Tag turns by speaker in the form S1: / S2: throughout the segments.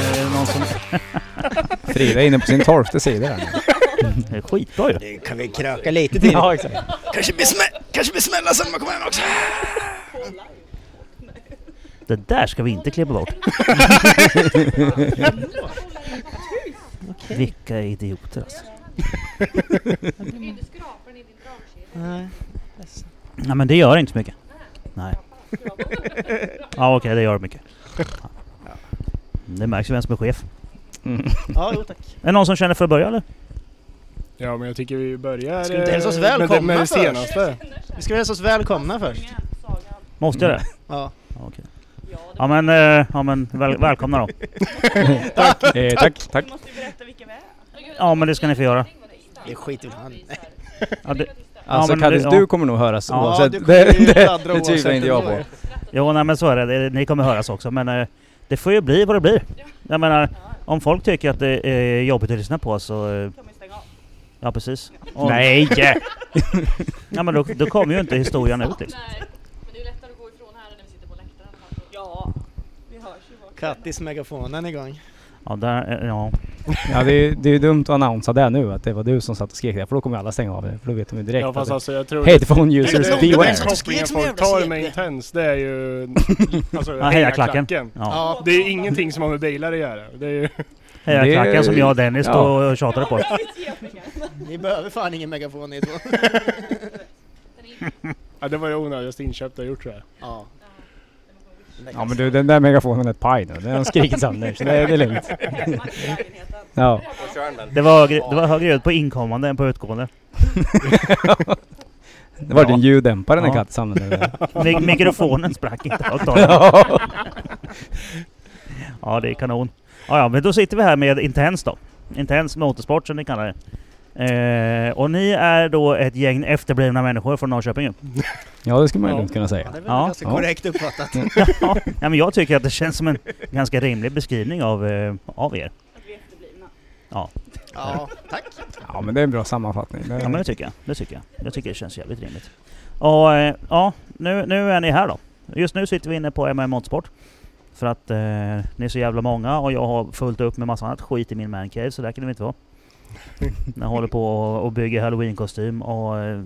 S1: Är det någon som...
S2: Frida är inne på sin tolfte sida här nu.
S1: Det är skitbra ju.
S3: Nu kan vi kröka lite till.
S1: Ja, exakt.
S3: Kanske blir smä- kanske blir smälla sen när man kommer hem också.
S1: Det där ska vi inte klippa bort. Vilka idioter alltså.
S3: Nej.
S1: Nej men det gör inte så mycket. Nej. Ja okej, det gör mycket. Ja. Det märks ju vem som är chef.
S3: Ja, jo tack.
S1: Är det någon som känner för att börja eller?
S4: Ja, men jag tycker vi börjar...
S3: Ska vi inte hälsa oss
S4: eh,
S3: välkomna
S4: med, det- med det
S3: först?
S4: senaste.
S3: Vi ska hälsa oss välkomna först.
S1: Måste jag det?
S3: Ja.
S1: Mm. Ja, okej. Ja men, eh, ja, men väl, välkomna då.
S2: Eh, tack, tack.
S1: Ja men det ska ni få göra.
S3: Det skiter väl han i.
S1: Ja, det,
S2: Alltså
S1: men
S2: Kattis,
S1: det-
S2: du
S1: ja.
S2: kommer nog höras
S1: Ja,
S2: oavsett.
S3: du kommer
S2: det
S3: ju
S2: det,
S3: fladdra
S2: det
S3: oavsett
S2: tvivlar inte jag
S3: ändå.
S2: på.
S1: jo nej men så är det. det, ni kommer höras också men eh, det får ju bli vad det blir. Jag menar, om folk tycker att det är jobbigt att lyssna på så... eh, Ja precis. Om-
S2: Nej!
S1: Ja men då, då kommer ju inte historien ut liksom.
S5: Nej, men det är ju lättare att gå ifrån här än när vi sitter på läktaren. i alla fall. Ja, vi hörs ju bort.
S3: Kattis megafonen igång.
S1: Ja, där, eh, ja.
S2: Ja, det är, det är ju dumt att annonsa det nu, att det var du som satt och skrek där, för då kommer alla stänga av det, för då vet de ju direkt.
S4: Ja, fast
S2: att
S4: alltså jag tror...
S2: det- Headphone users
S3: Det- det-
S2: beware!
S3: det-
S4: kopplingen
S3: Skriv som
S4: folk
S3: jävla
S4: tar
S3: sete.
S4: med Intens, det är ju... Alltså,
S1: Ja, heja klacken. Ja.
S3: Ja.
S4: Det är ingenting som har med bilar att göra. Det är ju...
S1: Heja
S2: Det-
S1: klacken som jag och Dennis
S2: ja.
S1: stod och tjatade på.
S3: Ni behöver fan ingen megafon ni två.
S4: Ja, det var det onödigaste inköp du har gjort tror jag.
S3: Ja.
S2: Ja men du, den där megafonen är ett paj nu. Den har skrikit sönder, så det är, det är lugnt. Ja.
S1: Det var högre, det var högre ljud på inkommande än på utgående.
S2: Det var din ljuddämpare när
S1: Ja.
S2: Kattis använde den.
S1: Mi- mikrofonen sprack inte av talet.
S2: Ja.
S1: Ja, det är kanon. Ja, ja, men då sitter vi här med Intens då. Intens Motorsport som ni kallar det. Eh, och ni är då ett gäng efterblivna människor från Norrköping ju.
S2: ja, det skulle man ju
S4: Ja.
S2: lugnt kunna
S3: Ja,
S2: säga.
S3: det är väl
S1: Ja.
S3: ganska
S2: Ja.
S3: korrekt uppfattat.
S1: ja, men jag tycker att det känns som en ganska rimlig beskrivning av, eh, av er.
S3: Ja, tack.
S2: Ja men det är en bra sammanfattning. Det-
S1: Ja men det tycker jag. Det tycker jag. Jag tycker det känns jävligt rimligt. Och eh, ja, nu, nu är ni här då. Just nu sitter vi inne på MM Motorsport. För att eh, ni är så jävla många och jag har fullt upp med massa annat skit i min mancave så där kan det inte vara. jag håller på och, och bygger halloween-kostym och eh,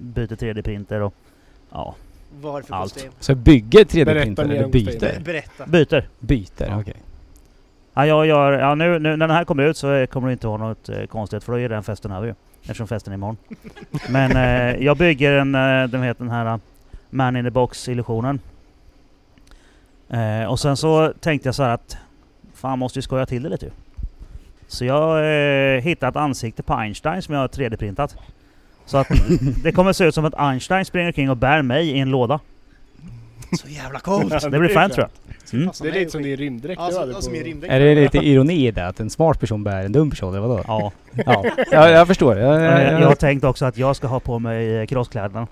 S1: byter 3D-printer och ja,
S3: Varför
S1: Allt.
S3: kostym?
S2: Så bygger
S4: Berätta
S2: 3D-printer
S4: mer
S2: eller
S4: om
S2: byter?
S4: kostymen.
S3: Berätta.
S1: byter.
S2: Byter, okej.
S1: Ja, jag gör, ja nu, nu när den här kommer ut så eh, kommer det inte vara något eh, konstigt för då är den festen över ju. Eftersom festen är imorgon. Men eh, jag bygger en, eh, den heter den här eh, Man in the box illusionen. Eh, och sen så tänkte jag så här att fan måste ju skoja till det lite ju. Så jag eh, hittade ett ansikte på Einstein som jag har 3D-printat. Så att det kommer se ut som att Einstein springer omkring och bär mig i en låda.
S3: Så jävla coolt. Alltså,
S1: Det blir fint tror jag. Mm.
S4: Det är lite som din rymddräkt
S3: Ja,
S4: du
S3: som,
S4: hade på...
S3: ja, som i rymddräkt.
S2: Är det lite ironi i det? Att en smart person bär en dum person, eller vadå?
S1: Ja.
S2: Ja, jag, jag förstår. Jag,
S1: Ja,
S2: jag,
S1: Eh, Jag, jag har tänkt också att jag ska ha på mig eh, crosskläderna.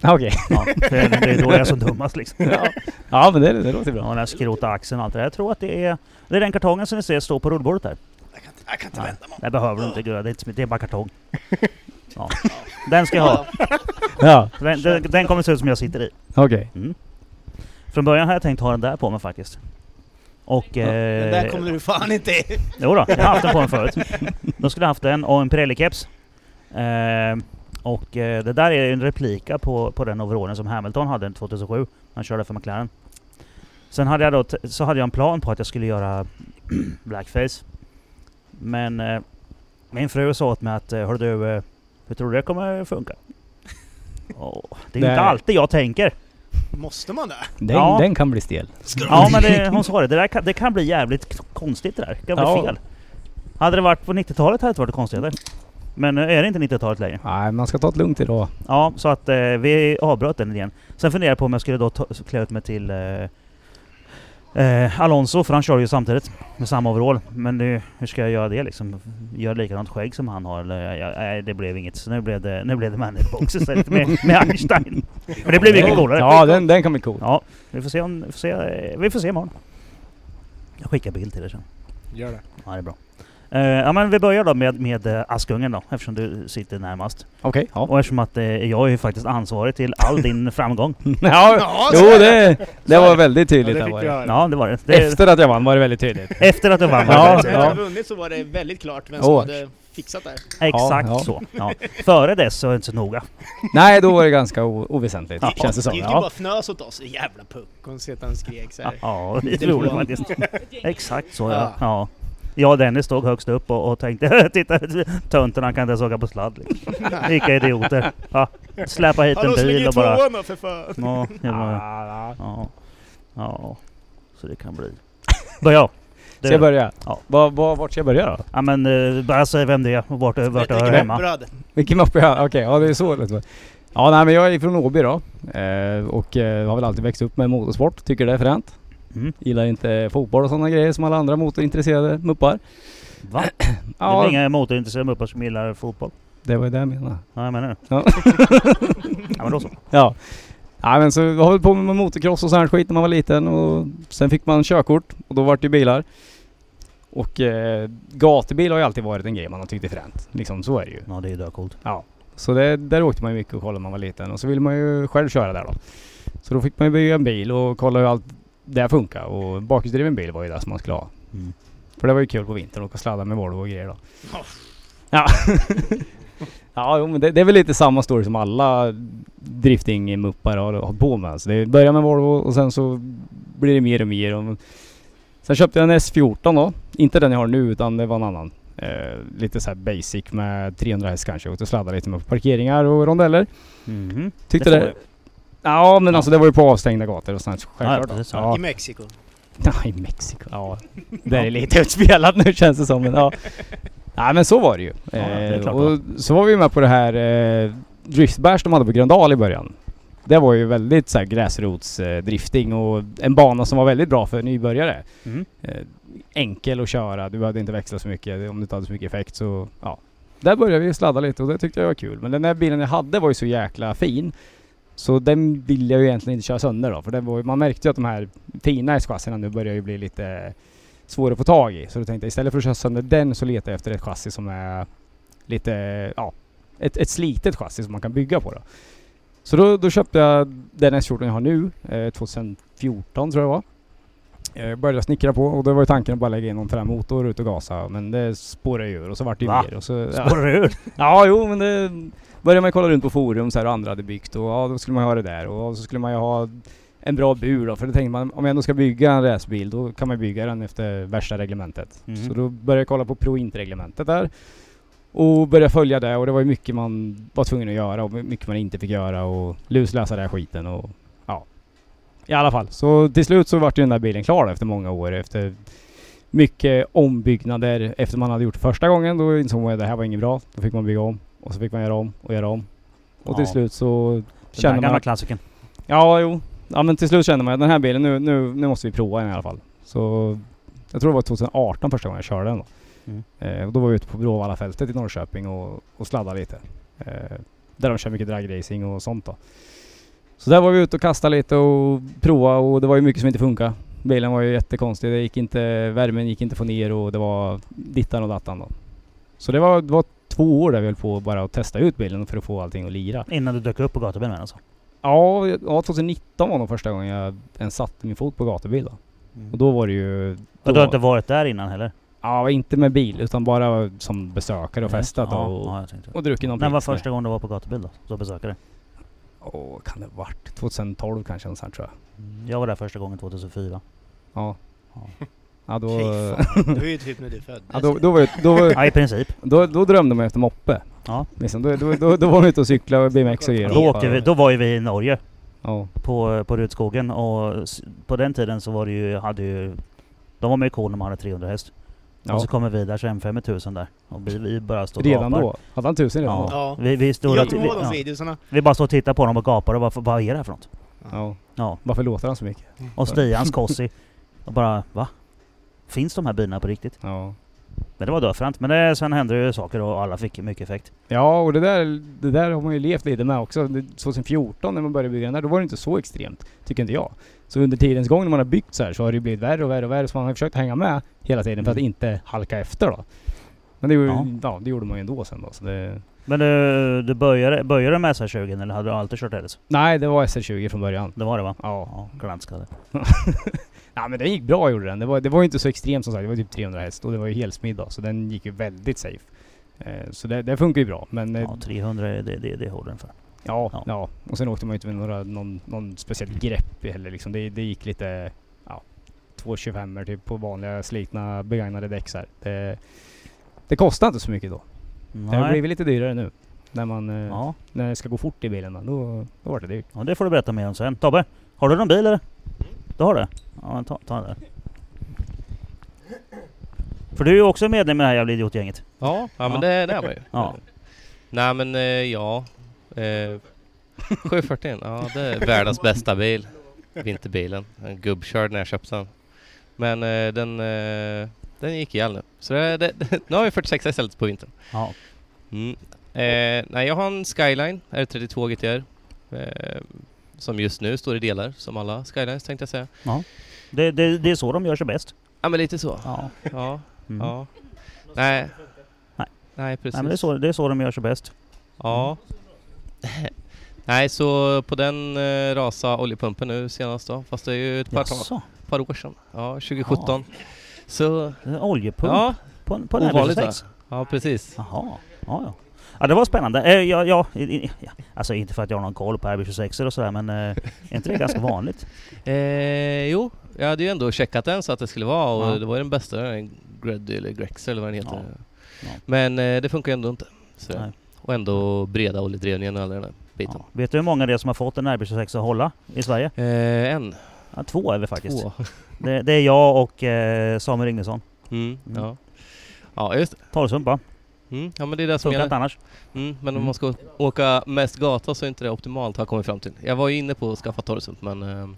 S2: Ja, Okej.
S1: Ja, för det är då jag är som dummast liksom.
S2: Ja. ja men det, det låter
S1: Ja,
S2: bra.
S1: den här skrota axeln och allt det där. Jag tror att det är, det är den kartongen som ni ser stå på rullbordet där.
S3: Jag kan inte, jag kan inte
S1: Ja.
S3: vänta mig.
S1: Det behöver du inte göra, det är, inte, så mycket, det är bara kartong. Ja. Den ska jag ha.
S2: Ja,
S1: Den, den, den kommer se ut som jag sitter i.
S2: okej.
S1: Från början hade jag tänkt ha den där på mig faktiskt. Och... Eh,
S3: Den där kommer du fan inte i.
S1: Jo då, jag har haft den på mig förut. Då skulle jag haft den och en Pirelli-keps. Eh, och eh, det där är en replika på, på den overallen som Hamilton hade 2007. Han körde för McLaren. Sen hade jag då t- så hade jag en plan på att jag skulle göra blackface. Men eh, min fru sa åt mig att eh, hör du, eh, hur tror du det kommer funka? Åh, det är ju
S2: Nej.
S1: inte alltid jag tänker.
S3: Måste man det?
S2: Den,
S1: Ja.
S2: den kan bli stel.
S1: Ja men det, hon sa det, det, där kan, det kan bli jävligt k- konstigt det där. Det kan bli
S2: Ja.
S1: fel. Hade det varit på 90-talet hade det inte varit konstigare. Men nu är det inte 90-talet längre.
S2: Nej, man ska ta det lugnt idag.
S1: Ja, så att eh, vi avbröt den idén. Sen funderade jag på om jag skulle då ta, klä ut mig till eh, Eh, Alonso, för han kör ju samtidigt med samma overall. Men nu, hur ska jag göra det liksom? Gör likadant skägg som han har? Eller, jag, jag, nej, det blev inget. Så nu blev det, nu blev det managerbox istället med, med Einstein. Men det blir mycket coolare.
S2: Ja, den, den kan bli cool.
S1: Ja, vi får se om... Vi får se, eh, vi får se imorgon. Jag skickar bild till dig sen.
S4: Gör det.
S1: Ja, det är bra. Eh, ja, men vi börjar då med, med eh, Askungen då, eftersom du sitter närmast.
S2: Okej, ja.
S1: Och eftersom att eh, jag är ju faktiskt ansvarig till all din framgång.
S2: ja.
S3: Ja, så
S2: Jo,
S3: är
S2: det, det var väldigt
S4: Ja,
S2: tydligt.
S4: det
S2: där
S4: fick
S2: var
S4: vi
S2: det.
S4: höra.
S1: Ja, det var det. det efter.
S2: Efter att jag vann var det väldigt tydligt.
S1: att du vann.
S2: Ja,
S6: Sen
S2: ja.
S6: när jag hade vunnit så var det väldigt klart vem som
S2: Åh.
S6: hade fixat det här.
S1: Exakt
S2: Ja, ja.
S1: så. Ja. Före dess så är det inte så noga.
S2: Nej, då var det ganska o- oväsentligt,
S1: Ja,
S2: känns det
S6: Det
S2: som.
S6: gick ju bara
S2: Ja.
S6: fnös åt oss. Jävla puckon, så att han skrek så här.
S1: Ja, det
S6: Det
S1: tror jag
S6: var-
S1: faktiskt.
S5: Ett gäng.
S1: Exakt så ja. ja. Jag och Dennis stod högst upp och, och tänkte titta tönten han kan inte ens åka på sladd. liksom. Vilka idioter. Ja. Släpa hit en
S6: Hallå, släng
S1: bil
S6: i
S1: och bara...
S6: tvåan då för fan!
S1: Ja, jävlar.
S2: Ah,
S1: ja. ja. Så det kan bli. Börja
S2: Ska jag börja?
S1: Ja.
S2: Var, var, vart ska jag börja då?
S1: Ja men eh, bara säg vem det är och vart, vart du hör hemma.
S6: Bröd.
S2: Vilken moppe jag Okej, ja det är så lätt. Ja, nej men jag är från Åby då. Eh, och eh, har väl alltid växt upp med motorsport. Tycker det är fränt.
S1: Mm.
S2: Gillar inte fotboll och sådana grejer som alla andra motorintresserade muppar.
S1: Va? Det
S2: Ja,
S1: är inga motorintresserade muppar som gillar fotboll.
S2: det var ju det jag menade.
S1: Ja, jag menar det.
S2: Ja.
S1: ja men då så.
S2: Ja. Nej men så jag höll på med motocross och sån här skit när man var liten och sen fick man körkort och då vart det bilar. Och eh, gatubil har ju alltid varit en grej man har tyckt är fränt. Liksom så är det ju.
S1: Ja det är ju dödcoolt.
S2: Så det, där åkte man ju mycket och kollade när man var liten och så ville man ju själv köra där då. Så då fick man ju bygga en bil och kolla hur allt där funkar och bakhjulsdriven bil var ju det som man skulle ha.
S1: Mm.
S2: För det var ju kul på vintern att åka och sladda med Volvo och grejer då. Ja. ja, jo, men det, det är väl lite samma story som alla drifting-muppar har hållit på med. Alltså det börjar med Volvo och sen så blir det mer och mer. Och sen köpte jag en S14 då. Inte den jag har nu utan det var en annan. Eh, lite så här basic med 300 häst kanske. Och sladdade lite med på parkeringar och rondeller.
S1: Mhm.
S2: Tyckte
S1: Det
S2: det...
S1: får
S2: Ja men alltså det var ju på avstängda gator och sånt
S1: Ja,
S2: självklart.
S1: precis, ja.
S2: ja.
S6: I Mexiko.
S2: Ja, i Mexiko. Ja, det är lite utspelat nu känns det som. Men, ja. Nej men så var det ju.
S1: det är
S2: eh,
S1: klart
S2: och så var vi med på det här eh, Driftbash de hade på Gröndal i början. Det var ju väldigt så här, gräsrotsdrifting eh, drifting och en bana som var väldigt bra för nybörjare.
S1: Mm.
S2: Eh, enkel att köra, du behövde inte växla så mycket om du inte hade så mycket effekt så ja. Där började vi sladda lite och det tyckte jag var kul. Men den där bilen jag hade var ju så jäkla fin. Så den vill jag ju egentligen inte köra sönder då. För den var, ju- man märkte ju att de här fina S-chassierna nu börjar ju bli lite svåra att få tag i. Så då tänkte jag istället för att köra sönder den så letar jag efter ett chassi som är lite, ja, ett, ett slitet chassi som man kan bygga på då. Så då, då köpte jag den S14 jag har nu, eh, 2014 tror jag det var. Eh, började snickra på och då var ju tanken att bara lägga in någon frammotor ut och gasa. Men det spårade ju ur och så vart det ju
S1: Va?
S2: mer. Och så, ja.
S1: Spårar ur?
S2: Ja, jo, men det började man kolla runt på forum så här och andra hade byggt och ja, då skulle man ha det där och så skulle man ju ha en bra bur då, för det tänkte man om jag ändå ska bygga en racerbil då kan man bygga den efter värsta reglementet.
S1: Mhm.
S2: Så då började jag kolla på Proint-reglementet där och började följa det och det var ju mycket man var tvungen att göra och mycket man inte fick göra och lusläsa den här skiten och ja. I alla fall, så till slut så vart ju den där bilen klar efter många år efter mycket ombyggnader efter man hade gjort det första gången. Då insåg man att det här var inget bra. Då fick man bygga om och så fick man göra om och göra om. Och till
S1: Ja.
S2: slut så
S1: Den där
S2: kände man...
S1: gamla
S2: att-
S1: klassikern.
S2: Ja, jo. Ja, men till slut kände man att den här bilen, nu, nu, nu måste vi prova den i alla fall. Så jag tror det var 2018 första gången jag körde den då.
S1: Mm.
S2: Eh, och då var vi ute på Bråvallafältet i Norrköping och, och sladdade lite. Eh, där de kör mycket dragracing och sånt då. Så där var vi ute och kastade lite och provade och det var ju mycket som inte funkade. Bilen var ju jättekonstig. Det gick inte, värmen gick inte att få ner och det var dittan och dattan då. Så det var, det var två år där vi höll på bara att testa ut bilen för att få allting att lira.
S1: Innan du dök upp på gatubilen menar alltså.
S2: Ja, ja, 2019 var nog första gången jag ens satte min fot på gatubil då. Mm. Och då var det ju...
S1: Och du har inte varit där innan heller?
S2: Ja, inte med bil utan bara som besökare och festat
S1: Mm. ja,
S2: och,
S1: ja, jag tänkte.
S2: och druckit någon
S1: När var
S2: pilsner.
S1: första gången du var på gatubil då? Som besökare?
S2: Åh, kan det ha varit? 2012 kanske, något sånt tror jag.
S1: Jag var där första gången 2004.
S2: Ja.
S1: Ja.
S2: Ja, då,
S6: Fy fan, det var ju typ när du föddes.
S2: ja, då, då, var, jag- då, var,
S1: Ja i princip.
S2: då, då drömde man efter moppe.
S1: Ja.
S2: Liksom, då, då, då, då var man ute och cyklade och BMX och grejer.
S1: Då, åkte vi, då var ju vi i Norge
S2: Ja.
S1: på, på Rudskogen och s- på den tiden så var det ju, hade ju... De var med i kor när man hade 300 häst.
S2: Ja.
S1: Och så kommer vi där så är M5 är 1000 där. Och vi, vi bara står och
S2: Redan
S1: gapar.
S2: då? Hade han tusen redan då?
S1: Ja.
S6: Ja.
S1: Vi, vi, står
S6: Jag
S1: och, vi,
S6: kommer ihåg de
S1: ja,
S6: videorna.
S1: vi bara står och tittar på dem och gapar och bara, vad är det här för något?
S2: Ja.
S1: Ja.
S2: Mm. Varför låter han så mycket?
S1: Och Stians Kossi. Och bara va? Finns de här bilarna på riktigt?
S2: Ja.
S1: Men det var dödfränt. Men det, sen hände det ju saker och alla fick mycket effekt.
S2: Ja, och det där, det där har man ju levt lite med också. Det- 2014 när man började bygga den där, då var det inte så extremt, tycker inte jag. Så under tidens gång när man har byggt så här så har det ju blivit värre och värre och värre, så man har försökt hänga med hela tiden för att
S1: Mm.
S2: inte halka efter då. Men det, gjorde-
S1: Ja.
S2: ja. det gjorde man ju ändå sen då. Så det,
S1: Men eh, du, du började, började du med SR20 eller hade du alltid kört RS?
S2: nej, det var SR20 från början.
S1: Det var det va?
S2: Ja.
S1: Ja, glänskalle.
S2: ja, men den gick bra gjorde den. Det var, det var ju inte så extremt som sagt, det var typ 300 häst och det var ju helsmidd då, så den gick ju väldigt safe. Eh, Så det, det funkar ju bra, men eh,
S1: Ja, 300 är- det, det, det håller den för.
S2: Ja,
S1: Ja.
S2: ja. Och sen åkte man ju inte med några, någon, någon speciellt grepp heller liksom. det, det gick lite, ja, 225 typ på vanliga slitna begagnade däck så här. Det, det kostade inte så mycket då. Det har blivit lite dyrare nu. När man, eh,
S1: Ja.
S2: när det ska gå fort i bilen då, då, då var det dyrt.
S1: ja, det får du berätta mer om sen. Tobbe, har du någon bil eller?
S7: Mm.
S1: Du har det? Ja, men ta, ta den där. För du är ju också medlem i det här jävla idiotgänget.
S7: Ja, ja men
S1: Ja.
S7: det, det är man ju.
S1: Ja.
S7: Nej men eh, ja. Eh, 741, ja det är världens bästa bil. Vinterbilen. En gubbkörd när jag köpte den. Men eh, den, eh, den gick ihjäl nu. Så det, det, nu har vi 46 istället på vintern.
S1: Ja.
S7: Mm. Eh, nej, jag har en Skyline R32 GTR. Eh, som just nu står i delar, som alla Skylines tänkte jag säga.
S1: Det, det, det är så de gör sig bäst.
S7: Ja men lite så.
S1: Ja.
S7: Ja,
S1: Mm.
S7: ja. Nej.
S1: Nej.
S7: Nej precis.
S1: Nej, men det, är så, det är så de gör sig bäst.
S7: Ja. Nej, så på den eh, rasa oljepumpen nu senast då, fast det är ju ett par,
S1: Jaså?
S7: par år sedan. Ja, 2017. Så,
S1: Det är en Oljepump
S7: ja,
S1: på, på en
S7: ovanligt,
S1: R26?
S7: ja precis.
S1: Jaha, ja, ja. Ja det var spännande. Eh, ja, ja, i- i- ja. Alltså inte för att jag har någon koll på RB26 och sådär men eh, är inte det ganska vanligt?
S7: Eh, jo, jag hade ju ändå checkat den så att det skulle vara och
S1: Ja.
S7: det var ju den bästa, den Greddy eller Grexel eller vad den heter.
S1: Ja.
S7: Men eh, det funkar ju ändå inte. Så.
S1: Nej.
S7: Och ändå breda oljedrivningen och alla den där biten.
S1: Ja. Vet du hur många det är som har fått en RB26 att hålla i Sverige?
S7: Eh, en,
S1: Ja, två är vi faktiskt.
S7: två.
S1: Det, det är jag och eh, Samuel Yngvesson.
S7: Mm,
S1: Mm.
S7: Ja. ja, just det.
S1: Torrsump va?
S7: Mm, ja men det är det som
S1: Funkar
S7: gäller.
S1: inte annars.
S7: Mm, men
S1: Mm.
S7: om man ska åka mest gata så är inte det optimalt har jag kommit fram till. Jag var ju inne på att skaffa Torresund men eh,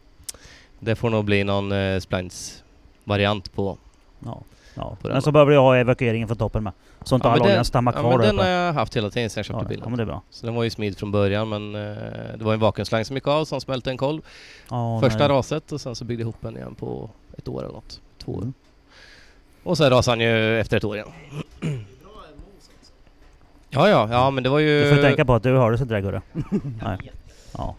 S7: det får nog bli någon eh, splines variant på.
S1: Ja. Ja.
S7: På den
S1: Men så behöver jag ha evakueringen från toppen med. Så inte
S7: Ja, men
S1: all oljan
S7: den-
S1: stannar
S7: Ja,
S1: kvar
S7: men
S1: där
S7: den har
S1: uppe.
S7: jag haft hela tiden sedan jag köpte
S1: Ja, ja
S7: bilen.
S1: men det är bra.
S7: Så den var ju smid från början men eh, det var en vakenslang som gick av som smälte en kolv
S1: Ja,
S7: första
S1: nej.
S7: raset och sen så byggde jag ihop den igen på ett år eller något. Två år.
S1: Mm.
S7: Och sen rasade han ju efter ett år igen. Ja, ja, ja men det var ju...
S1: Du får tänka på att du hördes inte det där Gurra. Nej. Ja.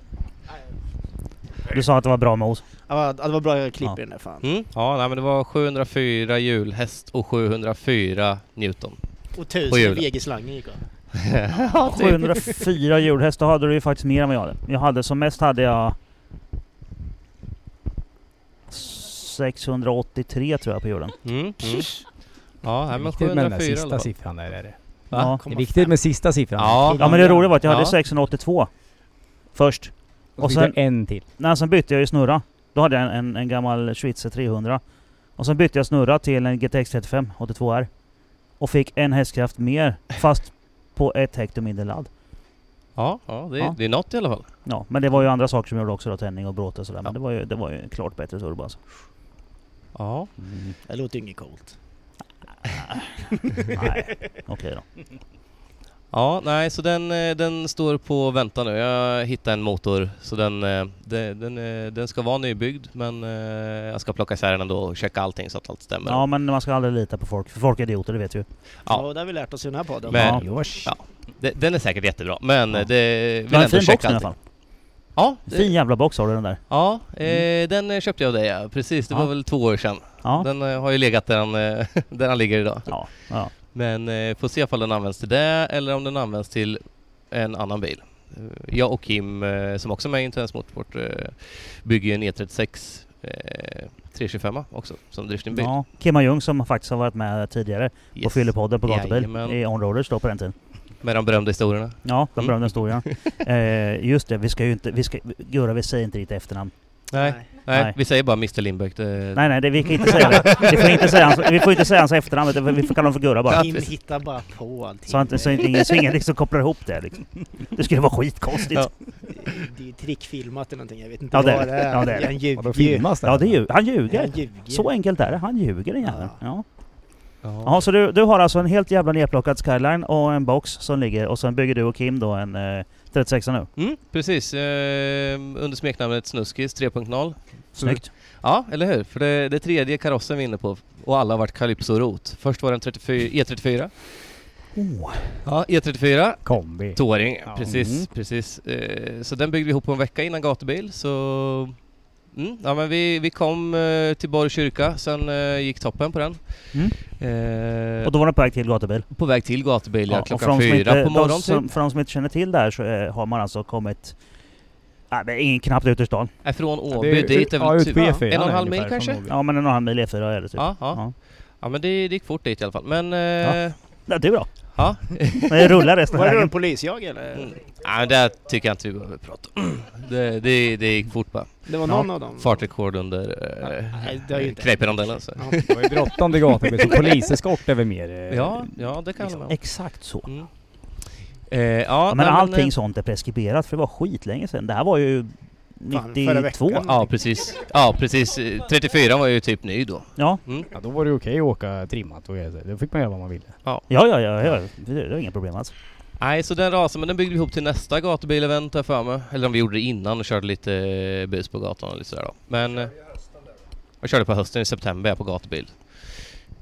S1: Du sa att det var bra mos.
S6: Ja, det var bra klipp
S1: Ja.
S6: i den där fan.
S7: Mm, ja, nej, men det var 704 hjulhäst och 704 Newton.
S6: Och
S7: På
S6: tusen
S7: hjulet.
S6: VG-slangen gick av.
S1: typ. 704 hjulhästar hade du ju faktiskt mer än vad jag hade. Jag hade som mest hade jag 683 tror jag på hjulen.
S7: Mm, mm. Ja, nej,
S2: Det är
S7: men
S2: viktigt med den där
S7: 704 i alla
S2: sista
S7: fall.
S2: siffran där är det.
S1: Ja.
S2: Det är viktigt med sista siffran.
S7: Ja,
S1: ja men det roliga var att jag hade
S7: Ja.
S1: 682 först.
S2: Och,
S1: och
S2: så fick
S1: sen-
S2: jag en till.
S1: Nej, sen bytte jag ju snurra. Då hade jag en, en, en gammal Schweizer 300. Och sen bytte jag snurra till en GTX 35 82R. Och fick en hästkraft mer fast på ett hekto mindre ladd.
S7: Ja, ja, det,
S1: Ja.
S7: det är något i alla fall.
S1: Ja, men det var ju andra saker som gjorde också då, tändning och bråte och sådär. Men
S7: Ja.
S1: det var ju, det var ju klart bättre turbo alltså.
S7: Ja.
S6: Det låter ju inget coolt.
S1: Nej, okej då.
S7: Ja, nej, så den, eh, den står på och väntar nu. Jag hittade en motor, så den, eh, de- den, eh, den ska vara nybyggd, men eh, jag ska plocka isär den ändå och checka allting så att allt stämmer.
S1: Ja men man ska aldrig lita på folk, för folk är idioter det vet ju.
S7: Ja.
S6: Ja, det har vi lärt oss i den här podden.
S7: Men-
S1: Ja.
S2: Josh.
S7: Ja. De- Den är säkert jättebra, men
S1: Ja.
S7: eh, det vill
S1: Det var en
S7: ändå
S1: fin box i
S7: checka
S1: alla
S7: allting.
S1: fall.
S7: Ja, det-
S1: Fin jävla box har du den där.
S7: Ja, eh, den eh, köpte jag av dig ja. Precis, det
S1: Ja.
S7: var väl två år sedan.
S1: Ja.
S7: Den eh, har ju legat där han, eh, där han ligger idag.
S1: Ja, ja.
S7: Men eh, får se om den används till det eller om den används till en annan bil. Eh, Jag och Kim, eh, som också är med i Intens Motorsport, eh, bygger ju en E36 eh, 325 också som driftingbil.
S1: ja. Kimma Ljung som faktiskt har varit med tidigare på
S7: Yes.
S1: Fyllepodden på Gatubil
S7: Jajamän.
S1: i Onroaders då på den tiden.
S7: Med de berömda historierna.
S1: Ja, de
S7: Mm.
S1: berömda historierna. eh, just det, vi ska ju inte, vi ska, Gurra vi säger inte ditt efternamn.
S7: Nej, nej,
S1: Nej.
S7: vi säger bara Eh, Mr Lindbeck. Det,
S1: Nej nej, det, vi kan inte säga det. Vi får inte säga hans, vi får inte säga hans efternamn, utan vi får kalla honom för Gurra bara.
S7: Ja,
S6: Kim
S7: precis.
S6: hittar bara på allting.
S1: Så att så att ingen, så ingen liksom kopplar ihop det liksom. Det skulle vara skitkonstigt.
S7: Ja.
S6: det är trickfilmat eller någonting. Jag vet inte
S1: Ja, det är
S6: vad det
S1: det.
S6: är.
S1: Ja, det är det.
S6: Han
S2: Ja, då
S6: ljuger ju.
S2: filmas
S1: Ja, det
S2: ju.
S1: ju, han ljuger.
S6: Han ljuger.
S1: Så enkelt är det. Han ljuger den jäveln. Ja.
S7: Ja.
S1: Jaha, så du, du har alltså en helt jävla nerplockad skyline och en box som ligger och sen bygger du och Kim då en eh, 36 nu.
S7: Mm, precis. Eh, under smeknamnet Snuskis 3.0.
S1: Snyggt.
S7: Ja, eller hur? För det, det tredje karossen vi är inne på och alla har varit Calypso-rot. Först var den 34, E34.
S1: Oh,
S7: E Ja, E E34.
S2: Kombi.
S7: Touring,
S2: Ja.
S7: precis,
S2: Mm.
S7: precis. Eh, så den byggde vi ihop på en vecka innan gatubil, så... Mm, ja, men vi, vi kom eh, till Borg kyrka, sen eh, gick toppen på den.
S1: Mm.
S7: Eh,
S1: och då var den på väg till gatubil.
S7: på väg till gatubil, ja,
S1: och
S7: klockan
S1: som
S7: fyra
S1: inte,
S7: på morgonen
S1: de som,
S7: typ.
S1: För de som inte känner till det här så eh, har man alltså kommit... Nej, men ingen knappt ut ur stan.
S7: Nej, från Åby
S2: Det är ju-
S7: dit är
S2: ja,
S7: väl
S2: ut
S7: typ...
S2: på E4
S7: en och en halv
S2: ungefär
S7: mil
S2: från
S7: kanske?
S2: Åby.
S1: Ja, men en och en halv mil E4 är det typ.
S7: Ja, ja.
S1: Ja.
S7: ja men det, det gick fort dit i alla fall. Men... Eh,
S1: Ja. Nej, du då?
S7: ja.
S1: Men jag rullar resten av
S6: Var det en
S1: vägen.
S6: polisjag eller?
S7: Mm. Ja, men det tycker jag inte vi behöver prata om. Det, det, det gick fort bara.
S6: Det var någon av dem?
S7: Fartrekord under
S6: Nej, det har ju
S7: eh,
S6: inte-
S7: knäpprondellen. så.
S6: Ja.
S2: Det var ju brottande gator, så poliseskort är väl mer... eh,
S7: Ja, ja, det kan jag hålla med om.
S1: Exakt så.
S7: Mm. Eh, ja,
S1: Ja, men
S7: nej,
S1: allting
S7: eh,
S1: sånt är preskriberat för det var skitlänge sedan. Det här var ju
S6: Fan,
S1: 92.
S6: förra veckan.
S7: Ja, precis. Ja, precis. Eh, 34 var ju typ ny då.
S1: Ja,
S2: Ja, då var det okej att åka trimmat och grejer. Då fick man göra vad man ville.
S1: ja, ja, ja, ja. Det, det är inga problem alls.
S7: Nej, så den rasen, men den byggde vi ihop till nästa gatubilevent har jag för mig. Eller om vi gjorde det innan och körde lite eh, bus på gatan och lite sådär då. Men... eh, Jag körde på hösten i september på gatubil.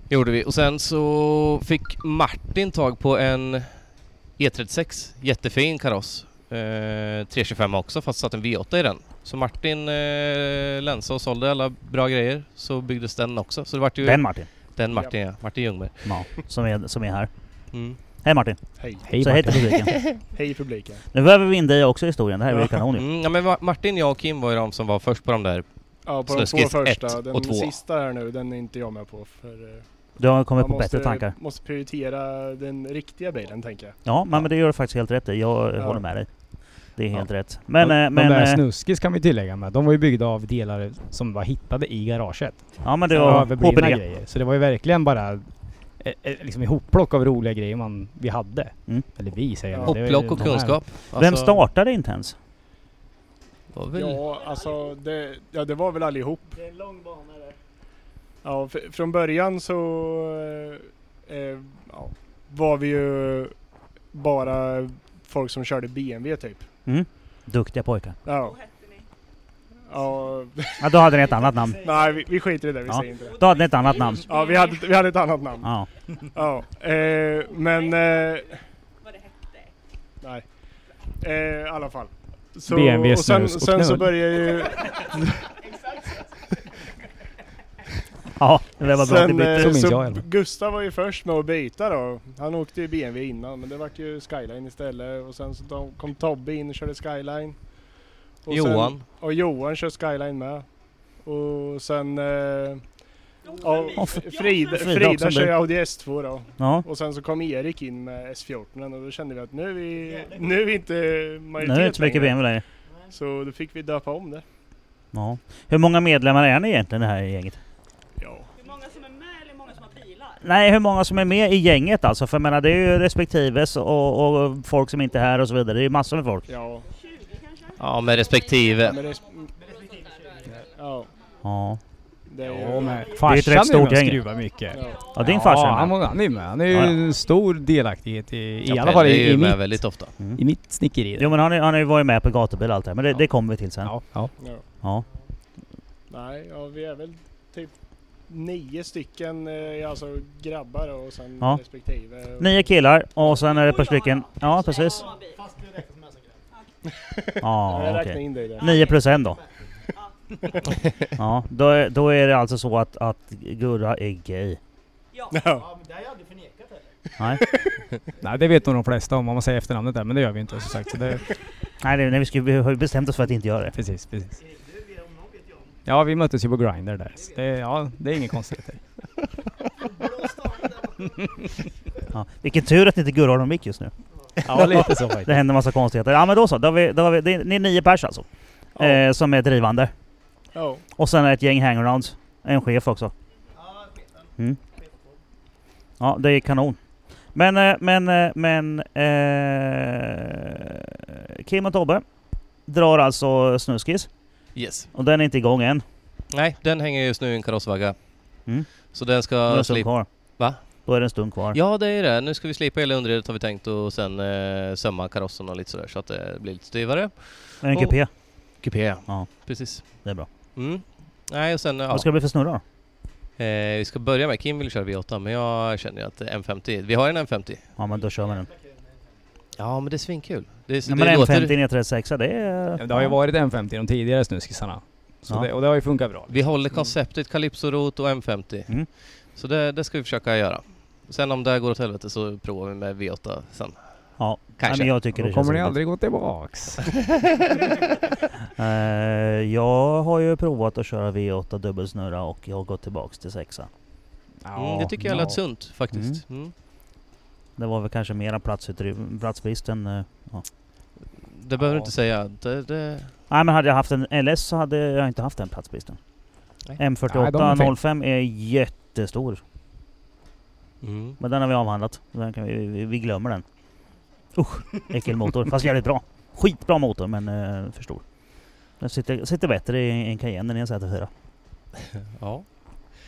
S7: Gjorde vi. Och sen så fick Martin tag på en E36, jättefin kaross. Eh, 325 också fast satt en V8 i den. Så Martin eh, länsade och sålde alla bra grejer. Så byggdes den också. Så det vart ju
S1: Den Martin.
S7: den Martin, ja. Martin Ljungberg.
S1: Ja, som, är, som är här.
S7: Mm.
S1: Hej Martin!
S4: Hej.
S2: Hej
S1: Så heter
S2: Martin.
S1: publiken.
S4: Hej publiken.
S1: Nu väver vi in dig också i historien, det här blir kanon ju.
S7: Mm, ja, men Ma- Martin, jag och Kim var ju de som var först på de där.
S4: Ja, på de två
S7: Snuskis
S4: första.
S7: ett
S4: Den
S7: och två.
S4: sista här nu, den är inte jag med på. För, eh,
S1: Du har kommit
S4: man
S1: på bättre tankar.
S4: måste prioritera den riktiga bilen, tänker jag.
S1: Ja, men, men det gör du faktiskt helt rätt i. Jag
S4: Ja.
S1: håller med dig. Det är
S7: Ja.
S1: helt rätt. Men, eh,
S2: de, de
S1: men,
S2: där
S1: eh,
S2: snuskis kan vi tillägga med. De var ju byggda av delar som var hittade i garaget.
S1: ja, men det
S2: Så
S1: var
S2: överblivna
S1: HPD.
S2: grejer. Så det var ju verkligen bara eh, eh, liksom ihopplock av roliga grejer man, vi hade.
S1: Mm.
S2: Eller vi säger jag.
S4: Ja.
S2: Det var ju
S7: Hopplock och
S2: de här.
S7: kunskap.
S1: Vem
S7: Alltså,
S1: startade inte ens?
S7: var väl-
S4: Ja, alltså det, ja, det var väl allihop. Det är en lång bana där. Ja, fr- från början så eh, eh, ja, var vi ju bara folk som körde BMW typ.
S1: Duktiga pojkar.
S4: Ja. Ja,
S1: Ja, då hade ni ett annat namn.
S4: nej vi, vi skiter i det, vi
S1: Ja.
S4: säger inte det.
S1: Då hade ni ett annat namn.
S4: Ja, vi hade, vi hade ett annat namn.
S1: Ja.
S4: Ja, eh, men... Eh,
S5: Vad det hette.
S4: nej. Eh, I alla fall. Så,
S2: BMW,
S4: och sen,
S2: snus och
S4: sen så
S2: knull.
S4: började ju...
S1: ja, det var bra att ni
S4: Sen,
S1: bytte.
S4: eh,
S2: Så minns
S4: så
S2: jag i alla fall.
S4: Gustav var ju först med att byta då. Han åkte ju BMW innan men det vart ju Skyline istället och sen så to- kom Tobbe in och körde Skyline. Och
S7: Johan.
S4: Sen, och Johan kör Skyline med. Och sen eh,
S1: Ja,
S4: och
S1: Frida
S4: Frida,
S1: också
S4: Frida
S1: en
S4: kör
S1: bil.
S4: ju Audi S2 då.
S1: Ja.
S4: Och sen så kom Erik in med S14 och då kände vi att nu är vi, nu är vi inte
S1: Nu
S4: majoritet
S1: är det inte så mycket
S4: längre.
S1: BMW längre.
S4: Så då fick vi döpa om det.
S1: Ja. Hur många medlemmar är ni egentligen i det här gänget?
S4: Ja.
S5: Hur många som är med eller hur många som har pilar?
S1: Nej, hur många som är med i gänget alltså? För jag menar, det är ju respektives och, och folk som inte är här och så vidare. Det är ju massor med folk.
S4: Ja.
S5: 20 kanske?
S7: Ja, med respektive. E
S4: Men det, ja.
S1: Ja.
S4: Det är
S2: Ja,
S4: ju,
S2: men
S1: är ju ett rätt
S2: farsan är
S1: stort
S2: med och
S1: gäng.
S2: skruvar mycket.
S4: ja.
S1: ja, din farsa är
S2: han,
S1: med.
S2: var- han är ju med. Han är ju
S1: Ja, ja.
S2: en stor delaktighet i, i
S7: Ja,
S2: alla fall
S7: Pelle är
S2: i,
S7: ju
S2: i,
S7: med
S2: mitt,
S7: väldigt ofta.
S2: i mitt snickeri.
S1: Jo men han, är- han har ju varit med på gatubil och allt det här, men det, det kommer vi till sen.
S2: Ja, ja.
S4: Ja.
S1: Ja.
S4: Nej, ja, vi är väl typ nio stycken, eh, alltså grabbar och sen
S1: Ja.
S4: respektive. Och
S1: Nio killar och sen är det ett par stycken... Ja precis.
S5: Ja, bil.
S1: Ja
S4: jag
S1: okej.
S4: räknar in dig där.
S1: Nio plus en då. Ja, då är, då är det alltså så att, att Gurra är gay.
S5: Ja.
S4: Ja.
S1: Nej,
S2: Nej, det vet nog de flesta om, om man säger efternamnet där. Men det gör vi inte som sagt. Så det,
S1: nej, det- nej vi, skulle, vi har ju bestämt oss för att inte göra det.
S2: precis, precis. Ja, vi möttes ju på Grindr där. Så det, ja, det är inget konstigt.
S1: Ja. Vilken tur att inte Gurra har någon mick just nu.
S2: Ja, lite så faktiskt.
S1: Det händer massa konstigheter. Ja men då så, då har vi, då har vi, det är- ni är nio pers alltså.
S4: Ja.
S1: Eh, som är drivande.
S4: Ja.
S1: Och sen är det ett gäng hangarounds. En chef också. Mm. Ja, det är kanon. Men, eh, men, eh, men... Eh, Kim och Tobbe drar alltså snuskis.
S7: Yes.
S1: Och den är inte igång än.
S7: Nej, den hänger just nu i en karossvagga.
S1: Mm.
S7: Så den
S1: Då är det
S7: ska
S1: en stund
S7: slipa.
S1: kvar.
S7: Va?
S1: Då är det en stund kvar.
S7: Ja, det är det. Nu ska vi slipa hela underredet har vi tänkt och sen eh, sömma karossen och lite sådär så att det blir lite styvare.
S1: Det är en kupé.
S7: Kupé.
S1: Ja.
S7: Precis.
S1: Det är bra.
S7: Mm. Nej, och sen... Ja.
S1: Vad ska det bli för snurra då?
S7: Eh, vi ska börja med, Kim vill köra V8 men jag känner ju att M50, vi har en M50.
S1: Ja men då kör vi den.
S7: Ja men det är svinkul. Det, är-
S1: Nej,
S7: det
S1: men
S7: låter-
S1: M50 ner 36 det är...
S2: Ja, Det har ju varit M50 de tidigare snuskisarna. Så
S1: Ja.
S2: det, och det har ju funkat bra.
S7: Vi håller konceptet Calypso-rot och M50.
S1: Mm.
S7: Så det, det ska vi försöka göra. Sen om det här går åt helvete så provar vi med V8 sen.
S1: Ja. Nej,
S7: Kanske.
S1: men jag tycker
S2: Då
S1: det
S2: kommer ni
S1: roligt.
S2: aldrig gå tillbaks.
S1: Eh, jag har ju provat att köra V8 dubbelsnurra och jag har gått tillbaks till sexa.
S7: Mm, det tycker jag
S2: ja.
S7: lät sunt faktiskt. Mm.
S1: Det var väl kanske mera platsutry- platsbrist än... eh, ja.
S7: Det behöver du
S2: Ja.
S7: inte säga. Det, det...
S1: Nej men hade jag haft en LS så hade jag inte haft den platsbristen.
S7: Nej.
S2: Nej, de är fin.
S1: M48 05 är jättestor.
S7: Mm.
S1: Men den har vi avhandlat. Den kan vi, vi, vi glömmer den. Usch! Äckelmotor. Fast jävligt bra. Skitbra motor men eh, för stor. Den sitter, sitter bättre i en Cayenne än i en Z4.
S7: Ja.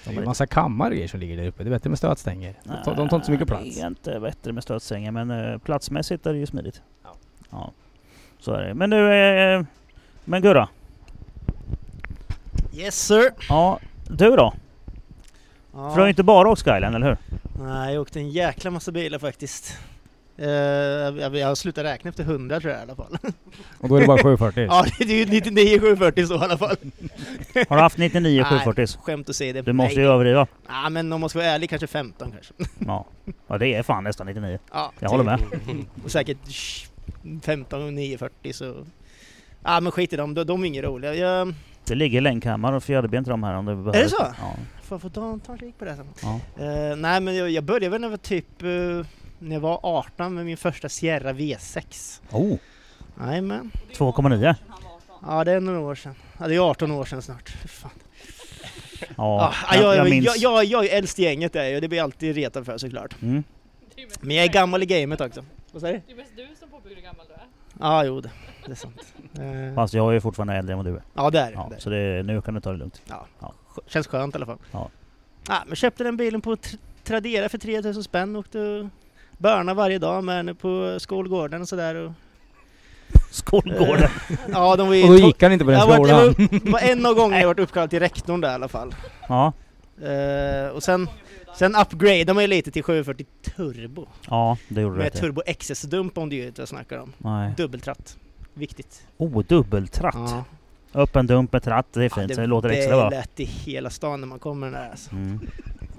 S2: Det är ju en massa kammar och grejer som ligger där uppe. Det är bättre med stötstänger. De tar- de tar inte så mycket
S1: Nej,
S2: plats.
S1: Det är inte bättre med stötsängen men eh, platsmässigt är det ju smidigt.
S2: Ja.
S1: Ja. Så är det. Men nu... Eh, men Gurra.
S6: Yes sir!
S1: Ja, du då? För du har ju
S6: Ja.
S1: inte bara åkt Skyline, eller hur?
S6: Nej, jag åkte en jäkla massa bilar faktiskt. Eh, jag, jag slutade räkna efter 100 tror jag i alla fall.
S2: Och då är det bara 740.
S6: ja, det är ju 99 740 så i alla fall.
S1: Har du haft 99
S6: Nej.
S1: 740
S6: Skämt att säga det.
S1: Du måste ju
S6: Nej.
S1: överdriva.
S6: Ja, men om man ska vara ärlig kanske 15 kanske.
S1: Ja. ja, det är fan nästan 99.
S6: Ja,
S1: Jag håller med.
S7: Mm.
S6: Och säkert sh, 15 och 940 så... Ja men skit i dem, de, de är inget roliga. Jag
S1: Det ligger länkhammar och fjäderben till de här om du behöver.
S6: så?
S1: Ja.
S6: får få ta, ta en kik på det sen.
S1: Ja.
S6: Eh, nej men jag, jag började väl när jag var typ... eh, när jag var 18 med min första Sierra V6.
S1: Oh.
S6: Jajamän.
S1: 2,9.
S6: Ja det är några år sedan. Ja det är 18 år sedan snart. Fy Fan.
S1: Ja,
S6: Ah, Ja, jag, jag,
S1: minns.
S6: jag, jag, jag är äldst i gänget där och det blir jag alltid retad för såklart.
S1: Mm.
S5: Det är ju mest-
S6: Men jag är gammal i gamet också. Vad säger du?
S5: Det är mest du som påpekar hur gammal du är.
S6: Ja jo, det, det är sant. Eh,
S1: Fast jag är ju fortfarande äldre än vad du är.
S6: ja det är det.
S1: Ja,
S6: det.
S1: så det, nu kan du ta det lugnt.
S6: Känns skönt i alla fall.
S1: Ja.
S6: Ja, men köpte den bilen på tr- Tradera för 3000 spänn och åkte börna varje dag med henne på skolgården och sådär. Och,
S1: Skolgården!
S6: ja, de var ju
S2: Och då
S6: to-
S2: gick han inte på den
S6: jag var, jag
S2: skolan.
S6: var, det var en av gångerna jag varit uppkallad till rektorn där i alla fall.
S1: Ja.
S6: Eh, och sen, sen upgradeade man ju lite till 740 turbo.
S1: ja, det gjorde du
S6: Med
S1: rätt i.
S6: turbo XS-dump om det är vad jag snackar om.
S1: Nej.
S6: Dubbeltratt. Viktigt.
S1: Oh, dubbeltratt!
S6: Ja.
S1: Öppen dump med tratt, det är
S6: Ja,
S1: fint. så det låter extra
S6: Det
S1: bra.
S6: lät i hela stan när man kommer där alltså.
S1: Mm.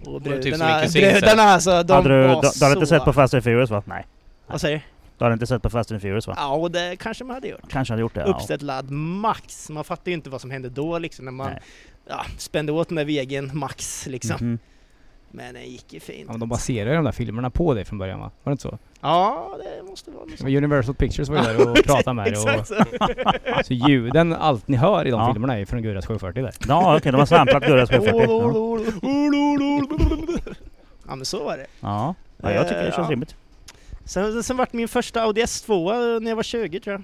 S6: Och
S7: Det var typ som
S6: brudarna,
S7: min kusin, så här.
S6: brudarna alltså, de
S1: Hade du,
S6: var
S1: du, du hade inte
S6: så...
S1: sett på Fast and Furious va? Nej.
S6: Vad säger du?
S1: Du hade inte sett på Fast and Furious va?
S6: Ja, och det kanske man hade gjort.
S1: Kanske hade gjort det. Ja.
S6: Uppställt ladd max. Man fattar ju inte vad som hände då liksom när man
S1: Nej.
S6: ja, spände åt den där vägen max liksom.
S1: Mhm.
S6: Men den gick ju fint.
S2: Ja, men de baserar ju de där filmerna på dig från början va? Var det inte så?
S6: Ja, det måste vara något
S2: Men
S6: sånt.
S2: Universal Pictures var ju där och pratade med dig.
S6: Exakt
S2: Och,
S6: så.
S2: så ljuden, allt ni hör i de
S1: Ja.
S2: filmerna är från Guras 740 där.
S1: Ja okej, de har samplat Gurras 740.
S6: Oh,
S1: Ja.
S6: Ja men så var det.
S1: Ja. ja, jag tycker det känns
S6: Eh, Ja.
S1: rimligt.
S6: Sen, sen vart min första Audi S2 när jag var 20 tror jag.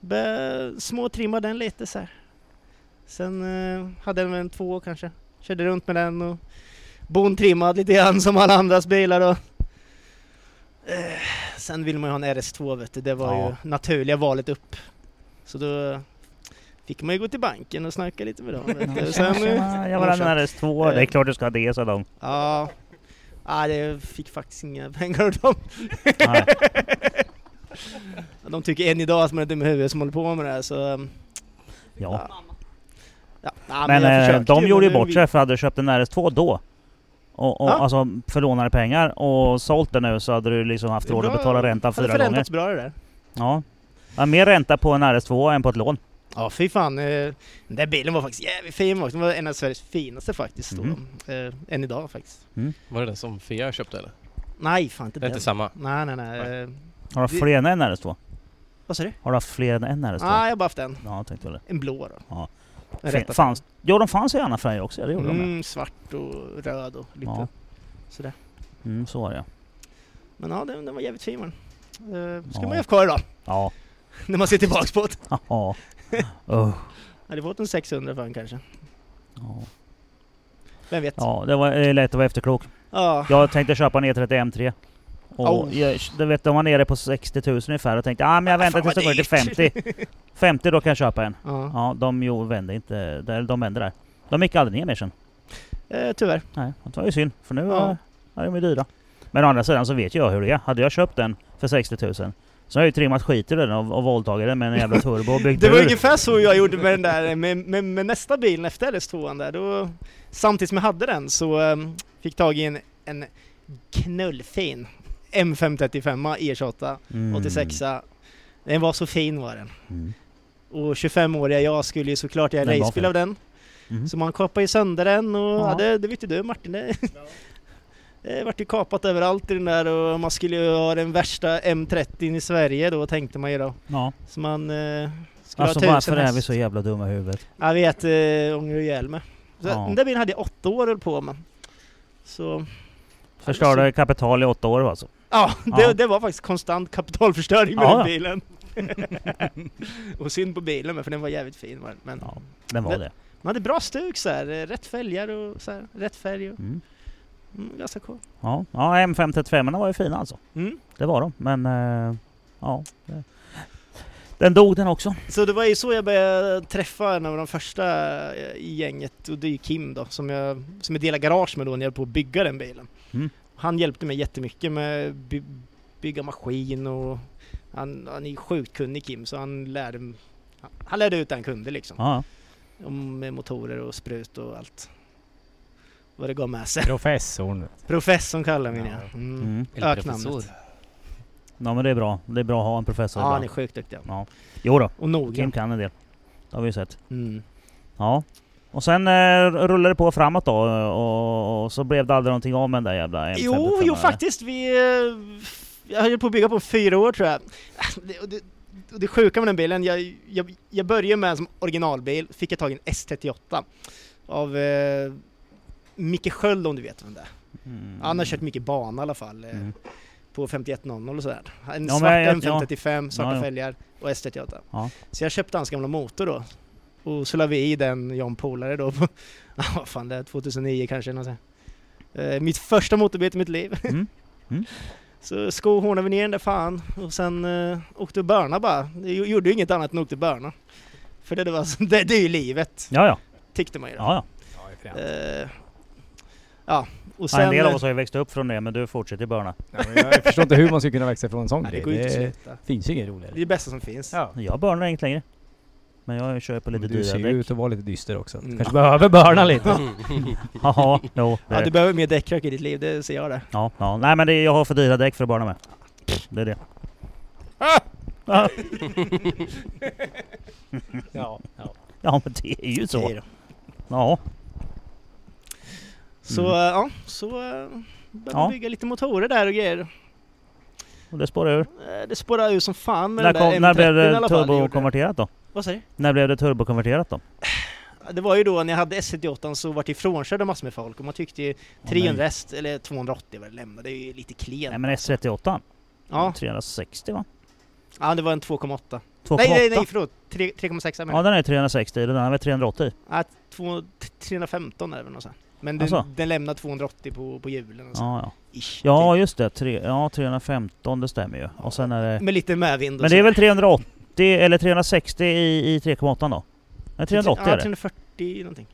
S6: Be, småtrimmade den lite så här. Sen eh, hade jag väl en två kanske. Körde runt med den och bontrimmad lite grann som alla andras bilar och eh, Sen vill man ju ha en RS2 vet du, det var
S1: Ja.
S6: ju naturliga valet upp. Så då fick man ju gå till banken och snacka lite med dem. Vet du. Sen, eh,
S1: Tjena, jag var den här S2. Det är klart du ska ha det, sa de.
S6: ja, ah, det fick faktiskt inga pengar av dem.
S1: Nej.
S6: De tycker än idag att man är dum i huvudet som håller på med det här så... um,
S1: Ja.
S6: Ja, nej,
S1: Men
S6: jag
S1: eh,
S6: försökte
S1: de gjorde ju
S6: men
S1: bort sig för hade du köpt en RS2 då och, och,
S6: Ja.
S1: Alltså för lånade pengar och sålt den nu så hade du liksom haft
S6: Det är
S1: råd att
S6: bra.
S1: betala ränta
S6: Hade
S1: fyra gånger.
S6: förändrats bra det där.
S1: Ja. ja. Mer ränta på en RS2 än på ett lån.
S6: Ja fy fan. eh, Den där bilen var faktiskt jävligt fin också. Den var en av Sveriges finaste faktiskt då.
S1: Mhm.
S6: Eh, Än idag faktiskt.
S7: Var det den som Fia köpte eller?
S6: Nej fan inte
S7: Det är
S6: den.
S7: inte samma.
S6: Nej nej nej. eh,
S1: Har du
S6: Det-
S1: fler än en RS2?
S6: Vad sa du?
S1: Har du haft fler än en RS2?
S6: Nej jag har bara haft en.
S1: Ja, tänkte väl det.
S6: En blå då.
S1: Ja.
S6: Den
S1: Fin-
S6: rätta
S1: Fanns, jo, de fanns i annan färg också. Ja, det gjorde de.
S6: Mm, svart och röd och lite
S1: Ja.
S6: sådär.
S1: ja. Mm, så var det ja.
S6: Men ja den, den var jävligt fin var den. Eh, Ska
S1: Ja.
S6: man ju ha kvar idag.
S1: Ja,
S6: när man ser tillbaks på det.
S1: Haha. Öh.
S6: Hade fått en 600 för den kanske.
S1: Ja.
S6: Vem vet? Ja.
S1: Ja, det var eh, lätt att vara efterklok. Jag tänkte köpa en E E30 M3. Och
S6: Oh.
S1: jag, du vet, de var nere på 60 000 ungefär och tänkte ah, men jag väntar
S6: Fan,
S1: tills det
S6: vad
S1: går till 50. 50 då kan jag köpa en.
S6: ja.
S1: Ja, de jo, vände inte. där- De vände där. De gick aldrig ner mer sen.
S6: Eh, tyvärr.
S1: Nej, det var ju synd. För nu
S6: Ja.
S1: ja. är de ju dyra. Men å andra sidan så vet jag hur det är. Hade jag köpt den för 60 000 så har jag ju trimmat skiten ur den och, och våldtagit den med en jävla turbo och byggt
S6: Det var
S1: ur.
S6: ungefär så jag gjorde med den där, med, med, med nästa bilen efter RS2an där. Då, samtidigt som jag hade den så ehm, fick tag i en, en knullfin M535 E28
S1: Mm.
S6: 86 E Den var så fin var den.
S1: Mm.
S6: Och 25-åriga jag skulle ju såklart göra
S1: Den var
S6: racebil
S1: fin.
S6: av den.
S1: Mm.
S6: Så man kapade ju sönder den och
S1: Ja.
S6: ja. det, det vet ju du Martin, det, det vart ju kapat överallt i den där och man skulle ju ha den värsta M30 i Sverige då tänkte man ju då.
S1: Ja.
S6: Så man eh, skulle
S1: Alltså
S6: ha tusen
S1: varför är vi
S6: häst.
S1: så jävla dumma i huvudet?
S6: Jag vet, eh, ångrar ju ihjäl mig. Så
S1: Ja.
S6: Den där bilen hade jag åtta år höll på med. Så
S1: Förstörde kapital i åtta år alltså.
S6: ja, det,
S1: Ja.
S6: det var faktiskt konstant kapitalförstöring med
S1: Ja,
S6: den
S1: ja.
S6: bilen. och synd på bilen med, för den var jävligt fin. var den. Men
S1: Ja, den var
S6: Men-
S1: det.
S6: man hade bra stuk så här, eh, rätt fälgar och så här, rätt färg och
S1: Mm.
S6: mm, ganska cool.
S1: Ja, ja M535 var ju fina alltså.
S6: Mm.
S1: Det var de, men eh, ja. det- Den dog den också.
S6: Så det var ju så jag började träffa en av de första eh, i gänget och det är ju Kim då som jag, som jag delade garage med då när jag höll på att bygga den bilen.
S1: Mm.
S6: Han hjälpte mig jättemycket med by, bygga maskin och han, han är ju sjukt kunnig Kim så han lärde, m- han lärde ut det han kunde liksom.
S1: Ja,
S6: Om med motorer och sprut och allt. Vad det gav med sig.
S2: Professorn.
S6: Professorn kallar vi ja.
S7: Ja.
S6: Mm.
S1: mm.
S7: Eller
S6: Öknamnet.
S7: professor.
S1: ja men det är bra. Det är bra att ha en professor.
S6: Ja, han är
S1: ibland.
S6: sjukt duktig. ja.
S1: Jo då,
S6: Och noggrann.
S1: Kim kan en del. Det har vi ju sett.
S6: Mm.
S1: Ja. Och sen eh, rullade det på framåt då eh, och, och så blev det aldrig någonting av med den där jävla m
S6: Jo, jo faktiskt. Vi, eh, jag höll på att bygga på fyra år tror jag. Äh, Det, och det, och det sjuka med den bilen, jag, jag, jag började med en som originalbil, fick jag tag i en S38 av eh, Micke Sköld om du vet vem det är.
S1: Mm.
S6: Han har kört mycket bana i alla fall. eh,
S1: Mm.
S6: På 5100 och sådär. En
S1: Ja, men
S6: svart
S1: jag-
S6: M535, svarta
S1: Ja, ja.
S6: fälgar och S38.
S1: Ja.
S6: Så jag köpte hans gamla motor då. Och så la vi i den, John Polare då, på, ja vad fan det är, 2009 kanske. Något sånt. Eh, mitt första motorbyte i mitt liv.
S1: Mm. Mm.
S6: Så skohornade vi ner den där fan och sen eh, åkte vi Börna bara. Jag gjorde ju inget annat än åkte Börna. För det, det, var, så- det, det är ju livet,
S1: Ja, ja.
S6: tyckte man ju då.
S1: ja, ja.
S6: Ja, ja. och
S1: ja en
S6: sen... eh,
S1: del av oss har ju växt upp från det, men du fortsätter i Börna.
S2: Ja, men jag förstår inte hur man ska kunna växa från en sån
S6: Nej, det
S2: grej.
S6: går ju inte att
S2: Det
S6: sluta.
S2: finns ju ingen
S6: Det
S2: roligare.
S6: är det bästa som finns.
S2: Ja.
S1: Jag Börnar inget längre. Men jag kör på
S2: Men
S1: lite
S2: Du ser
S1: dyrare
S2: ju
S1: däck.
S2: ut att vara lite dyster också. Du
S6: Mm.
S2: kanske behöver börna lite.
S1: Jaha, jo. det-
S6: Ja, du behöver mer däckrök i ditt liv, det ser jag det.
S1: Ja, ja. Nej men det, är- jag har för dyra däck för att barna med. Det är det. Ah!
S6: Ja, ja.
S1: Ja men det är ju
S6: Så,
S1: så. Ja.
S6: så
S1: Mm.
S6: eh, ja, så eh, började
S1: Ja.
S6: man bygga lite motorer där och grejer.
S1: Och det spårar ur.
S6: Eh, Det spårade ur som fan med
S1: När,
S6: den där
S1: kom, när blev
S6: M30 eh, i alla
S1: det
S6: fall, gjorde det.
S1: turbokonverterat då?
S6: Vad säger du?
S1: När blev det turbokonverterat då?
S6: Det var ju då när jag hade S38 så vart jag ifrånkörd av massor med folk och man tyckte ju 300 häst, eller 280 var det lämnade, det är ju lite
S1: Nej
S6: klen.
S1: men S38?
S6: Ja,
S1: 360 va?
S6: ja det var en 2,8.
S1: 2,8?
S6: Nej, nej, nej, förlåt! Tre- 3,6 menar
S1: Ja
S6: jag.
S1: den är 360 den andra är 380
S6: Ja, två- 315 är det väl Men den,
S1: Alltså.
S6: den lämnade 280 på, på hjulen och så.
S1: Ja, ja.
S6: Ish, typ.
S1: ja just det, tre, ja, 315 det stämmer ju. Och sen är det...
S6: Med lite medvind och
S1: Men det är väl 380 eller 360 i, i 3,8 då? Nej 380
S6: ja,
S1: är det.
S6: 340 någonting.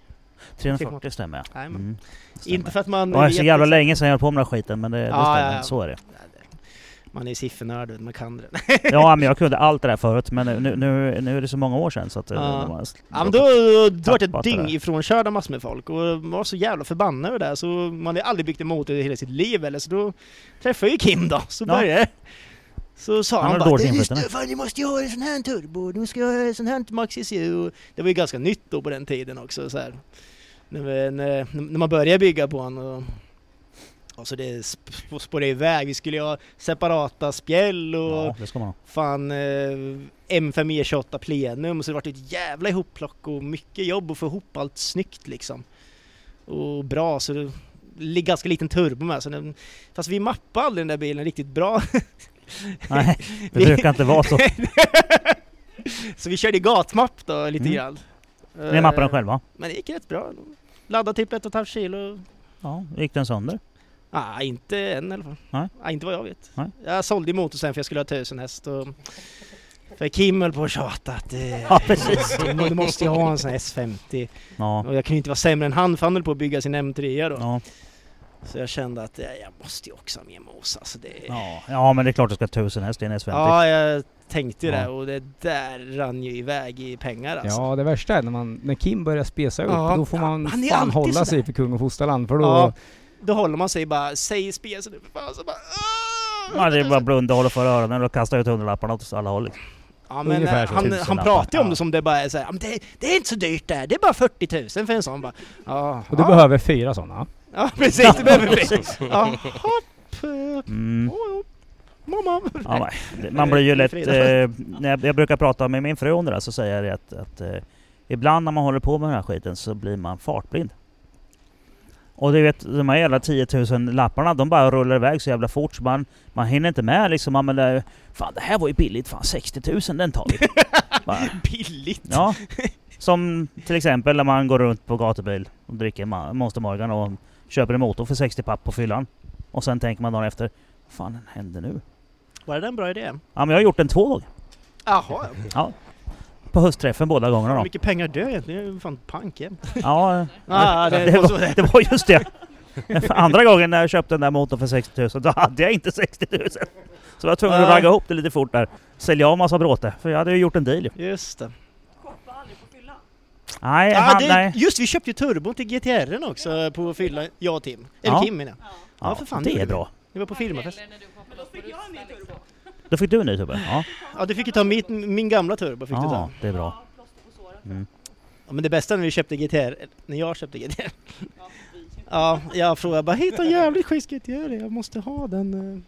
S1: 340 stämmer ja.
S6: Nej, men.
S1: Mm,
S6: Inte
S1: stämmer.
S6: för att man...
S1: Det var så jävla
S6: jätte-
S1: länge sedan jag höll på med den här skiten men det, det
S6: Ja,
S1: stämmer,
S6: ja, ja.
S1: så är det.
S6: Man är ju siffernörd, vet, man kan det.
S1: Ja men jag kunde allt det där förut men nu, nu, nu är det så många år sedan så att... eh,
S6: Ja.
S1: det var-
S6: Ja men då, då, då vart jag
S1: Tappat det
S6: dyng
S1: där.
S6: ifrånkörd av massor med folk och man var så jävla förbannad över det där så man har aldrig byggt en motor i hela sitt liv eller så då träffade jag ju Kim då, så
S1: Ja.
S6: började jag. Så sa
S1: Han
S6: han,
S1: har
S6: bara
S1: dåligt
S6: "Du,
S1: inflytande."
S6: Stefan, du måste ju ha en sån här turbo, du ska ha en sån här Max ECU. Och Det var ju ganska nytt då på den tiden också så här. När, vi- när, när man började bygga på honom och och så det sp- sp- spårade iväg. Vi skulle ju ha separata spjäll och
S1: Ja, det ska man ha.
S6: fan eh, M5E28 plenum så det vart ett jävla ihopplock och mycket jobb att få ihop allt snyggt liksom. Och bra så det ligger ganska liten turbo med så den, Fast vi mappade aldrig den där bilen riktigt bra.
S1: Nej, det brukar inte vara så.
S6: så vi körde gatmapp då lite
S1: Mm.
S6: grann.
S1: Ni mappar den
S6: Eh,
S1: själva?
S6: Men det gick rätt bra. ändå. Laddade typ ett och ett halvt kilo.
S1: Ja, gick den sönder?
S6: Ah, inte än i alla fall.
S1: Nej.
S6: Ah, inte vad jag vet.
S1: Nej.
S6: Jag sålde ju motorn sen för jag skulle ha tusen häst och... För Kim höll på och tjatade att... eh,
S1: Ja, precis.
S6: "Du må- Du måste ju ha en sån här S50.
S1: Ja.
S6: Och jag kan ju inte vara sämre än han för han höll på att bygga sin M3 då.
S1: Ja.
S6: Så jag kände att eh, jag måste ju också ha med mig Åsa. Så det...
S1: Ja. ja, men det är klart du ska ha 1000 häst i en S50.
S6: Ja, jag tänkte ju
S1: Ja.
S6: det och det där rann ju iväg i pengar alltså.
S2: Ja, det värsta är när, man, när Kim börjar spesa upp,
S6: Ja,
S2: då får man
S6: han är
S2: fan
S6: alltid
S2: hålla
S6: sådär.
S2: sig för kung och fosterland för då...
S6: Ja. Då håller man sig bara, säg spesen nu för fan så bara... "Åh!"
S1: Ja, det är bara att blunda, hålla för öronen och kasta ut hundralapparna åt alla håll. liksom.
S6: Ja, men
S2: Ungefär
S6: eh,
S2: så.
S6: han, han
S1: Tusenlappar.
S6: pratar ju om
S1: Ja.
S6: det som det bara är såhär, det, det är inte så dyrt det här, det är bara 40 000 för en sån bara. Ja,
S2: Och du behöver fyra sådana.
S6: ja precis, det behöver vi. Ja, hopp, eh,
S1: Mm.
S6: oh, mamma.
S1: Ja, nej. Det- man blir ju
S6: Det är
S1: lätt...
S6: fredag.
S1: Eh, när jag, jag brukar prata med min fru om det där, så säger jag det att, att eh, ibland när man håller på med den här skiten så blir man fartblind. Och du vet, de här jävla 10 000 lapparna, de bara rullar iväg så jävla fort så man, man hinner inte med liksom. Man, men, det- fan det här var ju billigt, fan 60 000 den tar vi. bara,
S6: Billigt.
S1: Ja. Som till exempel när man går runt på gatubil och dricker Ma- Monster Morgan och köper en motor för 60 papp på fyllan. Och sen tänker man dagen efter, vad fan hände nu?
S6: Var det en bra idé?
S1: Ja men jag har gjort den två gånger.
S6: Jaha,
S1: På höstträffen båda gångerna
S6: hur
S1: då.
S6: mycket pengar dör egentligen? Jag är fan pank jämt.
S1: Ja,
S6: Ah, det,
S1: det var, det var just det. Andra gången när jag köpte den där motorn för 60 000, då hade jag inte 60 000. Så jag var tvungen att
S6: Nej.
S1: ragga ihop det lite fort där. Sälja av massa bråte, för jag hade ju gjort en deal ju.
S6: Just det.
S5: Shoppa aldrig på fyllan.
S1: Nej,
S6: Ja,
S1: han,
S6: det,
S1: Eh, nej.
S6: just vi köpte ju turbon till GTR'n också på fylla, jag och Tim. Eller
S1: Ja.
S6: Kim menar jag. Ja, för fan, det
S1: det
S6: gjorde
S1: är
S6: vi.
S1: bra.
S6: Det var på firmafest.
S5: Eller när du hoppade upp på rutan liksom.
S1: Då fick du en ny tubbe? Ja,
S6: Ja, du fick ju ta mitt, min gamla turbo. Fick
S1: ja
S6: du
S1: Mm.
S6: ta.
S1: det är bra.
S5: Ja, plåster på såren.
S6: Ja, men det bästa när vi köpte GTR, eller när jag köpte GTR.
S5: Ja, vi.
S6: Ja, jag frågade bara hitta en jävligt schysst GTR, jag måste ha den.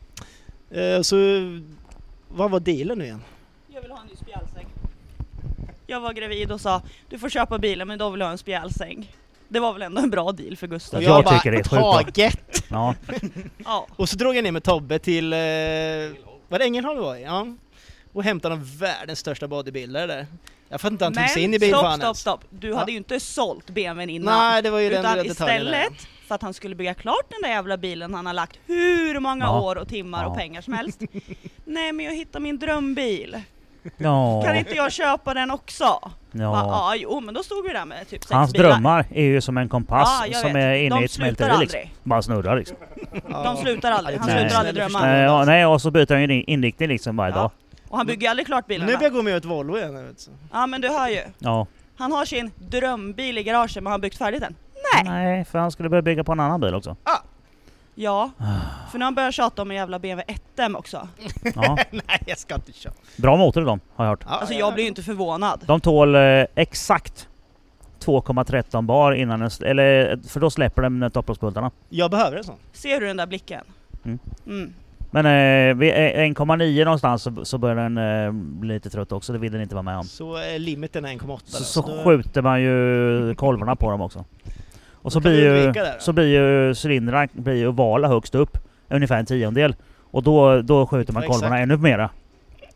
S6: eh." Eh, Så vad var dealen nu igen?
S5: Jag vill ha en ny spjälsäng. Jag var gravid och sa du får köpa bilen men då vill jag ha en spjälsäng. Det var väl ändå en bra deal för Gustav?
S1: jag tycker det är sjukt bra.
S6: taget!
S1: Ja,
S5: Ja.
S6: Och så drog jag ner med Tobbe till, eh, var det Ängelholm vi var i? Ja. Och hämtade de världens största bodybuildare där. Jag fattar inte hur han tog sig in i
S5: Men
S6: bilfan
S5: stopp, stopp,
S6: ens.
S5: stopp. Du
S6: Ja.
S5: hade ju inte sålt BMWn innan.
S6: Nej, det var ju den
S5: Utan
S6: lilla detaljen där.
S5: istället för att han skulle bygga klart den där jävla bilen han har lagt hur många
S1: Ja.
S5: år och timmar och
S1: Ja.
S5: pengar som helst. Nej men jag hittar min drömbil.
S1: ja,
S5: Kan inte jag köpa den också? Ja,
S1: ja.
S5: ja jo men då stod vi där med typ sex
S1: Hans
S5: bilar.
S1: drömmar är ju som en kompass
S5: Ja, jag
S1: som
S5: vet.
S1: är inne
S5: De
S1: i ett
S5: slutar
S1: smälteri liksom.
S5: aldrig.
S1: Bara snurrar liksom.
S6: Ja.
S5: De slutar aldrig. Han
S1: Nej.
S5: slutar aldrig
S6: Nej, det
S5: drömma.
S6: förstår
S1: Nej, ja, nej, och så byter han ju in- inriktning liksom varje
S5: Ja.
S1: dag.
S5: Och han bygger ju aldrig klart
S6: Nu
S5: bilarna.
S6: börjar jag gå med ett Volvo igen. här, Vet du.
S5: Ja men du hör ju.
S1: Ja.
S5: Han har sin drömbil i garaget men har han byggt färdigt den?
S1: Nej.
S5: Nej.
S1: för han skulle börja bygga på en annan bil också.
S5: Ja.
S1: Ah.
S5: För nu har han börjat tjata om en jävla BMW 1M också.
S1: Ja.
S6: Nej, jag ska inte köra.
S1: Bra motor i dem, har jag hört.
S6: Ja,
S5: Alltså
S6: ja,
S5: jag
S6: ja.
S5: blir ju inte förvånad.
S1: De tål eh, exakt 2,13 bar innan den... s- Eller, för då släpper den eh, topplocksbultarna.
S6: Jag behöver en sån.
S5: Ser du den där blicken?
S1: Mm.
S5: Mm.
S1: Men eh, vid eh, 1,9 någonstans så, så börjar den eh, bli lite trött också, det vill den inte vara med om.
S6: Så är limiten 1,8.
S1: Så,
S6: då,
S1: så
S6: då-
S1: skjuter man ju kolvarna på dem också. Och så
S6: kan
S1: blir,
S6: vi
S1: ju,
S6: undvika det då.
S1: så blir ju cylindrarna blir ju ovala högst upp, ungefär en tiondel. Och då, då skjuter man
S6: Ja,
S1: kolvarna
S6: exakt.
S1: ännu mera.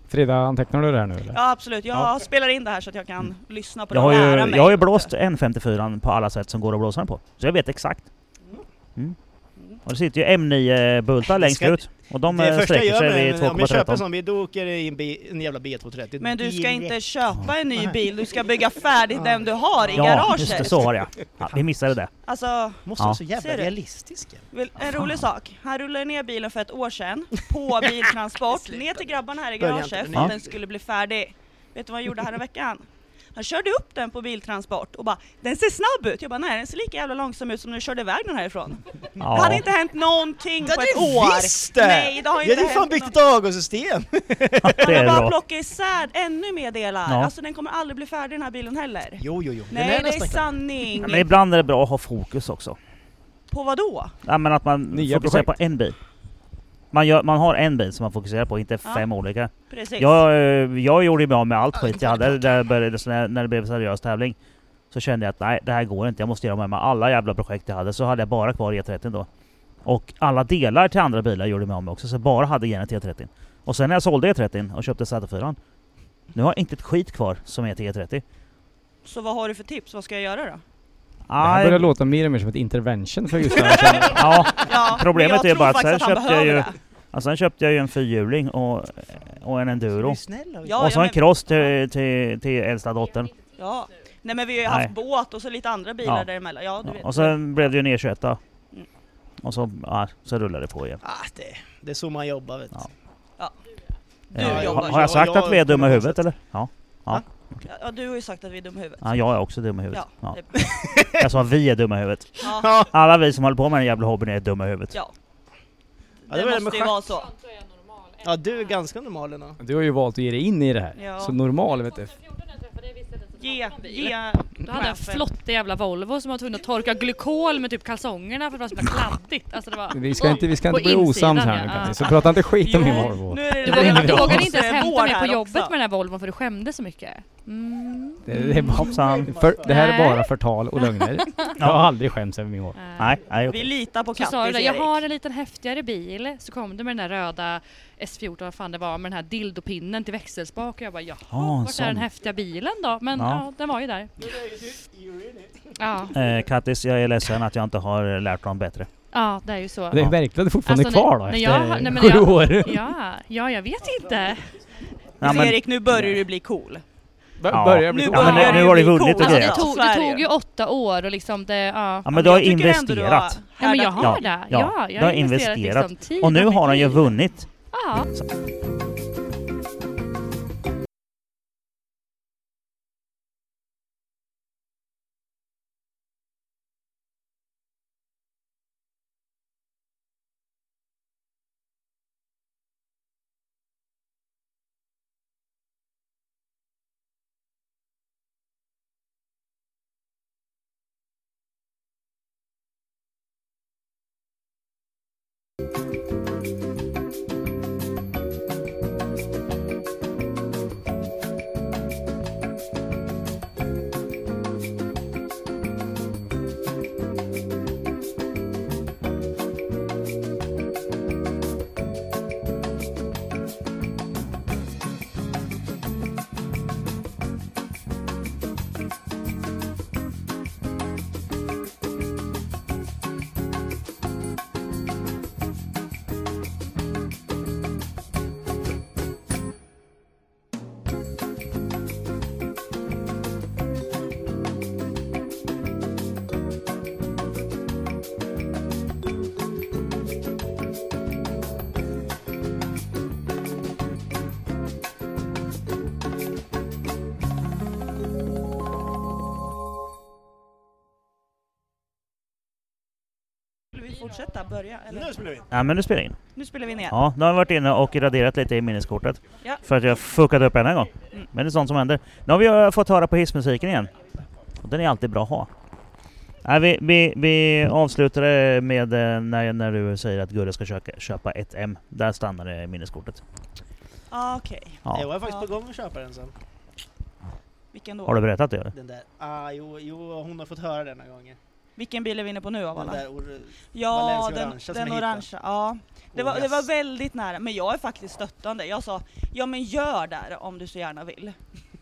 S2: Frida, antecknar du det här nu eller?
S5: Ja absolut, jag
S2: Ja.
S5: spelar in det här så att jag kan lyssna på
S1: Jag
S5: det
S1: har,
S5: och lära
S1: ju,
S5: mig.
S1: jag har ju blåst N54 på alla sätt som går att blåsa den på. Så jag vet exakt. Mm. Och det sitter ju M9-bultar längst
S6: ska-
S1: ut. Och de
S6: det
S1: eh,
S6: första jag
S1: sträcker
S6: gör
S1: sig
S6: med
S1: vid
S6: den, om jag köper en
S1: 2,13.
S6: sån bil, då åker det i en, bi, en jävla B230.
S5: Men du ska
S6: Direkt.
S5: inte köpa en ny bil, du ska bygga färdigt den du har i
S1: Ja, just det,
S5: garaget.
S1: så var det ja. ja. Vi missade det.
S5: Alltså,
S6: Måste
S1: Ja.
S6: vara så jävla
S5: Ser du?
S6: realistisk.
S5: Vill- En rolig sak. Han rullade ner bilen för ett år sedan på biltransport ner till grabbarna här i
S6: Börja
S5: garaget
S6: inte
S5: för
S6: den
S1: igen.
S5: att den skulle bli färdig. Vet du vad han gjorde häromveckan? Han körde upp den på biltransport och bara “den ser snabb ut”. Jag bara “nej, den ser lika jävla långsam ut som när du körde iväg den härifrån”. Det
S1: Ja.
S5: hade inte hänt någonting på
S6: det
S5: ett år!
S6: visst det!
S5: Nej, det har
S6: Jag
S5: inte
S6: hade ju fan
S5: hänt
S6: byggt
S5: något.
S6: ett avgassystem!
S1: Det är
S5: Han har bara
S1: bra.
S5: plockat isär ännu mer delar.
S1: Ja.
S5: Alltså den kommer aldrig bli färdig den här bilen heller.
S6: Jo, jo, jo.
S5: Nej, det är
S6: nästan klar.
S5: sanning!
S1: Men ibland är det bra att ha fokus också.
S5: På vad då?
S1: Ja, men att man
S2: Nya
S1: fokuserar
S2: projekt.
S1: på en bil. Man, gör, man har en bil som man fokuserar på, inte
S5: Ja.
S1: fem olika.
S5: Precis.
S1: Jag, eh, jag gjorde ju mig av med allt skit jag hade där jag började, så när, när det blev seriös tävling. Så kände jag att nej, det här går inte. Jag måste göra mig av med alla jävla projekt jag hade. Så hade jag bara E kvar E30 då. Och alla delar till andra bilar gjorde jag mig av med också, så jag bara hade genet E30. Och sen när jag sålde E30 och köpte Z4, nu har jag inte ett skit kvar som E är till E30.
S5: Så vad har du för tips? Vad ska jag göra då?
S2: Det här
S1: Aj,
S2: börjar låta mer och mer som ett intervention för Gustav. känner jag.
S1: Ja,
S5: Ja,
S1: Problemet
S5: men jag
S1: är ju
S5: tror
S1: bara att
S5: faktiskt
S1: sen
S5: han
S1: köpte jag
S5: behöver
S1: ju-
S5: det.
S1: alltså, sen köpte jag ju en fyrhjuling och, och en enduro.
S3: snäll
S5: Ja,
S1: och så
S5: ja,
S1: en cross till, till, till äldsta dottern.
S5: Ja. Nej men vi har ju haft
S1: Nej.
S5: båt och så lite andra bilar
S1: Ja.
S5: däremellan. Ja, du
S1: Ja,
S5: vet.
S1: och sen blev det ju en E21.
S5: Mm.
S1: Och så, ja, så rullade det på igen.
S6: Ah, det, det är så man jobbar vet du.
S1: Ja.
S5: du
S1: Eh,
S5: jobbar.
S1: har har jag sagt
S6: Ja,
S1: att vi är
S6: jag-
S1: dumma i huvudet eller? Ja.
S5: Ja, du har ju sagt att vi är dumma i huvudet.
S1: ja, jag är också dum i huvudet.
S5: Ja,
S1: Ja.
S5: det är bra.
S1: Jag sa vi är dumma i huvudet.
S5: ja.
S6: Ja,
S1: Alla vi som håller på med den jävla hobbyn är dumma i huvudet.
S5: Ja.
S6: Ja,
S5: det,
S6: det var det med
S5: måste ju
S6: schack.
S5: vara så.
S6: ja, du är ganska normal ändå.
S2: Du har ju valt att ge dig in i det här.
S5: Ja.
S2: Så normal vet du.
S5: Ge, ge
S8: Då hade jag en
S5: chefen.
S8: flottig jävla Volvo som var tvungen att torka glykol med typ kalsongerna för att det var så jävla kladdigt. Alltså det var...
S2: Vi ska inte, vi ska
S8: På
S2: inte bli
S8: insidan,
S2: osams
S8: ja.
S2: här nu Kattis, så
S8: Ja.
S2: prata inte skit om
S8: Jo,
S2: min Volvo.
S5: Nu är det
S8: Du
S5: det
S8: vågade,
S5: där.
S8: du vågade inte ens
S5: Det är
S8: hämta
S5: vår
S8: mig på
S5: här
S8: jobbet
S5: också.
S8: med den här Volvon för du skämdes så mycket. Mm.
S2: Det, det, är bara,
S1: Hoppsan.
S2: för, det här är
S8: Nej.
S2: bara förtal och lögner. Jag har aldrig skämts över min Volvo.
S1: Nej, nej
S5: Vi
S1: okej.
S5: litar på
S8: Eh, Så sa du
S5: Kattis
S8: där, jag
S5: Erik.
S8: har en liten häftigare bil. Så kom du med den där röda S14, vad fan det var, med den här dildopinnen till växelspak. Och jag bara, jaha,
S1: Ja, en
S8: vart är den
S1: sån.
S8: häftiga bilen då? Men
S1: Ja.
S8: ja, den var ju där. Ja,
S1: Eh, Kattis, jag är ledsen att jag inte har lärt dem bättre.
S8: ja det är ju så.
S2: Det är verkligen fortfarande
S8: Alltså, när-
S2: kvar då
S8: när
S2: efter
S8: jag har- nej, men
S2: sju
S8: jag-
S2: år.
S8: Ja, ja, jag vet inte.
S1: Ja, men,
S5: Erik, nu börjar du bli cool.
S1: Ja.
S2: Börjar bli
S5: Nu
S1: ja,
S5: börjar
S1: men nu, nu har
S5: bli
S1: det vunnit
S5: coolt.
S1: och
S8: Alltså,
S1: grejer.
S8: det,
S5: Ja,
S8: tog,
S5: så är
S8: det
S5: det
S8: tog
S5: ju.
S8: ju åtta år och liksom det, ja.
S1: Ja, men du har
S5: Jag tycker ändå du har
S1: investerat.
S8: Ja, men jag
S5: härdat
S8: har
S5: dig.
S8: det.
S1: Ja,
S8: Ja,
S1: du
S8: jag
S1: har
S8: har investerat,
S1: investerat.
S8: liksom tid
S1: Och nu
S8: mitt
S1: har han ju
S8: liv.
S1: vunnit.
S8: Ja.
S5: Vill vi fortsätta? Börja? Eller?
S3: Nu spelar vi in.
S1: Ja men nu spelar jag in.
S5: Nu spelar vi in igen.
S1: Ja, nu har jag varit inne och raderat lite i minneskortet.
S5: Ja.
S1: För att jag fuckade upp en gång. Men det är sånt som händer. Nu har vi eh, fått höra på hissmusiken igen. Och den är alltid bra att ha. Nej, vi, vi, vi avslutar det med eh, när, när du säger att Gurra ska köka, köpa ett M. Där stannar det i minneskortet.
S5: Ah, Okej,
S1: Ja.
S6: Jag är faktiskt på gång att köpa den sen.
S5: vilken
S1: Har du
S5: då?
S1: berättat det? eller?
S6: Den där. Ah, jo, jo, hon har fått höra den några gånger.
S5: Vilken bil är vi inne på nu av
S6: Den
S5: alla?
S6: där or-
S5: Ja,
S6: Valencia
S5: den,
S6: orangea som
S5: den
S6: jag hittade.
S5: orangea. Ja. Det,
S6: Oh,
S5: var, det
S6: yes.
S5: var väldigt nära, men jag är faktiskt stöttande. Jag sa, ja men gör där om du så gärna vill.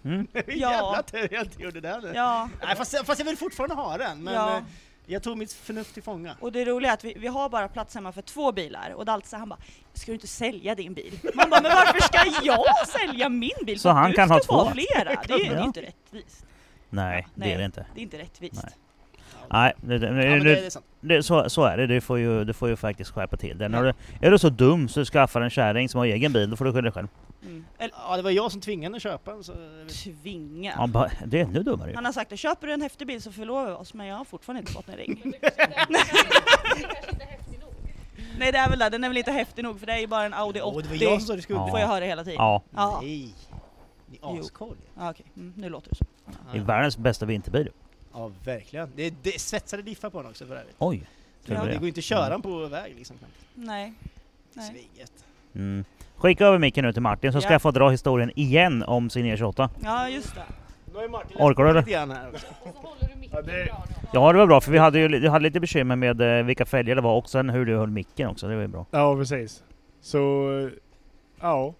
S1: Mm.
S6: Jävla tur jag inte gjorde det. nu.
S5: Ja,
S6: Nej, fast, fast jag vill fortfarande ha den. Men
S5: ja.
S6: eh, jag tog mitt förnuft till fånga.
S5: Och det roliga är att vi, vi har bara plats hemma för två bilar och Dalsa han bara ”Ska du inte sälja din bil?” Man bara ”Men varför ska jag sälja min bil?”
S1: Så
S5: för att
S1: han
S5: du
S1: kan
S5: ska
S1: ha
S5: få
S1: två.
S5: flera! Det är ju det är
S1: Ja.
S5: ju inte rättvist.
S1: Nej, det
S5: Nej.
S1: är det inte.
S5: Det är inte rättvist.
S1: Nej. Nej, det, det,
S6: Ja, men
S1: nu-
S6: det är sant.
S1: Det, så, så är det, du får ju, du får ju faktiskt skärpa till det. När du, är du så dum så du skaffar en kärring som har egen bil, då får du skylla dig själv.
S5: Mm. Eller
S6: Ja, det var jag som tvingade att köpa den. Så...
S5: tvinga.
S1: Ja. bara, det är ännu dummare ju.
S5: Han har sagt att köper du en häftig bil så förlovar vi oss, men jag har fortfarande inte fått en ring. Nej det är väl det, den är väl inte häftig nog för det är ju bara en Audi
S6: Jo, det var
S5: 80.
S6: jag som stod i skuggan.
S5: Får jag höra hela tiden?
S1: Ja,
S5: Ja.
S6: Nej, ni är
S5: Jo.
S6: askoll.
S5: ja okej, mm, nu låter det så.
S1: det är världens bästa vinterbil.
S6: Ja, verkligen. Det, det är svetsade diffar på den också för övrigt.
S1: Oj!
S6: Ja,
S1: Kul
S6: det
S1: med
S6: går
S1: det.
S6: inte att köra den på väg liksom. knappt.
S5: Nej. Nej.
S6: Svinget.
S1: Mm. Skicka över micken nu till Martin så ska
S5: Ja.
S1: jag få dra historien igen om sin E28.
S5: Ja just det.
S6: Nu har ju Martin
S1: Orkar du det?
S6: lite grann här också.
S4: Ja, det,
S1: Ja det var bra för vi hade ju vi hade lite bekymmer med eh, vilka fälgar det var och sen hur du höll micken också, det var ju bra.
S4: ja precis. Så Ja.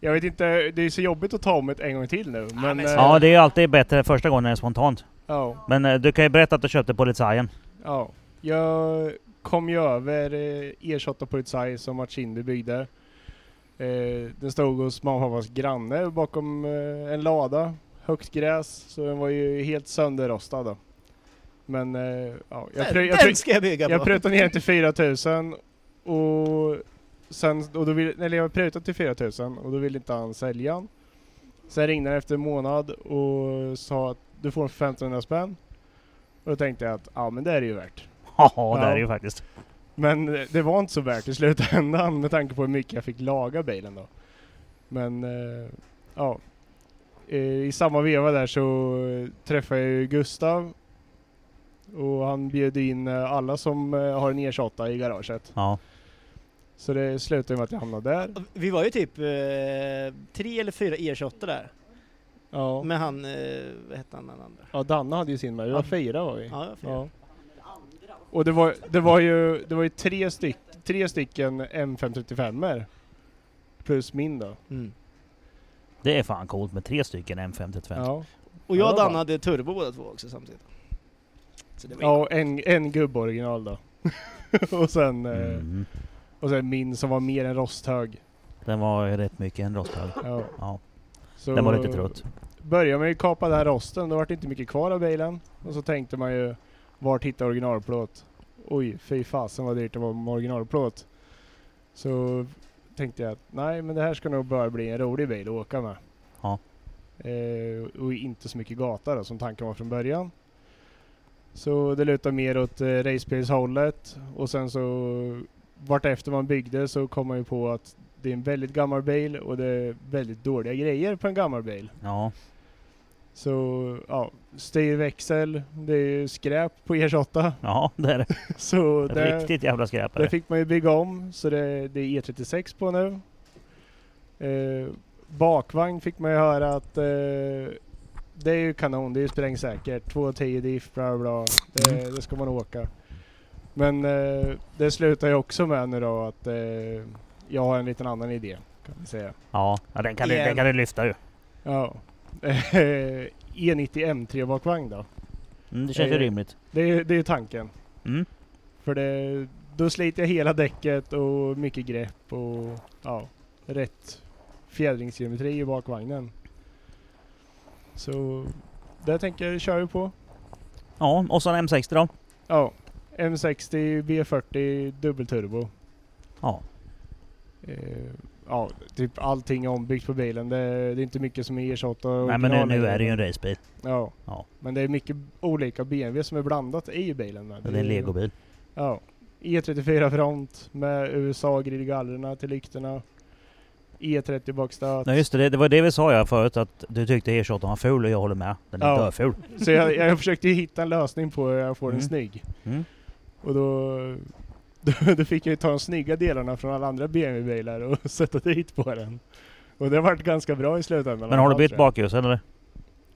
S4: Jag vet inte, det är så jobbigt att ta om det en gång till nu. Men,
S6: men
S4: eh,
S6: så-
S1: Ja, det är ju alltid bättre första gången när det är spontant.
S4: ja,
S1: Men eh, du kan ju berätta att du köpte Polisajen.
S4: ja. Jag kom ju över eh, E28 Polizei som Mats Kinder byggde. Eh, den stod hos mamma och pappas granne bakom eh, en lada, högt gräs, så den var ju helt sönderrostad. Då. Men eh, ja, jag, prö- jag, prö-
S6: Den ska jag bygga
S4: Jag
S6: på!
S4: prutade ner till 4000 och sen, och då vill, eller jag prutade till 4000 och då ville inte han sälja den. Sen ringde han efter en månad och sa att du får den för 1500 spänn. Och då tänkte jag att ja men det är det ju värt.
S1: Haha, det är
S4: Ja.
S1: det ju faktiskt.
S4: Men det var inte så värt i slutändan med tanke på hur mycket jag fick laga bilen då. Men eh, ja, Eh, i samma veva där så eh, träffade jag ju Gustav och han bjöd in eh, alla som eh, har en E28 i garaget.
S1: Ja.
S4: Så det slutade med att jag hamnade där.
S6: Vi var ju typ eh, tre eller fyra E28 där.
S4: Ja,
S6: Med han, eh, vad hette han den andra?
S4: ja Danne hade ju sin med, vi var
S6: Ja.
S4: fyra var vi.
S6: Ja, det var fyra.
S4: Ja. Och det var, det var ju, det var ju tre, styck, tre stycken M535 plus min då.
S6: Mm.
S1: Det är fan coolt med tre stycken M535.
S4: Ja.
S6: Och
S4: Ja,
S6: jag
S4: det
S6: och
S4: var
S6: Danne
S4: bra.
S6: hade turbo båda två också samtidigt. Så det var
S4: Ja, och en, en gubboriginal då. och, sen, eh,
S1: Mm.
S4: och sen min som var mer en rosthög.
S1: Den var ju rätt mycket en rosthög.
S4: Ja.
S1: Ja.
S4: Så
S1: Den var lite trött.
S4: Började man ju kapa den här rosten, då var det inte mycket kvar av bilen. Och så tänkte man ju, vart hittar originalplåt? Oj, fy fasen vad dyrt det var med originalplåt. Så tänkte jag att nej, men det här ska nog börja bli en rolig bil att åka med.
S1: Ja.
S4: Eh, och inte så mycket gata då, som tanken var från början. Så det lutar mer åt eh, racebilshållet och sen så vartefter man byggde så kom man ju på att det är en väldigt gammal bil och det är väldigt dåliga grejer på en gammal bil.
S1: Ja.
S4: Så ja, styrväxel, det är ju skräp på E28.
S1: Ja, det är det.
S4: Så det,
S1: Riktigt jävla skräp är
S4: det
S1: det.
S4: fick man ju bygga om, så det, det är E36 på nu. Eh, bakvagn fick man ju höra att eh, det är ju kanon, det är ju sprängsäkert. 210 diff, bla bla, bla. Det, det ska man åka. Men eh, det slutar ju också med nu då att eh, jag har en liten annan idé kan vi säga.
S1: Ja, ja den, kan du, den kan du lyfta ju.
S4: Ja. E E90 M3 bakvagn då.
S1: Mm, det känns ju
S4: Eh,
S1: rimligt.
S4: Det är ju det är tanken.
S1: Mm.
S4: För det, då sliter jag hela däcket och mycket grepp och ja, rätt fjädringsgeometri i bakvagnen. Så det tänker jag köra på.
S1: Ja, och så en M60 då.
S4: Ja, M60 B40 dubbelturbo.
S1: Ja.
S4: Eh, ja, typ allting ombyggt på bilen. Det, det är inte mycket som är E E28
S1: Nej men nu,
S4: original
S1: nu är det ju
S4: längre.
S1: en racebil.
S4: Ja.
S1: Ja.
S4: men det är mycket olika BMW som är blandat i bilen. Med.
S1: Det är en legobil.
S4: Ja. E34 front med USA-grillgallerna till lyktorna. E30 bakstöt.
S1: Nej just det, det, det var det vi sa ja förut att du tyckte E28 var ful och jag håller med. Den är
S4: Ja.
S1: döful.
S4: Så jag, jag försökte ju hitta en lösning på hur jag får den
S1: Mm.
S4: snygg.
S1: Mm.
S4: Och då, då, då fick jag ju ta de snygga delarna från alla andra BMW-bilar och sätta dit på den. Och det har varit ganska bra i slutändan.
S1: Men har du
S4: Allt
S1: bytt
S4: det.
S1: bakljus eller?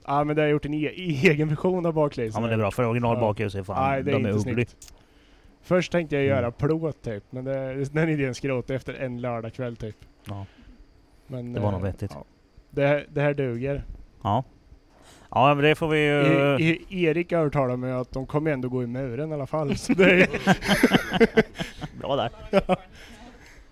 S4: Ja men det har jag gjort en e- egen version av baklyset.
S1: Ja men det är bra för original
S4: Ja.
S1: bakljus är fan,
S4: Nej, det är
S1: de är
S4: inte
S1: ugly.
S4: snyggt. Först tänkte jag göra
S1: Mm.
S4: plåt typ, men det, den idén skrotade jag efter en lördagkväll typ.
S1: Ja.
S4: Men,
S1: Det var
S4: eh,
S1: nog vettigt.
S4: Ja. Det, här- det här duger.
S1: Ja. Ja men det får vi ju...
S4: E- e- Erik övertalade mig att de kommer ändå gå i muren i alla fall. Så det är,
S1: Bra där.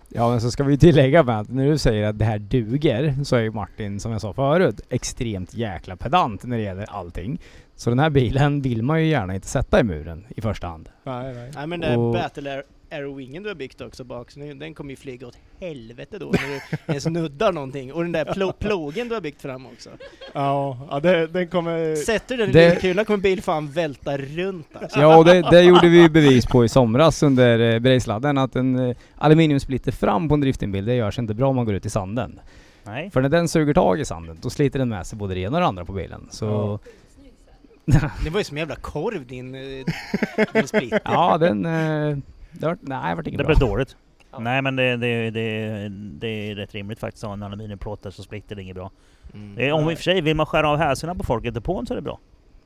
S2: Ja men så ska vi ju tillägga med att när du säger att det här duger så är ju Martin som jag sa förut extremt jäkla pedant när det gäller allting. Så den här bilen vill man ju gärna inte sätta i muren i första hand.
S4: nej, nej.
S6: Nej men den här
S2: Och-
S6: Battle Air- Aero-wingen du har byggt också bak, så nu- den kommer ju flyga åt helvete då när du ens nuddar någonting. Och den där plo- plågen du har byggt fram också.
S4: Ja, ja det, den kommer...
S6: Sätter du den i
S2: Det-
S6: bilkulan kommer bil fan välta runt alltså.
S2: Ja och det, det gjorde vi ju bevis på i somras under eh, Bergsladdern att en eh, aluminiumsplitter fram på en driftingbil det görs inte bra om man går ut i sanden.
S1: Nej.
S2: För när den suger tag i sanden då sliter den med sig både det ena och det andra på bilen. Så
S6: Det var ju som en jävla korv din, eh, din split.
S2: ja den... eh, Det var, nej, det vart inget
S1: Det
S2: bra.
S1: blev dåligt. Nej men det, det, det, det är rätt rimligt faktiskt att ha en
S4: Mm.
S1: aluminiumplåt där så splitter det inget bra. Eh, Om i och för sig, vill man skära av häsarna på folk i depån så är det bra.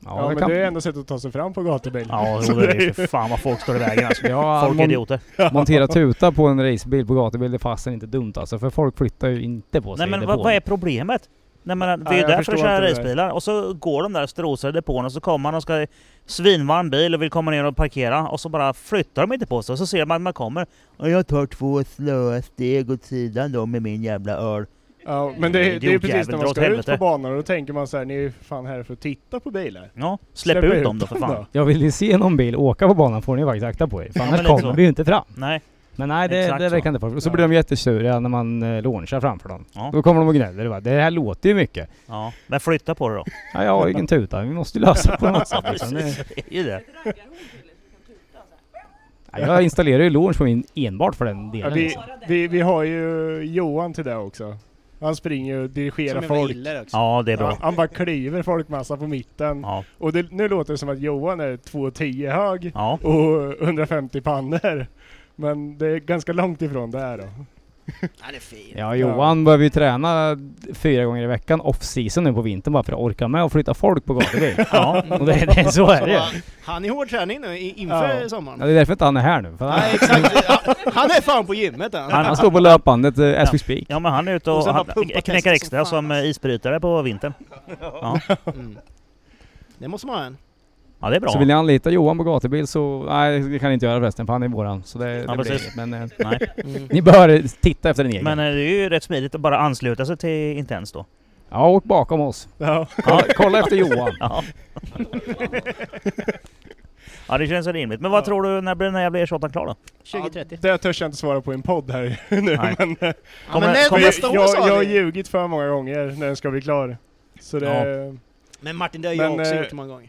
S4: Ja, men det är enda sättet att ta sig fram på gatubil.
S1: Ja,
S4: Så
S1: jo, det är
S4: ju-
S1: ju för fan vad folk står i vägen alltså.
S2: Ja,
S1: Folk är
S2: mon-
S1: idioter.
S2: Montera tuta på en racerbil på gatubil, det fasen inte dumt alltså. För folk flyttar ju inte på sig
S1: Nej men
S2: i
S1: vad,
S2: depån.
S1: vad är problemet? Nej, men det
S4: Nej,
S1: är ju
S4: jag
S1: därför de
S4: förstår
S1: kör
S4: inte det.
S1: racebilar. Och så går de där strosar i depån och så kommer man och ska svinvarm bil och vill komma ner och parkera och så bara flyttar de inte på sig och så ser man att man kommer. Och jag tar två slöa steg åt sidan då med min jävla öl.
S4: Ja, men det, är- det är ju precis när
S1: Idiotjävel,
S4: man
S1: dra
S4: ska
S1: åt
S4: ut
S1: helvete.
S4: på banan och då tänker man så här, ni är ju fan här för att titta på bilar.
S1: Ja, släpp, ut, dem då för fan.
S2: Jag vill ju se någon bil åka på banan får ni faktiskt akta på er. För
S1: Ja,
S2: annars
S1: men lite
S2: kommer
S1: så.
S2: vi ju inte fram.
S1: Nej,
S2: Men nej, det,
S1: Exakt
S2: det
S1: så.
S2: verkar inte folk. Och så blir de jättesura när man eh, launchar framför dem.
S1: Ja.
S2: Då kommer de och gnäller. va? Det här låter ju mycket.
S1: ja. Men flytta på det då.
S2: Ja, jag har ju ingen tuta. Vi måste ju lösa det på något sätt. Liksom. Det,
S1: Det är ju det.
S5: liksom
S2: Ja, jag installerar ju launch på min enbart för den
S4: Ja,
S2: delen.
S4: vi, vi, vi har ju Johan till det också. Han springer och dirigerar
S6: Som jag
S4: folk.
S6: gillar också.
S1: Ja, det är
S4: Ja,
S1: bra.
S4: han bara klyver folkmassa på mitten.
S1: Ja,
S4: Och det, nu låter det som att Johan är 2,10 hög
S1: ja.
S4: och 150 pannor. Men det är ganska långt ifrån det här då.
S6: Han är fin.
S2: Ja, Johan behöver ju träna fyra gånger i veckan off-season nu på vintern bara för att orka med och flytta folk på gatubil.
S1: ja.
S2: och det, det, så är det ju.
S6: Han, han är i hård träning nu i- inför
S4: Ja.
S6: sommaren.
S2: Ja, det är därför inte han är här nu. För han,
S6: Nej exakt, Ja, han är fan på gymmet han.
S2: han står på löpbandet eh, as we speak.
S1: ja, men han är ute
S6: Och
S1: och
S6: sen bara
S1: han
S6: pumpa
S1: knäcker
S6: testet
S1: extra
S6: som fan,
S1: som eh,
S6: alltså.
S1: isbrytare på vintern.
S6: Mm. Det måste man ha en.
S1: Ja, det är
S2: Så
S1: bra.
S2: vill ni anlita Johan på gatubil så, nej det kan ni inte göra förresten för han är våran. Så det, det blir
S1: precis.
S2: inget. Men eh,
S1: Nej.
S2: ni bör titta efter en egen.
S1: Men eh, det är ju rätt smidigt att bara ansluta sig till Intens då.
S2: Ja, åk bakom oss.
S4: Ja.
S2: Kolla, kolla efter Johan.
S1: Ja. ja det känns rimligt. Men vad
S4: Ja.
S1: tror du, när blir den här jävla E28 klar då?
S6: 2030.
S4: Det törs jag inte svara på i en podd här nu.
S1: Nej.
S4: Men,
S6: Ja,
S4: eh,
S6: men
S1: Kommer-
S6: nä-
S1: kommer-
S6: nästa år
S4: jag,
S6: sa
S4: jag har
S6: vi.
S4: ljugit för många gånger när den ska bli klar. Så det,
S6: Men Martin det har jag
S4: Men,
S6: också
S4: eh,
S6: gjort många gånger.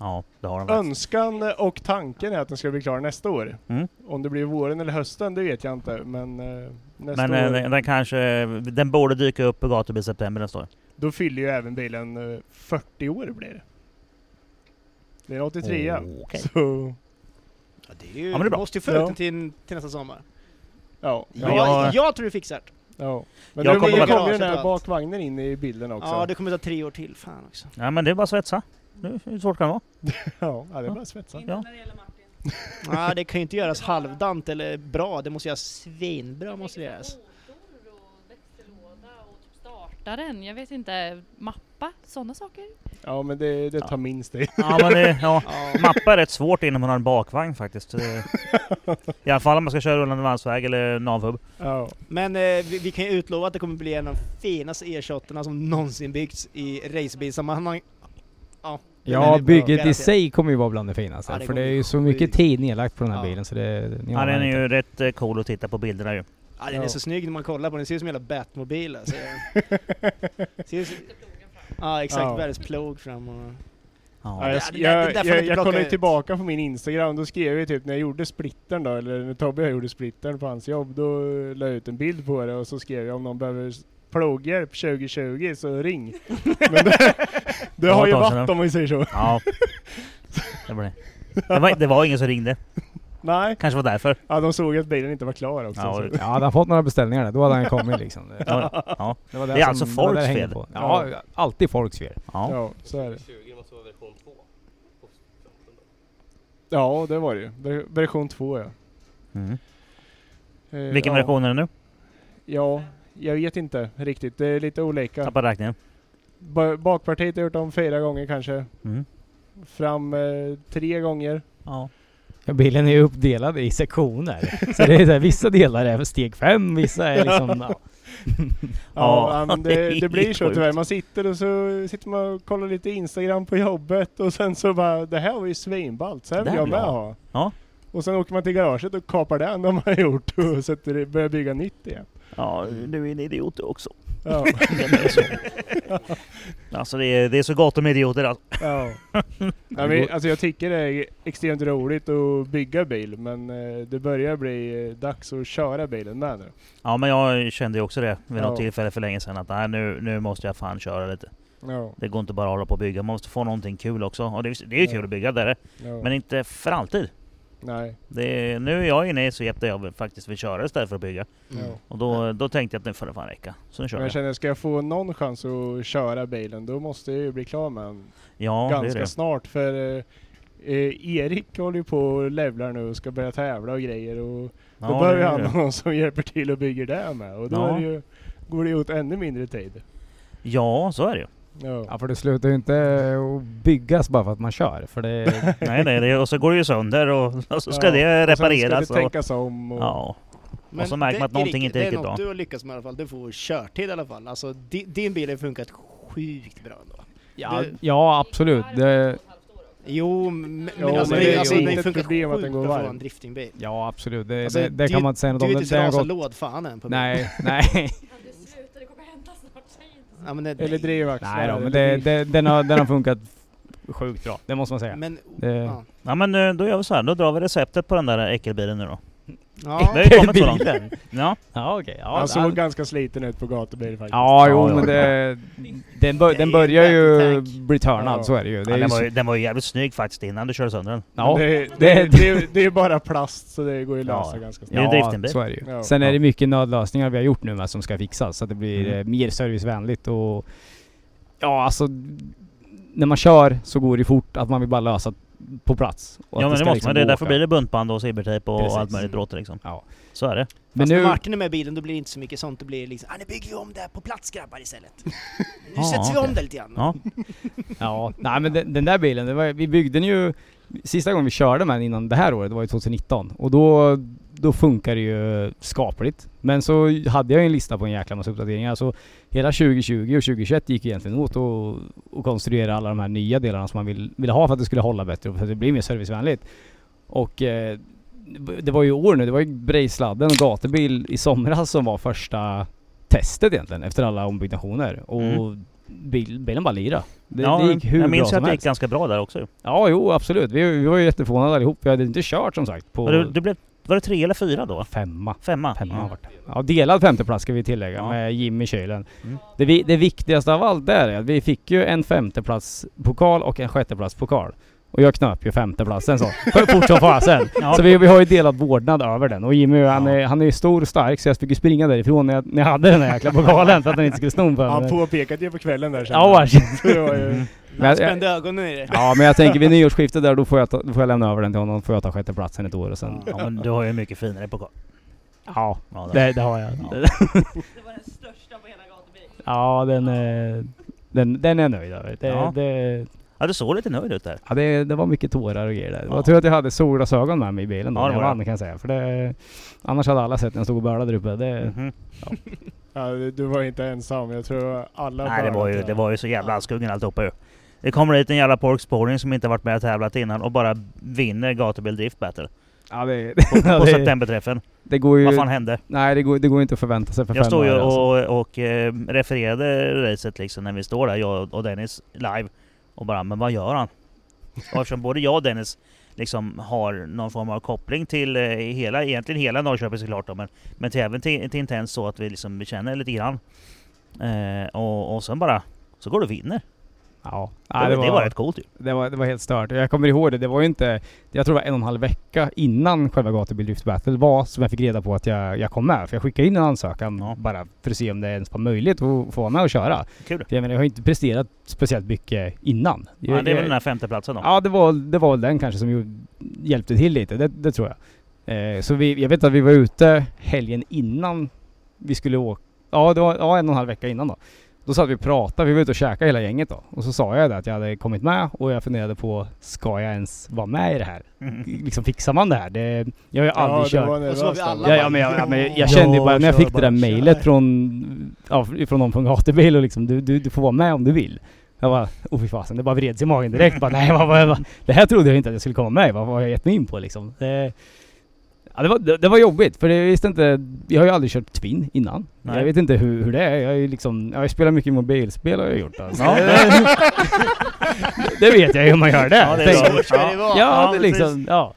S1: Ja, det har den faktiskt.
S4: Önskan och tanken är att den ska bli klar nästa år.
S1: Mm.
S4: Om det blir våren eller hösten, det vet jag inte. Men eh, nästa
S1: Men eh,
S4: år,
S1: den, den kanske, den borde dyka upp på gatubil september nästa år.
S4: då fyller ju även bilen eh, 40 år blir det. Det är en 83
S1: Okej.
S4: Så,
S6: Ja, det är
S1: Ja,
S6: ju,
S1: men det är bra.
S6: måste ju få ut
S4: Ja.
S6: den till, till nästa sommar.
S4: ja.
S1: Ja.
S6: Ja,
S1: jag-
S6: jag, jag tror vi fixar det.
S4: ja. Men
S1: Jag
S4: nu
S1: kommer
S4: kommer,
S1: vara-
S4: kommer den
S6: garaget
S4: här
S6: och allt.
S4: bakvagnen in i bilden också.
S6: Ja, det kommer ta tre år till. Fan också.
S1: Ja men det är bara att svetsa. Nu, hur svårt kan det vara?
S4: ja, ja, det är bara att
S6: Mm.
S4: svetsa.
S1: Ja.
S6: Ja, det kan ju inte göras halvdant eller bra. Det måste göras svinbra. Måste det göras.
S8: Motor och växellåda och typ startaren, jag vet inte, mappa, sådana saker.
S4: Ja, men det, det tar minst det.
S1: Ja men det, ja.
S6: Ja,
S1: Mappa är rätt svårt innan man har en bakvagn faktiskt. Det- I alla fall om man ska köra rullande landsväg eller navhub.
S4: Ja.
S6: Men eh, vi, vi kan ju utlova att det kommer bli en av de finaste e 28 som någonsin byggts i racerbilsammanhang. Ja, den är
S2: Ja,
S6: bra,
S2: bygget i
S6: garanterat.
S2: sig kommer ju vara bland det finaste.
S6: Ja, det
S2: för det
S6: kommer
S2: är
S6: bli
S2: ju så mycket
S6: sjukt.
S2: tid nedlagt på den här
S6: Ja.
S2: bilen så det... ni
S1: Ja,
S2: anar
S1: den är
S2: inte.
S1: ju rätt eh, cool att titta på bilderna ju.
S6: Ja, den är
S4: Ja.
S6: så snygg när man kollar på den. Den ser ut som en jävla Batmobil alltså. Ser ut som- Ja, exakt.
S4: Ja.
S6: Världens plog fram och...
S4: Ja,
S1: Ja.
S4: jag,
S6: Ja, det där- det där får
S4: jag,
S6: man
S4: jag,
S6: inte
S4: jag,
S6: plocka
S4: kollade
S6: ut.
S4: tillbaka på min Instagram, då skrev jag typ när jag gjorde splittern då, eller när Tobbe och jag gjorde splittern på hans jobb, då la jag ut en bild på det och så skrev jag om någon behöver s- ploghjälp 2020 så ring. Men det, det
S1: Ja,
S4: har ju
S1: ta sig
S4: varit
S1: den.
S4: om vi säger så.
S1: Ja. Det var det. Det var, det var ingen som ringde.
S4: Nej,
S1: Kanske var därför.
S4: ja, de såg att bilen inte var klar också.
S1: Ja,
S4: så.
S1: det-
S2: Ja, hade han fått några beställningar där, då hade han kommit liksom. Det-
S1: Ja, ja.
S2: var
S1: Det är
S2: som-
S1: alltså
S2: var det
S1: folks
S2: hängde
S1: fel.
S2: på. Ja, alltid folks fel.
S1: ja.
S4: ja, så är det.
S7: 20 måste vara version 2.
S4: Ja, det var det ju. Ver- Version 2 ja.
S1: Mm.
S4: Eh,
S1: Vilken
S4: ja.
S1: version är det nu?
S4: Ja, jag vet inte riktigt. Det är lite olika.
S1: Tappade räkningen.
S4: Ba- bakpartiet har jag gjort om fyra gånger kanske.
S1: Mm.
S4: Fram eh, tre gånger.
S1: Ja.
S2: Ja, bilen är ju uppdelad i sektioner. Så det är så här, vissa delar är steg fem, vissa är liksom... Ja.
S1: Ja,
S4: Ja, men
S1: det är
S4: det, det blir så
S1: sjukt.
S4: tyvärr. Man sitter och så sitter man och kollar lite Instagram på jobbet och sen så bara det här var ju svinballt, så här
S1: Det här
S4: vill jag
S1: vill
S4: med
S1: jag ha."
S4: ha.
S1: Ja.
S4: Och sen åker man till garaget och kapar den de har gjort och sätter, det- börjar bygga nytt igen.
S1: ja, du är en idiot du också.
S4: Ja,
S1: Alltså det är, det är så gott om idioter alltså.
S4: ja. Ja, men, alltså jag tycker det är extremt roligt att bygga bil men eh, det börjar bli eh, dags att köra bilen med nu.
S1: Ja men jag kände ju också det vid något
S4: Ja.
S1: tillfälle för länge sedan att nej, nu, nu måste jag fan köra lite.
S4: Ja,
S1: Det går inte bara att hålla på och bygga, man måste få någonting kul också. Och det, är- det är ju
S4: Ja.
S1: kul att bygga där
S4: ja.
S1: men inte för alltid.
S4: Nej.
S1: Det är, nu är jag inne i så där jag vill- faktiskt vill köra istället för att bygga.
S4: Ja.
S1: Och då, då tänkte jag att nu får det fan räcka. Så nu kör
S4: Men jag
S1: jag.
S4: känner, ska jag få någon chans att köra bilen då måste jag ju bli klar med den
S1: Ja, det är
S4: ganska
S1: det.
S4: snart. För eh, eh, Erik håller ju på och levlar nu och ska börja tävla och grejer. Och
S1: Ja,
S4: då
S1: det
S4: behöver
S1: är
S4: han
S1: det.
S4: någon som hjälper till och bygger det med. Och då
S1: Ja.
S4: är det ju, går det ju åt ännu mindre tid.
S1: Ja, så är det ju.
S4: Ja.
S2: Ja för det slutar ju inte att byggas bara för att man kör. För det,
S1: Nej, nej, det, och så går det ju sönder och, och så ska
S4: Ja,
S1: det
S4: Och sen ska
S1: repareras.
S4: det tänkas om. Och,
S1: ja. så märker man att
S6: det-
S1: någonting
S6: Erik,
S1: inte är riktigt
S6: Det är
S1: bra.
S6: något du har lyckats med i alla fall. Du får körtid i alla fall. Alltså di, din bil har funkat sjukt bra ändå.
S2: ja,
S6: Det-
S2: ja absolut. Det,
S6: Jo, men,
S4: Jo,
S6: men, alltså,
S4: men
S6: det,
S4: det är
S6: alltså,
S4: ju
S6: den
S4: inte ett
S6: funkar
S4: problem att
S6: sjukt
S4: den går
S6: bra för
S4: varm.
S6: en driftingbil.
S2: ja absolut. Det,
S6: Alltså,
S2: det, det
S6: du-
S2: kan man inte säga något
S6: Du
S2: om.
S6: är
S2: Den,
S6: inte
S2: den
S6: så
S2: har gått,
S6: låd fan än på bilen.
S2: nej, nej.
S8: Sluta, det kommer hända snart. säg inte så.
S6: Ja, men det,
S4: Eller drivaxlar.
S2: nej då, men
S4: eller
S2: det,
S4: driv-
S2: det, den, har, den har funkat sjukt bra. Det måste man säga.
S6: Men,
S2: Det-
S6: ja.
S1: ja, men eh, då gör vi så här. Då drar vi receptet på den där äckelbilen nu då.
S6: Ja.
S1: Det har ju kommit så långt. Ja,
S2: Ja okej. Ja,
S4: han såg
S2: ja.
S4: ganska sliten ut på gatubil faktiskt.
S2: Ja, jo
S1: Ja,
S2: men
S1: ja.
S2: det, den, bör,
S6: Det är
S2: den
S6: ju
S2: börjar ju
S6: battle-tank.
S2: bli törnad,
S4: Ja.
S2: så är det ju.
S1: ja
S2: Det är ju
S1: den, var
S2: så-
S1: ju, den var ju jävligt snygg faktiskt innan du körde sönder den.
S2: ja,
S4: Det, det,
S2: det-
S4: det, det, är ju bara plast så det går ju att
S1: Ja.
S4: lösa ganska
S1: Det är
S4: snabbt.
S1: ju
S2: ja,
S1: driftingbil.
S2: så är det ju.
S4: Ja.
S2: Sen är
S1: Ja.
S2: det mycket nödlösningar vi har gjort nu med som ska fixas så att det blir
S1: Mm.
S2: eh, mer servicevänligt och ja alltså när man kör så går det fort att man vill bara lösa på plats. och att
S1: Ja men det
S2: ska
S1: måste
S2: liksom
S1: man, det är
S2: gå
S1: därför
S2: åka.
S1: blir det buntband och silvertejp och
S2: Precis.
S1: allt möjligt bråte liksom.
S2: Ja.
S1: Så är det.
S2: Men
S6: Fast
S2: nu,
S6: när Martin är med i bilen då blir det inte så mycket sånt. Då blir det liksom, ah, nu bygger vi om det här på plats grabbar istället. Nu
S1: Ja,
S6: sätter vi
S1: okej.
S6: om det lite grann.
S1: Ja.
S2: ja, nej men den, den där bilen, det var, vi byggde den ju sista gången vi körde med den innan det här året, det var ju 2019 och då, då funkar det ju skapligt. Men så hade jag ju en lista på en jäkla massa uppdateringar så hela 2020 och 2021 gick egentligen åt och, och konstruera alla de här nya delarna som man vill, ville ha för att det skulle hålla bättre och för att det blir mer servicevänligt. Och eh, det var ju i år nu, det var ju Brejsladden och gatubil i somras som var första testet egentligen efter alla ombyggnationer och
S1: Mm.
S2: bil, bilen bara lirade. Det,
S1: ja,
S2: det gick hur
S1: jag
S2: bra
S1: minns ju
S2: som
S1: att det
S2: helst.
S1: gick ganska bra där också.
S2: Ja, jo absolut. Vi, vi var ju jätteförvånade allihop. Vi hade inte kört som sagt på
S1: Var det, det blev, var det tre eller fyra då?
S2: femma.
S1: Femma?
S2: Femma
S1: Ja.
S2: har varit det. Ja, delad femteplats ska vi tillägga
S1: Ja.
S2: med Jimmy Kylen.
S1: Mm.
S2: Det, vi, det viktigaste av allt där är att vi fick ju en femteplats pokal och en sjätteplats pokal. Och jag knöp ju femteplatsen så. Fort som fasen.
S1: Ja.
S2: Så vi, vi har ju delat vårdnad över den. Och Jimmy han,
S1: Ja.
S2: är, han är ju stor och stark så jag fick ju springa därifrån när jag, när jag hade den här jäkla pokalen för att den inte skulle sno på
S4: Han
S2: mig.
S4: påpekade ju på kvällen där sen.
S2: Ja, vars.
S4: Så det var ju,
S2: Men jag-
S6: Spände ögonen i det.
S2: Ja men jag tänker vid nyårsskiftet där då får jag, ta, då får jag lämna över den till honom. Då får jag ta sjätteplatsen ett år och sen...
S1: Ja, men du har ju en mycket finare pokal.
S2: Ja,
S1: Ja, där.
S2: det, det har jag.
S1: Ja.
S5: Det var den största på hela gatubilen.
S2: Ja, den, eh, den, den är jag nöjd över. Det,
S1: Ja.
S2: det,
S1: ja, du såg lite nöjd ut där.
S2: ja, det, det var mycket tårar och grejer där. Det var
S1: Ja.
S2: tur att jag hade solglasögon med mig i bilen då
S1: Ja, det
S2: när jag
S1: var det.
S2: vann kan jag säga. För det, annars hade alla sett när jag stod och bölade där uppe. Det,
S1: Mhm.
S4: ja, du var inte ensam. Jag tror alla
S1: Nej, det
S4: bara-
S1: var, ju, det var ju så jävla askungen alltihopa ju. Det kommer hit en jävla porksporring som inte varit med och tävlat innan och bara vinner gatubil drift battle.
S2: ja, det,
S1: På
S2: det,
S1: septemberträffen.
S2: det går
S1: Vad
S2: ju...
S1: fan hände?
S2: Nej, det går, det går inte att förvänta sig för
S1: Jag
S2: fem
S1: stod ju
S2: öre, alltså.
S1: och, och eh, refererade racet liksom när vi står där, jag och Dennis live. Och bara, men vad gör han? Och eftersom både jag och Dennis liksom har någon form av koppling till eh, hela, egentligen hela Norrköping såklart då, men, men till även till, till Intens så att vi liksom känner lite grann. Eh, och, och sen bara, så går du och vinner.
S2: Ja.
S1: det,
S2: Nej,
S1: det, var, det var rätt coolt ju.
S2: Det var, det var helt stört. Jag kommer ihåg det. Det var ju inte... Jag tror det var en och en halv vecka innan själva Gatubil Drift Battle var som jag fick reda på att jag, jag kom med. För jag skickade in en ansökan
S1: Ja.
S2: bara för att se om det ens var möjligt att få vara med och köra.
S1: Kul.
S2: För jag menar, jag har ju inte presterat speciellt mycket innan.
S1: Ja,
S2: Jag-
S1: det är väl
S2: jag-
S1: den här femteplatsen då?
S2: Ja, det var, det var väl den kanske som ju- hjälpte till lite. Det, det tror jag. Eh, så vi, jag vet att vi var ute helgen innan vi skulle åka. Ja, det var ja, en och en halv vecka innan då. Då satt vi och pratade. Vi var ute och käkade hela gänget då. Och så sa jag det att jag hade kommit med och jag funderade på, ska jag ens vara med i det här?
S1: Mhm.
S2: Liksom fixar man det här? Det, jag har ju aldrig
S4: Ja,
S2: kört.
S4: det var
S6: Och så var vi
S4: nervöst.
S6: alla
S2: Ja, ja, men jag, ja, men jag, jag
S1: Ja,
S2: kände ju bara när jag
S1: kör
S2: fick det där
S1: bara,
S2: mejlet
S1: kör.
S2: från, ja, från någon från gatubil och liksom du, du, du får vara med om du vill. Jag bara, oh fy fasen, det bara vreds i magen direkt. Bara, nej, vad, vad, vad, det här trodde jag inte att jag skulle komma med Vad vad har jag gett mig in på liksom? Det, ja, det, var, det, det var jobbigt för det visste inte, jag har ju aldrig kört Twin innan.
S1: Nej.
S2: Jag vet inte hur, hur det är. Jag har ju liksom, jag har ju spelat mycket mobilspel har jag gjort alltså.
S1: Ja.
S2: det, det vet jag ju hur man gör det.
S1: Ja, det är
S2: Tänk-
S1: bra.
S6: Så ska det vara.
S2: Ja, det
S6: precis.
S2: liksom, ja.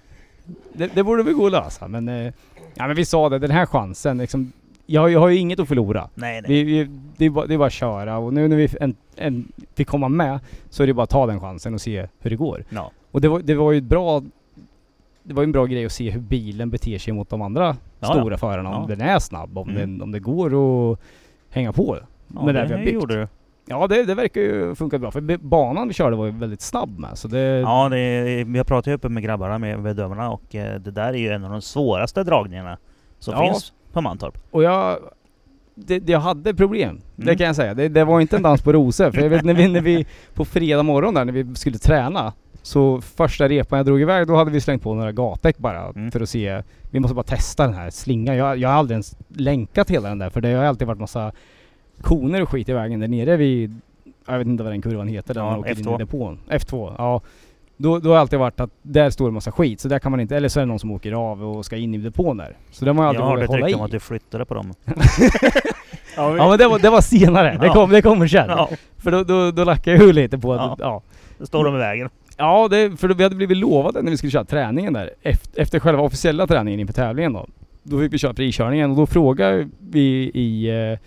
S2: Det, det borde väl gå att lösa, men... eh, Ja, men vi sa det, den här chansen liksom... Jag, har ju- jag har ju inget att förlora.
S1: Nej, nej.
S2: Vi, vi, det, är bara, det är bara att köra och nu när vi en, en, fick komma med så är det bara att ta den chansen och se hur det går.
S1: Ja.
S2: Och det var, det var ju ett bra det var ju en bra grej att se hur bilen beter sig mot de andra
S1: ja.
S2: stora förarna. Om
S1: Ja.
S2: den är snabb, om,
S1: Mm.
S2: den, om det går att hänga på.
S1: Ja,
S2: med det
S1: det,
S2: vi har byggt. Eh.
S1: gjorde du.
S2: Ja, det, det verkar ju funka bra. För be- banan vi körde var ju väldigt snabb med. Så det...
S1: Ja, det, är- jag pratade ju uppe med grabbarna, med bedömarna, och eh, det där är ju en av de svåraste dragningarna som
S2: Ja.
S1: finns på Mantorp.
S2: Och jag... Det, det, jag hade problem, det
S1: Mm.
S2: kan jag säga. Det, det var inte en dans på rosor. För jag vet när vi, när vi på fredag morgon där när vi skulle träna. Så första repan jag drog iväg då hade vi slängt på några gatdäck bara
S1: Mm.
S2: för att se. Vi måste bara testa den här slingan. Jag, jag har aldrig ens länkat hela den där för det har alltid varit massa koner och skit i vägen där nere vid... Jag vet inte vad den kurvan heter. Där
S1: Ja,
S2: man åker in
S1: F2.
S2: i depån. F2. Ja. Då, då har det alltid varit att där står det massa skit så där kan man inte... Eller så är det någon som åker av och ska in i depån där. Så den har jag
S1: Jag
S2: alltid
S1: hörde
S2: vågat
S1: ett
S2: hålla
S1: rykte
S2: i.
S1: om att du flyttade på dem.
S4: Ja, vi,
S2: Ja men det var, det var senare, det,
S1: Ja.
S2: kom, det kommer sen.
S1: Ja,
S2: För då, då, då lackade jag ur lite på att... Ja,
S1: då står de i vägen.
S2: ja det, för då, vi hade blivit lovade när vi skulle köra träningen där. Efter, efter själva officiella träningen inför tävlingen då. Då fick vi köra frikörningen och då frågade vi i... Eh,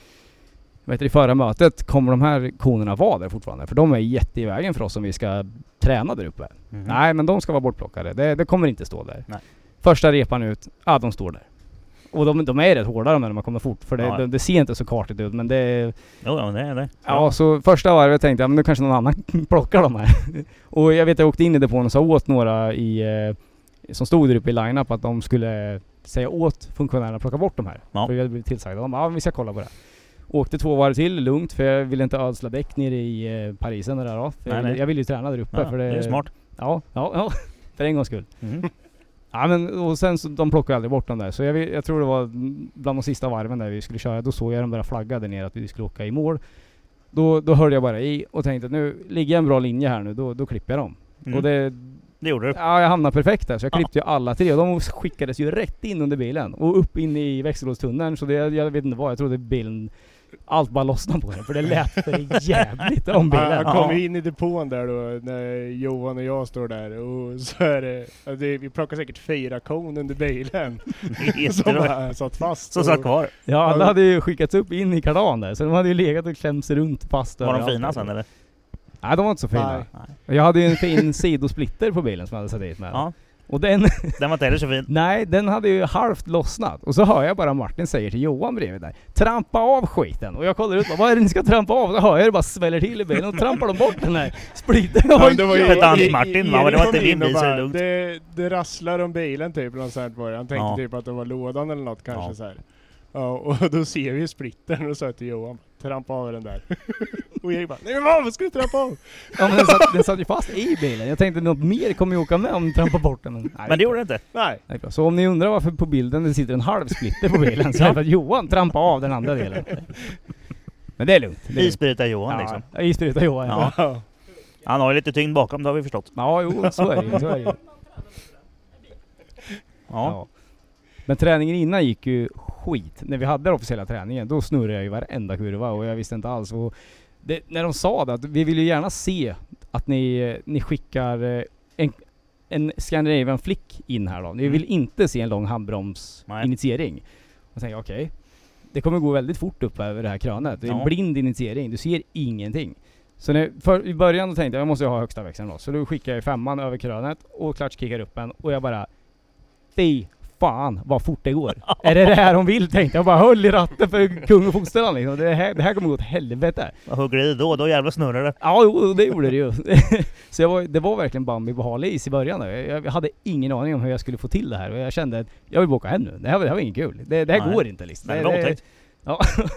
S2: vad heter det, i förra mötet, kommer de här konerna vara där fortfarande? För de är jätte i vägen för oss om vi ska träna där uppe.
S1: Mhm.
S2: Nej men de ska vara bortplockade, det, det kommer inte stå där.
S1: Nej.
S2: Första repan ut, ja de står där. Och de, de är rätt hårda de där när man kommer fort, för det,
S1: Ja.
S2: det, det ser inte så kartigt ut men det är
S1: Jo, ja, men det är det.
S2: Ja, så första varvet tänkte jag men nu kanske någon annan plockar de här. och jag vet jag åkte in i depån och sa åt några i, eh, som stod där uppe i line-up att de skulle säga åt funktionärerna att plocka bort de här.
S1: Ja.
S2: För vi hade blivit tillsagda. De bara, ja, men vi ska kolla på det. Åkte två varv till lugnt för jag ville inte ödsla däck nere i eh, Parisen där då. För
S1: Nej,
S2: jag, ville,
S1: nej.
S2: jag ville ju träna där uppe.
S1: Ja,
S2: för Mhm.
S1: det är smart.
S2: Ja, ja, ja. för en gångs skull.
S1: Mm.
S2: Ja men och sen så, de plockade aldrig bort dem där. Så jag, vet- jag tror det var bland de sista varven där vi skulle köra. Då såg jag dem börja flagga där nere att vi skulle åka i mål. Då, då hörde jag bara i och tänkte att nu ligger en bra linje här nu, då, då klipper jag dem.
S1: Mm.
S2: Och
S1: det,
S2: det,
S1: gjorde du.
S2: ja jag hamnade perfekt där så jag klippte ju alla tre och de skickades ju rätt in under bilen. Och upp in i växellådstunneln så det, jag vet inte vad, jag trodde bilen, allt bara lossnade på den för det lät för jävligt om
S4: Ja,
S2: bilen.
S4: jag kom ju in i depån där då när Johan och jag står där och så är det, ja, det vi plockar säkert fyra kon under bilen
S1: Just det,
S4: som
S1: det var-
S4: bara satt fast.
S1: Som
S4: och-
S1: satt kvar.
S2: Ja alla hade ju skickats upp in i kardan där så de hade ju legat och klämt sig runt fast
S1: Var de
S2: överallt.
S1: fina sen eller?
S2: Nej de var inte så fina.
S4: Nej.
S2: Jag hade ju en fin sidosplitter på bilen som jag hade satt dit med.
S1: Ja.
S2: Och den,
S1: Den var inte heller så fin.
S2: nej den hade ju halvt lossnat. Och så hör jag bara Martin säger till Johan bredvid där. Trampa av skiten! Och jag kollar ut bara, vad är det ni ska trampa av? Så hör jag det bara sväller till i bilen och trampar de bort den här splitten.
S4: Ja, men det var ju-
S1: Hette han
S4: Erik
S1: Martin, va? Det var inte
S4: kom in
S1: min
S4: och
S1: bil, så det är
S4: bara,
S1: lugnt.
S4: Det, det rasslar om bilen typ, eller något sånt var det. Han tänkte
S1: Ja.
S4: typ att det var lådan eller något kanske
S1: Ja.
S4: så här. Ja, och då ser vi splittern och sa till Johan, trampa av den där. och Erik bara, nej men vad vad ska du trampa av?
S2: Ja, men den, satt, den satt ju fast i bilen. Jag tänkte något mer kommer ju åka med om ni trampar bort den. Men, nej,
S1: Men det gjorde det inte.
S4: Nej.
S2: Nej, bra. Så om ni undrar varför på bilden det sitter en halv splitter på bilen så är det för att Johan trampar av den andra delen. Men det är lugnt. Det är lugnt.
S1: Isbrytar Johan liksom.
S2: Ja, isbrytar Johan. Ja.
S1: Ja. Han har ju lite tyngd bakom, det har vi förstått.
S2: ja, jo så är det ju, så är det ju.
S1: Ja.
S2: Men träningen innan gick ju skit. När vi hade den officiella träningen, då snurrade jag ju varenda kurva och jag visste inte alls. Och det, när de sa det, att vi vill ju gärna se att ni, eh, ni skickar eh, en, en Scandinavian flick in här då. Ni vill inte se en lång
S1: Nej.
S2: handbromsinitiering. Och tänkte jag, okej. Det kommer gå väldigt fort upp över det här krönet. Det är en
S1: Ja.
S2: blind initiering, du ser ingenting. Så när, för, i början då tänkte jag, jag måste ju ha högsta växeln då. Så då skickade jag femman över krönet och klatschkickar upp en och jag bara Fy fan vad fort det går. är det det här hon vill tänkte jag. Jag bara höll i ratten för kung och fosterland liksom. Det här, det här kommer gå åt helvete.
S1: Vad hugger det i då? Då jävlar snurrar det.
S2: Ja, jo, det gjorde det ju. så jag var, det var verkligen Bambi på hal is i början där. Jag, jag hade ingen aning om hur jag skulle få till det här och jag kände att jag vill bara åka hem nu. Det här, var- det här var inget kul. Det, det här
S1: Nej.
S2: går inte liksom.
S1: Nej, det var otäckt.
S2: Ja.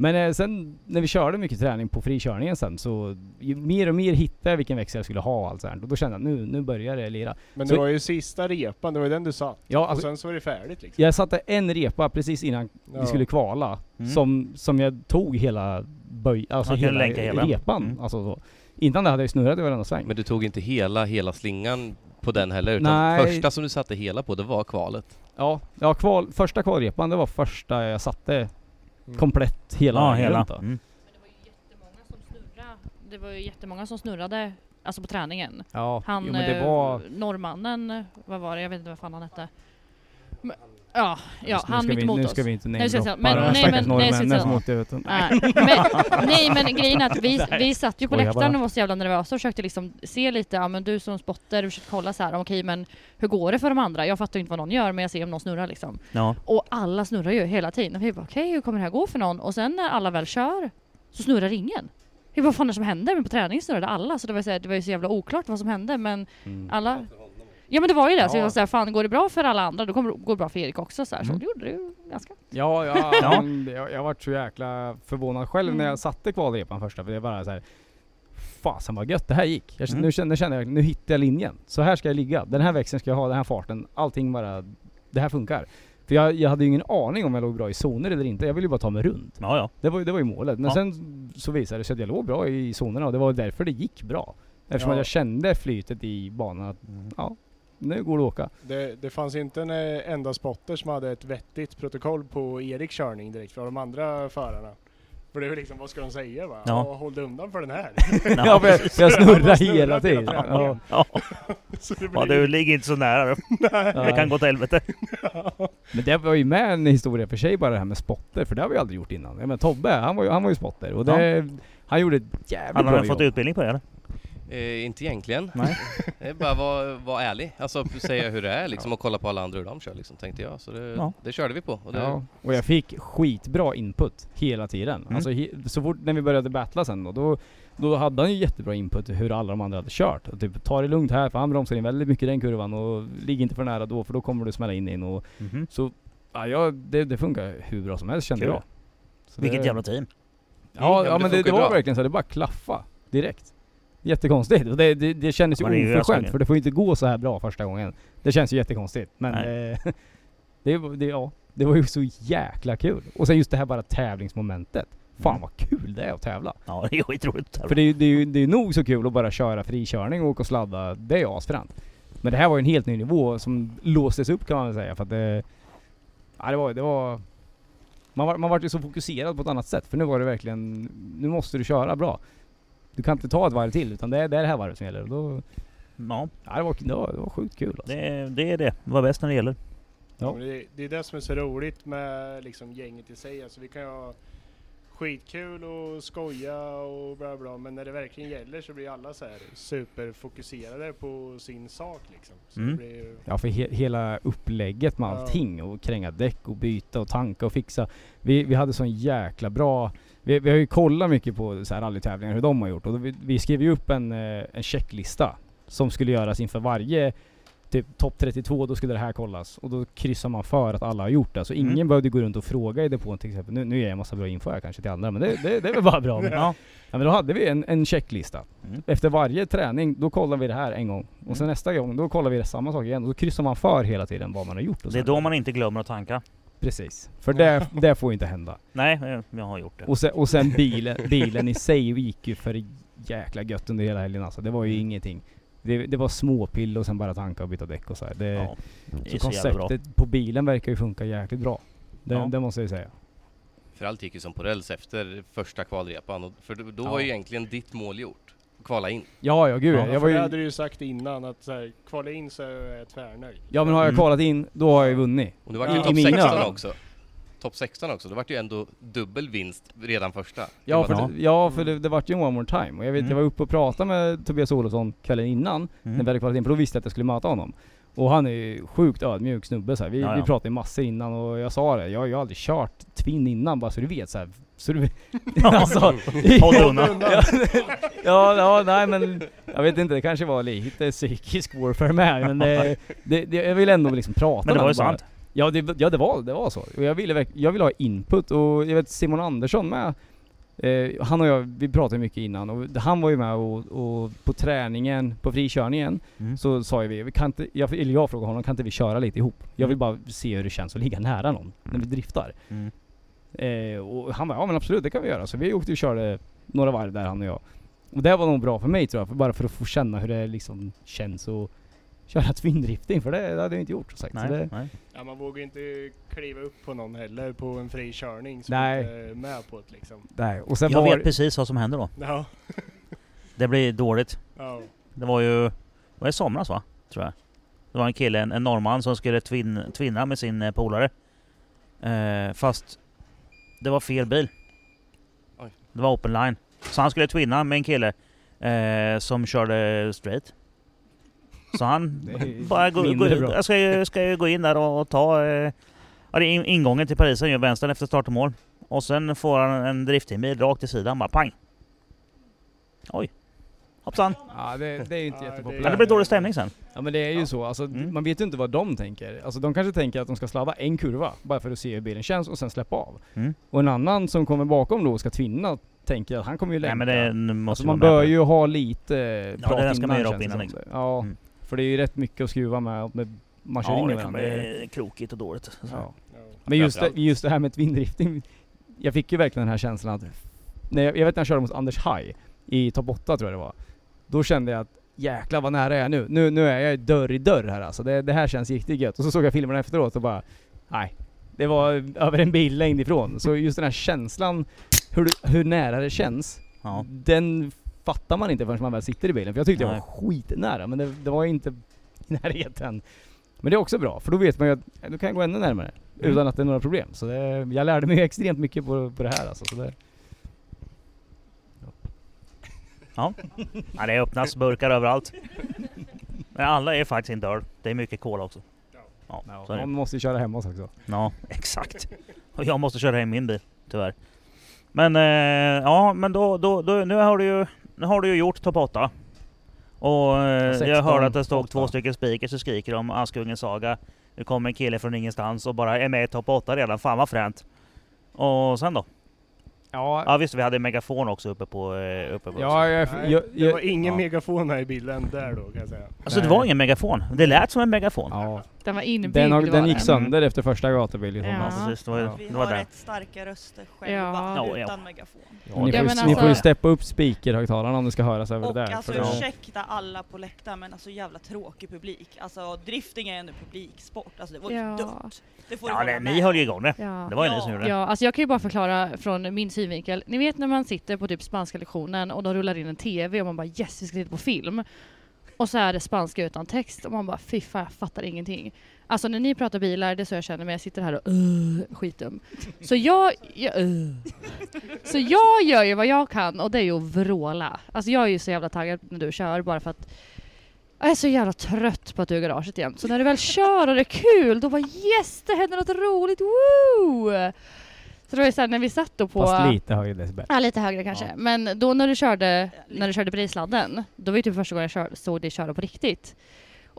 S2: Men eh, sen när vi körde mycket träning på frikörningen sen så ju mer och mer hittade jag vilken växel jag skulle ha och allt sånt. Och då kände jag nu, nu börjar det lira.
S4: Men det
S2: Så-
S4: var ju sista repan, det var ju den du satt.
S2: Ja,
S4: Och
S2: alltså,
S4: sen så var det färdigt liksom.
S2: jag satte en repa precis innan vi skulle kvala
S1: Mm.
S2: som, som jag tog hela böj, alltså
S1: Man kan
S2: hela,
S1: länka hela.
S2: repan.
S1: Mm.
S2: Alltså så. Innan det hade jag ju snurrat i varenda sväng.
S7: Men du tog inte hela, hela slingan på den heller, utan
S2: Nej.
S7: första som du satte hela på, det var kvalet.
S2: Ja, ja kval, första kvalrepan det var första jag satte
S4: Mm.
S2: komplett hela
S1: Ja,
S2: vägen
S1: hela.
S2: runt då.
S1: Mm.
S8: Det var ju jättemånga som snurrade. Det var ju jättemånga som snurrade alltså på träningen.
S2: Ja,
S8: Han,
S2: jo, men det
S8: eh,
S2: var...
S8: norrmannen, vad var det? Jag vet inte vad fan han hette. Men, Ja, ja
S2: Nu
S8: han
S2: ska
S8: mitt
S2: vi-
S8: emot
S2: Nu
S8: oss.
S2: ska vi inte
S8: Nej, så är det så.
S2: namedroppa
S8: Men-
S2: alla
S8: nej,
S2: stackars
S8: men- nej, så är det
S2: norrmännen
S8: så.
S2: som åkte ut.
S8: Nej. Men, nej men grejen är att vi, vi satt ju på
S1: Skojar
S8: läktaren
S1: bara.
S8: och var så jävla nervösa och försökte liksom se lite, ja men du som spotter, du försökte kolla så här, okej men hur går det för de andra? Jag fattar ju inte vad någon gör men jag ser om någon snurrar liksom.
S1: Ja.
S8: Och alla snurrar ju hela tiden. Och vi bara okej hur kommer det här gå för någon? Och sen när alla väl kör så snurrar ingen. Vi bara vad fan är det som händer? Men på träningen snurrade alla så det var ju så, här, det var ju så jävla oklart vad som hände men
S2: Mm.
S8: alla Ja men det var ju det, så
S2: Ja.
S8: jag var såhär, fan går det bra för alla andra då kommer det gå bra för Erik också så, här, så det gjorde det ju ganska.
S2: Ja, ja,
S1: Ja.
S2: men Jag, jag vart så jäkla förvånad själv
S8: Mm.
S2: när jag satte kvalrepan första för det var bara så här. Fasen vad gött det här gick. Jag, kände-
S1: Mm.
S2: nu, kände, nu kände jag, nu hittade jag linjen. Så här ska jag ligga. Den här växeln ska jag ha, den här farten. Allting bara, det här funkar. För jag, jag hade ju ingen aning om jag låg bra i zoner eller inte. Jag ville ju bara ta mig runt.
S1: Ja, ja.
S2: Det var, ju- det var ju målet. Men
S1: Ja.
S2: sen så visade det sig att jag låg bra i zonerna och det var därför det gick bra. Eftersom
S4: Ja.
S2: att jag kände flytet i banan att
S1: Mm.
S2: ja, nu går det att åka.
S4: Det, det fanns inte en eh, enda spotter som hade ett vettigt protokoll på Eriks körning direkt från de andra förarna. För det är ju liksom, vad ska de säga va?
S1: Ja.
S4: Ja. håll dig undan för den här.
S1: Ja,
S2: Ja, för jag, jag
S4: snurrar
S2: snurrar hela
S4: hela
S2: tiden.
S4: träningen.
S2: Ja.
S1: Ja,
S4: Så det
S1: ja,
S4: blir-
S1: du ligger inte så nära. Det kan gå åt helvete.
S2: Men det var ju med en historia för sig bara det här med spotter, för det har vi aldrig gjort innan. Jag menar Tobbe, han var ju, han var ju spotter och det, han gjorde ett jävligt
S1: Han
S2: bra
S1: har
S2: jobb.
S1: fått utbildning på det eller?
S7: Eh, inte egentligen.
S1: Nej.
S7: Det är bara vara var ärlig. Alltså säga hur det är liksom och kolla på alla andra hur de kör liksom, tänkte jag. Så det,
S1: Ja.
S7: det körde vi på. Och det,
S2: Ja, och jag fick skitbra input hela tiden.
S1: Mm.
S2: Alltså, he- så fort när vi började battla sen då, då, då hade han ju jättebra input hur alla de andra hade kört. Och typ ta det lugnt här för han bromsar in väldigt mycket i den kurvan och ligg inte för nära då för då kommer du smälla in in och
S1: Mhm.
S2: så ja, jag, det, det funkar hur bra som helst kände
S1: Kul.
S2: jag. Så
S1: Vilket
S2: det,
S1: jävla team.
S2: Ja,
S7: det
S2: ja men det, det
S7: funkar
S2: var
S7: bra.
S2: verkligen så, det bara klaffa direkt. Jättekonstigt. Och det, det, det kändes ju
S1: Man är ju
S2: oförskämt
S1: överraskad.
S2: för det får ju inte gå så här bra första gången. Det känns ju jättekonstigt men eh, det, var- det, ja, det var ju så jäkla kul. Och sen just det här bara tävlingsmomentet. Fan
S1: Mm.
S2: vad kul det är att tävla.
S1: Ja, det är skitroligt.
S2: För det är ju det är, ju- det är nog så kul att bara köra frikörning och åka och sladda. Det är ju asfränt. Men det här var ju en helt ny nivå som låstes upp kan man väl säga för att det... Ja det var, det var man, var, man var ju så fokuserad på ett annat sätt för nu var det verkligen... Nu måste du köra bra. Du kan inte ta ett varv till utan det är det, är det här varvet som gäller. Och Då,
S1: Ja,
S2: ja, det, var, det, var, det var sjukt kul alltså.
S1: det, det är det. Det var bäst när det gäller.
S2: Ja.
S4: Men Det, det är det som är så roligt med liksom gänget i sig. Alltså, vi kan ju ha skitkul och skoja och bla bla men när det verkligen gäller så blir alla så här superfokuserade på sin sak liksom. Så
S1: Mm.
S4: det blir ju...
S2: Ja, för he- hela upplägget med
S4: Ja.
S2: allting och kränga däck och byta och tanka och fixa. Vi, vi hade sån jäkla bra... Vi, vi har ju kollat mycket på så här rallytävlingar hur de har gjort och då vi, vi skrev ju upp en, eh, en checklista som skulle göras inför varje typ topp 32, då skulle det här kollas. Och då kryssar man för att alla har gjort det. Så ingen
S1: Mm.
S2: behövde gå runt och fråga i depån till exempel. Nu, nu ger jag en massa bra info här kanske till andra men det, det, det är väl bara bra. Men,
S1: Ja.
S2: Ja men då hade vi en, en checklista.
S1: Mm.
S2: Efter varje träning, då kollar vi det här en gång. Och sen nästa gång, då kollar vi det samma sak igen. Och då kryssar man för hela tiden vad man har gjort. Och
S1: Det är
S2: sen-
S1: då man inte glömmer att tanka.
S2: Precis. För det, det får ju inte hända.
S1: Nej, eh, jag har gjort det.
S2: Och sen, och sen bilen, bilen i sig gick ju för jäkla gött under hela helgen alltså. Det var ju
S1: Mm.
S2: ingenting. Det, det var småpill och sen bara tanka och byta däck och så här. Det,
S1: Ja, det
S2: så,
S1: är så jävla bra.
S2: konceptet på bilen verkar ju funka jäkligt bra. Det,
S1: Ja.
S2: det måste jag ju säga.
S7: För allt gick ju som på räls efter första kvalrepan. Och, för då, då
S2: Ja.
S7: var ju egentligen ditt mål gjort. Kvala in.
S2: Ja, ja gud
S4: Ja,
S2: ja, jag
S4: för
S2: var
S4: det
S2: ju,
S4: hade du ju sagt innan att så här, kvala in så är jag tvärnöjd.
S2: Ja men har jag
S1: Mm.
S2: kvalat in, då har jag ju vunnit.
S7: Och du var
S4: I-
S7: ju
S4: i
S7: topp
S2: mina
S7: 16
S2: ögon.
S7: också. Topp 16 också. Det vart ju ändå dubbel vinst redan första.
S2: Ja
S7: Det
S2: för,
S7: var-
S2: det, ja, för det, det vart ju en one more time. Och jag vet,
S1: Mm.
S2: jag var uppe och pratade med Tobias Olofsson kvällen innan, när
S1: Mm.
S2: vi hade kvalat in, för då visste jag att jag skulle möta honom. Och han är ju sjukt ödmjuk snubbe så här. Vi,
S1: Ja,
S2: vi
S1: ja.
S2: pratade ju massor innan och jag sa det, jag, jag har aldrig kört Twin innan bara så du vet så här. Så du alltså,
S1: Håll undan.
S2: ja, ja, ja, nej men jag vet inte, det kanske var lite psykisk warfare med men det, det, det, jag vill ändå liksom prata
S1: Men det
S2: med
S1: var ju
S2: honom bara.
S1: sant.
S2: Ja det, ja, det, var, det var så. Och jag ville, verk- jag ville ha input och jag vet Simon Andersson med. Eh, han och jag, vi pratade mycket innan och han var ju med och, och på träningen, på frikörningen,
S1: Mm.
S2: så sa ju vi, vi kan inte, jag, eller jag frågade honom, kan inte vi köra lite ihop? Jag vill bara se hur det känns att ligga nära någon när vi driftar.
S1: Mm.
S2: Eh, och han bara, ja men absolut det kan vi göra. Så vi åkte och körde några varv där han och jag. Och det var nog bra för mig tror jag, för bara för att få känna hur det liksom känns att köra twindrifting, för det, det hade jag inte gjort som sagt. Så det,
S1: Nej, nej.
S4: Ja, man vågar ju inte kliva upp på någon heller på en fri körning som
S2: Nej.
S4: inte är med på det liksom.
S2: Nej, och sen
S1: Jag
S2: var...
S1: vet precis vad som händer då.
S4: Ja,
S1: Det blir dåligt.
S4: ja.
S1: Det var ju... Det var i somras va? Tror jag. Det var en kille, en, en norrman, som skulle twin, twinna med sin eh, polare. Eh, fast det var fel bil.
S7: Oj.
S1: Det var open line. Så han skulle twinna med en kille eh, som körde straight. Så han
S2: Det är
S1: bara gå, gå,
S2: mindre bra.
S1: jag ska, ju, ska ju gå in där och, och ta eh, ja, det är in- ingången till Paris, han gör vänstern efter start och mål. Och sen får han en drifttimil rakt i sidan, bara pang! Oj! Hoppsan!
S2: Ja, det, det är ju inte
S4: Ja, det är-
S1: Ja,
S2: jättepopulärt.
S1: det blir dålig stämning sen.
S2: Ja men det är ju så, alltså,
S1: Mm.
S2: man vet ju inte vad de tänker. Alltså, de kanske tänker att de ska sladda en kurva, bara för att se hur bilen känns och sen släppa av.
S1: Mm.
S2: Och en annan som kommer bakom då och ska tvinna, tänker att han kommer ju
S1: Nej
S2: längta.
S1: men det nu måste
S2: alltså,
S1: vi
S2: man
S1: vara med
S2: bör
S1: på.
S2: ju ha lite
S1: Ja, det där ska man göra upp
S2: känns det
S1: innan,
S2: som. Ja,
S1: Mm.
S2: för det är ju rätt mycket att skruva med, och med man kör
S1: ja,
S2: in i
S1: det kan
S2: varandra.
S1: bli krokigt och dåligt.
S2: Ja.
S4: Ja.
S2: Men just det,
S7: Framförallt.
S2: just det här med twindrifting. Jag fick ju verkligen den här känslan att... När jag, jag vet när jag körde mot Anders Haj i topp 8 tror jag det var. Då kände jag att jäklar vad nära jag är nu. Nu, nu är jag dörr i dörr här alltså. Det, det här känns riktigt gött. Och så såg jag filmerna efteråt och bara... Nej. Det var över en billängd ifrån. Så just den här känslan, hur, du- hur nära det känns.
S1: Ja.
S2: Den fattar man inte förrän man väl sitter i bilen. För jag tyckte
S1: Nej.
S2: jag var skitnära men det, det var inte i närheten. Men det är också bra, för då vet man ju att eh, då kan jag gå ännu närmare.
S1: Mm.
S2: Utan att det är några problem. Så det, jag lärde mig ju extremt mycket på, på det här alltså. Så det,
S1: Ja, det öppnas burkar överallt. Men alla är faktiskt inte öl. Det är mycket cola också. Ja, så är det.
S2: man måste ju köra hemma oss också.
S1: Ja, exakt. Och jag måste köra hem min bil, tyvärr. Men eh, ja, men då, då, då, nu, har du ju, nu har du ju gjort topp 8. Och eh, jag
S2: 16,
S1: hörde att det stod
S2: åtta.
S1: två stycken speakers och skriker om Askungens saga. Nu kommer en kille från ingenstans och bara är med i topp 8 redan. Fan vad fränt. Och sen då?
S2: Ja,
S1: Ja visst, vi hade en megafon också uppe på... eh, Uppe på
S2: ja jag,
S4: Nej,
S2: jag,
S4: det var
S2: jag,
S4: ingen
S1: ja.
S4: megafon här i bilden där då kan jag säga.
S1: alltså det var ingen megafon. Det lät som en megafon.
S2: eh. ja.
S8: Den var inbyggd.
S2: Den, har,
S8: var
S2: den gick
S1: den.
S2: sönder efter första gatubilen.
S8: Ja.
S1: Ja, precis. Det var,
S2: Ja.
S5: Vi
S1: det var
S5: har
S1: där.
S5: rätt starka röster själva
S8: Ja.
S1: Ja, ja.
S5: utan megafon.
S2: Ni,
S8: Ja,
S2: får, ju-
S8: men
S2: ni får ju
S8: alltså-
S2: steppa upp speakerhögtalarna om det ska höras över
S5: Och
S2: det där.
S5: alltså
S2: för det-
S5: ursäkta alla på läktaren men alltså jävla tråkig publik. Alltså drifting är ändå publiksport. Alltså det var ju
S8: Ja.
S5: dumt. Det får du
S1: Ja,
S5: hålla
S1: nej,
S5: med
S1: ni höll ju
S5: om.
S1: igång det.
S8: Ja.
S1: Det var ju ni
S5: Ja.
S1: som gjorde det.
S8: Ja, alltså jag kan ju bara förklara från min synvinkel. Ni vet när man sitter på typ spanska lektionen och de rullar in en TV och man bara yes, vi ska titta på film. Och så är det spanska utan text och man bara fy fan, jag fattar ingenting. Alltså när ni pratar bilar, det är så jag känner mig. Jag sitter här och uh, skitdum. Så jag, jag "Ugh." Så jag gör ju vad jag kan och det är ju att vråla. Alltså jag är ju så jävla taggad när du kör bara för att jag är så jävla trött på att du är i garaget jämt. Så när du väl kör och det är kul, då bara yes, det händer något roligt, woo! Så det var ju såhär när vi satt då på...
S2: Fast lite högre decibel.
S8: Ja, lite högre kanske.
S2: Ja.
S8: Men då när du körde, när du körde brisladden, då var ju typ första gången jag kör, såg dig köra på riktigt.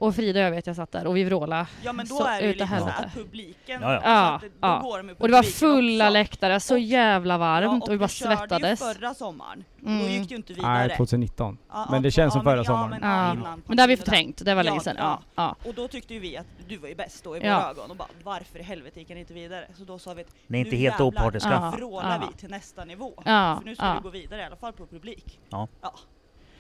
S8: Och Frida och jag vet, jag satt där och vi vrålade.
S5: Ja men då
S8: Så
S5: är det ju
S8: utav
S5: liksom så
S8: helvete.
S5: att publiken...
S1: Ja, ja.
S5: så att det- då
S8: Ja,
S5: går de ju på
S8: Och det var
S5: publiken
S8: fulla
S5: också.
S8: läktare, så
S5: Och-
S8: jävla varmt
S5: Ja,
S8: och vi bara
S5: Och vi
S8: svettades.
S5: körde ju förra sommaren. Och då
S8: Mm.
S5: gick det ju inte vidare.
S2: Nej, 2019.
S5: Ja,
S2: men
S5: ja,
S2: det känns som förra
S5: men-
S2: sommaren.
S5: Ja, men, ja,
S8: Ja.
S5: innan
S8: Men det har
S5: pandemin.
S8: vi förträngt, det var
S5: Ja,
S8: länge sedan.
S5: ja.
S8: Ja, ja.
S5: Och då tyckte ju vi att du var ju bäst då i
S8: Ja.
S5: våra ögon och bara varför i helvete gick ni inte vidare? Så då sa vi att
S1: Ni är inte
S5: nu
S1: helt
S5: jävlar
S1: opartiska.
S8: Ja.
S5: vrålar
S8: Ja.
S5: vi till nästa nivå.
S8: Ja,
S5: För nu ska
S8: ja.
S5: du gå vidare i alla fall på publik.
S1: Ja.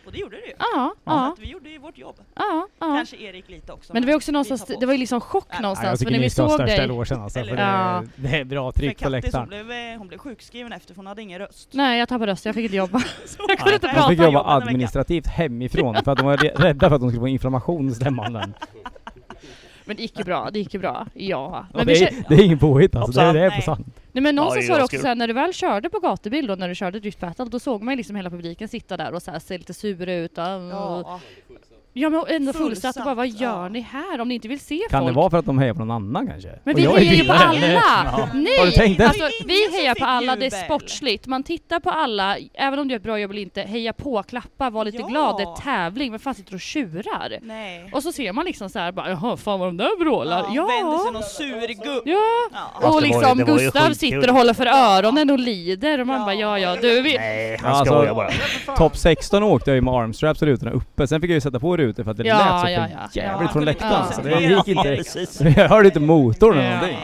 S5: Och det gjorde du ju.
S8: Ja,
S5: Så
S8: ja,
S5: att vi gjorde ju vårt jobb.
S8: ja, ja.
S5: Kanske Erik lite också.
S8: Men det var ju också
S5: vi
S8: någonstans,
S5: tar på
S8: det var ju
S5: oss.
S8: liksom chock
S5: Ja,
S2: Ja, jag
S8: någonstans.
S2: tycker
S8: För när
S2: ni
S8: vi
S2: ska ha
S8: såg
S2: största
S8: dig.
S2: elogen alltså. För
S5: Eller-
S8: Ja.
S2: det, det är bra
S5: För
S2: tryck på
S5: Kattis hon
S2: läktaren.
S5: blev, eh, hon blev sjukskriven efter för hon hade ingen röst.
S8: Nej, jag tappade rösten, jag fick inte jobba.
S5: Så hon
S8: Jag kunde inte
S5: var-
S8: prata.
S2: De fick jobba
S5: en vecka.
S2: administrativt hemifrån för att de var re- rädda för att de skulle få inflammation i stämman. där.
S8: Men det gick ju bra, det gick ju bra. Ja.
S2: Ja,
S8: Men
S2: det,
S8: vi
S2: är, det är ingen påhitt alltså, det,
S1: Hoppsan,
S2: det är på
S5: nej.
S2: sant.
S8: Nej men någonstans
S1: Ja, det är
S8: var det också
S1: askul.
S8: såhär när du väl körde på gatubil då när du körde Drift Battle då såg man ju liksom hela publiken sitta där och såhär se lite sura ut mm, och, ja.
S5: Ja,
S8: ja men och ändå
S5: Fullsatt,
S8: fullsatt och bara vad gör
S5: ja.
S8: ni här om ni inte vill se
S2: Kan
S8: folk?
S2: det vara för att de hejar på någon annan kanske?
S8: Men
S2: Och
S8: vi
S2: jag är
S8: hejar ju på
S2: bilare.
S8: alla!
S1: Ja.
S2: Har du
S8: Nej!
S2: tänkt det?
S8: Alltså,
S5: Det är ingen
S8: vi
S5: som
S8: hejar på
S5: fick
S8: alla, det är
S5: jubel.
S8: sportsligt. Man tittar på alla, även om du gör ett bra jobb eller inte, heja på, klappa, var lite
S5: Ja.
S8: glad, det är tävling, men fan sitter du och tjurar?
S5: nej.
S8: Och så ser man liksom såhär bara jaha fan vad de där vrålar,
S5: Ja, Vände sig
S8: ja!
S5: någon sur gubb.
S8: Ja!
S5: Ja.
S1: Fast
S8: Och
S1: det var ju-
S8: liksom
S1: det var ju
S8: Gustav
S1: skitkul.
S8: sitter och håller för öronen och lider och man bara ja ja du vi...
S1: Nej, han
S2: Alltså-
S1: skojar bara.
S2: Topp 16 åkte jag ju med armstraps och rutorna uppe, sen fick jag ju sätta på rutor för att det
S8: Ja,
S2: lät så
S8: ja, ja.
S2: för jävligt
S5: Ja,
S2: från
S5: han kunde
S2: läktaren.
S8: inte
S2: Så det gick
S1: Ja,
S2: inte.
S1: precis.
S2: Jag hörde inte motorn eller
S8: Ja.
S2: någonting.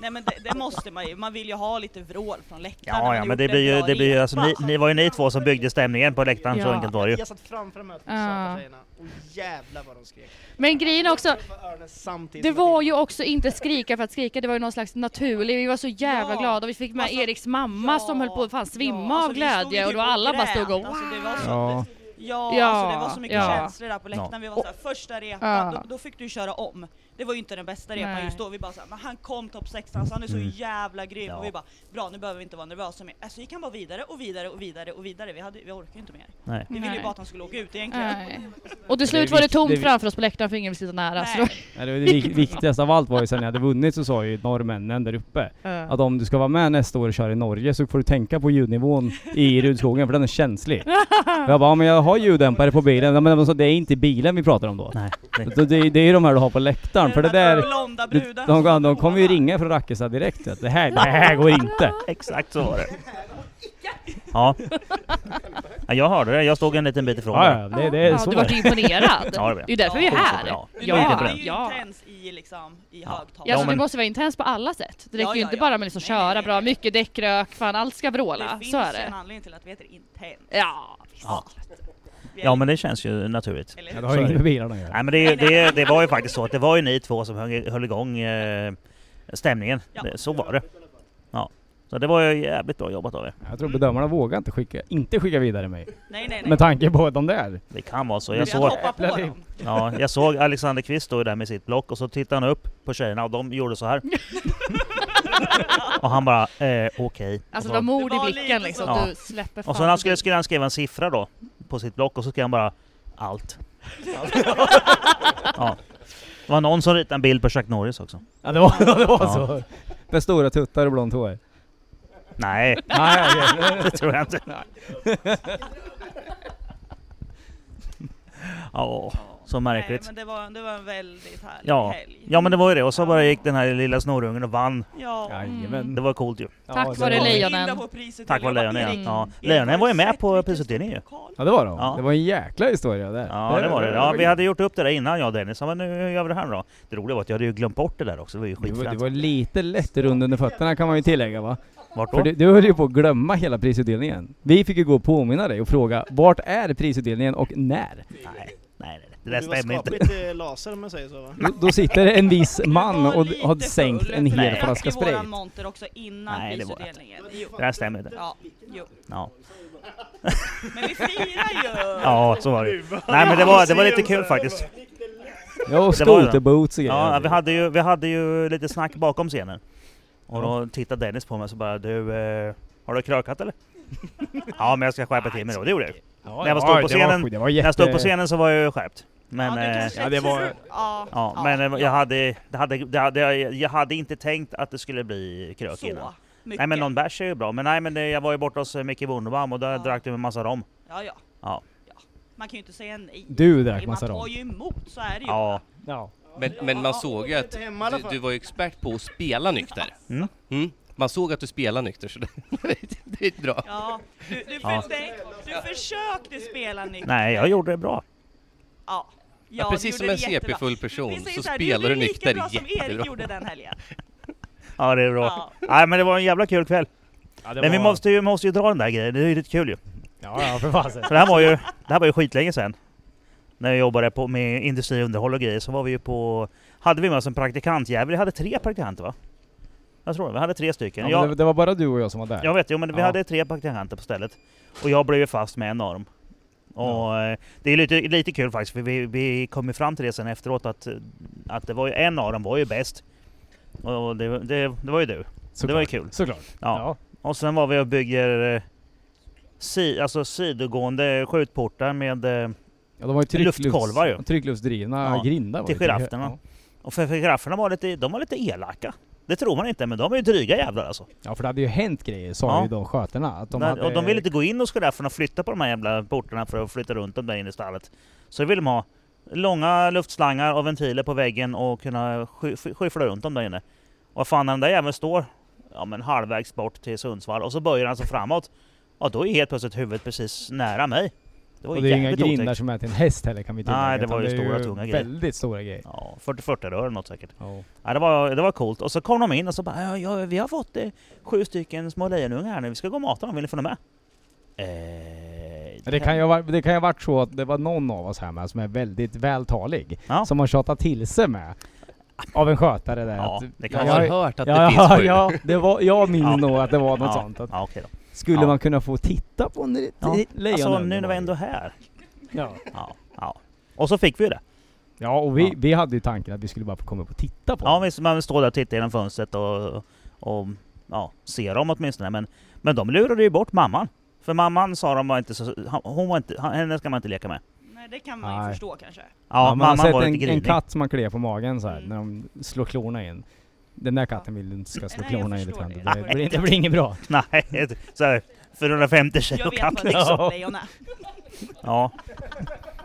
S5: Nej men det, det måste man ju, man vill ju ha lite vrål från läktaren. när
S1: Ja,
S5: man
S1: ja,
S5: har
S1: men det
S5: gjort
S1: blir
S5: ett
S1: ju,
S5: bra
S1: det blir ju,
S5: rep.
S1: alltså, ni, ni var ju ni två som byggde stämningen på läktaren, så
S8: Ja.
S1: enkelt var det ju.
S6: Jag satt framför de här söta
S8: Ja.
S6: tjejerna och jävlar vad de skrek.
S8: Men grejen är också,
S6: Jag var öronen samtidigt
S8: det
S6: som jag
S8: var
S6: tittade.
S8: ju också inte skrika för att skrika, det var ju någon slags naturlig, vi var så jävla
S5: Ja.
S8: glada och vi fick med
S5: Alltså,
S8: Eriks mamma som höll på att fan
S5: ja,
S8: svimma
S5: alltså,
S8: av
S5: vi stod ju
S8: glädje och
S5: typ
S8: då alla bara
S5: grät.
S8: stod och
S5: Alltså, det var så,
S2: Ja.
S5: Ja,
S8: Ja,
S5: alltså det var så mycket
S8: ja.
S5: känslor där på läktaren. Vi var såhär, första repan,
S8: Ja.
S5: då, då fick du köra om. Det var ju inte den bästa repan
S8: Nej.
S5: just då. Vi bara såhär, men han kom topp 16 så han är så
S1: Mm.
S5: jävla grym.
S1: Ja.
S5: Och vi bara, bra nu behöver vi inte vara nervösa mer. Alltså gick han bara vidare och vidare och vidare och vidare. Vi, hade, vi orkade ju inte mer.
S1: Nej.
S5: Vi ville ju
S8: Nej.
S5: bara att han skulle åka ut egentligen.
S8: Nej. Och till
S2: Det är
S8: slut var det
S2: vikt- det är
S8: tomt
S2: vi-
S8: framför oss på läktaren för ingen alltså. vill sitta nära. Så då,
S5: Nej.
S2: Nej, det, var det vik- viktigaste av allt var ju sen när jag hade vunnit så sa ju norrmännen där uppe
S8: Ja.
S2: att om du ska vara med nästa år och köra i Norge så får du tänka på ljudnivån i Rudskogen för den är känslig. Och jag bara, ja, men jag har ljuddämpare på bilen. Ja, men de sa, det är inte bilen vi pratar om då.
S1: Nej. Det,
S2: Det, det, det är ju de här du har på läktaren för det där,
S5: Blonda
S2: de,
S5: brudar.
S2: de, de kommer ju ringa från Rakkestad direkt. Att det, här, det här går inte.
S1: exakt så var det. Ja. ja. Jag hörde det, jag stod en liten bit ifrån.
S2: Ja,
S1: där.
S2: ja, det, det är så.
S8: du
S2: är
S8: vart
S2: det.
S8: imponerad.
S1: Ja, det var jag.
S8: är ju därför vi är
S5: Ja,
S8: här.
S1: bra.
S5: Du
S1: Jag är inte
S5: ja,
S1: på
S5: det är
S1: den.
S5: ju
S8: Ja.
S5: intens i, liksom, i
S1: Ja.
S8: Ja,
S5: högtalare.
S8: alltså,
S1: men-
S8: det måste vara intens på alla sätt. Det
S5: Ja,
S8: räcker ju
S5: ja,
S8: inte
S5: ja.
S8: bara med liksom
S5: Nej,
S8: köra
S5: nej,
S8: bra,
S5: nej.
S8: mycket däckrök, fan allt ska
S5: det
S8: vråla.
S5: finns
S8: Så är
S5: en
S8: det.
S5: anledning till att vi heter intens.
S8: Ja, visst.
S1: Ja.
S5: Vi är
S1: Ja men det känns ju naturligt.
S5: Eller
S2: Ja,
S5: hur?
S2: det har ju inget med bilarna att göra.
S1: Nej men det, det, det var ju faktiskt så att det var ju ni två som höll, höll igång eh, stämningen.
S5: Ja.
S1: Det, så var det. Ja. Så det var ju jävligt bra jobbat av er.
S2: Jag tror bedömarna vågar inte skicka, inte skicka vidare mig.
S5: Nej, nej, nej.
S2: Med tanke på de där.
S1: Det kan vara så.
S5: Vi
S1: Jag
S5: hade
S1: såg,
S5: hoppat på
S2: Äpplen i-
S5: dem.
S1: ja, jag såg Alexander Kvist stå där med sitt block och så tittade han upp på tjejerna och de gjorde så här. och han bara eh, okej. Och så-
S8: Alltså det var mod
S5: Det
S8: i
S5: var lite
S8: blicken liksom.
S5: så.
S1: Ja.
S8: Du släpper fan
S1: Och så när han skulle,
S8: inte.
S1: skulle han skriva en siffra då på sitt block och så skrev han bara allt. ja. Det var någon som ritade en bild på Chuck Norris också.
S2: Ja det var, det var
S1: Ja.
S2: så. Med stora tuttar och blont hår.
S1: Nej,
S2: Nej, okej.
S1: det tror jag inte. Ja, så
S5: Nej,
S1: märkligt.
S5: men det var, det var en väldigt härlig
S1: Ja.
S5: helg.
S1: Ja men det var ju det, och så bara gick den här lilla snorungen och vann.
S5: Ja.
S2: Jajamän.
S1: Det var coolt ju.
S8: Tack
S2: Ja, det
S8: vare
S2: var-
S8: lejon. lejonen. Mm.
S5: Himla på priset
S1: Tack
S5: till
S1: vare
S5: Lejon.
S1: lejonen.
S5: Erik.
S1: Ja.
S5: Erik
S1: Lejonen var ju med
S5: Sett
S1: på
S5: vilken
S1: prisutdelningen ju.
S5: stor lokal.
S2: Ja det var de.
S1: Ja.
S2: Det var en jäkla historia där.
S1: Ja det var det. Ja, vi hade gjort upp det där innan jag och Dennis, Ja, men nu gör vi det här då. Det roliga var att jag hade ju glömt bort det där också, det var ju
S2: Du var, du
S1: skitfränt.
S2: var lite lätt rund under fötterna kan man ju tillägga va?
S1: Vart då?
S2: För du, du höll ju på att glömma hela prisutdelningen. Vi fick ju gå och påminna dig och fråga vart är prisutdelningen och när?
S1: Nej, nej, nej, det
S6: Det
S1: där
S6: var
S1: stämmer inte.
S6: skapligt eh, laser om man säger så va?
S2: Då, då sitter en viss man
S5: Du var
S2: och
S5: lite
S2: har sänkt
S5: full.
S2: en hel
S1: Nej.
S2: flaska
S5: Jag drack i våran
S2: sprit.
S5: monter också innan
S1: Nej, det var jag
S5: prisutdelningen. Jo.
S1: Det där stämmer inte.
S5: Ja, jo.
S1: Ja.
S5: Men vi firar ju!
S1: ja, så var det ju. Nej men det var, det var lite kul faktiskt.
S2: Ja och
S1: Det var det.
S2: skoterboots och
S1: Ja, vi hade ju, vi hade ju lite snack bakom scenen. Och då tittade Dennis på mig och så bara du, eh, har du krökat eller? ja men jag ska skärpa till mig då, det gjorde jag ju.
S2: Ja,
S1: när jag
S2: ja,
S1: stod på
S2: det var
S1: scenen-
S2: sjukt. det var
S1: När
S2: jätte...
S1: jag stod på scenen så var jag ju skärpt. Men,
S5: ja, du
S1: eh,
S5: kanske
S2: ja, det var-
S5: Ja,
S1: ja, men eh, jag, hade, det hade, det hade, jag hade inte tänkt att det skulle bli krök innan.
S5: så mycket.
S1: Nej men någon bärs är ju bra, men nej men det, jag var ju borta hos eh, Micke Wunderbaum och där
S5: Ja.
S1: drack du en massa rom.
S5: ja, ja.
S1: Ja.
S5: Ja. Man kan ju inte säga nej.
S2: Du drack
S5: Man
S2: massa
S5: tar
S2: rom.
S5: ju emot, så är det ju.
S1: Ja,
S2: Ja.
S7: Men, men man såg ju att
S6: Inte hemma i alla
S7: du,
S6: fall.
S7: du var ju expert på att spela nykter.
S1: Mm.
S7: Mm. Man såg att du spelade nykter, så det, det är bra.
S5: Ja, du, du,
S1: Ja.
S5: för, nej, du försökte spela nykter.
S1: nej jag gjorde det bra.
S5: Ja.
S7: Ja,
S5: Ja,
S7: precis
S5: du
S7: som
S5: gjorde
S7: en
S5: det jättebra.
S7: CP-full person
S5: Vi säger
S7: så
S5: här,
S7: spelar du
S5: gjorde
S7: nykter
S5: lika bra som
S7: jättebra.
S5: Erik gjorde den helgen.
S1: Ja det är bra.
S5: Ja.
S1: Nej men det var en jävla kul kväll.
S2: Ja, det
S1: Men vi
S2: var-
S1: måste ju, måste ju dra den där grejen, det är ju lite kul ju.
S2: Ja, ja för fasen.
S1: För det här var ju, det här var ju skitlänge sedan. När jag jobbade på, med industriunderhåll och grejer så var vi ju på... Hade vi med oss en praktikantjävel? Vi hade tre praktikanter va? Jag tror det, vi hade tre stycken.
S2: Ja, men det,
S1: jag,
S2: det var bara du och jag som var där.
S1: jag vet, jo men vi
S2: Ja.
S1: hade tre praktikanter på stället. Och jag blev ju fast med en av dem. Och eh, det är lite, lite kul faktiskt, för vi, vi kom ju fram till det sen efteråt att, att det var ju, en av dem var ju bäst. Och det, det, det var ju du.
S2: Såklart.
S1: det var ju kul.
S2: Såklart.
S1: Ja. Och sen var vi och bygger eh, si, alltså sidogående skjutportar med eh,
S2: Ja, de var ju trycklufts,
S1: Luftkolvar ju.
S2: tryckluftsdrivna
S1: Ja,
S2: grindar. var
S1: till
S2: det. Tryck-
S1: girafferna.
S2: Ja.
S1: Och för, för girafferna var lite, de var lite elaka. Det tror man inte, men de är ju dryga jävlar alltså.
S2: ja, för det hade ju hänt grejer sa
S1: Ja.
S2: ju de sköterna. Att de
S1: Där-
S2: hade...
S1: Och de ville inte gå in hos girafferna och flytta på de här jävla portarna för att flytta runt dem där inne i stallet. Så ville de ha långa luftslangar och ventiler på väggen och kunna sky- sky- skyffla runt dem där inne. Och fan när den där jäveln står ja, men halvvägs bort till Sundsvall och så böjer han sig framåt. Ja då är helt plötsligt huvudet precis nära mig. Det var
S2: Och det är ju inga
S1: jävligt
S2: grindar
S1: otäckt.
S2: som är till en häst heller kan vi tillägga.
S1: Nej, det
S2: utan
S1: var ju stora, tunga grejer.
S2: Väldigt stora grejer.
S1: Ja, 40-40 rör eller något säkert.
S2: Ja.
S1: Ja, det, var, det var coolt. Och så kom de in och så bara ja, ja, vi har fått eh, sju stycken små lejonungar här nu, vi ska gå och mata dem, vill ni få dem med? Eh,
S2: Men Det kan ju ha varit- det kan ju ha varit så att det var någon av oss här med som är väldigt vältalig.
S1: Ja.
S2: Som har tjatat till sig med. Av en skötare där.
S1: Ja,
S2: att,
S1: det
S7: Jag
S1: kan
S7: har
S1: vara...
S7: hört att
S2: ja,
S7: det finns sju.
S2: ja, det var, jag minns
S1: Ja.
S2: nog att det var något
S1: Ja.
S2: sånt. Att
S1: Ja, okej då. Alltså,
S2: skulle
S1: Ja.
S2: man kunna få titta på en
S1: Ja.
S2: lejonunge?
S1: Alltså nu när vi ändå är här.
S2: Ja.
S1: Ja, ja. Och så fick vi ju det.
S2: Ja, och vi,
S1: Ja.
S2: vi hade ju tanken att vi skulle bara få komma upp och titta på
S1: Ja,
S2: den.
S1: visst, man vill stå där och titta genom fönstret och, och ja, se dem åtminstone. Men, men de lurade ju bort mamman. För mamman sa de var inte så... Hon var inte, henne ska man inte leka med.
S5: Nej, det kan man ju
S2: Nej.
S5: förstå kanske.
S1: Ja,
S2: man har
S1: mamman
S2: sett
S1: var
S2: en,
S1: lite
S2: en
S1: grinig.
S2: katt som man kliar på magen så här,
S5: Mm.
S2: när de slår klorna in. Den där katten vill inte ska slå
S5: Nej, jag
S2: klorna in lite
S5: förstår
S2: grann.
S5: det.
S2: Det, blir- det blir inget bra.
S1: Nej, det- så här, 450 kilo
S5: Jag vet vad
S1: katt. liksom.
S5: riksdagslejon är.
S1: Ja.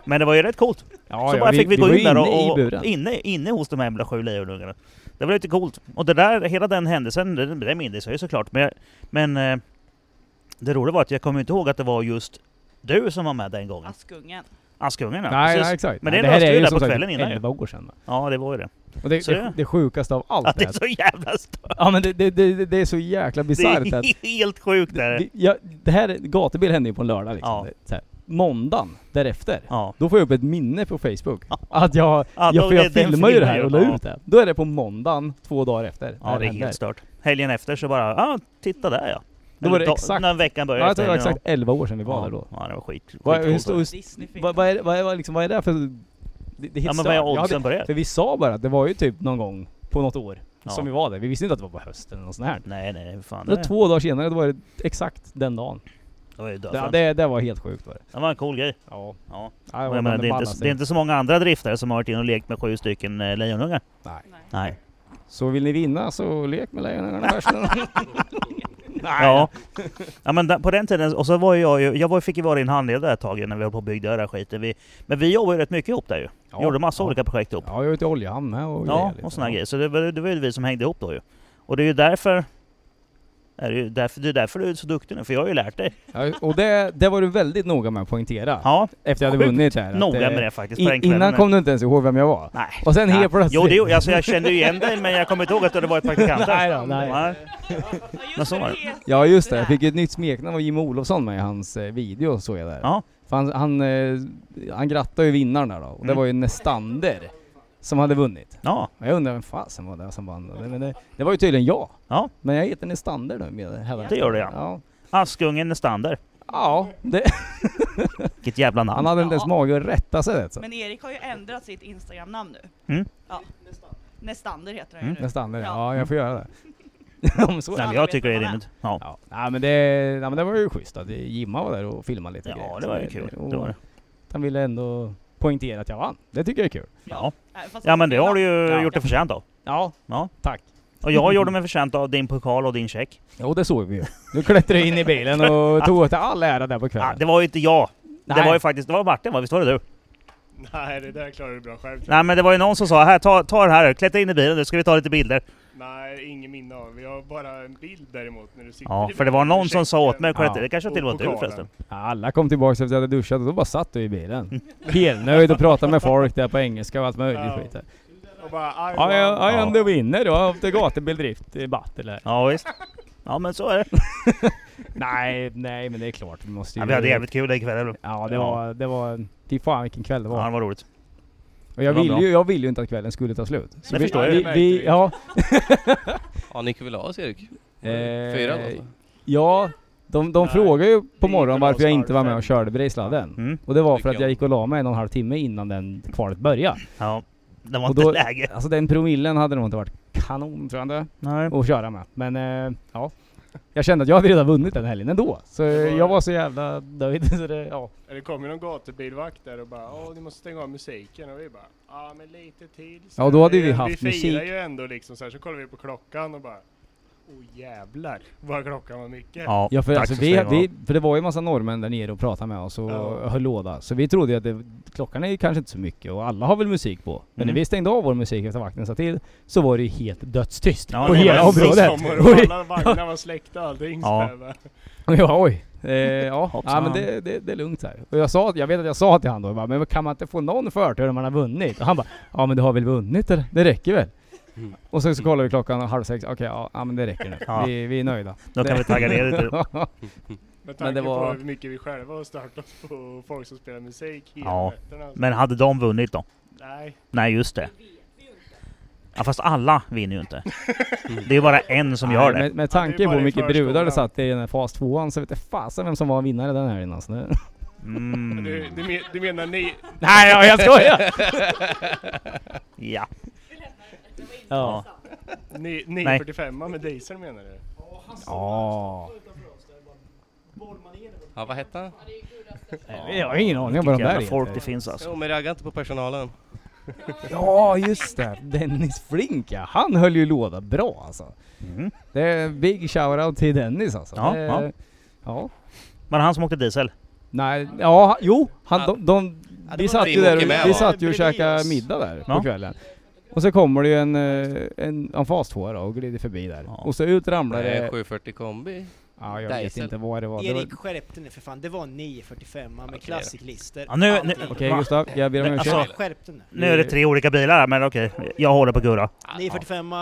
S1: Men det var ju rätt coolt.
S2: Ja,
S1: så
S2: ja,
S1: bara fick vi, gå
S2: var
S1: in där
S2: inne i
S1: och, och
S2: buren.
S1: inne, inne hos de här jävla sju lejonungarna. Det var lite coolt. Och det där, hela den händelsen, det, det mindes jag ju såklart. Men, jag- men eh, det roliga var att jag kommer inte ihåg att det var just du som var med den gången.
S5: Askungen.
S1: Askungen ja,
S2: Nej,
S1: precis.
S2: nej, exakt.
S1: Men
S2: Nej,
S1: det löste vi ju där
S2: som
S1: på
S2: sagt
S1: kvällen innan ju.
S2: 11 år sedan. va?
S1: Ja, det var ju det.
S2: Och det,
S1: Så
S2: det,
S1: det-
S2: det sjukaste av allt
S1: Att det
S2: är
S1: är
S2: att-
S1: så jävla stört.
S2: Ja men det, det, det, det är så jäkla
S1: Det
S2: bisarrt att...
S1: är helt sjukt det här.
S2: Det, ja, det här, gatubil hände ju på en lördag liksom.
S1: Ja.
S2: Det- Så här, måndagen därefter,
S1: Ja.
S2: då får jag upp ett minne på Facebook. Att jag,
S1: Ja,
S2: jag,
S1: då-
S2: för
S1: det-
S2: jag
S1: den
S2: filmar ju det här och la
S1: filmar jag,
S2: ut det. Då är det på måndagen, två dagar efter. det
S1: Ja,
S2: här
S1: det är
S2: händer.
S1: helt stört. Helgen efter så bara, ja, ah, titta där ja.
S2: Då var det
S1: Eller
S2: exakt-
S1: När veckan
S2: Ja,
S1: började.
S2: jag tror det var
S1: efter,
S2: exakt 11 år sedan vi var
S1: ja.
S2: där då.
S1: Ja, det var skit. skit
S2: Vad, hur, stor-
S5: Disneyfilm.
S2: vad, vad, är, vad, är, vad, liksom, vad är det här för... Det, det är helt
S1: ja, men
S2: stört.
S1: vad är
S2: Jag hade-
S1: oddsen på det?
S2: För vi sa bara att det var ju typ någon gång på något år
S1: Ja.
S2: som vi var där. Vi visste inte att det var på hösten eller något sånt här.
S1: Nej, nej, hur fan.
S2: Då
S1: Det,
S2: två dagar senare, då var det exakt den dagen.
S1: det var ju
S2: Det,
S1: dödsfönt.
S2: det, det var helt sjukt var det.
S1: Det var en cool grej.
S2: Ja.
S1: Ja.
S2: Ja,
S1: Och
S2: var
S1: jag
S2: bland
S1: menar,
S2: det
S1: det, är inte,
S2: ballaste.
S1: det är inte så många andra driftare som har varit inne och lekt med sju stycken eh, lejonungar.
S2: Nej.
S1: Nej.
S2: Så vill ni vinna så lek med lejonen först. Nej.
S1: Ja. ja men där, på den tiden, och så var ju jag ju, jag var, fick ju vara din handledare ett tag när vi höll på och byggde den här skiten. Vi, men vi jobbade ju rätt mycket ihop där ju.
S2: Ja.
S1: Gjorde massa
S2: ja.
S1: olika projekt ihop.
S2: Ja, jag var ute i Oljehamn med och liksom.
S1: Ja,
S2: lite.
S1: och sådana grejer. Så det var, det var ju vi som hängde ihop då ju. Och det är ju därför är det, ju därför, det är därför du är så duktig nu, för jag har ju lärt dig.
S2: Ja, och det, det var du väldigt noga med att poängtera.
S1: Ja,
S2: Efter jag hade
S1: Sjukt
S2: vunnit här. att,
S1: noga
S2: eh,
S1: med det faktiskt. på
S2: i-
S1: den kvällen.
S2: Innan kom du inte ens ihåg vem jag var.
S1: Nej.
S2: Och sen
S1: Nej.
S2: helt plötsligt.
S1: Jo, det, gjorde- alltså, jag kände ju igen dig, men jag kommer inte ihåg att du hade varit praktikant där.
S2: Nej då, nej.
S5: Ja,
S1: Men
S5: just
S1: så
S5: det,
S1: var
S5: det
S1: det.
S5: heter
S2: Ja just det,
S5: det
S2: jag fick ju ett nytt smeknamn av Jim Olofsson med i hans eh, video såg jag där.
S1: Ja.
S2: För han, han, eh, han grattade ju vinnaren där då. Och det
S1: Mm.
S2: var ju Nestander som hade vunnit.
S1: Ja,
S2: Men Jag undrar vem fasen var det som vann? Det, men det, det var ju tydligen jag.
S1: Ja.
S2: Men jag heter Nestander nu med hädanefter.
S1: det gör det ja.
S2: Ja.
S1: Askungen är standard.
S2: Ja, det,
S1: Vilket jävla namn.
S2: han hade inte ens
S5: Ja.
S2: mage att rätta sig det. Så.
S5: Men Erik har ju ändrat sitt Instagram-namn nu.
S1: Mm.
S5: Ja. Nestander heter han ju
S1: Mm.
S5: nu.
S2: Nestander, ja
S5: Ja.
S2: jag får göra det. Om så.
S1: Nej, men jag tycker det är rimligt. Ja.
S2: Ja, nej, men det, nej men det var ju schysst att Jimma var där och filmade lite grejer.
S1: ja, det var ju
S2: Så
S1: kul.
S2: och
S1: Det var det.
S2: Han ville ändå poängtera att jag vann. Det tycker jag är kul.
S1: Ja.
S5: Nej, Äh, fast-
S1: ja, men det har du ju
S2: Ja.
S1: gjort dig förtjänt av.
S2: Ja,
S1: Ja.
S2: tack.
S1: Och jag gjorde mig förtjänt av din pokal och din check.
S2: Jo, det såg vi ju. Du klättrade in i bilen och tog åt dig all ära där på
S1: Ja,
S2: kvällen.
S1: det var ju inte jag. Det
S2: Nej.
S1: var ju faktiskt, det var Martin va? Visst var det du?
S4: Nej, det där klarar du bra själv. tror jag.
S1: Nej men det var ju någon som sa här, ta, ta det här klättra in i bilen nu ska vi ta lite bilder.
S4: Nej, ingen minne av. Jag har bara en bild däremot när du sitter
S1: Ja,
S4: i
S1: för det var
S4: bilen och
S1: någon som sa åt mig,
S2: Ja.
S1: klättra, det kanske till och med var du
S4: pokalen.
S1: förresten.
S2: Ja, Alla kom tillbaka efter att jag hade duschat och då bara satt du i bilen. Helnöjd och pratade med folk där på engelska och allt möjligt
S4: Ja.
S2: skit. där.
S4: Och bara, I
S2: Ja, jag
S1: Ja.
S2: är eh, ändå vinner då, efter gatubildrift i battle här.
S1: Ja visst. Ja men så är det.
S2: Nej, nej men det är klart. Vi måste ju...
S1: Ja, vi hade jävligt kul den kvällen.
S2: Ja, det var... Det var fy fan vilken kväll det
S1: Ja, det
S2: var.
S1: var roligt.
S2: Och jag
S1: det var
S2: ville
S1: bra.
S2: ju, jag ville ju inte att kvällen skulle ta slut. Så
S1: Det
S2: vi,
S1: förstår jag.
S2: vi,
S4: Det märkte
S2: vi,
S4: vi.
S2: ja,
S7: Ja, ni kan väl ha oss Erik?
S2: Eh,
S7: Fyra då?
S2: ja, de, de
S4: Nej,
S2: frågade ju på
S4: gick
S2: morgonen
S4: väl
S2: varför
S4: oss
S2: jag inte var med
S4: halv
S2: och
S4: fem.
S2: körde Brejsladden.
S1: Mm.
S2: Och det var
S7: Tycker
S2: för att jag
S7: jag.
S2: gick och la mig en och en halv timme innan den kvalet började.
S1: Ja. Det var
S2: Och
S1: inte
S2: då-
S1: läge.
S2: Alltså den promillen hade nog inte varit kanon tror jag inte,
S1: Nej.
S2: att köra med. Men eh, ja. Jag kände att jag hade redan vunnit den helgen ändå. Så
S4: Det var-
S2: jag var så jävla nöjd. Så det, ja.
S4: Det kom ju någon gatubilvakt där och bara Åh, ni måste stänga av musiken. Och vi bara Ja, men lite till. så
S2: Ja, då hade
S4: här."
S2: vi haft
S4: Vi firar
S2: musik.
S4: ju ändå liksom så här. Så kollar vi på klockan och bara Åh jävlar vad klockan var mycket.
S1: Ja,
S2: Ja, för,
S1: tack
S2: alltså,
S1: så
S2: vi,
S1: ska ni ha.
S2: vi, för det var ju en massa norrmän där nere och pratade med oss och
S4: Ja.
S2: höll låda. Så vi trodde ju att det, klockan är ju kanske inte så mycket och alla har väl musik på. Men
S1: Mm.
S2: när vi stängde av vår musik efter vakten sa till så var det ju helt dödstyst
S1: Ja,
S2: på
S1: det var
S2: hela
S1: ju så
S2: området.
S4: Och alla vagnar var släckta och allting.
S1: Ja.
S4: Ja. Där,
S2: Och jag oj. Eh, ja,
S1: Hoppsan.
S2: ja men det, det, det är lugnt så här. Och jag, sa, jag vet att jag sa till han då, jag bara, men kan man inte få någon förtur om man har vunnit? Och han bara, ja men du har väl vunnit eller? Det räcker väl?
S7: Mm.
S2: Och sen så kollar vi klockan halv sex, okej ja, ja men det räcker nu.
S1: Ja.
S2: Vi, vi är nöjda.
S1: Då kan vi tagga ner lite.
S4: Med tanke
S2: det var-
S4: på hur mycket vi själva har startat på folk som spelar musik hela
S1: Ja,
S4: nätterna.
S1: Men hade de vunnit då?
S4: Nej.
S1: Nej just det. Ja fast alla vinner ju inte. Det är ju bara en som gör
S2: Nej,
S1: det.
S2: Med, med
S4: Ja, det är
S2: tanke på
S4: bara
S2: hur
S4: i
S2: mycket brudar
S4: förskolan.
S2: det satt i den här fas 2 så vet jag fasen vem som var vinnare den här innan. Så det,
S1: Mm.
S4: Du, du, men, du menar ni?
S2: Nej, ja, jag skojar!
S1: Ja. Ja.
S4: ni,
S1: Nej.
S4: 945 med diesel menar du?
S2: Ja.
S7: Ja, vad hette han?
S2: Jag har ingen aning om vad de
S1: Vilka
S2: där
S1: jävla folk det
S2: heter.
S1: finns alltså.
S7: Jo, men ragga inte på personalen.
S2: Ja, just det. Dennis Flink ja. Han höll ju låda bra alltså.
S1: Mm.
S2: Det är big shoutout till Dennis alltså.
S1: Ja,
S2: det,
S1: ja.
S2: ja.
S1: Men han som åkte diesel.
S2: Nej, ja, jo. Han, de, de,
S6: det
S2: vi
S6: var
S2: satt
S7: vi
S2: ju där
S7: åker med,
S2: och, vi
S7: va?
S2: satt ju och
S6: Bredvid
S2: käkade
S6: oss.
S2: middag där på
S1: Ja.
S2: kvällen. Och så kommer det ju en, eh, en, en fas 2 då och glider förbi där.
S1: Ja.
S2: Och så ut ramlar
S7: Nej,
S2: det...
S7: 740 kombi.
S2: Ja, jag vet
S7: Diesel.
S2: inte vad det var. Det var
S3: Erik skärpte nu för fan, det var 945 med
S7: Okej.
S3: klassiklister.
S1: Ja, nu-
S3: allting.
S1: nu-
S2: Okej Gustav, jag ber om
S1: Men
S2: ursäkt.
S1: alltså-
S3: Skärp dig nu.
S1: Nu är det tre olika bilar här men okej, jag håller på Gurra.
S3: 945,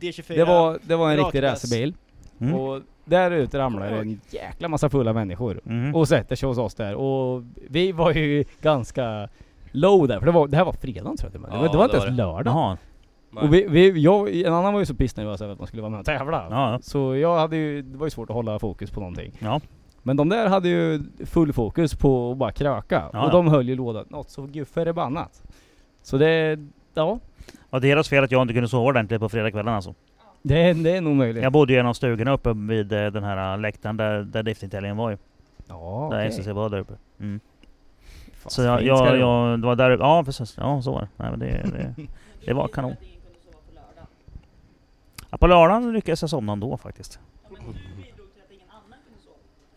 S3: D24.
S2: det, var, det var en
S3: Rakt
S2: riktig
S3: pass.
S2: racerbil.
S1: Mm.
S2: Och där ute ramlar det en jäkla massa fulla människor.
S1: Mm.
S2: Och sätter sig hos oss där. Och vi var ju ganska low där. För det, var, det här var fredagen tror jag till och med. Det var-
S7: Ja,
S2: Det var inte
S7: det
S2: ens lördag.
S1: Jaha.
S2: Och vi, vi, jag, en annan var ju så pissnödig över att man skulle vara med och tävla.
S1: Ja,
S2: Så jag hade ju, det var ju svårt att hålla fokus på någonting.
S1: ja.
S2: Men de där hade ju full fokus på att bara kröka.
S1: Ja,
S2: och
S1: ja.
S2: de höll ju lådan något så förbannat. Så det, ja.
S1: Och det är deras fel att jag inte kunde sova ordentligt på fredagskvällen alltså.
S2: Det, är- det är nog möjligt.
S1: Jag bodde ju i en av stugorna uppe vid eh, den här läktaren där, där driftingtävlingen var ju.
S2: Ja,
S1: Där
S2: okej.
S1: SSC var där uppe. Mm.
S2: Fan,
S1: Så jag,
S2: fint ska
S1: jag,
S2: det vara.
S1: jag, det var där uppe. Ja precis, ja så var det. Nej, men det, det, det var kanon. Ja, på lördagen lyckades jag somna ändå faktiskt.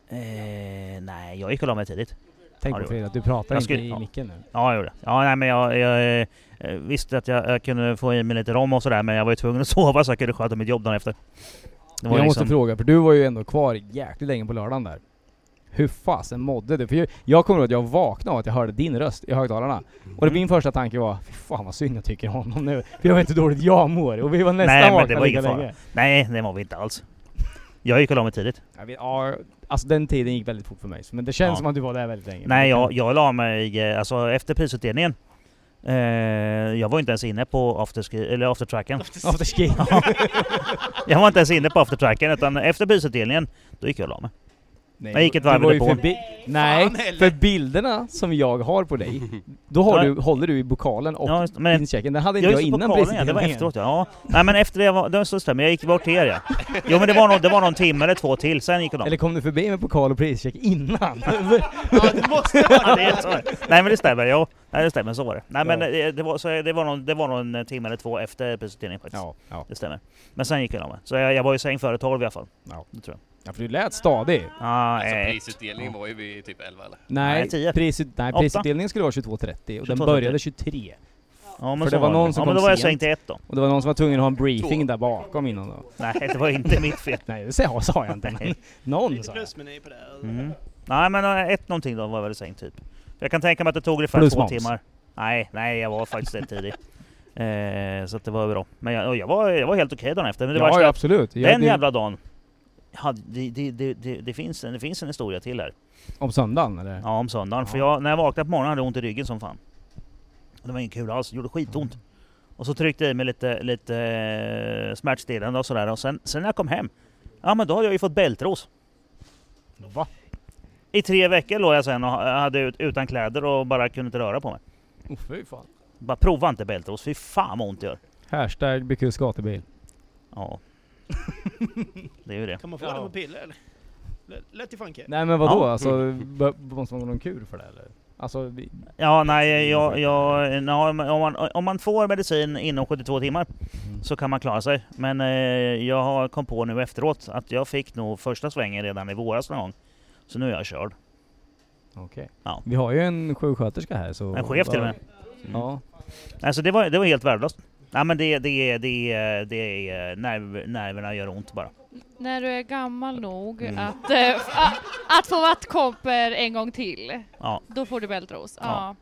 S1: Eh, nej, jag gick och la mig tidigt.
S2: Tänk
S1: Ja,
S2: på
S1: det
S2: Frida, att du pratar
S1: Jag
S2: inte
S1: skulle-
S2: i
S1: ja.
S2: micken nu.
S1: Ja, jag gjorde det. Ja, nej, men jag, jag eh, visste att jag, jag kunde få i mig lite rom och sådär men jag var ju tvungen att sova så jag kunde sköta mitt jobb dagen efter. Det liksom-
S2: Jag måste fråga, för du var ju ändå kvar jäkligt länge på lördagen där. Hur fasen mådde du? För jag, jag kommer ihåg att jag vaknade av att jag hörde din röst i högtalarna. Och
S1: Mm.
S2: det, min första tanke var, fy fan vad synd jag tycker om honom nu. För jag vet hur dåligt jag mår. Och vi var nästan
S1: Nej, men det
S2: vakna
S1: var
S2: lika
S1: ingen fara.
S2: länge.
S1: Nej, det var vi inte alls. Jag gick och la mig tidigt.
S2: Jag vet, ja, alltså den tiden gick väldigt fort för mig. Men det känns
S1: Ja.
S2: som att du var där väldigt länge.
S1: Nej, jag, jag la mig eh, alltså, efter prisutdelningen. Eh, jag var inte ens inne på afterski, eller aftertracken.
S2: Afterski.
S1: Jag var inte ens inne på aftertracken utan efter prisutdelningen, då gick jag och la mig.
S2: Nej,
S1: Jag gick ett
S2: du
S1: varv
S2: var
S1: i
S2: ju
S1: depån.
S2: förbi- Nej,
S3: Fan heller.
S2: för bilderna som jag har på dig, då har
S1: Ja.
S2: du, håller du i pokalen och
S1: Ja, just- men-
S2: pinchecken. Den hade inte
S1: Jag
S2: jag
S1: gick på
S2: innan
S1: pokalen ja, det var
S2: prisutdelningen.
S1: efteråt ja. ja. Nej men efter det var, det var så stämmer, jag gick bort till er ja. Jo men det var, nog, det var någon timme eller två till, sen gick jag och la mig.
S2: Eller kom du förbi med pokal och prischeck innan?
S3: Ja, det måste
S1: Ja,
S3: vara
S1: det är
S3: det.
S1: så. Nej men det stämmer, jo. Nej det stämmer, så var det. Nej men
S2: Ja.
S1: eh, det var, så, det var, någon, det var någon eh, timme eller två efter prisutdelningen faktiskt.
S2: ja, ja,
S1: Det stämmer. Men sen gick jag och la mig. Så jag, jag var i säng före tolv i alla fall.
S2: Ja.
S1: Det tror jag.
S2: ja, för du lät stadig.
S1: Ah,
S7: Alltså
S1: eh,
S7: prisutdelningen var ju vid typ 11 eller?
S2: Nej,
S1: Nej, tio.
S2: prisut, nej
S1: Åtta.
S2: prisutdelningen skulle vara 22.30 och den
S1: 22.30.
S2: började 23.
S1: Ja, men
S2: För
S1: så
S2: det var någon som
S1: ja, men då
S2: kom
S1: var jag
S2: sent.
S1: sänkt till ett då.
S2: Och det var någon som var tvungen att ha en briefing där bakom innan då.
S1: Nej, det var inte mitt fel.
S2: Nej, det sa sa jag inte. Men
S1: Nej.
S2: någon
S3: Lite
S2: sa jag.
S3: plusmeny på det.
S1: Mm. Nej, men eh, ett någonting då var jag väl sänkt typ. Jag kan tänka mig att det tog ungefär
S2: Plus
S1: två
S2: moms.
S1: timmar. Nej, nej, jag var faktiskt rätt tidig. Eh, så att det var bra. Men jag, och jag, var, jag var helt okej dagen efter. Men det
S2: Ja,
S1: var
S2: ja, absolut. Jag,
S1: den
S2: det-
S1: jävla dagen. hade- det, det, det, det, det, finns en, det finns en historia till här.
S2: Om söndagen eller?
S1: Ja, om söndagen. För jag, när jag vaknade på morgonen hade jag ont i ryggen som fan. Och Det var ingen kul alls, det gjorde skitont. Och så tryckte jag i mig lite, lite eh, smärtstillande och sådär. Och sen, sen när jag kom hem, ja men då hade jag ju fått bältros.
S2: Va?
S1: I tre veckor låg jag sen och ha- hade ut, utan kläder och bara kunde inte röra på mig.
S2: Oh, fy fan.
S1: Bara prova inte bältros, fy fan vad ont det gör.
S2: Hashtag Becus gatubil.
S1: Ja. Det är ju det.
S3: Kan man få det på piller eller? Lät- Lät ju fan kul.
S2: Nej men vadå
S1: Ja.
S2: alltså, b- måste man ha någon kur för det eller? Alltså, vi,
S1: Ja, nej, jag, jag, ja, om, man, om man får medicin inom 72 timmar så kan man klara sig. Men eh, jag har kom på nu efteråt att jag fick nog första svängen redan i våras någon gång. Så nu är jag körd.
S2: okej.
S1: Ja.
S2: Vi har ju en sjuksköterska här så... Mm.
S1: En chef till och med.
S2: Ja.
S1: Alltså det var, det var helt värdelöst. Nej men det, det, det, det är nerv, nerverna gör ont bara.
S8: När du är gammal nog
S7: Mm.
S8: att, eh, f- a- att få vattkomper en gång till,
S1: Ja.
S8: då får du bältros. Ja.
S1: Ja.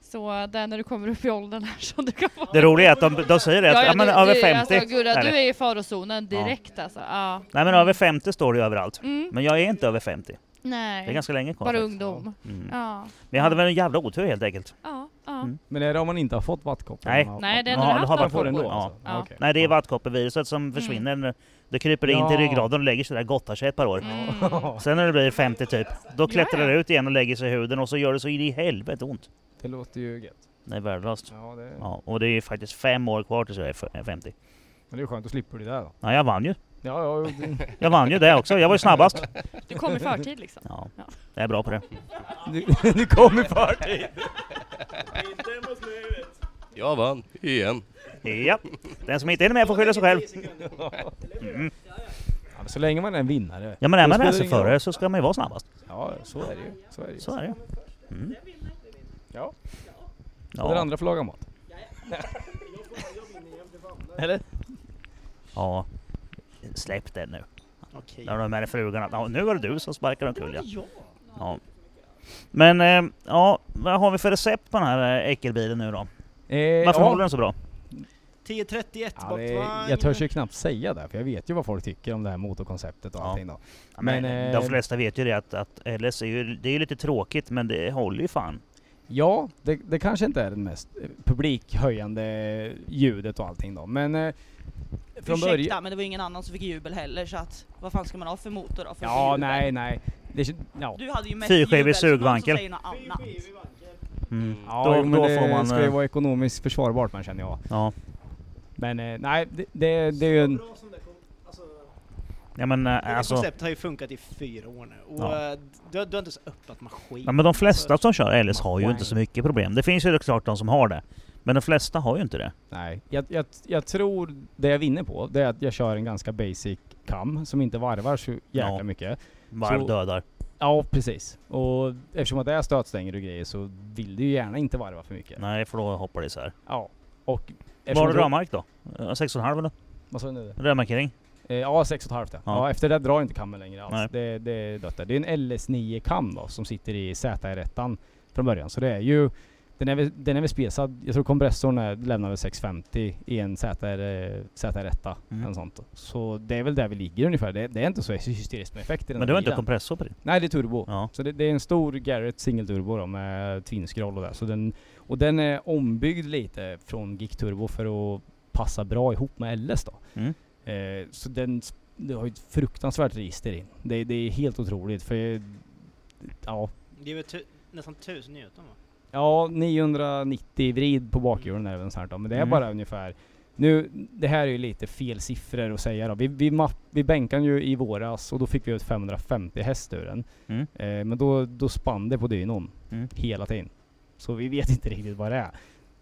S8: Så det är när du kommer upp i åldern här som du kan få.
S1: Det roliga är att de, de säger det, att ja, men,
S8: du,
S1: över
S8: du,
S1: 50.
S8: Alltså, Gurra,
S1: är
S8: du
S1: det.
S8: är i farozonen direkt alltså. Ja.
S1: Nej men över 50 står det ju överallt.
S8: Mm.
S1: Men jag är inte över 50.
S8: Nej,
S1: Det är ganska länge kvar.
S8: bara
S1: faktiskt.
S8: ungdom.
S1: Mm.
S8: Ja.
S1: Men jag hade väl en jävla otur helt enkelt.
S8: Ja. ja. Ja.
S1: Mm.
S2: Men är det om man inte har fått vattkoppor?
S1: Nej.
S2: Man
S8: Nej, det är
S1: Ja,
S8: när du
S1: då
S8: haft
S1: har man
S2: man
S8: vattkoppor.
S2: får den då
S1: Ja.
S2: alltså?
S8: Ja. Mm.
S2: Okej.
S1: Nej det är vattkoppviruset som försvinner. Det kryper in till
S2: Ja.
S1: ryggraden och lägger sig där, gottar sig ett par år.
S8: Mm.
S1: Sen när det blir 50 typ, då klättrar
S8: Ja, ja.
S1: det ut igen och lägger sig i huden och så gör det så in i helvete ont.
S2: Det låter ju gött.
S1: Det är värdelöst.
S2: Ja, det,
S1: Ja, och det är ju faktiskt fem år kvar tills jag är f- 50.
S2: Men det är skönt, då slipper du det där då.
S1: Ja, jag vann ju.
S2: Ja, ja, jo, det-
S1: Jag vann ju det också. Jag var ju snabbast.
S8: Du kom i förtid liksom.
S1: Ja,
S8: Ja.
S1: jag är bra på det.
S2: du, du kom i förtid!
S7: Jag vann, igen.
S1: Ja, den som inte hinner med får skylla sig själv.
S2: Ja, men så länge man är en vinnare.
S1: Ja men
S2: Då
S1: är man
S2: spelar det ingen
S1: racerförare
S2: roll.
S1: så ska man ju vara snabbast.
S2: Ja, så är det ju. Så är det ju.
S1: Så är det. Mm.
S2: Ja. Och den
S1: Ja,
S2: andra får laga mat. Eller?
S1: ja. Släpp den nu.
S3: Okej.
S1: När de med frugan att ja, nu var det du som sparkade omkull ja.
S3: Ja.
S1: ja. Men eh, ja, vad har vi för recept på den här eh, äckelbilen nu då?
S2: Eh,
S1: Varför
S2: ja.
S1: håller den så bra?
S3: 1031
S2: Ja, det,
S3: bakvagn.
S2: jag törs ju knappt säga det, för jag vet ju vad folk tycker om det här motorkonceptet och
S1: Ja.
S2: allting då.
S1: Ja, Men,
S2: Men, eh,
S1: de flesta vet ju det att, att LS är ju, det är ju lite tråkigt men det håller ju fan.
S2: Ja, det, det kanske inte är det mest eh, publikhöjande ljudet och allting då, men... eh, Från
S5: Ursäkta,
S2: början...
S5: men det var ingen annan som fick jubel heller så att vad fan ska man ha för motor då? För att få
S2: Ja,
S5: jubel?
S2: nej, nej. Det, kän- ja.
S5: Du hade ju mest
S1: Fyrskivig
S5: jubel, så någon som
S1: sugvankel.
S5: säger något annat.
S1: Mm.
S2: Ja,
S1: Då-
S2: jo, men
S1: då
S2: det
S1: får man,
S2: ska ju
S1: eh,
S2: vara ekonomiskt försvarbart man känner jag.
S1: Ja.
S2: Men eh, nej, det, det, det är ju en...
S1: ja men eh,
S3: Det
S1: alltså.
S3: alltså, konceptet har ju funkat i fyra år nu. Och
S1: Ja.
S3: eh, du, du har inte ens öppnat maskin.
S1: Ja, men de flesta som kör LS har ju inte så mycket problem. Det finns ju klart de som har det. Men de flesta har ju inte det.
S2: Nej, jag, jag, jag tror det jag vinner på, det är att jag kör en ganska basic kam som inte varvar så jäkla
S1: Ja.
S2: mycket.
S1: Varv
S2: Så-
S1: dödar.
S2: Ja, precis. Och eftersom att det är stötstänger och grejer så vill du ju gärna inte varva för mycket.
S1: Nej, för då hoppar det isär.
S2: Ja. Och...
S1: Var har du
S2: ramar?
S1: rödmark då? Eh, 6,5 eller?
S2: Vad sa du nu?
S1: Rödmarkering?
S2: Eh, ja, 6,5 ja.
S1: Ja.
S2: ja. Efter det drar inte kammen längre
S1: Nej.
S2: alls. Det, det är dött där. Det är en LS9 kam då som sitter i ZR1 från början. Så det är ju... Den är, väl- den är väl spesad. Jag tror kompressorn är, lämnar väl 650 i en ZR, eh, ZR1.
S1: Mm.
S2: Eller sånt. Så det är väl där vi ligger ungefär. Det, det är inte så hysteriskt med effekter i den
S1: Men
S2: här
S1: du har inte
S2: bilen.
S1: kompressor på din?
S2: Nej, det är turbo.
S1: Ja.
S2: Så det, det är en stor Garrett singelturbo då med twin-scroll och där. Så den, och den är ombyggd lite från Gick Turbo för att passa bra ihop med LS då.
S1: Mm.
S2: Eh, så den s- det har ju ett fruktansvärt register in. Det, det är helt otroligt för ja,
S3: Det är väl tu, nästan 1000 Newton va?
S2: ja 990 vrid på bakhjulen är det väl sånt här då. Men det är
S1: Mm.
S2: bara ungefär nu, det här är ju lite fel siffror att säga då. Vi, vi, mapp, vi bänkade ju i våras och då fick vi ut 550 häst ur den.
S1: Mm.
S2: Eh, men då, då spann det på dynon
S1: Mm.
S2: hela tiden. Så vi vet inte riktigt vad det är.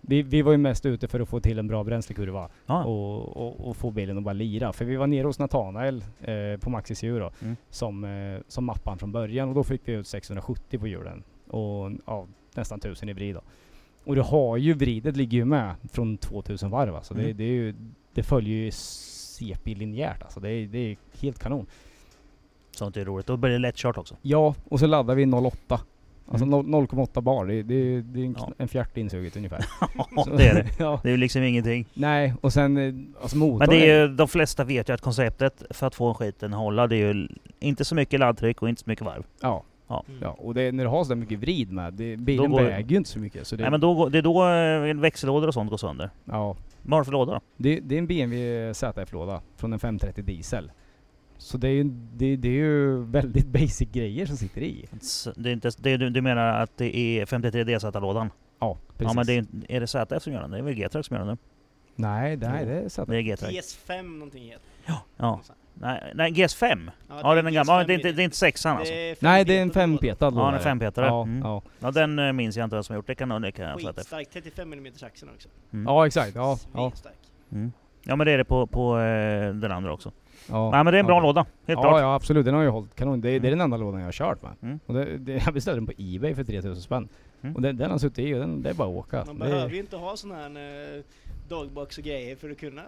S2: Vi, vi var ju mest ute för att få till en bra bränslekurva
S1: Ja.
S2: och, och, och få bilen att bara lira. För vi var nere hos Nathanael eh, på Maxis djur då,
S1: Mm.
S2: som, eh, som mappade han från början och då fick vi ut 670 på hjulen och ja, nästan 1000 i vrid då. Och du har ju vridet ligger ju med från 2000 varv alltså. Det,
S1: Mm.
S2: det, är ju, det följer ju CP linjärt alltså. Det, är- det är helt kanon.
S1: Sånt är roligt. Då blir det lättkört också.
S2: Ja, och så laddar vi 0,8. Alltså
S1: Mm.
S2: noll- 0,8 bar, det, det, det är en,
S1: Ja.
S2: en fjärt insuget ungefär.
S1: Ja,
S2: Så-
S1: det är det.
S2: ja,
S1: Det är ju liksom ingenting.
S2: nej, och sen eh, alltså motorn.
S1: Men det är ju, de flesta vet ju att konceptet för att få en skiten att hålla, det är ju l- inte så mycket laddtryck och inte så mycket varv.
S2: Ja.
S1: Ja.
S2: Ja.
S3: Mm.
S2: och det, när du har så där mycket vrid med, det, bilen
S1: Då går-
S2: väger ju inte så mycket. Så det,
S1: Nej men då, går- det är då eh, växellådor och sånt går sönder.
S2: ja,
S1: Vad har du för låda då?
S2: det, det är en BMW ZF-låda från en 530 diesel. Så det är ju, det, det är ju väldigt basic grejer som sitter i.
S1: S- Det är inte, det, du, du menar att det är 53 DZ-lådan?
S2: Ja, precis.
S1: Ja men det är, är det ZF som gör den? Det är väl G-Track som gör den?
S2: Nej, nej, det är ZF.
S1: Det är G-Track.
S3: TS5 någonting heter
S1: Ja. Nej, nej GS5? Ja den är gammal. Ja, det, är inte, det är inte sexan alltså?
S2: Nej, det är en fempetad
S1: Ja,
S2: låda.
S1: den är fempetare.
S2: Ja,
S1: Mm.
S2: ja.
S1: Ja den eh, minns jag inte vem som har gjort. Det kan nog det kan jag ZF.
S3: Skitstark, 35 mm axeln också.
S2: ja, exakt. Ja, ja,
S3: Svinstark.
S1: Mm. Ja men det är det på, på eh, den andra också.
S2: ja.
S1: Nej men det är en bra
S2: Ja.
S1: låda, helt
S2: Ja,
S1: klart.
S2: ja absolut. Den har ju hållit kanon. Det, det
S1: Mm.
S2: är den enda lådan jag har kört med.
S1: Mm.
S2: Och det, det, jag beställde den på Ebay för 3000 spänn.
S1: Mm.
S2: Och den, den har suttit i och den, det är bara att åka.
S3: Man
S2: Det-
S3: behöver ju inte ha sån här eh, dagbox och grejer för att kunna...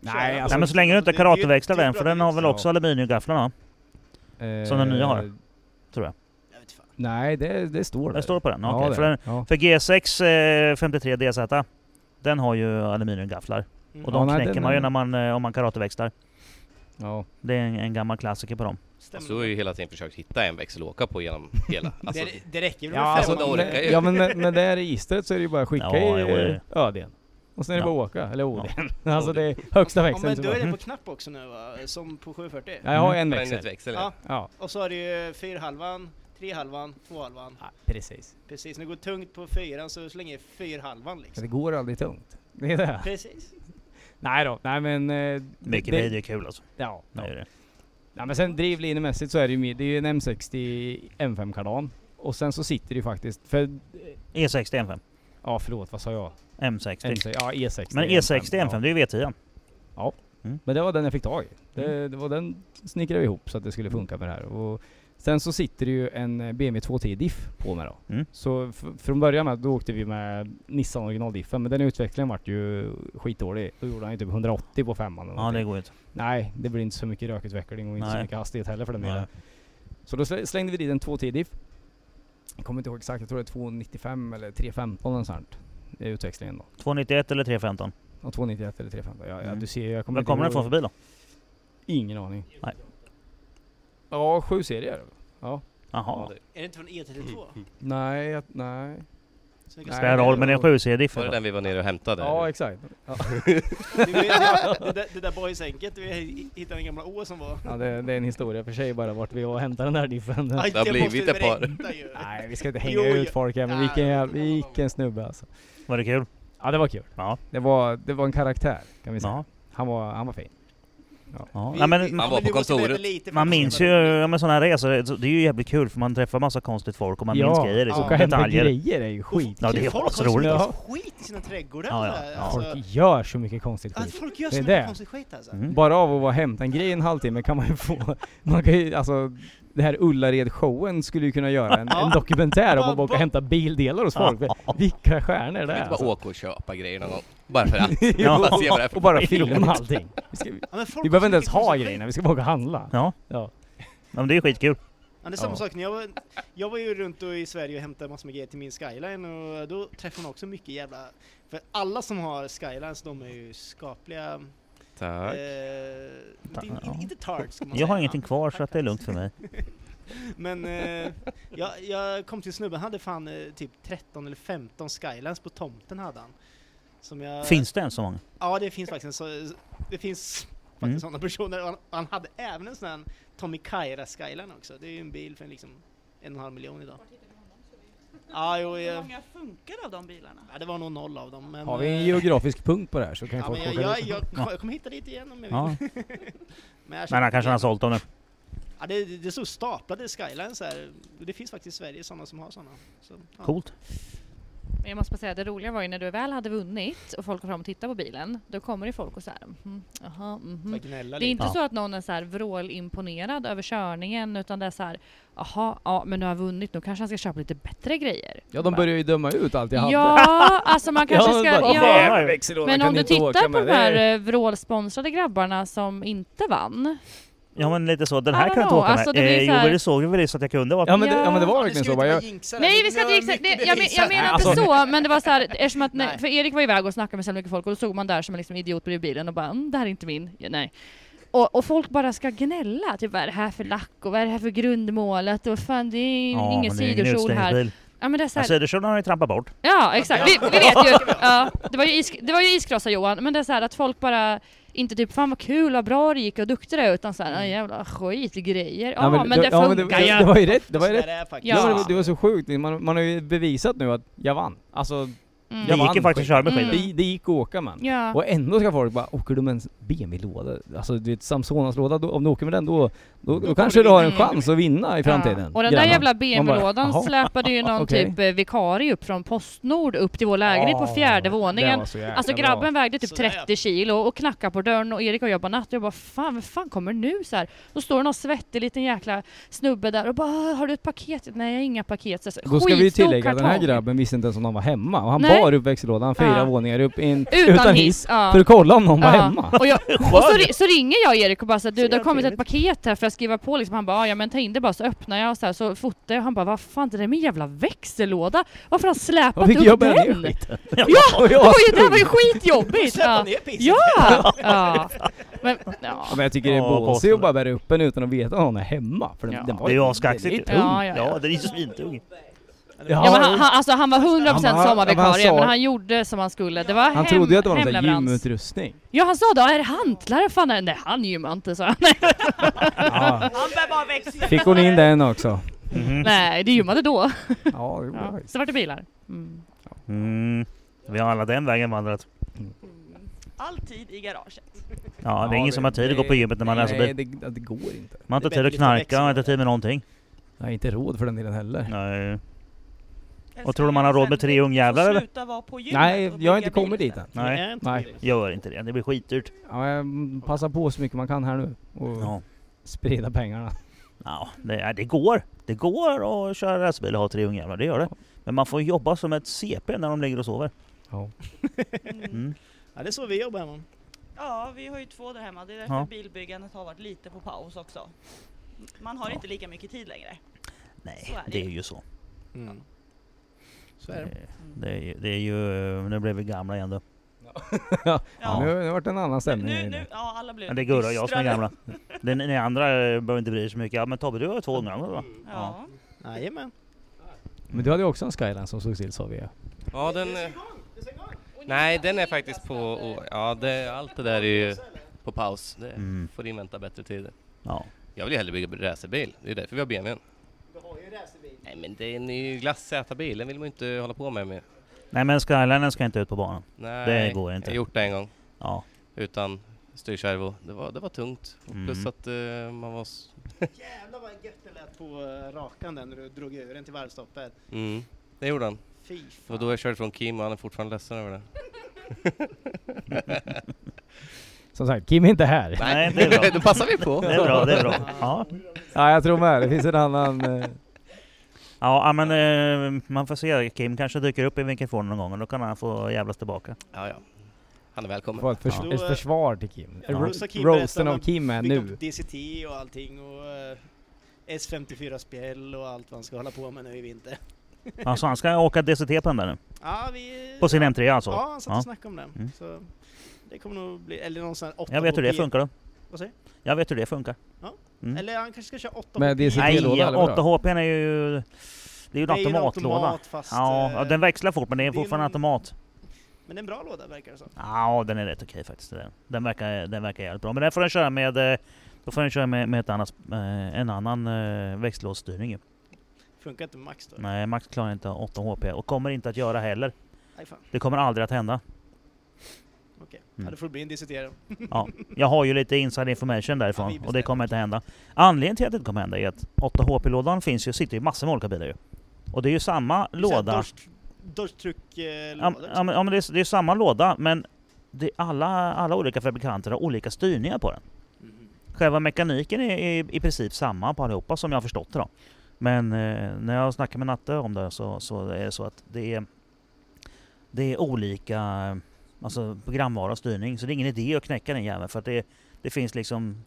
S2: Nej,
S1: Nej
S2: alltså,
S1: men så länge du inte
S3: Det- det är ju-
S1: karateväxlar
S3: det är ju
S1: den,
S3: bra
S1: för den har
S3: bevis.
S1: väl också aluminiumgafflar va?
S2: eh,
S1: som den nya har, tror jag.
S3: Jag vet fan.
S2: Nej, det, det står där.
S1: Det står på den?
S2: Ja,
S1: Okej.
S2: det
S1: För,
S2: är
S1: den,
S2: det. ja.
S1: för G6 eh, 53 DZ, den har ju aluminiumgafflar.
S3: Mm.
S1: Och de
S2: Ja, nej,
S1: knäcker
S2: den
S1: man ju
S2: är-
S1: när man, eh, om man karateväxlar.
S2: ja.
S1: Det är en, en gammal klassiker på dem.
S7: Fast du har Alltså, ju hela tiden försökt hitta en växel att åka på genom hela. Alltså,
S6: det, det räcker väl
S2: Ja,
S6: med
S2: alltså,
S7: det
S6: femman?
S7: orkar ju.
S2: ja men med, med det här registret så är det ju bara att skicka
S1: Ja, jo,
S2: i
S1: det-
S2: eh, öden. Och sen är det
S1: Ja.
S2: bara att åka, eller oden. Alltså det är högsta
S6: Ja,
S2: växeln.
S6: men
S2: som
S6: då är
S2: bara-
S6: det på knapp också nu va? Som på 740?
S2: Ja, jag har en
S7: växel.
S2: växel.
S7: växel Mm. ja.
S6: Ja.
S2: Ja,
S6: Och så har du ju fyrhalvan, trehalvan, tvåhalvan.
S2: Ja, precis.
S6: Precis, när det går tungt på fyran så slänger jag i fyrhalvan
S2: Så
S6: liksom.
S2: det går aldrig tungt. Det är det.
S6: Precis.
S2: Nej då, nej men... eh,
S1: Mycket
S2: det-
S1: bil är kul alltså.
S2: Ja,
S1: Det är det.
S2: Ja men sen drivlinemässigt så är det ju mer- det är ju en M60 M5 kardan. Och sen så sitter det ju faktiskt, för,
S1: E60 M5.
S2: ja förlåt vad sa jag?
S1: M60.
S2: M60, ja E E60.
S1: Men E E60 M5,
S2: ja.
S1: det är ju V10.
S2: Men det var den jag fick tag i.
S1: Mm.
S2: Det, det var den snickrade vi ihop så att det skulle funka med det här. Och sen så sitter det ju en eh, BMW 210 diff på mig då.
S1: Mm.
S2: Så f- från början med, då åkte vi med Nissan originaldiffen men den utvecklingen vart ju skitdålig. Då gjorde han ju typ 180 på femman
S1: Ja
S2: eller
S1: det
S2: någonting.
S1: går ju inte.
S2: Nej, det blir inte så mycket rökutveckling och inte så
S1: Nej.
S2: mycket hastighet heller för den
S1: Nej.
S2: delen. Så då slä- slängde vi dit en 210 diff. Jag kommer inte ihåg exakt, jag tror det är 295 eller 315 eller sånt. Det är utväxlingen då.
S1: 291 eller 315.
S2: Ja, 291 eller 315. Ja, ja,
S1: Mm.
S2: du ser ju, jag kommer
S1: Var kommer den
S2: inte
S1: ifrån
S2: ihåg.
S1: för bil då?
S2: Ingen aning.
S1: Nej.
S2: Ja, sju serier. Ja.
S1: Jaha.
S6: Är det inte från E
S2: Mm.
S6: E32?
S2: Nej, jag- nej.
S6: Så det
S2: Nej,
S1: Spelar roll men det är en 7-serie diff.
S7: Var det den vi var nere och hämtade?
S2: Ja,
S7: eller?
S2: exakt. Ja,
S6: Det, det, där, det där boysänket, vi hittade en gammal å som var...
S2: ja, det, det är en historia för sig bara vart vi var och hämtade den här diffen.
S6: Aj,
S7: Det har
S6: jag
S7: blivit
S6: måste
S7: ett par.
S6: berätta ju.
S2: nej, vi ska inte hänga
S6: Jo,
S2: ut
S6: ja.
S2: folk här men
S6: Nej,
S2: vilken,
S6: det
S2: jävla- vilken snubbe alltså.
S1: Var det kul?
S2: Ja, det var kul.
S1: Ja.
S2: Det var, det var en karaktär kan vi säga.
S1: Ja.
S2: Han, var, han var fin.
S1: ja.
S6: Vi-
S1: Nej,
S6: vi-
S1: men
S6: men
S7: Han var på
S6: vi måste
S7: kontoret.
S6: berätta lite för
S1: Man
S6: att-
S1: minns ju ja, med sådana här resor, så det är ju jävligt kul för man träffar massa konstigt folk och man minns grejer. Liksom,
S2: åka hem med
S1: detaljer.
S2: grejer är ju skit.
S1: Ja, det är
S6: Folk har
S1: asroligt
S6: så
S1: alltså.
S6: mycket skit i sina trädgårdar.
S1: Ja, ja,
S6: alltså.
S1: ja.
S6: Alltså,
S2: Folk gör så mycket konstigt
S6: att
S2: skit.
S6: folk gör
S2: Det är
S6: så
S2: det.
S6: mycket konstigt skit alltså.
S1: Mm.
S2: Bara av att vara och hämta en grej i en halvtimme kan man ju få... Man kan ju, alltså, det här Ullared-showen skulle ju kunna göra en, en dokumentär om att åka och hämta bildelar hos folk. Vilka stjärnor det
S7: Kan
S2: är
S7: vi inte bara
S2: alltså.
S7: åka och köpa grejer någon gång? Bara för att.
S2: Jo,
S7: Bara se vad det är för
S2: och bara
S7: bil.
S2: filma allting. Vi, ska,
S6: Ja, men folk
S2: vi behöver
S6: har så
S2: inte ens
S6: mycket
S2: ha
S6: konstigt skit.
S2: grejerna, vi ska bara åka och handla.
S1: Ja.
S2: Ja.
S1: ja, men det är ju skitkul.
S6: Ja, det är samma
S2: Ja.
S6: sak. När jag, var, jag var ju runt och i Sverige och hämtade massor med grejer till min skyline och då träffade man också mycket jävla... För alla som har skylines, de är ju skapliga... Eh,
S7: Tack.
S6: inte,
S1: ja.
S6: in, inte tards ska man
S1: Jag har
S6: säga.
S1: ingenting kvar så att det är lugnt för mig.
S6: Men eh, jag, jag kom till snubben, han hade fan eh, typ 13 eller 15 skylines på tomten hade han. Som jag,
S1: Finns det ens så många?
S6: Ja, det finns faktiskt en så, Det finns faktiskt
S1: Mm.
S6: sådana personer. Och Han, han hade även en sån här Tommy Kaira Skyline också. Det är ju en bil för liksom en och en halv miljon idag. Ja, jo,
S5: Hur
S6: jag,
S5: många funkar av de bilarna?
S6: ja, det var nog noll av dem. Men,
S2: Har vi en
S6: eh,
S2: geografisk punkt på det här så kan
S6: Ja,
S2: folk
S6: men jag,
S2: åka
S6: jag,
S2: dit.
S6: jag, jag kommer hitta dit igen om jag vill.
S1: Ja.
S6: Men, jag
S1: Men han kanske har sålt dem nu.
S6: ja, det, det stod staplade Skylines här. Det finns faktiskt i Sverige sådana som har sådana. Så, ja.
S1: Coolt.
S8: Men jag måste bara säga, det roliga var ju när du väl hade vunnit och folk kom fram och tittade på bilen, då kommer det folk och så här, mhm, jaha, mhm.
S6: Bara gnälla
S8: Det
S6: lite.
S8: är inte
S1: Ja.
S8: så att någon är så här vrålimponerad över körningen utan det är så här, jaha, ja men nu har jag vunnit, nu kanske han ska köpa lite bättre grejer.
S2: Ja, de börjar ju döma ut allt jag hade.
S8: Ja, alltså man kanske ska... ja. Men om du tittar på de här eh, vrålsponsrade grabbarna som inte vann.
S1: Ja men lite så, den
S8: I
S1: här
S8: don't
S1: kan jag inte
S8: know,
S1: åka
S8: alltså, det
S1: med. Eh,
S8: blir
S1: jo
S8: så här-
S1: men det såg vi väl så att jag kunde åka.
S2: Ja men, det, ja men det var
S6: Nu
S2: verkligen
S6: ska
S2: så.
S6: vi
S2: va?
S6: inte
S2: Jag,
S6: bara jinxa det här,
S8: Nej
S6: för
S8: vi ska
S6: nu
S8: inte
S6: har
S8: exakt,
S6: mycket
S8: jag, men-
S6: bevis
S8: jag
S6: här.
S8: menar
S2: Alltså-
S8: inte så men det var så här, eftersom att, nej,
S6: Nej.
S8: för Erik var iväg och snackade med så mycket folk och då såg man där som en liksom idiot bredvid bilen och bara mm, det här är inte min, ja, nej. Och, och folk bara ska gnälla, typ vad är det här för lack och vad är det här för grundmålet och fan det är
S1: Ja, men
S8: ingen
S1: det är ingen Alltså-
S8: sidokjol här.
S1: utställningsbil.
S8: Ja men det är så
S1: Ja,
S8: här,
S1: Sidokjolen har ju trampat bort.
S8: Ja, exakt. Vi, vi vet ju. Ja, det, var ju is, det var ju iskrossar Johan, men det är så här att folk bara inte typ fan vad kul, vad bra det gick och duktig det är", utan såhär mm. jävla skitgrejer. Ja, men, det
S2: ja, men
S8: funkar
S2: det, det
S8: ju.
S2: var ju rätt. Det var ju
S6: Så
S2: rätt.
S6: där är faktiskt.
S8: Ja.
S2: Ja. men det, var- det var så sjukt. Man, man har ju bevisat nu att jag vann. Alltså,
S8: Mm.
S1: Det
S2: jag
S1: gick ju
S2: vann
S1: faktiskt att köra med
S8: Mm.
S1: skidor.
S2: det, det gick att åka man.
S8: Ja.
S2: Och ändå ska folk bara, åker du med en BMW-låda? Alltså du vet Samsonas låda, då, om du åker med den då, då, då kanske du har en chans att vinna i framtiden.
S8: Ja. Och den där
S2: Grannar.
S8: jävla
S2: Man
S8: BMW-lådan
S2: bara,
S8: släpade ju någon
S2: Okej.
S8: typ eh, vikarie upp från Postnord upp till vår lägenhet på
S2: "Åh,
S8: fjärde
S2: det
S8: våningen.
S2: var så jäkla
S8: Alltså
S2: bra."
S8: grabben vägde typ
S6: Sådär, ja.
S8: 30 kilo och knackade på dörren och Erik och jag bara natt. Jag bara fan, vem fan kommer nu så här? Då står det någon svettig liten jäkla snubbe där och bara har du ett paket? Nej jag har inga paket. Så,
S2: Då ska vi ju
S8: skitstor
S2: tillägga att den här
S8: kartong.
S2: grabben visste inte ens om han var hemma. Och han
S8: Nej.
S2: bar upp växellådan fyra
S8: Ja.
S2: våningar upp i en,
S8: Utan, hiss. Ja.
S2: För att kolla om någon var
S8: Ja.
S2: hemma.
S8: Och, jag, och så, ri- så ringer jag Erik och bara så här, du det har kommit ett
S2: trevligt.
S8: paket här för jag skriva på liksom. Han bara "Ah, ja men ta in det bara så öppnar jag och så, här, så fotar jag. Han bara vad fan det där är min jävla växellåda. Varför har han
S2: Vad
S8: släpat
S2: fick
S8: upp
S2: jag bära ner
S8: den?
S2: skiten?
S8: Ja!
S2: Och
S8: Det
S2: jag
S8: var ju, det här var ju
S2: sprung.
S8: skitjobbigt!
S6: Släppa
S8: Ja.
S6: ner pissen.
S8: Ja! ja. Men, ja.
S2: Ja, men jag tycker det är
S1: Ja,
S2: båsigt
S1: påstå
S2: att bara bära upp en utan att veta om någon är hemma. För den,
S8: Ja.
S2: den var
S1: Det är
S2: ju-
S1: ju
S2: den är
S1: askaxigt.
S2: lite
S8: Ja,
S2: ung.
S8: ja, ja.
S1: Ja, den är ju svintung.
S8: Ja, men han, han, alltså, han var 100%
S2: Han bara-
S8: sommarvikarie
S2: han sa-
S8: men han gjorde som han skulle. Det var
S2: han
S8: hem,
S2: trodde ju att det var en sån här
S8: hemleverans.
S2: gymutrustning.
S8: Ja han sa då, är det hantlar? Fan, är det-" nej han gymmar inte sa han. Nej,
S2: Ja.
S5: Han bär bara växeln.
S2: Fick hon in den också?
S1: Mhm.
S8: nej det gymmade då.
S2: Ja, det gjorde jag
S8: Ja.
S2: faktiskt.
S8: Så vart det bilar. Mm.
S1: Mm. Vi har alla den vägen vandrat.
S5: Alltid i garaget.
S1: Ja, det är ingen som har tid att gå
S2: det-
S1: på gymmet när man
S2: nej,
S1: läser bil.
S2: det, det går inte.
S1: Man har
S6: det
S1: inte
S6: är
S1: tid att
S6: bättre att
S1: knarka,
S6: växa.
S1: man har inte tid med någonting.
S2: Jag har inte råd för den delen heller.
S1: Nej. Och tror du man har råd med tre ungjävlar, eller?
S5: Sluta vara på gymmet
S2: Nej,
S5: och
S2: jag har
S5: bygga
S2: inte kommit
S5: bil
S2: dit än.
S6: Nej.
S1: Nej,
S6: inte
S2: Nej.
S6: det.
S1: gör inte det. Det blir skitdyrt.
S2: Ja, jag passar på så mycket man kan här nu och
S1: Ja.
S2: sprida pengarna.
S1: Ja, det, ja, det går. Det går att köra racerbil och ha tre ungjävlar, det gör det. Men man får jobba som ett CP när de ligger och sover.
S5: sen. Mm.
S1: Mm.
S6: Ja, det är så vi jobbar hemma.
S5: Ja, vi har ju två där hemma. Det är därför
S1: Ja.
S5: bilbyggandet har varit lite på paus också. Man har inte lika mycket tid längre. Så
S1: Nej,
S5: är det
S1: det
S5: ju.
S1: är ju så.
S6: Mm. Så är det.
S1: Det, det, är, ju- det är ju... Nu blev vi gamla igen då.
S5: Ja.
S2: Nu, nu har det varit en annan stämning.
S5: Nu,
S2: här
S5: nu,
S2: inne.
S5: ja alla blir
S1: Men det är Gurra och jag som är
S5: dystrare.
S1: gamla. Den, ni andra eh, behöver inte bry er så mycket. Ja, men Tobbe, du har ju två ungar va?
S5: Ja.
S8: Eh.
S6: Jajamän.
S2: Men du hade ju också en skyline som såg till sa vi ju.
S7: Ja, den... eh, Nej, den är faktiskt på... och- Ja, det, allt det där är ju på paus. Det
S1: Mm.
S7: får invänta bättre tider.
S1: Ja.
S7: Jag vill ju hellre bygga racerbil. Det är därför vi har BMWn.
S6: Du har ju racerbil.
S7: Nej, men det är en ny glassätarbil. Den vill man ju inte hålla på med mer.
S1: Nej men Skylinen ska inte ut på banan.
S7: Nej,
S1: Det går inte.
S7: Jag har gjort det en gång
S1: Ja.
S7: utan styrservo. Det var, det var tungt. Och
S1: Mm.
S7: Plus att eh, man var... s-
S6: Jävlar vad gött det lät på eh, rakan där när du drog över den till varvstoppet.
S7: Mm, det gjorde han.
S6: Fy
S7: Det var då jag körde från Kim och han är fortfarande ledsen över det.
S2: Som sagt, Kim är inte här.
S1: Nej, det är bra.
S7: då passar vi på.
S1: Det är bra, det är bra. Ja,
S2: Ja, jag tror med. Det finns en annan... eh,
S1: ja men eh, man får se. Kim kanske dyker upp i vinkelfåren någon gång och då kan han få jävlas tillbaka.
S7: Ja, ja. Han är välkommen.
S2: Få ett, förs-
S6: Ja.
S2: ett försvar till Kim.
S6: Ja. Rosa Kim
S2: Roasten
S6: berättar
S2: av
S6: om-
S2: Kim är
S6: Byggt
S2: nu.
S6: upp DCT och allting och eh, S54-spjäll och allt vad han ska hålla på med nu i vinter.
S1: Alltså han ska åka DCT på den där nu.
S6: Ja, vi...
S1: På sin M3 alltså.
S6: Ja, han satt och
S1: Ja.
S6: snackade om den.
S1: Mm.
S6: Så det kommer nog bli... Eller någon sån här 8
S1: Jag vet hur det funkar då.
S6: Vad säger
S1: Jag vet hur det funkar. Mm.
S6: Eller han kanske ska köra 8
S2: Med DCT
S1: Nej,
S2: låda, eller vadå?
S1: 8 HP är ju... Det är ju en
S6: Det är ju en
S1: automatlåda.
S6: automat fast...
S1: Ja,
S6: eh,
S1: ja, den växlar fort men det är
S6: det är
S1: fortfarande
S6: en-
S1: automat.
S6: Men det är en bra låda verkar det som.
S1: Ja, den är rätt okej faktiskt. Den, den, verkar, den verkar jävligt bra. Men den får den köra med... eh, Då får den köra med, med ett annat, eh, en annan eh, växellådsstyrning ju.
S6: Funkar inte max då?
S1: Nej, Max klarar inte 8 HP och kommer inte att göra heller.
S6: Nej fan,
S1: Det kommer aldrig att hända.
S6: okej.
S1: Mm.
S6: Ja, det får bli en DCT då.
S1: Jag har ju lite inside information
S6: Ja, vi
S1: därifrån och
S6: bestämmer.
S1: det kommer inte hända. Anledningen till att det inte kommer hända är att 8 HP-lådan finns ju, sitter ju i massor med olika bilar ju. Och det är ju samma låda.
S6: Dodge- Dodge
S1: Ja,
S6: Truck-låda.
S1: men- ja, men ja, men det är, det är samma låda men det, alla, alla olika fabrikanter har olika styrningar på den.
S6: Mm.
S1: Själva mekaniken är, är i princip samma på allihopa som jag har förstått det då. Men eh, när jag snackar med Natte om det så, så är det så att det är, det är olika eh, alltså programvara och styrning så det är ingen idé att knäcka den jäveln för att det, det finns liksom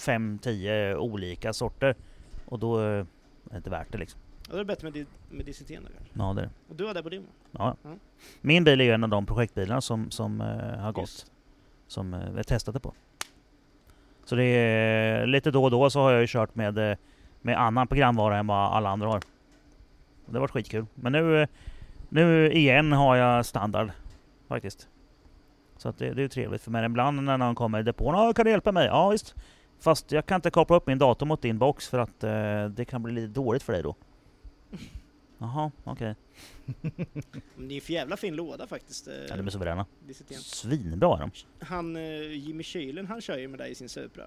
S1: 5-10 olika sorter och då eh, är det inte värt det liksom.
S6: Ja, då är det bättre med, di- med DCT då kanske.
S1: Ja, det är det.
S6: Och du var där på din va?
S1: Ja.
S6: Mm.
S1: Min bil är ju en av de projektbilarna som, som eh, har gått. Som eh, vi testade på. Så det är lite då och då så har jag ju kört med, eh, med annan programvara än vad alla andra har. Och det har varit skitkul. Men nu, eh, nu igen har jag standard faktiskt. Så att det, det är ju trevligt för mig. Ibland när någon kommer i depån, "Ja, kan du hjälpa mig? Ja visst. Fast jag kan inte koppla upp min dator mot din box för att eh, det kan bli lite dåligt för dig då. Jaha, okej.
S6: Men det är en för jävla fin låda faktiskt. eh,
S1: Ja, de är suveräna.
S6: DCT.
S1: Svinbra är de.
S6: Han eh, Jimmy Kylen han kör ju med dig i sin Supra.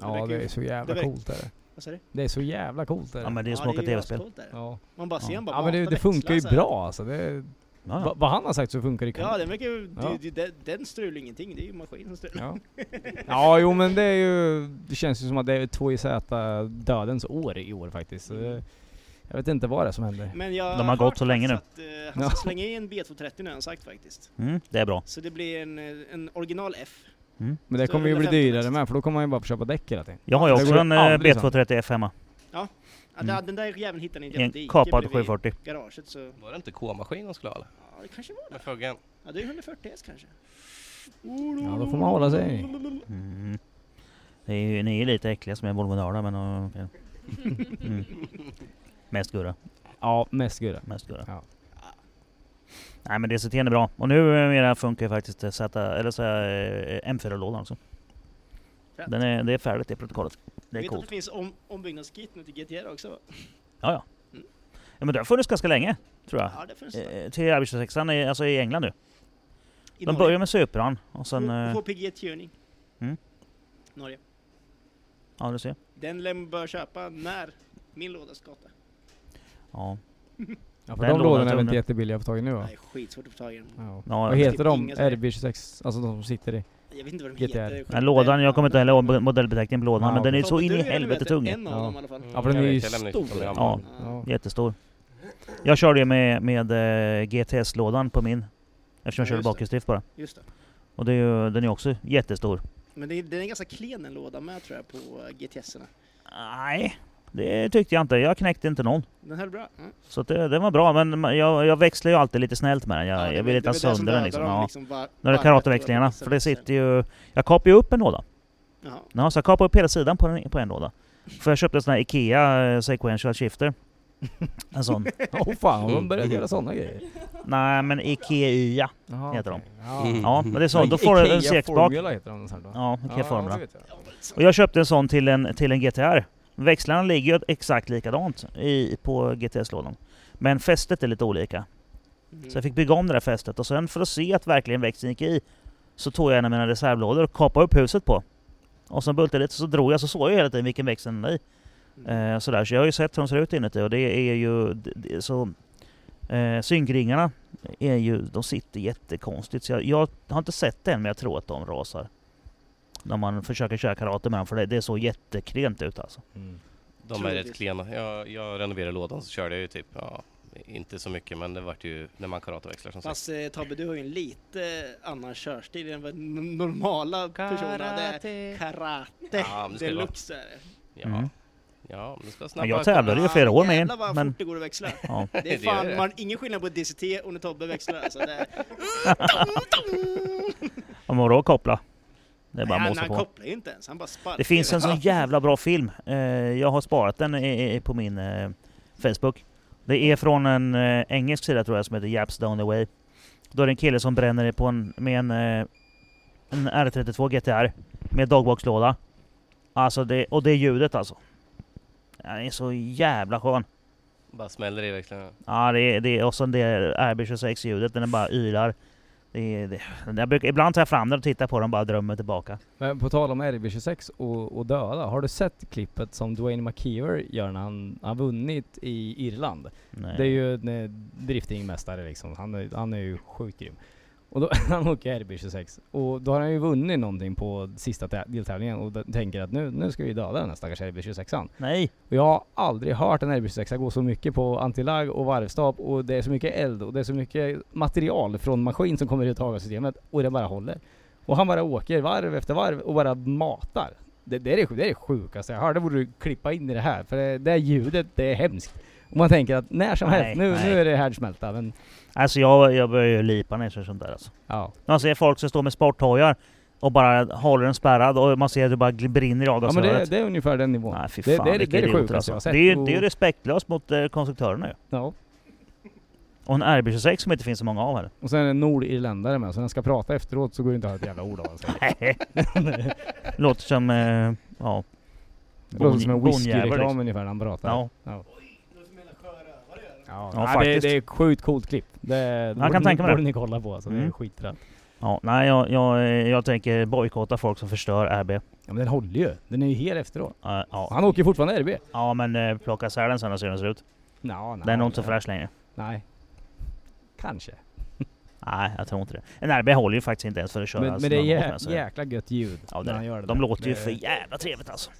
S2: Ja, det är så jävla
S6: det verkar-
S2: coolt är det.
S6: Vad säger du?
S2: Det är så jävla coolt är
S1: Ja
S2: det.
S1: men det är som
S6: Ja,
S1: att åka
S6: ju
S1: tv-spel.
S6: ascoolt där.
S2: Ja,
S6: Man bara ser
S1: Ja.
S6: han bara
S2: ja men det,
S6: matar
S2: det funkar ju
S6: växlar så här.
S2: bra alltså. Det,
S1: Ja, ja.
S2: va, vad han har sagt så funkar det
S6: Ja,
S2: kanon.
S6: den verkar ju...
S2: Ja.
S6: Det, det, den- den strular ingenting. Det är ju maskin som strular.
S2: Ja. ja, jo men det är ju... Det känns ju som att det är 2JZ dödens år i år faktiskt. Så det, jag vet inte vad det är som händer.
S6: Men jag
S1: De har gått så länge nu.
S6: faktiskt Att, eh, han ska slänga i en B230 nu har han sagt faktiskt.
S1: Mm, det är bra.
S6: Så det blir en, eh, en original F.
S2: Men det
S6: Så
S2: kommer ju bli
S6: 150
S2: dyrare
S6: mest.
S2: med för då kommer man ju bara få köpa däck hela tiden.
S1: Jag har ju
S2: Det
S1: också
S2: går
S1: en eh,
S2: aldrig sönder.
S1: B230 F hemma.
S6: Ja, det- Den där jäveln hittade ni i
S1: I
S6: ett
S1: Mm. en
S6: dike
S1: kapad
S6: bredvid
S1: 740.
S6: garaget så...
S7: Var det inte K-maskin de skulle ha eller?
S6: Ja, det kanske var det.
S7: Med fuggen?
S6: Ja, det är 140 häst kanske. Mm.
S2: Ja, då får man hålla sig.
S1: Mm. Det är ju, ni är lite äckliga som är Volvo men... eh, okej. Mm. Mest Gurra.
S2: Ja, mest gurra.
S1: Mest Gurra.
S2: Ja.
S1: Nej men DCT är bra. Och numera funkar ju faktiskt eh, sätta, eller så här, eh, M4-lådan också.
S3: Fett.
S1: Den är, det är färdigt det protokollet. Det är
S3: Vet att det
S1: coolt.
S3: finns om, ombyggnadskit nu till GTR också? va?
S1: Ja, ja. ja men det har funnits ganska länge, tror jag.
S3: Ja, det finns det.
S1: Eh, till RB26 i, alltså i England nu.
S3: I
S1: De
S3: Norge.
S1: börjar med Supran och sen...
S3: H-
S1: eh,
S3: HPG Tuning.
S1: Mm.
S3: Norge.
S1: Ja du ser.
S3: Den lem bör köpa när min låda ska ta.
S1: Ja.
S2: Ja, för
S1: Den lådan
S2: de lådorna är
S1: tror
S2: väl inte
S1: jag.
S2: jättebilliga att få tag i nu va?
S3: Det är skitsvårt att få tag i den.
S2: Ja.
S1: Ja,
S2: Vad
S1: det
S2: heter
S3: finns
S2: de?
S3: inga som är-
S2: RB26? Alltså de som sitter i?
S3: Jag vet inte vad den
S2: GTR.
S3: heter.
S1: Den lådan, jag kommer inte heller ihåg
S3: Tobbe,
S1: modellbeteckningen på lådan
S2: Ja,
S1: men den är
S2: okej.
S1: så in
S3: du
S1: i
S3: är väl
S1: helvete
S3: vet
S1: tung.
S3: En av
S2: Ja.
S3: dem i alla fall.
S2: Ja, för den
S7: Mm, Jag
S2: är ju
S7: vet, jag lämnar
S2: stor.
S7: nyckeln hemma.
S1: Ja.
S3: Ja.
S1: Jättestor. Jag körde ju med, med eh, GTS-lådan på min. Eftersom jag
S3: Ja,
S1: körde
S3: just det.
S1: bakhjulsdrift bara.
S3: Just det.
S1: Och det är ju, den är också jättestor.
S3: Men det, är- den är ganska klen en låda med tror jag på eh, GTS-erna.
S1: Nej, det tyckte jag inte. Jag knäckte inte någon.
S3: Den höll bra. Mm.
S1: Så att det, den var bra, men ma- jag, jag växlar ju alltid lite snällt med den. Jag,
S3: Ja, det-
S1: jag vill
S3: det
S1: inte ha
S3: är väl det som
S1: sönder den
S3: dödar
S1: liksom.
S3: dem,
S1: Ja.
S3: var- liksom.
S1: De där
S3: varvet
S1: karatväxlingarna,
S3: och-
S1: för det sitter ju... Jag kapade ju upp en låda.
S3: Jaha.
S1: Ja, så jag kapade upp hela sidan på en, på en låda. För jag köpte en sån här IKEA eh, sequential shifter. En sån.
S2: Åh oh, fan, de började göra sådana grejer.
S1: Nej men IKEA.
S2: Jaha,
S1: Heter de.
S2: okej. Ja.
S7: Mm.
S1: Ja, men det är så. Då får du en sex bak.
S2: Formula heter de sen då.
S1: Ja,
S2: Ja,
S1: IKEA Formula.
S2: det vet jag.
S1: Och jag köpte en sån till en, till en GTR. Växlarna ligger ju exakt likadant i, på GTS-lådan. Men fästet är lite olika.
S3: Mm.
S1: Så jag fick bygga om det där fästet och sen för att se att verkligen växeln gick i så tog jag en av mina reservlådor och kapade upp huset på. Och sen bultade jag lite så drog jag så såg jag hela tiden vilken växel den var i.
S3: Mm.
S1: Eh, sådär. Så jag har ju sett hur de ser ut inuti och det är ju det, det, är så... Eh, synkringarna är ju, de sitter jättekonstigt. Så jag, jag har inte sett det än men jag tror att de rasar. När man försöker köra karate med dem för det, det är så jättekrent ut alltså.
S2: Mm.
S7: De är
S3: Otroligt.
S7: rätt klena. Jag, jag renoverade lådan så körde jag ju typ, ja, inte så mycket men det vart ju när man karateväxlar som sagt.
S3: Fast eh, Tobbe, du har ju en lite annan körstil än vad n- normala personer har. Det är karate
S7: Ja, men det ska det vara.
S3: deluxe är det.
S7: Ja,
S1: Mm.
S7: ja men det ska
S1: Men
S7: snabba...
S1: jag tävlade ju i flera år med
S3: Jävlar vad
S1: en.
S3: men...
S1: Men,
S3: fort det går att växla.
S1: ja.
S3: Det är
S7: Det gör
S3: fan
S7: det.
S3: man, ingen skillnad på DCT och när Tobbe växlar. Alltså, det är,
S1: Om man då koppla. Det är bara
S3: Nej, han,
S1: att måsa
S3: han
S1: på.
S3: kopplar ju inte ens, han bara sparkar.
S1: Det finns en sån jävla bra film. Eh, jag har sparat den i, i, på min eh, Facebook. Det är från en eh, engelsk sida tror jag som heter Japs Down the Way. Då är det en kille som bränner på en, med en, eh, en R32 GTR med dagboxlåda. Alltså det, och det är ljudet alltså. Den är så jävla skön.
S7: Bara smäller i växlarna.
S1: Ja, det är, det är, och sen det RB26-ljudet, den är bara ylar. Det är, det, jag brukar, ibland tar jag fram den och tittar på den och bara drömmer tillbaka.
S2: Men på tal om RB26 och, och döda, har du sett klippet som Dwayne McKeever gör när han har vunnit i Irland?
S1: Nej.
S2: Det är ju en eh, driftingmästare liksom, han är, han är ju sjukt grym. Och då, han åker RB26 och då har han ju vunnit någonting på sista tä- deltävlingen och d- tänker att nu, nu ska vi döda den här stackars RB26an.
S1: Nej.
S2: Och jag har aldrig hört en RB26 gå så mycket på antilagg och varvstab och det är så mycket eld och det är så mycket material från maskin som kommer ut ur avgassystemet och den bara håller. Och han bara åker varv efter varv och bara matar. Det, det, är, det, det är det sjukaste jag hört. Det borde du klippa in i det här för det, det här ljudet, det är hemskt. Och man tänker att när som
S1: Nej,
S2: helst, nu,
S1: nej.
S2: nu är det härdsmälta men
S1: Alltså jag, jag börjar ju lipa när jag ser sånt där alltså.
S2: ja.
S1: Man ser folk som står med sporthojar och bara håller den spärrad och man ser att det bara gl- brinner i
S2: ja men det,
S1: avgasröret.
S2: det är ungefär den nivån.
S1: Alltså, Nej fy
S2: det,
S1: fan
S2: det, är- det
S1: vilka
S2: är det
S1: idioter
S2: sjukaste
S1: alltså.
S2: jag har
S1: Det
S2: sett.
S1: är ju
S2: Och-
S1: det är ju respektlöst mot eh, konstruktörerna ju.
S2: ja.
S1: Och en RB26 som inte finns så många av heller.
S2: Och sen är det en nordirländare med så när han ska prata efteråt så går det inte att höra ett jävla ord av vad han säger.
S1: Nej. Låter som... Eh, ja.
S2: Det låter som en
S1: Bonjävel,
S2: whiskyreklam
S1: liksom.
S2: ungefär när han pratar.
S1: Ja.
S2: Ja. Ja,
S1: Ja,
S2: nej, det,
S1: faktiskt.
S2: det är ett sjukt coolt klipp. Det
S1: Man kan tänka mig
S2: det.
S1: det.
S2: borde ni kolla på alltså. Det är
S1: Mm.
S2: skiträtt.
S1: ja. Nej jag, jag, eh, jag tänker bojkotta folk som förstör RB. Eh,
S2: Ja men den håller ju. Den är ju hel efteråt.
S1: ja.
S2: Han åker ju fortfarande RB.
S1: ja men eh, plocka isär den sen och se hur den ser ut.
S2: Nå, nå,
S1: Den är nog inte så
S2: nå.
S1: fräsch längre.
S2: Nej. Kanske.
S1: Nej jag tror inte det. En RB håller ju faktiskt inte ens för att köra.
S2: Men, men det är jä- jäkla gött ljud
S1: alltså. Ja, det
S2: när
S1: är
S2: han
S1: det.
S2: gör det.
S1: De
S2: där.
S1: låter ju
S2: Det-
S1: för jävla trevligt alltså.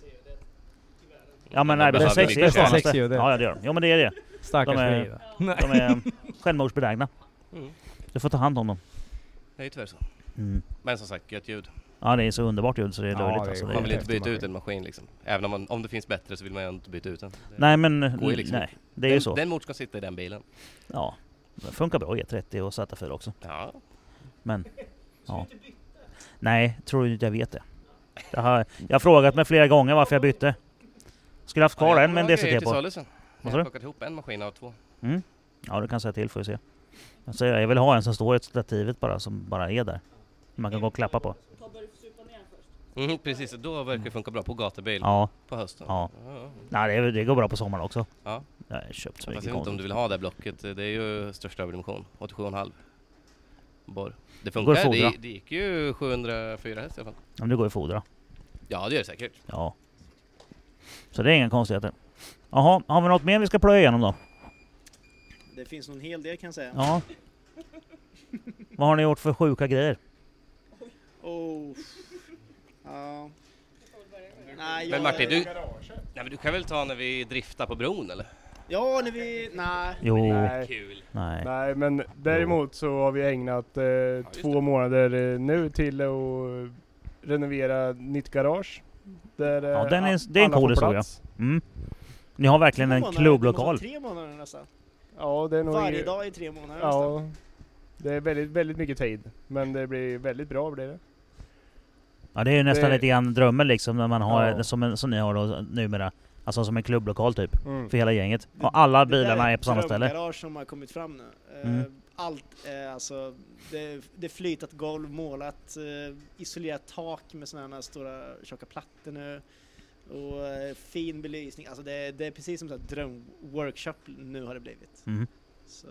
S1: Ja men
S7: de
S1: RBC
S7: behöver
S1: 6 är
S7: lite
S1: det
S7: kärlek.
S1: skönaste.
S2: Sex är ju det.
S1: Ja ja, det gör de. Jo men det är det.
S2: Stackars
S1: de är-
S2: grejer. Nej.
S1: De är självmordsbenägna.
S7: Mm.
S1: Du får ta hand om dem.
S7: Det är ju tyvärr så.
S1: Mm.
S7: Men som sagt, gött ljud.
S1: Ja det är så underbart ljud så det är
S2: Ja,
S1: löjligt
S2: det är
S1: alltså. Det
S7: Man vill
S1: är...
S7: inte
S2: häftig
S7: byta
S2: maskin.
S7: ut en maskin liksom. Även om, man, om det finns bättre så vill man ju inte byta ut den. Det-
S1: Nej men
S7: går ju liksom
S1: nej. Det är ju
S7: den,
S1: så.
S7: Den motorn ska sitta i den bilen.
S1: Ja. Det funkar bra E30 och Z4 också.
S7: Ja.
S1: Men ja. Nej, tror du inte jag vet det? Jag har, jag har frågat mig flera gånger varför jag bytte. Skulle haft kvar
S7: Ja, jag
S1: en med en
S7: har grejer
S1: DCT
S7: till
S1: på.
S7: salu sen. Jag
S1: Vad
S7: har
S1: sa du?
S7: plockat ihop en maskin av två.
S1: Mm. Ja, du kan säga till får vi se. Jag, säger, jag vill ha en som står i stativet bara, som bara är där. Man kan gå och klappa på.
S7: Mm, precis, då verkar det funka bra på gatubil
S1: Ja.
S7: på hösten.
S1: Ja.
S7: ja.
S1: Nej, det, det går bra på sommaren också.
S7: Ja.
S1: Jag har köpt så
S7: Fast jag
S1: mycket
S7: vet inte om
S1: konstigt.
S7: du vill ha det här blocket. Det är ju största överdimension. 87,5 borr. Det
S1: går att
S7: funkar.
S1: fodra.
S7: Det, det gick ju 704 häst i alla fall.
S1: Om du går i fodra.
S7: Ja, det gör det säkert.
S1: Ja. Så det är inga konstigheter. Jaha, har vi något mer vi ska plöja igenom då?
S3: Det finns nog en hel del kan jag säga.
S1: Ja. Vad har ni gjort för sjuka grejer?
S3: Oh. Ja. Nej, jag-
S7: Men Martin, du... Nej, men du kan väl ta när vi driftar på bron eller?
S3: Ja, när vi... Nej.
S1: Jo, nej.
S4: Nej.
S7: Kul.
S4: Nej, men däremot så har vi ägnat eh, två månader eh, nu till att renovera nytt garage. Där, eh,
S1: Ja, den är-
S4: a-
S1: det är en
S4: alla får
S1: cool historia.
S4: plats.
S1: Mm. Ni har verkligen en
S3: Månader, det måste vara
S1: klubblokal.
S3: Tre månader nästan.
S4: Ja, det är nog
S3: Varje
S4: inget-
S3: dag i tre månader nästan.
S4: Ja. Det är väldigt, väldigt mycket tid. Men det blir väldigt bra blir det.
S1: Ja, det är ju nästan
S4: Det-
S1: lite grann drömmen liksom, när man har,
S4: Ja.
S1: som, en, som ni har då numera. Alltså som en klubblokal typ,
S4: Mm.
S1: för hela gänget. Och alla
S3: Det där
S1: bilarna är på samma
S3: ett
S1: ställe.
S3: drömgarage som har kommit fram nu. Eh,
S1: Mm.
S3: Allt är alltså, det, det är flytat golv, målat, eh, isolerat tak med sådana här stora tjocka plattor nu. Och eh, fin belysning, alltså det, det är precis som så här drömworkshop nu har det blivit.
S1: Mm.
S3: Så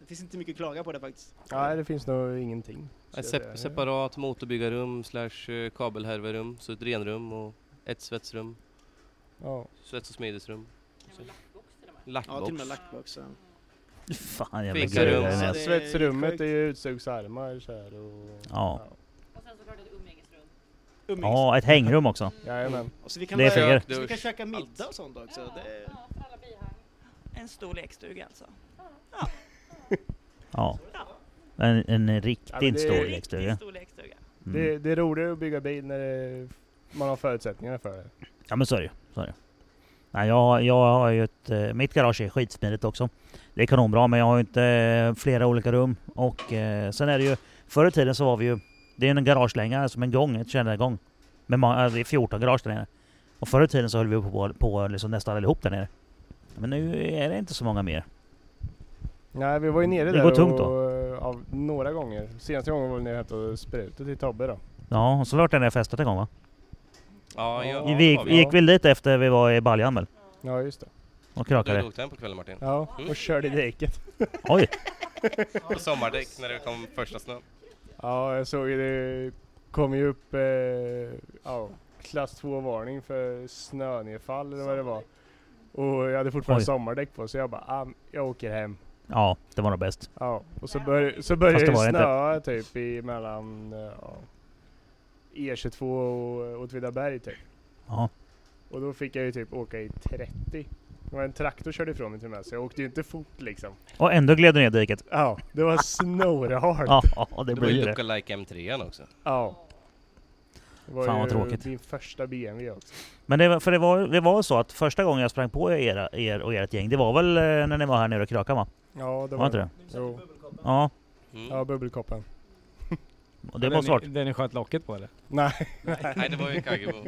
S3: det finns inte mycket att klaga på det faktiskt.
S4: Nej, det finns nog ingenting.
S7: Ett
S4: Så
S7: sep-
S4: det-
S7: separat motorbyggarrum slash eh, kabelhärverum, så ett renrum och ett svetsrum,
S4: Ja.
S7: svets och smidesrum. Så.
S3: Ja, till och med
S7: Lackbox.
S3: lackbox. ja.
S1: Fan jävla
S7: Fika
S1: grejer
S7: rum.
S1: det är
S3: Ja,
S1: med.
S3: det-
S4: Svetsrummet är ju utsugsarmar så här och...
S1: Ja.
S3: Umgängs-
S1: Ja, ett hängrum också. Mm.
S4: Jajamän.
S3: Och så vi kan,
S1: det är
S3: börja-
S1: fingret.
S3: så vi kan
S7: Dusch.
S3: käka middag och sånt också. Det är,
S5: En stor lekstuga alltså.
S1: Ja. En, en
S4: Ja,
S1: riktigt
S4: men det-
S1: stor
S4: Riktigt
S1: lekstuga.
S5: Riktigt stor lekstuga.
S1: Mm.
S4: Det, det är roligare att bygga bil när det, man har förutsättningarna för det.
S1: Ja men så är det ju. Så är det. Nej, jag, jag har ju ett, eh, mitt garage är skitsmidigt också. Det är kanonbra men jag har ju inte eh, flera olika rum. Och eh, sen är det ju, förr i tiden så var vi ju, det är en garagelänga som en gång, ett källargång. Men man, äh, det är 14 garage där nere. Och förr i tiden så höll vi på, på liksom nästan allihop där nere. Men nu är det inte så många mer.
S4: Nej, vi var ju nere
S1: Det
S4: där
S1: går tungt
S4: och,
S1: då.
S4: Ja, några gånger. Senaste gången var vi nere och hämtade sprutet till Tobbe då.
S1: Ja, och så vart det när jag festat en gång va?
S7: Ja,
S4: Ja,
S7: ja,
S1: Vi gick,
S7: ja,
S1: vi gick väl dit efter vi var i Baljan väl?
S4: Ja, just det.
S1: Och
S7: Du
S1: krökade.
S7: drog den på kvällen Martin.
S4: Ja, och körde i diket.
S1: Oj!
S7: På sommardäck när det kom första snön.
S4: Ja, jag såg ju det kom ju upp eh, ja, klass 2-varning för snönedfall eller vad det var. Och jag hade fortfarande
S1: Oj.
S4: sommardäck på så jag bara, ah, jag åker hem.
S1: Ja, det var nog bäst.
S4: Ja, och så, bör, så började
S1: Fast det
S4: det
S1: var det inte.
S4: snöa typ i mellan eh, ja, E22 och Åtvidaberg typ.
S1: Ja.
S4: Och då fick jag ju typ åka i 30. Det var en traktor körde ifrån mig till och med så jag åkte ju inte fort liksom.
S1: Och ändå gled du ner i diket.
S4: Ja, det var snårhalt.
S1: Ja,
S4: Ja.
S1: det
S7: Det var ju
S1: blir det.
S7: Ducka Like M3 också.
S4: Det var
S1: Fan, vad
S4: ju
S1: tråkigt.
S4: min första BMW också.
S1: Men det, var- för det var, det var så att första gången jag sprang på era, er och ert gäng, det var väl eh, när ni var här nere och krökade va?
S4: Ja, det
S1: Var,
S4: var
S1: inte det?
S4: Jo.
S1: Ja.
S7: Mm.
S4: Ja, bubbelkoppen.
S1: Och det måste
S2: den,
S1: varit...
S2: ni- den ni sköt locket på eller?
S4: Nej,
S7: Nej, det var ju en Kaggebo.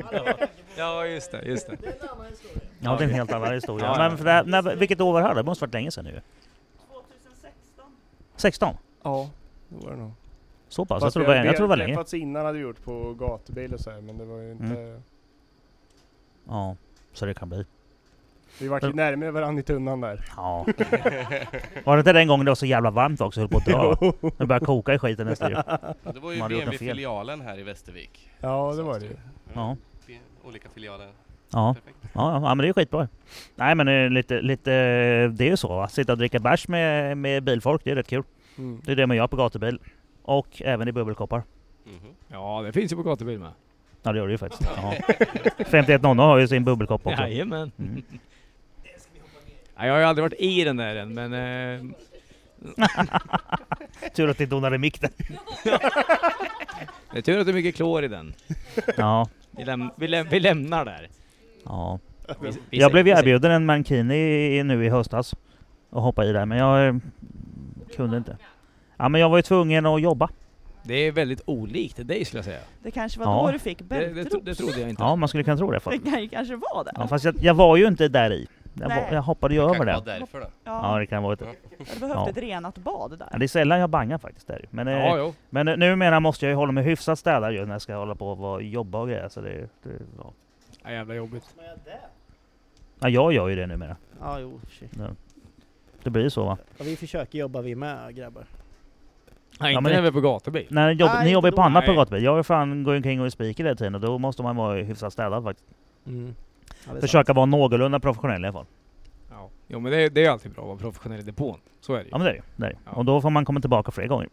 S2: Ja just det, just det.
S1: Ja, det är en helt annan historia.
S2: Ja, ja.
S1: Men för det, här- när, vilket år var det här? Det måste varit länge sedan nu
S5: 2016.
S1: 16?
S4: ja, det var det nog.
S1: Så pass? Alltså, Jag tror
S4: Fast vi
S1: det var,
S4: hade-
S1: jag tror det var
S4: vi hade
S1: längre.
S4: träffats innan hade vi gjort på gatubil och så här, men det var ju inte...
S1: Mm. Ja, så det kan bli.
S4: Vi vart ju
S1: Men-
S4: närmare varandra i tunnan där.
S1: Ja. Var det inte den gången det var så jävla varmt också, höll på att dö? va? Det började koka i skiten nästa jul.
S7: Det var ju
S1: Man hade gjort en fel.
S7: BMW-filialen här i Västervik.
S4: Ja, det var det ju.
S1: Ja.
S7: Mm, Olika filialer.
S1: Ja.
S7: Perfekt.
S1: Ja, ja, ja, men det är ju skitbra. Nej men eh, lite, lite, eh, det är ju så va. Sitta och dricka bärs med, med bilfolk, det är rätt kul.
S4: Mm.
S1: Det är det man gör på gatubil. Och även i bubbelkoppar.
S7: Mhm.
S2: Ja det finns ju på gatubil med.
S1: Ja det gör det ju faktiskt. Ja. 5100 har ju sin bubbelkopp också.
S2: Jajamän.
S1: Mm.
S2: Ja, jag har ju aldrig varit i den där än men... Eh,
S1: Tur att det donade mick där.
S2: det är tur att det är mycket klor i den.
S1: Ja.
S2: Vi, läm- vi, läm- vi lämnar där.
S1: ja.
S2: Vi, vi
S1: Jag blev
S2: vi
S1: erbjuden en mankini i- nu i höstas. Och hoppa i där men jag eh, kunde inte. Ja men jag var ju tvungen att jobba.
S2: Det är väldigt olikt dig skulle jag säga.
S5: Det kanske var
S1: Ja.
S5: då du fick
S2: Det, det, tro-
S5: bältros.
S2: det trodde jag inte.
S1: Ja, man skulle kunna tro det. För.
S5: Det kanske var det.
S1: Ja, fast jag, jag var ju inte där i. Jag,
S5: Nej.
S1: var, jag hoppade ju över
S7: Kanske
S1: det.
S7: var därför då.
S1: Ja,
S5: Ja,
S1: det kan vara ett,
S5: du behövde
S1: Ja.
S5: ett renat bad där.
S1: ja, Det är sällan jag bangar faktiskt där. Men, eh,
S2: Ja, jo.
S1: men eh, numera måste jag ju hålla mig hyfsat städad ju när jag ska hålla på och vara- jobba och grejer. Så det, det, ja.
S9: Ja, jävla jobbigt.
S1: Ja, jag gör ju det numera.
S6: Ja, jo. shit.
S1: Det blir ju så va?
S6: Och vi försöker jobba vi med grabbar.
S2: Nej,
S1: Ja,
S2: inte
S1: men Mm.
S2: när vi är på gatubil.
S1: Nej, jobb,
S6: Nej,
S1: ni
S6: inte
S1: jobbar ju på
S6: då.
S1: annat på
S2: Nej.
S1: gatubil. Jag fan går ju omkring och är speaker hela tiden och då måste man vara hyfsat städad faktiskt.
S6: Mm. Ja, det är sant.
S1: Försöka vara någorlunda professionell i alla fall.
S2: Ja. Jo men det, det är alltid bra att vara professionell i depån. Så är det ju.
S1: Ja men det är det ju. det är det ju.
S2: Ja.
S1: Och då får man komma tillbaka fler gånger.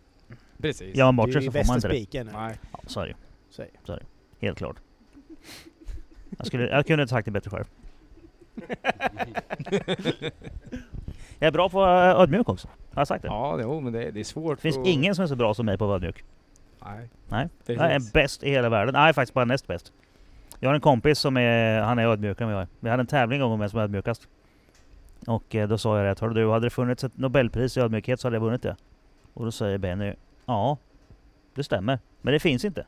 S2: Precis.
S1: Gör man
S6: Du
S1: bort
S6: är
S1: sig
S6: ju
S1: så får man
S6: bästa
S1: inte det.
S6: spikern. här.
S2: Nej.
S1: Ja, så är det ju.
S6: Så är det.
S1: Så är det. Helt klart. Jag, skulle, jag kunde inte sagt det bättre själv. jag är bra på att vara ödmjuk också. Har jag sagt det?
S2: Ja, Oh. jo, men det, det är svårt.
S1: Det finns
S2: att-
S1: ingen som är så bra som mig på att vara ödmjuk.
S2: Nej.
S1: Nej.
S2: Det
S1: Jag är
S2: finns.
S1: bäst i hela världen. Nej, jag är faktiskt bara näst bäst. Jag har en kompis som är, han är ödmjukare än vad jag är. Vi hade en tävling en gång om vem som är ödmjukast. Och eh, då sa jag det, hörru du, hade det funnits ett Nobelpris i ödmjukhet så hade jag vunnit det. Och då säger Benny, ja, det stämmer. Men det finns inte.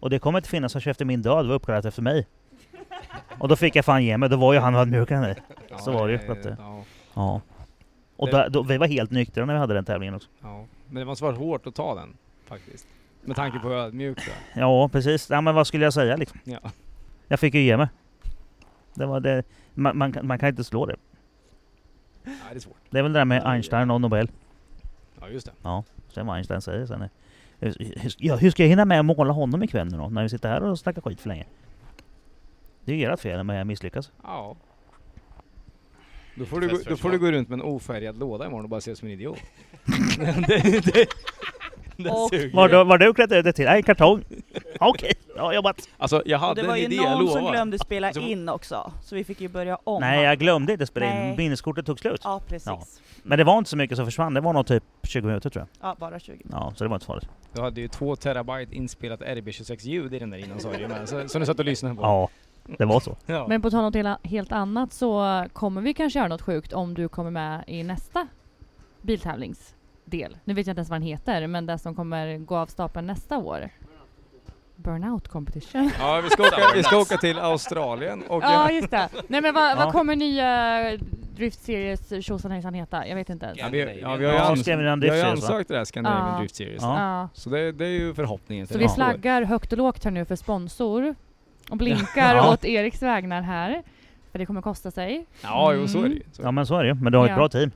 S1: Och det kommer inte finnas förrän efter min död, det var uppkallat efter mig. Och då fick jag fan ge mig, då var ju han ödmjukare än mig.
S2: Ja,
S1: så var det ju, så att det-
S2: Ja,
S1: Ja. Och
S2: Det-
S1: där, då, vi var helt nyktra när vi hade den tävlingen också.
S2: ja. Men det måste varit hårt att ta den faktiskt. Med tanke
S1: Ah.
S2: på hur ödmjuk du är.
S1: Ja, precis. Ja, men vad skulle jag säga liksom?
S2: Ja.
S1: Jag fick ju ge mig. Det var det. Man, man, kan- man kan inte slå det.
S2: Nej, det är svårt.
S1: Det är väl det där med Einstein och Nobel.
S2: Ja, just det.
S1: Sen vad Einstein säger sen. är- Hur, hur, ja, hur ska jag hinna med att måla honom ikväll nu då? När vi sitter här och snackar skit för länge. Det är ju ert fel om jag misslyckas.
S2: Ja. Då får, du, gå- då får
S7: Festförsvar.
S2: du gå runt med en ofärgad låda imorgon och bara se ut som en idiot. det, det, det
S5: Och-
S2: suger.
S1: Var, då, var du klätt ut det till? Nej, kartong. Ja, Okej, bra jobbat.
S2: Alltså jag
S5: Och
S2: hade
S5: det var
S2: en
S5: ju
S2: idé,
S5: någon
S2: jag
S5: som
S2: lovar.
S5: glömde spela
S2: Alltså-
S5: in också, så vi fick ju börja om.
S1: Nej, jag glömde inte spela in.
S5: Nej.
S1: Minneskortet tog slut.
S5: Ja, precis.
S1: Ja.
S5: Ja.
S1: Men det var inte så mycket som försvann. Det var nog typ 20 minuter tror jag.
S5: bara 20 minuter.
S1: Ja, så det var inte så farligt.
S2: Du hade ju två terabyte inspelat RB26-ljud i den där innan sa du ju med, så- som du satt och lyssnade på.
S1: Ja, det var så.
S2: Ja.
S8: Men på tal om något helt annat så kommer vi kanske göra något sjukt om du kommer med i nästa biltävlingsdel. Nu vet jag inte ens vad den heter, men det som kommer gå av stapeln nästa år. Burnout competition.
S2: Ja, vi ska åka, vi ska åka till Australien och...
S8: Ja, just det. Nej men vad,
S1: Ja.
S8: vad kommer nya Drift Series tjosan hejsan heta? Jag vet inte.
S2: Ja, vi, ja, vi har ju,
S1: Ja,
S2: ans-
S1: Scandinavian
S2: vi har ju
S1: Drift Series, va?
S2: ansökt till det här Scandinavian
S8: Ja.
S2: Drift Series.
S1: Ja.
S8: Ja.
S2: Så det, det är ju förhoppningen. till
S8: Så vi
S2: nästa år.
S8: flaggar högt och lågt här nu för sponsor och blinkar
S1: Ja.
S8: åt Eriks vägnar här. För det kommer kosta sig.
S2: Ja, jo, så är det ju. Så.
S1: Ja men så är det ju. Men du har ett
S8: Ja.
S1: bra team.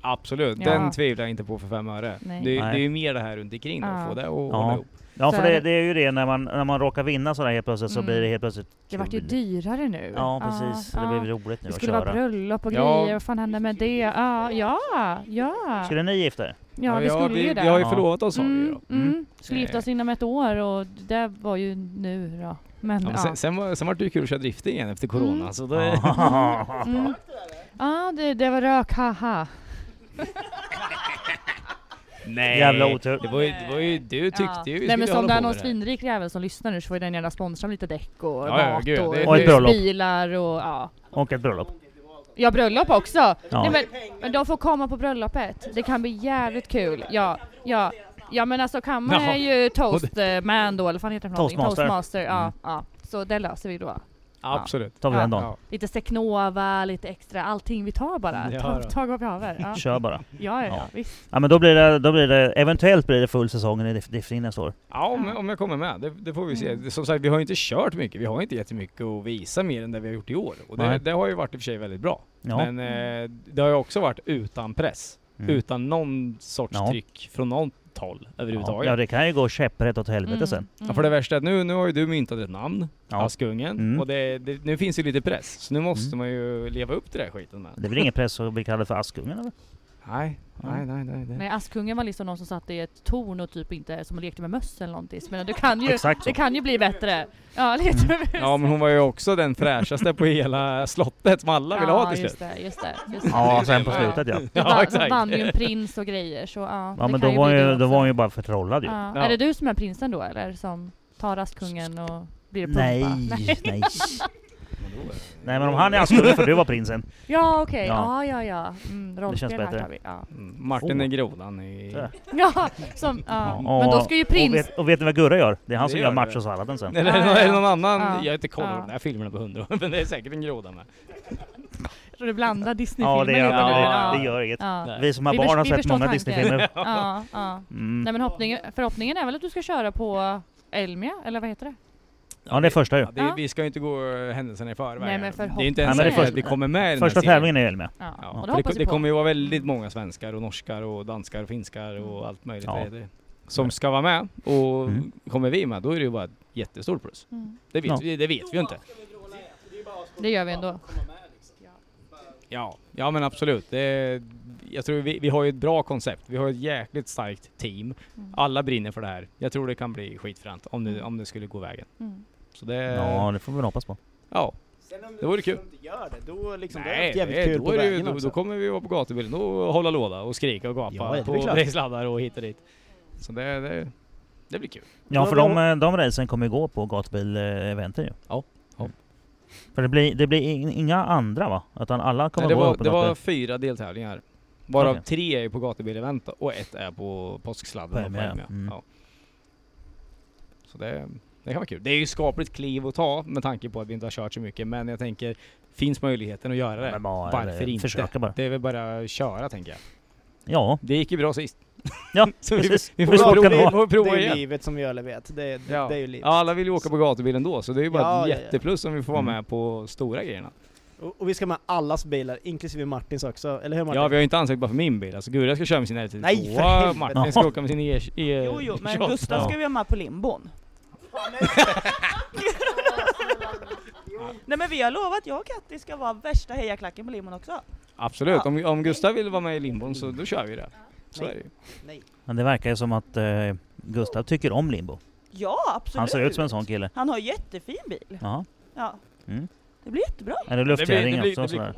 S2: Absolut,
S8: Ja.
S2: den tvivlar jag inte på för fem öre. Det,
S8: Nej.
S2: det är
S1: Nej.
S2: ju mer det här runt omkring då, att
S8: Ja.
S2: få det att
S1: Ja.
S2: hålla ihop.
S1: Ja
S8: Så
S1: för
S8: är
S1: det,
S8: det.
S1: det är ju det när man, när man råkar vinna sådär helt plötsligt så
S8: Mm.
S1: blir det helt plötsligt
S8: Det vart ju
S1: kul.
S8: dyrare nu.
S1: Ja precis,
S8: Ja,
S1: det
S8: ja.
S1: blir roligt nu
S8: Det
S1: att
S8: skulle vara
S1: köra.
S8: bröllop och
S2: Ja.
S8: grejer, vad fan hände med det? Ja, ja, ja.
S1: Skulle ni gifta er?
S8: Ja, vi skulle ju
S2: vi,
S8: det.
S2: vi har ju
S1: Ja.
S2: förlovat oss har vi ju
S8: Mm,
S2: då.
S8: mm. Skulle
S2: Eh.
S8: gifta oss inom ett år och det var ju nu då. Men
S2: Ja,
S8: ja.
S2: men sen, sen, var, sen var det ju kul att köra drifting igen efter corona.
S8: Mm.
S2: Så det,
S8: Mm. Ja, det, det var rök, haha.
S2: Nej,
S1: Jävla otur.
S2: Det var ju, det var ju du tyckte
S8: ja.
S2: ju vi
S8: Nej
S2: skulle
S8: men som
S2: hålla
S8: det är
S2: på
S8: någon
S2: med det här.
S8: svinrik jävel som lyssnar nu så får ju den gärna sponsra med lite däck och
S2: Ja, ja,
S8: mat
S2: gud,
S8: och,
S2: det-
S1: Och ett bröllop.
S8: bilar och ja.
S1: Och ett bröllop.
S8: Ja, bröllop också!
S1: Ja.
S8: Nej, men, men de får komma på bröllopet. Det kan bli jävligt kul. Ja, ja. Ja men alltså Kammar
S2: Jaha.
S8: är ju toastman då, eller vad fan heter det för någonting?
S1: Toastmaster.
S8: Toastmaster. Ja,
S1: Mm.
S8: ja. Så det löser vi då.
S2: Absolut.
S1: Tar vi den
S2: Ja.
S1: dagen.
S8: Lite Secnova, lite extra, allting. Vi tar bara.
S2: Ja,
S8: Ta,
S2: då.
S8: tag vad vi har. Ja.
S1: Kör bara.
S8: Ja, ja,
S1: Ja.
S8: ja, visst.
S1: Ja men då blir det, då blir det eventuellt blir det full säsongen i diff- drifting nästa år.
S2: Ja, om, jag- om jag kommer med. Det, det får vi se.
S8: Mm.
S2: Som sagt, vi har ju inte kört mycket. Vi har inte jättemycket att visa mer än det vi har gjort i år. Och det,
S1: Nej.
S2: det har ju varit i och för sig väldigt bra.
S1: Ja.
S2: Men eh, det har ju också varit utan press.
S1: Mm.
S2: Utan någon sorts
S1: Ja.
S2: tryck från något håll
S1: ja.
S2: överhuvudtaget. Ja,
S1: ja det kan ju gå käpprätt åt
S8: Mm.
S1: helvete sen.
S2: för det värsta är att nu, nu har ju du myntat ett namn,
S1: Ja.
S2: Askungen.
S1: Mm.
S2: Och det, det, nu finns ju lite press. Så nu måste
S1: Mm.
S2: man ju leva upp till den här skiten med.
S1: Det är väl ingen press att bli kallad för Askungen eller?
S2: Nej, nej, nej. nej, nej.
S8: Nej, Askungen var liksom någon som satt i ett torn och typ inte, som lekte med möss eller någonting. Men det kan ju,
S1: Exakt så.
S8: det kan ju bli bättre. Ja, lekte med möss.
S2: Mm. Ja men hon var ju också den fräschaste på hela slottet som alla ville ha till
S8: Ja,
S2: slut.
S8: just det, just det. Just det.
S1: Ja sen på slutet ja.
S8: De
S2: Ja,
S8: vann-
S2: exakt.
S8: De vann ju en prins och grejer så ja.
S1: Ja
S8: det
S1: men
S8: kan
S1: då
S8: ju
S1: var,
S8: bli
S1: ju,
S8: det
S1: då
S8: också.
S1: var hon ju bara förtrollad ju.
S8: Ja.
S2: Ja.
S8: Är det du som är prinsen då eller? Som tar Askungen och blir pumpa?
S1: Nej, nej. Nej men om han är Askungen får du vara prinsen.
S8: Ja okej,
S1: Ja.
S8: ja ja ja. Mm, rollspel
S1: känns bättre.
S8: här tar vi. Ja,
S2: Mm. Martin
S1: Två.
S2: är grodan i...
S1: Så.
S8: ja som, ja. men då ska ju
S1: Och
S8: prins...
S1: vet, och vet ni vad Gurra gör? Det är han
S2: Det
S1: som
S2: gör
S1: gör
S2: det.
S1: machosalladen sen.
S2: Eller är det någon, är det någon annan?
S8: Ja.
S2: Jag har inte koll på
S8: Ja.
S2: de där filmerna på hundra år, men det är säkert en groda med.
S8: Du blandar Disney-filmer
S1: Ja det gör,
S8: lite nu.
S1: det,
S8: Ja.
S1: det gör inget.
S8: Ja.
S1: Vi som har
S8: Vi
S1: barn har
S8: förs- vi
S1: sett
S8: förstår
S1: många
S8: tanken.
S1: Disneyfilmer.
S8: Ja, ja.
S1: Mm.
S8: Nej men hoppningen, förhoppningen är väl att du ska köra på Elmia, eller vad heter det?
S1: Ja det är första ju.
S2: Ja, det,
S8: Ja.
S2: Vi ska ju inte gå eh, händelserna i förväg.
S8: Nej, men
S2: här.
S8: förhopp-
S2: det är ju inte ens
S1: Nej, men det är
S2: säkert
S1: först-
S2: att vi kommer med i den
S1: Första
S2: här serien.
S1: tävlingen är Elmia.
S8: Ja,
S2: Ja,
S8: och
S2: för
S8: det
S2: det, ko-
S8: hoppas vi
S2: det
S8: på.
S2: kommer ju vara väldigt många svenskar och norskar och danskar och finskar
S8: Mm.
S2: och allt möjligt.
S1: Ja.
S2: vad heter det Som ska vara med och
S1: Mm.
S2: kommer vi med då är det ju bara ett jättestort plus.
S8: Mm.
S2: Det vet,
S1: Ja.
S2: vi, det vet vi ju inte.
S8: Det gör vi ändå.
S2: Ja, ja men absolut. Det, jag tror vi, vi har ju ett bra koncept. Vi har ett jäkligt starkt team.
S8: Mm.
S2: Alla brinner för det här. Jag tror det kan bli skitfränt om det, om det skulle gå vägen.
S8: Mm.
S2: Så det...
S1: Ja det får vi väl hoppas på.
S2: ja. Det vore kul.
S6: inte gör det, då liksom, då är
S2: Nej,
S6: det jävligt
S2: det-
S6: kul
S2: då,
S6: på
S2: är det, ju-
S6: vägen
S2: då,
S6: också.
S2: då kommer vi vara på gatubilen och hålla låda och skrika och gapa
S6: Ja, det är
S2: på
S6: klart.
S2: racesladdar och hit och dit. Så det, det, det blir kul.
S1: Ja för de, eh, de racen kommer ju gå på gatubil-eventen ju. Mm.
S2: Ja. Ja.
S1: För det blir, det blir in- inga andra va? Utan alla kommer
S2: Nej, det
S1: gå
S2: var,
S1: på
S2: det var
S1: gatubil.
S2: fyra deltävlingar. Varav
S1: Okej.
S2: tre är på gatubilevent och ett är på påsksladden.
S1: På
S2: och
S1: Elmia,
S2: Elmia.
S1: mm.
S2: Ja. Så det, det kan vara kul. Det är ju skapligt kliv att ta med tanke på att vi inte har kört så mycket. Men jag tänker, finns möjligheten att göra det?
S1: Men bara,
S2: Varför
S1: eh,
S2: inte?
S1: Försöka bara.
S2: Det är väl bara att köra tänker jag.
S1: Ja,
S2: Det gick ju bra sist.
S1: ja
S2: Så vi,
S1: precis.
S2: vi
S1: Det
S2: får
S1: smakar bra.
S2: prova, vi får
S6: Det
S2: prova
S6: är ju
S2: igen.
S6: livet som vi alla vet. Det, är- det,
S2: Ja.
S6: det är ju livet.
S2: Ja, alla vill ju åka på gatubil ändå så det är ju bara
S6: Ja,
S2: ett
S6: ja, ja.
S2: jätteplus om vi får vara
S1: Mm.
S2: med på stora grejerna.
S6: Och, och vi ska med allas bilar, inklusive Martins också. Eller hur Martin?
S2: Ja vi har ju inte ansökt bara för min bil. Alltså Gurra ska köra med sin R32.
S6: Nej, för helvete.
S2: Martin ska åka med sin E... e
S5: Jo, jo, men
S2: 28.
S5: Gustav ska vi ha med på limbon. Nej men vi har lovat, jag och Katti ska vara värsta hejaklacken på limbon också.
S2: Absolut,
S5: Ja.
S2: om, om Gustav vill vara med i limbon så då kör vi det. Så
S6: Nej.
S2: är det ju.
S6: Nej.
S1: Men det verkar ju som att eh, Gustav tycker om limbo.
S5: Ja, absolut.
S1: Han ser ut som en sån kille.
S5: Han har jättefin bil.
S1: Ja.
S5: Ja.
S1: Mm.
S5: Det blir jättebra.
S1: Eller
S2: det
S1: luftfjädring också
S2: blir- det
S1: och
S2: blir-
S1: sådär.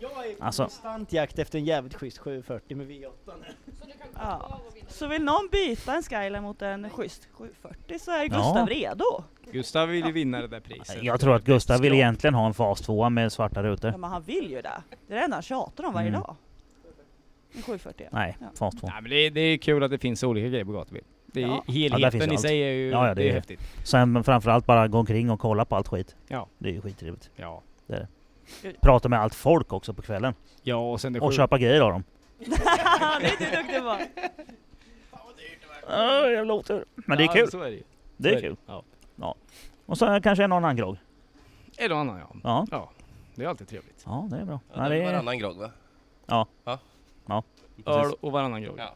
S6: Jag är på
S1: Alltså.
S6: konstant jakt efter en jävligt schysst 740 med V8.
S5: Ja. Så vill någon byta en Skyline mot en schysst 740 så
S1: Ja.
S5: är Gustav redo.
S2: Gustav vill ju vinna det där priset.
S1: Jag tror att Gustav vill
S2: Ska-
S1: egentligen ha en fas 2 med svarta rutor.
S5: Ja, men han vill ju det. Det är det enda han tjatar om varje
S1: Mm.
S5: dag. En 740.
S1: Nej,
S5: Ja.
S1: fas 2.
S2: Nej men det, är- det är kul att det finns olika grejer på gatubil. Det är,
S5: Ja.
S1: Ja, där
S2: Helheten
S1: finns
S2: i
S1: allt.
S2: sig är ju
S1: Ja, ja,
S2: det
S1: det
S2: är
S1: är-
S2: häftigt.
S1: Sen men framförallt bara gå omkring och kolla på allt skit.
S2: Ja.
S1: Det är ju skittrevligt.
S2: Ja.
S1: Prata med allt folk också på kvällen.
S2: ja, och sen det
S1: Och
S2: sjuka.
S1: köpa grejer av dem.
S5: det är du duktig på.
S1: Äh, jävla otur. Men det är kul.
S2: Ja, så är det ju.
S1: Det
S2: Så
S1: är
S2: är det.
S1: kul.
S2: Ja.
S1: Och så kanske en och annan grogg.
S2: En och annan ja.
S1: Ja.
S2: Det är alltid trevligt.
S1: Ja, det är bra.
S7: Ja,
S1: Ja,
S7: det
S1: det
S7: är
S1: är,
S7: varannan grogg va?
S2: Öl och varannan grogg.
S7: Ja.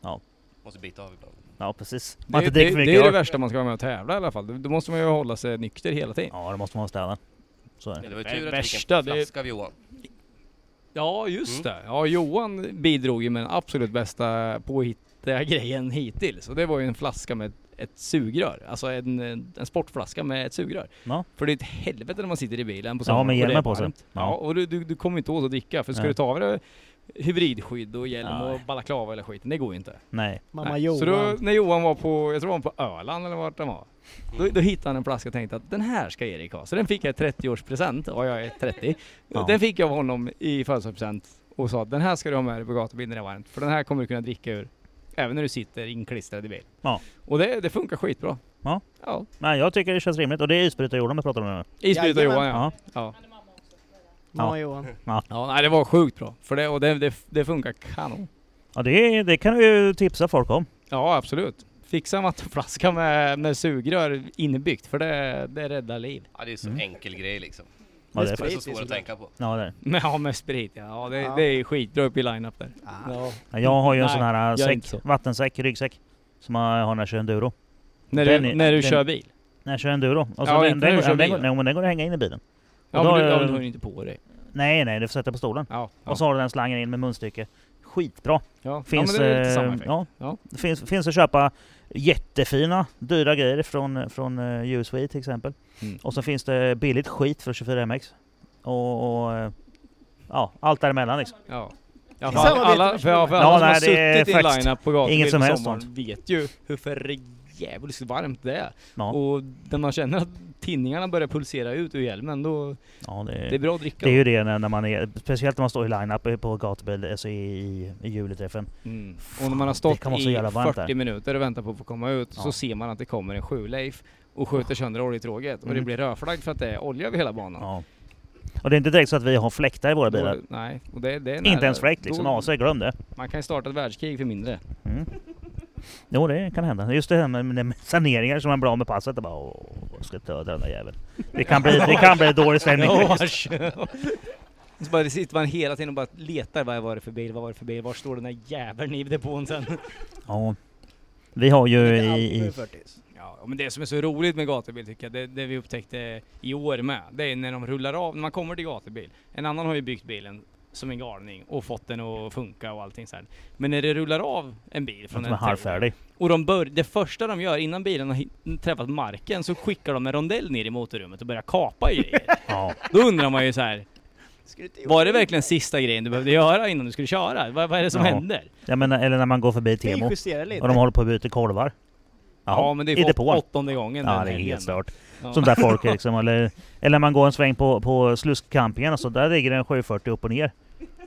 S1: Ja.
S7: Måste bita av ibland.
S1: ja, precis. Man
S2: Det,
S1: inte dricker
S2: det,
S1: för
S2: det är
S1: mycket
S2: det
S1: öl.
S2: värsta man ska vara med och tävla i alla fall. Då- Då måste man ju hålla sig nykter hela tiden.
S1: Ja, det måste man städa. Så är
S7: Ja,
S1: det.
S7: Det var ju
S2: Det
S7: tur att vi fick
S2: värsta,
S7: en
S2: det är-
S7: flaska av Johan.
S2: Ja, just
S1: Mm.
S2: det. Ja, Johan bidrog ju med den absolut bästa påhittiga grejen hittills. Och det var ju en flaska med ett sugrör. Alltså en, en sportflaska med ett sugrör.
S1: Ja.
S2: För det är ett helvete när man sitter i bilen på
S1: Ja,
S2: sommaren
S1: med
S2: och det är
S1: hjälmen på sig.
S2: varmt. Ja,
S1: Ja.
S2: och du, du, du kommer inte åt att dricka. För ska
S1: Nej.
S2: du ta av dig hybridskydd och hjälm
S1: Nej.
S2: och balaklava eller skiten, det går ju inte.
S1: Nej.
S6: Mamma
S2: Nej.
S6: Johan.
S2: Så då, när Johan var på, jag tror han var på Öland eller vart han var. Då, då hittade han en flaska och tänkte att den här ska Erik ha. Så den fick jag i 30-årspresent, och jag är 30.
S1: Ja.
S2: Den fick jag av honom i födelsedagspresent och sa att den här ska du ha med dig på gatubil när det är varmt. För den här kommer du kunna dricka ur. Även när du sitter inklistrad i bil.
S1: Ja.
S2: Och det, det funkar skitbra.
S1: Ja.
S2: ja.
S1: Nej, jag tycker det känns rimligt. Och det är isbrytarjorden vi pratar om nu.
S2: Isbryt och Johan ja.
S1: Ja.
S2: ja.
S6: Mamma Johan.
S2: Ja, nej det var sjukt bra. För det, och det, det, det funkar kanon.
S1: Ja, det, det kan du ju tipsa folk om.
S2: Ja, absolut. Fixa en vattenflaska med, med sugrör inbyggt, för det, det räddar liv.
S7: Ja, det är så
S1: Mm.
S7: enkel grej liksom.
S1: Ja, det är,
S7: Det är så
S6: Sprit är
S7: svårt att
S6: såklart.
S7: tänka på.
S1: ja, det är.
S2: Men ja, med sprit ja. ja, det,
S6: Ja.
S2: det är skitbra upp i line-up där.
S6: Ah.
S1: Ja, Jag har ju en
S2: Nej,
S1: sån här äh,
S2: gör inte
S1: säck,
S2: så.
S1: vattensäck, ryggsäck. Som jag har när jag kör enduro.
S2: När
S1: Den
S2: du,
S1: är-
S2: när du
S1: den-
S2: kör bil?
S1: När jag kör enduro. Och så
S2: Ja,
S1: den,
S2: inte när
S1: den,
S2: du kör
S1: den, den,
S2: bil.
S1: går- nej, men den går att hänga in i bilen.
S2: Ja,
S1: Och
S2: men
S1: då-
S2: du, ja, men du har ju inte på dig.
S1: Nej, nej, det sätter på stolen.
S2: Ja, ja.
S1: Och så har du den slangen in med munstycke. Skitbra.
S2: ja.
S1: Finns,
S2: ja, men det är lite
S1: eh,
S2: samma effekt.
S1: ja,
S2: Ja.
S1: Det finns, finns att köpa jättefina, dyra grejer från, från uh, USW till exempel.
S2: Mm.
S1: Och så finns det billigt skit för 24MX. Och, och eh, ja, allt däremellan liksom.
S2: Ja. Ja,
S6: I
S2: för alla,
S6: samarbete
S2: alla,
S6: med
S2: för, ja, för
S1: Ja,
S2: alla som
S1: nej,
S2: har
S1: det är
S2: suttit i
S1: faktiskt
S2: line-up på gatubil
S1: inget som
S2: på
S1: helst
S2: sommaren vet ju hur för jävligt varmt det är.
S1: Ja,
S2: Och när man känner att tinningarna börjar pulsera ut ur hjälmen då,
S1: ja, det,
S2: det är
S1: är,
S2: bra att dricka.
S1: det är ju det när, när man är, speciellt när man står i line-up på gatubil, alltså i, i, i julträffen.
S2: Mm. Och
S1: Fan,
S2: när man har
S1: det
S2: stått
S1: kan vara
S2: i
S1: så jävla varmt
S2: 40
S1: där.
S2: minuter och väntat på att få komma ut
S1: Ja.
S2: så ser man att det kommer en sjulejf och skjuter sönder oljetråget och det
S1: Mm.
S2: blir rödflagg för att det är olja över hela banan.
S1: Ja. Och det är inte direkt så att vi har fläktar i våra bilar.
S2: Då, nej, och det, det är nära.
S1: Inte ens fläkt liksom,
S2: Då-
S1: AC, glöm det.
S2: Man kan ju starta ett världskrig för mindre.
S1: Mm. Jo, det kan hända. Just det här med, med saneringar som man blir av med passet. Och bara, åh, jag ska döda den där jäveln. Det kan bli, det kan bli dålig stämning.
S2: Ja, vars. Så bara sitter man hela tiden och bara letar, vad var det för bil, vad var det för bil, var står den där jäveln i depån sen?
S1: Ja. Vi har ju
S2: Inte allt
S1: i,
S2: med
S1: i
S2: 40s. Ja, men det som är så roligt med gatubil tycker jag, det, det vi upptäckte i år med, det är när de rullar av, när man kommer till gatubil. En annan har ju byggt bilen som en galning och fått den att funka och allting så här. Men när det rullar av en bil
S1: som
S2: från
S1: är
S2: en tävling,
S1: halvfärdig.
S2: och de bör, det första de gör innan bilen har hit- träffat marken så skickar de en rondell ner i motorrummet och börjar kapa i grejer.
S1: Ja.
S2: Då undrar man ju så här. Var det verkligen sista grejen du behövde göra innan du skulle köra? Vad, vad är det som
S1: Ja.
S2: händer?
S1: Jag menar, eller när man går förbi Temo och
S6: Finjustera lite.
S1: de håller på att byta kolvar. Ja,
S2: men det är
S1: i
S2: ju åt,
S1: depån.
S2: åttonde gången
S1: Ja,
S2: den
S1: det är
S2: helgen.
S1: helt stört.
S2: Ja.
S1: Som där folk är liksom, eller, eller när man går en sväng på, på sluskcampingen och så, där ligger det en 740 upp och ner.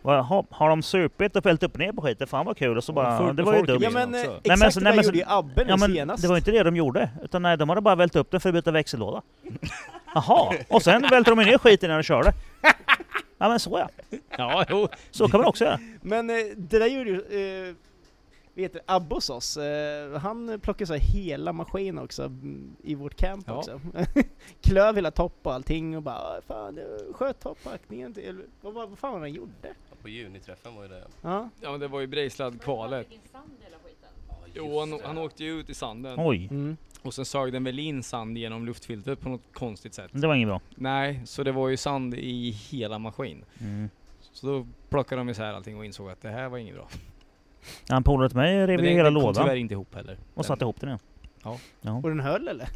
S1: Va, ha, har de supit och fällt upp och ner på skiten? Fan vad kul! Och så bara,
S2: fullt
S1: det
S2: med
S1: var ju
S2: folk i
S1: dumt.
S6: Ja
S2: bilen
S6: men eh,
S2: också.
S1: men
S6: exakt
S1: så-
S6: det
S1: nej,
S6: där
S1: men så-
S6: gjorde ju Abbe
S1: Ja,
S6: nu
S1: men
S6: senast.
S1: det var inte det de gjorde, utan nej, de hade bara vält upp den för att byta växellåda. Jaha, och sen välter de ju ner skiten när de körde. Ja men så ja,
S2: Ja, jo.
S1: så kan man också göra.
S6: Men eh, det där gjorde ju... Eh, vet du, Abbe hos oss, eh, han plockade så här hela maskin också mm, i vårt camp
S2: Ja.
S6: också. Klöv hela topp och allting och bara "Ah, fan, eh, sköt toppbackningen till... eller Vad, vad, vad fan var det han gjorde?
S7: På juniträffen var ju det.
S6: Ja.
S2: Ja, men det var ju Brejslad-kvalet. Jo, han, han åkte ju ut i sanden
S1: Oj,
S6: Mm.
S2: och sen sög den väl in sand genom luftfiltret på något konstigt sätt.
S1: det var inget bra.
S2: Nej, så det var ju sand i hela maskin.
S1: Mm.
S2: Så då plockade de isär allting och insåg att det här var inget bra.
S1: Han polare till mig rev
S2: Men
S1: ju
S2: den-
S1: hela
S2: den kom tyvärr
S1: lådan
S2: inte ihop heller.
S1: och satte ihop den igen.
S6: Och den höll eller?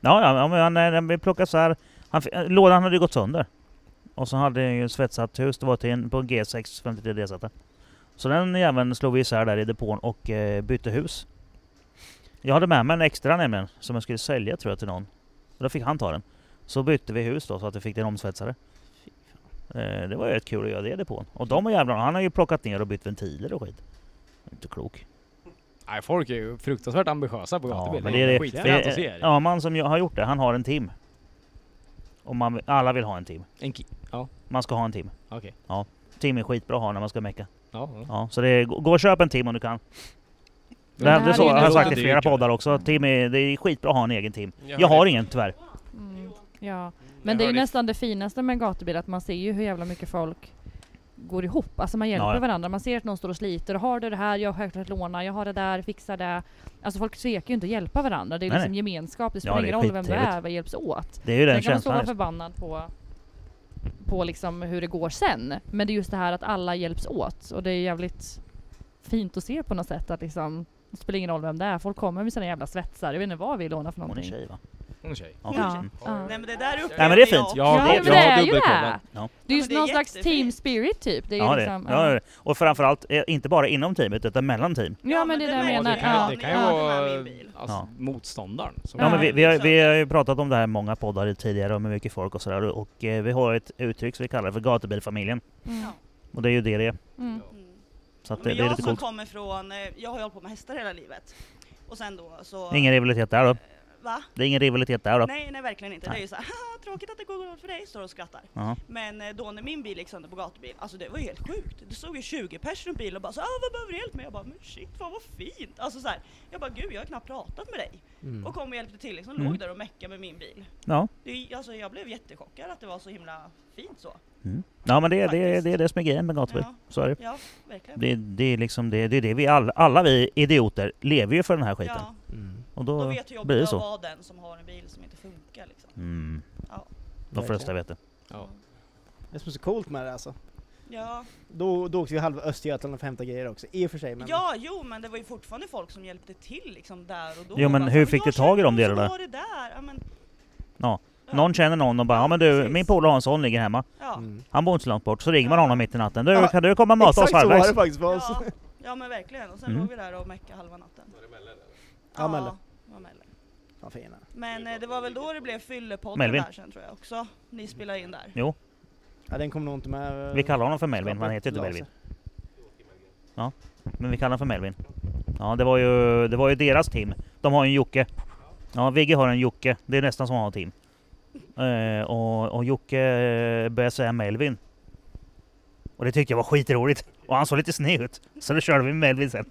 S1: Ja, ja, ja men han, eh, vi plockade så här. Han, fi- eh, lådan hade ju gått sönder. Och så hade jag ju svetsat hus, det var till en, på en G6 53 d Så den jäveln slog vi isär där i depån och eh, bytte hus. Jag hade med mig en extra nämligen, som jag skulle sälja tror jag till någon. Och då fick han ta den. Så bytte vi hus då så att vi fick den omsvetsade. Eh, det var ju rätt kul att göra det i depån. Och de jävlarna, han har ju plockat ner och bytt ventiler och skit. Inte klok.
S2: Nej, folk är ju fruktansvärt ambitiösa på gatubil.
S1: men det är det-
S2: skitfränt att
S1: Det,
S2: se.
S1: är- ja, man som ju- har gjort det, han har en tim. Och man, vill- alla vill ha en tim.
S2: En ki- ja.
S1: Man ska ha en tim.
S2: Okej.
S1: Tim är skitbra att ha när man ska mecka.
S2: Ja, ja.
S1: Ja, så det är, gå och köp en tim om du kan. Det,
S8: det
S1: här,
S8: här
S1: det
S8: är
S1: så,
S8: ju
S1: har jag
S8: nästan
S1: sagt i
S2: dyrt,
S1: flera
S2: eller?
S1: poddar också. Tim är, det är skitbra att ha en egen tim. Jag har ingen tyvärr.
S8: Mm, ja. Men det är ju nästan det finaste med en gatubil, att man ser ju hur jävla mycket folk går ihop. Alltså man hjälper
S1: Ja, ja.
S8: varandra. Man ser att någon står och sliter. Har du det här? Jag har självklart låna. Jag har det där. Fixa det. Alltså folk tvekar ju inte att hjälpa varandra. Det är ju
S1: Nej,
S8: liksom gemenskap. Det
S1: Ja,
S8: spelar
S1: det är
S8: ingen roll vem du
S1: skittrevligt.
S8: är. Vad hjälps åt.
S1: Det är ju den
S8: Sen kan man stå och
S1: känslan.
S8: vara förbannad på på liksom hur det går sen. Men det är just det här att alla hjälps åt och det är jävligt fint att se på något sätt att liksom det spelar ingen roll vem det är. Folk kommer med sina jävla svetsar. Jag vet inte vad vi lånar för
S1: Hon är
S8: någonting.
S1: tjej va?
S2: Hon är tjej.
S1: Ja.
S8: Ja.
S1: Mm.
S8: ja.
S5: Nej men det där upplevde
S1: Nej, men det är fint.
S5: jag.
S2: Jag
S8: Ja,
S2: har-
S8: men
S2: jag
S8: det
S2: har
S8: är ju
S2: dubbelkollat.
S8: det!
S1: Ja.
S8: Det är
S5: Ja, men
S8: ju
S5: det är
S8: någon slags
S5: jättefint.
S8: team spirit typ. Det är
S1: Ja,
S8: ju
S1: det,
S8: liksom,
S1: ja, det är det. Och framförallt, eh, inte bara inom teamet utan mellan team.
S8: ja. ja men det är det jag
S2: Ja,
S8: menar.
S2: det kan,
S8: Ja,
S2: det kan ju
S8: ja.
S2: vara
S5: Med min bil.
S2: alltså,
S1: Ja.
S2: motståndaren. Som
S1: Ja, men vi, vi, har,
S5: Exakt.
S1: vi har ju pratat om det här i många poddar tidigare och med mycket folk och sådär. Och eh, vi har ett uttryck som vi kallar för gatubilfamiljen.
S8: Mm.
S1: Och det är ju det det är.
S8: Mm.
S5: Mm.
S1: Så att,
S5: Men
S1: det, det är
S5: jag
S1: lite
S5: som
S1: coolt.
S5: kommer från, eh, jag har ju hållit på med hästar hela livet. Och sen då så...
S1: Ingen rivalitet där då.
S5: Va?
S1: Det är ingen rivalitet där då.
S5: Nej, nej verkligen inte. Det
S1: Nej.
S5: är ju såhär, haha tråkigt att det går för dig, står och skrattar.
S1: Ja.
S5: Men eh, då när min bil gick sönder på gatubil, alltså det var ju helt sjukt. Det stod ju 20 personer i en bil och bara så, ah, vad behöver du hjälp med? Jag bara, men shit fan vad fint! Alltså såhär, jag bara gud jag har knappt pratat med dig. Och kom och hjälpte till liksom,
S1: Mm.
S5: låg där och meckade med min bil.
S1: Ja.
S5: Det, är ju- alltså jag blev jättechockad att det var så himla fint så.
S1: Mm. ja, men det, det,
S5: Faktiskt.
S1: det är det som är grejen med gatubil.
S5: Ja.
S1: Så är det.
S5: Ja, verkligen.
S1: Det, det är liksom det, det, är det vi alla, alla vi idioter lever ju för den här skiten.
S5: Ja,
S2: mm.
S1: Och
S5: då
S1: då...
S5: vet jag
S1: blir det
S5: jobbigt att
S1: så.
S5: vara den som har en bil som inte funkar liksom.
S1: Mm.
S5: Ja.
S1: De flesta vet det.
S6: Det som är så coolt med det alltså.
S5: Ja.
S6: Då, då åkte vi halva Östergötland och hämtade grejer också, i och för sig men...
S5: ja, jo men det var ju fortfarande folk som hjälpte till liksom där och då.
S1: Jo, men
S5: Bara,
S1: hur
S5: så,
S1: fick
S5: "Jag
S1: du tag i de
S5: känner någon
S1: delarna?"
S5: som har det där. Ja, men,
S1: Någon känner någon och bara ja men du,
S5: precis.
S1: min polare har en sån ligger hemma.
S5: ja.
S6: Mm.
S1: Han bor inte så långt bort. Så ringer man honom mitt i natten. Du
S6: Ja.
S1: kan du komma och möta
S6: Exakt
S1: oss
S6: så var det
S1: halvvägs?
S6: faktiskt för oss.
S5: Ja, ja men verkligen. Och sen
S1: Mm.
S5: låg vi där och meckade halva natten. Var det Melle?
S6: Ja, Melle.
S5: Ja, det
S6: De
S5: var
S6: fina.
S5: Men eh, det var väl då det blev Fyllepodden
S1: Melvin.
S5: där sen tror jag också. Ni spelade in där.
S1: Jo,
S6: Ja, den kommer nog inte med. eh,
S1: vi kallar honom för Melvin, men han heter ju inte
S6: Laser.
S1: Melvin. Ja, men vi kallar honom för Melvin. Ja, det var ju, det var ju deras team. De har ju en Jocke. Ja, Vigge har en Jocke. Det är nästan som att ha team. Eh, och, och Jocke eh, började säga Melvin. Och det tyckte jag var skitroligt. Och han såg lite sned ut. Så då körde vi Melvin sen.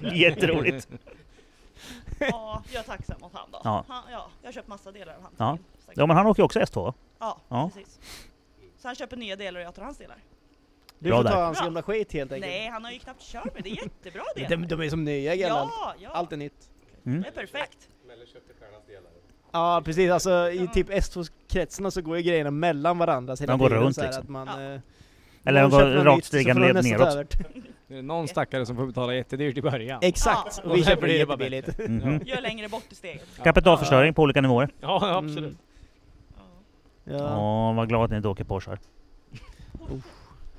S1: Jätteroligt.
S5: Ja, jag är tacksam mot han då.
S1: Ja.
S5: Han, ja, jag har köpt massa delar av hans
S1: Ja.
S5: bil, säkert.
S1: Ja, men han åker ju också S2 va?
S5: ja,
S1: Ja.
S5: precis. Så han köper nya delar och jag tar hans delar.
S6: Du
S1: Bra
S6: får
S1: där.
S6: ta hans
S5: Bra.
S6: gamla skit helt enkelt.
S5: Nej, han har ju knappt kört med det. är jättebra
S6: Men
S5: delar.
S6: De, de är som nya Gelland.
S5: ja, ja.
S6: Allt är nytt.
S5: Det är perfekt.
S6: Ja precis, alltså i typ S2-kretsarna så går ju grejerna mellan varandra hela
S1: De går
S6: tiden,
S1: runt,
S6: så här
S1: liksom.
S6: att man,
S5: Ja.
S6: eh,
S1: Eller de
S6: någon
S1: går
S6: köper något
S1: rakt
S6: nytt, så
S1: stigande
S6: får de
S1: led
S6: nästa
S1: neråt.
S6: över.
S2: Det är någon stackare som får betala jättedyrt i början.
S6: Exakt!
S2: Ja.
S6: Och vi
S2: Och
S6: köper
S2: det
S6: det
S2: är bara
S6: jättebilligt.
S1: Mhm.
S5: Gör längre bort i steget.
S1: Kapitalförstöring på olika nivåer.
S2: Ja,
S6: Mm.
S2: absolut.
S1: Ja,
S6: Ja.
S1: vad glad att ni inte åker Porschar.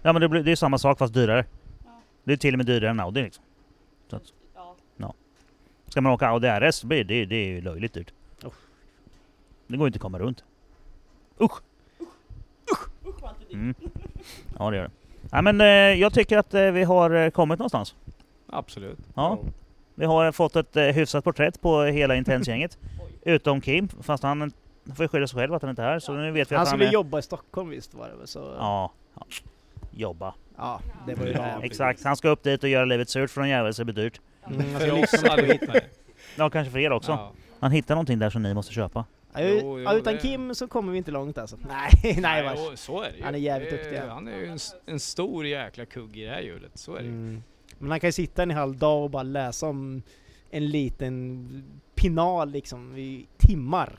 S1: Ja men det, blir, det är samma sak fast dyrare.
S5: Ja.
S1: Det är till och med dyrare än Audi liksom. Så att,
S5: Ja.
S1: ska man åka Audi RS så blir det, det är ju löjligt dyrt. Det går ju inte att komma runt.
S5: Usch vad allt är dyrt.
S1: Mm. Ja det gör det. Nej men eh, jag tycker att eh, vi har eh, kommit någonstans.
S2: Absolut.
S1: Ja. Vi har fått ett eh, hyfsat porträtt på hela Intense-gänget. Utom Kim, fast han får ju skylla sig själv att han inte är här. Så nu vet vi
S6: Han
S1: att han
S6: skulle
S1: är...
S6: jobba i Stockholm visst var det väl? Så, ja.
S1: Ja, ja. Jobba.
S6: det var ju
S2: Ja.
S6: det.
S1: Exakt, han ska upp dit och göra livet surt för någon jävel så det blir dyrt.
S6: Mm, alltså,
S2: För oss
S6: lyssna på
S2: allihopa.
S1: Ja, kanske för er också.
S2: Ja.
S1: Han hittar någonting där som ni måste köpa.
S6: Ja, ju-
S2: Jo, jo,
S6: ja, utan
S2: det-
S6: Kim så kommer vi inte långt alltså. Nej, nej vars.
S2: och så är det ju.
S6: Han är jävligt
S2: Det-
S6: duktig.
S2: Han är ju en, s- en stor jäkla kugg i det här hjulet. Så är det ju.
S6: Mm. Men han kan ju sitta en halv dag och bara läsa om en liten pinal liksom i timmar.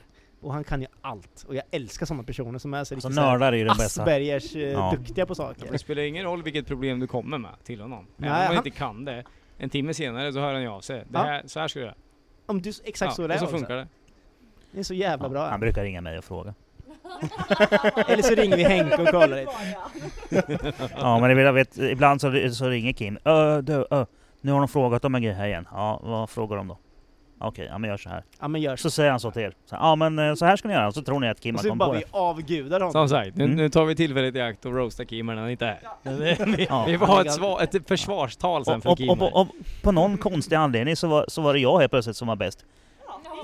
S6: Och han kan ju allt. Och jag älskar sådana personer som är så
S1: Alltså
S6: riktigt så här
S1: nördar är ju den bästa.
S6: Aspergers eh,
S1: Ja.
S6: duktiga på
S2: Det
S6: saker.
S2: spelar ingen roll vilket problem du kommer med till honom.
S6: Nej,
S2: Även om han
S6: han-
S2: inte kan det, en timme senare så hör han ju av sig. Det
S6: Ja.
S2: här, så här ska du göra.
S6: Om du, exakt så
S2: ja,
S6: det
S2: och
S6: är
S2: så
S6: också.
S2: funkar det.
S6: Det är så jävla
S1: Ja,
S6: bra.
S1: han brukar ringa mig och fråga.
S6: Eller så ringer vi Henke och kollar lite.
S1: Ja men jag vet, ibland så, så ringer Kim. Ö, du, ö. Nu har de frågat om en grej här igen. Ja, vad frågar de då? Okej, ja men gör så här.
S6: Ja men gör så.
S1: Så säger han så till er. Så, ja men eh, så här ska ni göra. Så tror ni att Kim
S6: Och
S1: har
S6: så
S1: kommit på
S6: Alltså, bara vi
S1: det.
S6: avgudar honom.
S2: Som sagt, nu,
S1: Mm.
S2: nu tar vi tillfället i akt och roastar Kim när han inte är här. Vi
S1: Ja.
S2: får ha ett, svar, ett försvarstal sen för
S1: Och,
S2: Kim.
S1: och,
S2: här.
S1: och, och på någon konstig anledning så var, så var det jag helt plötsligt som var bäst.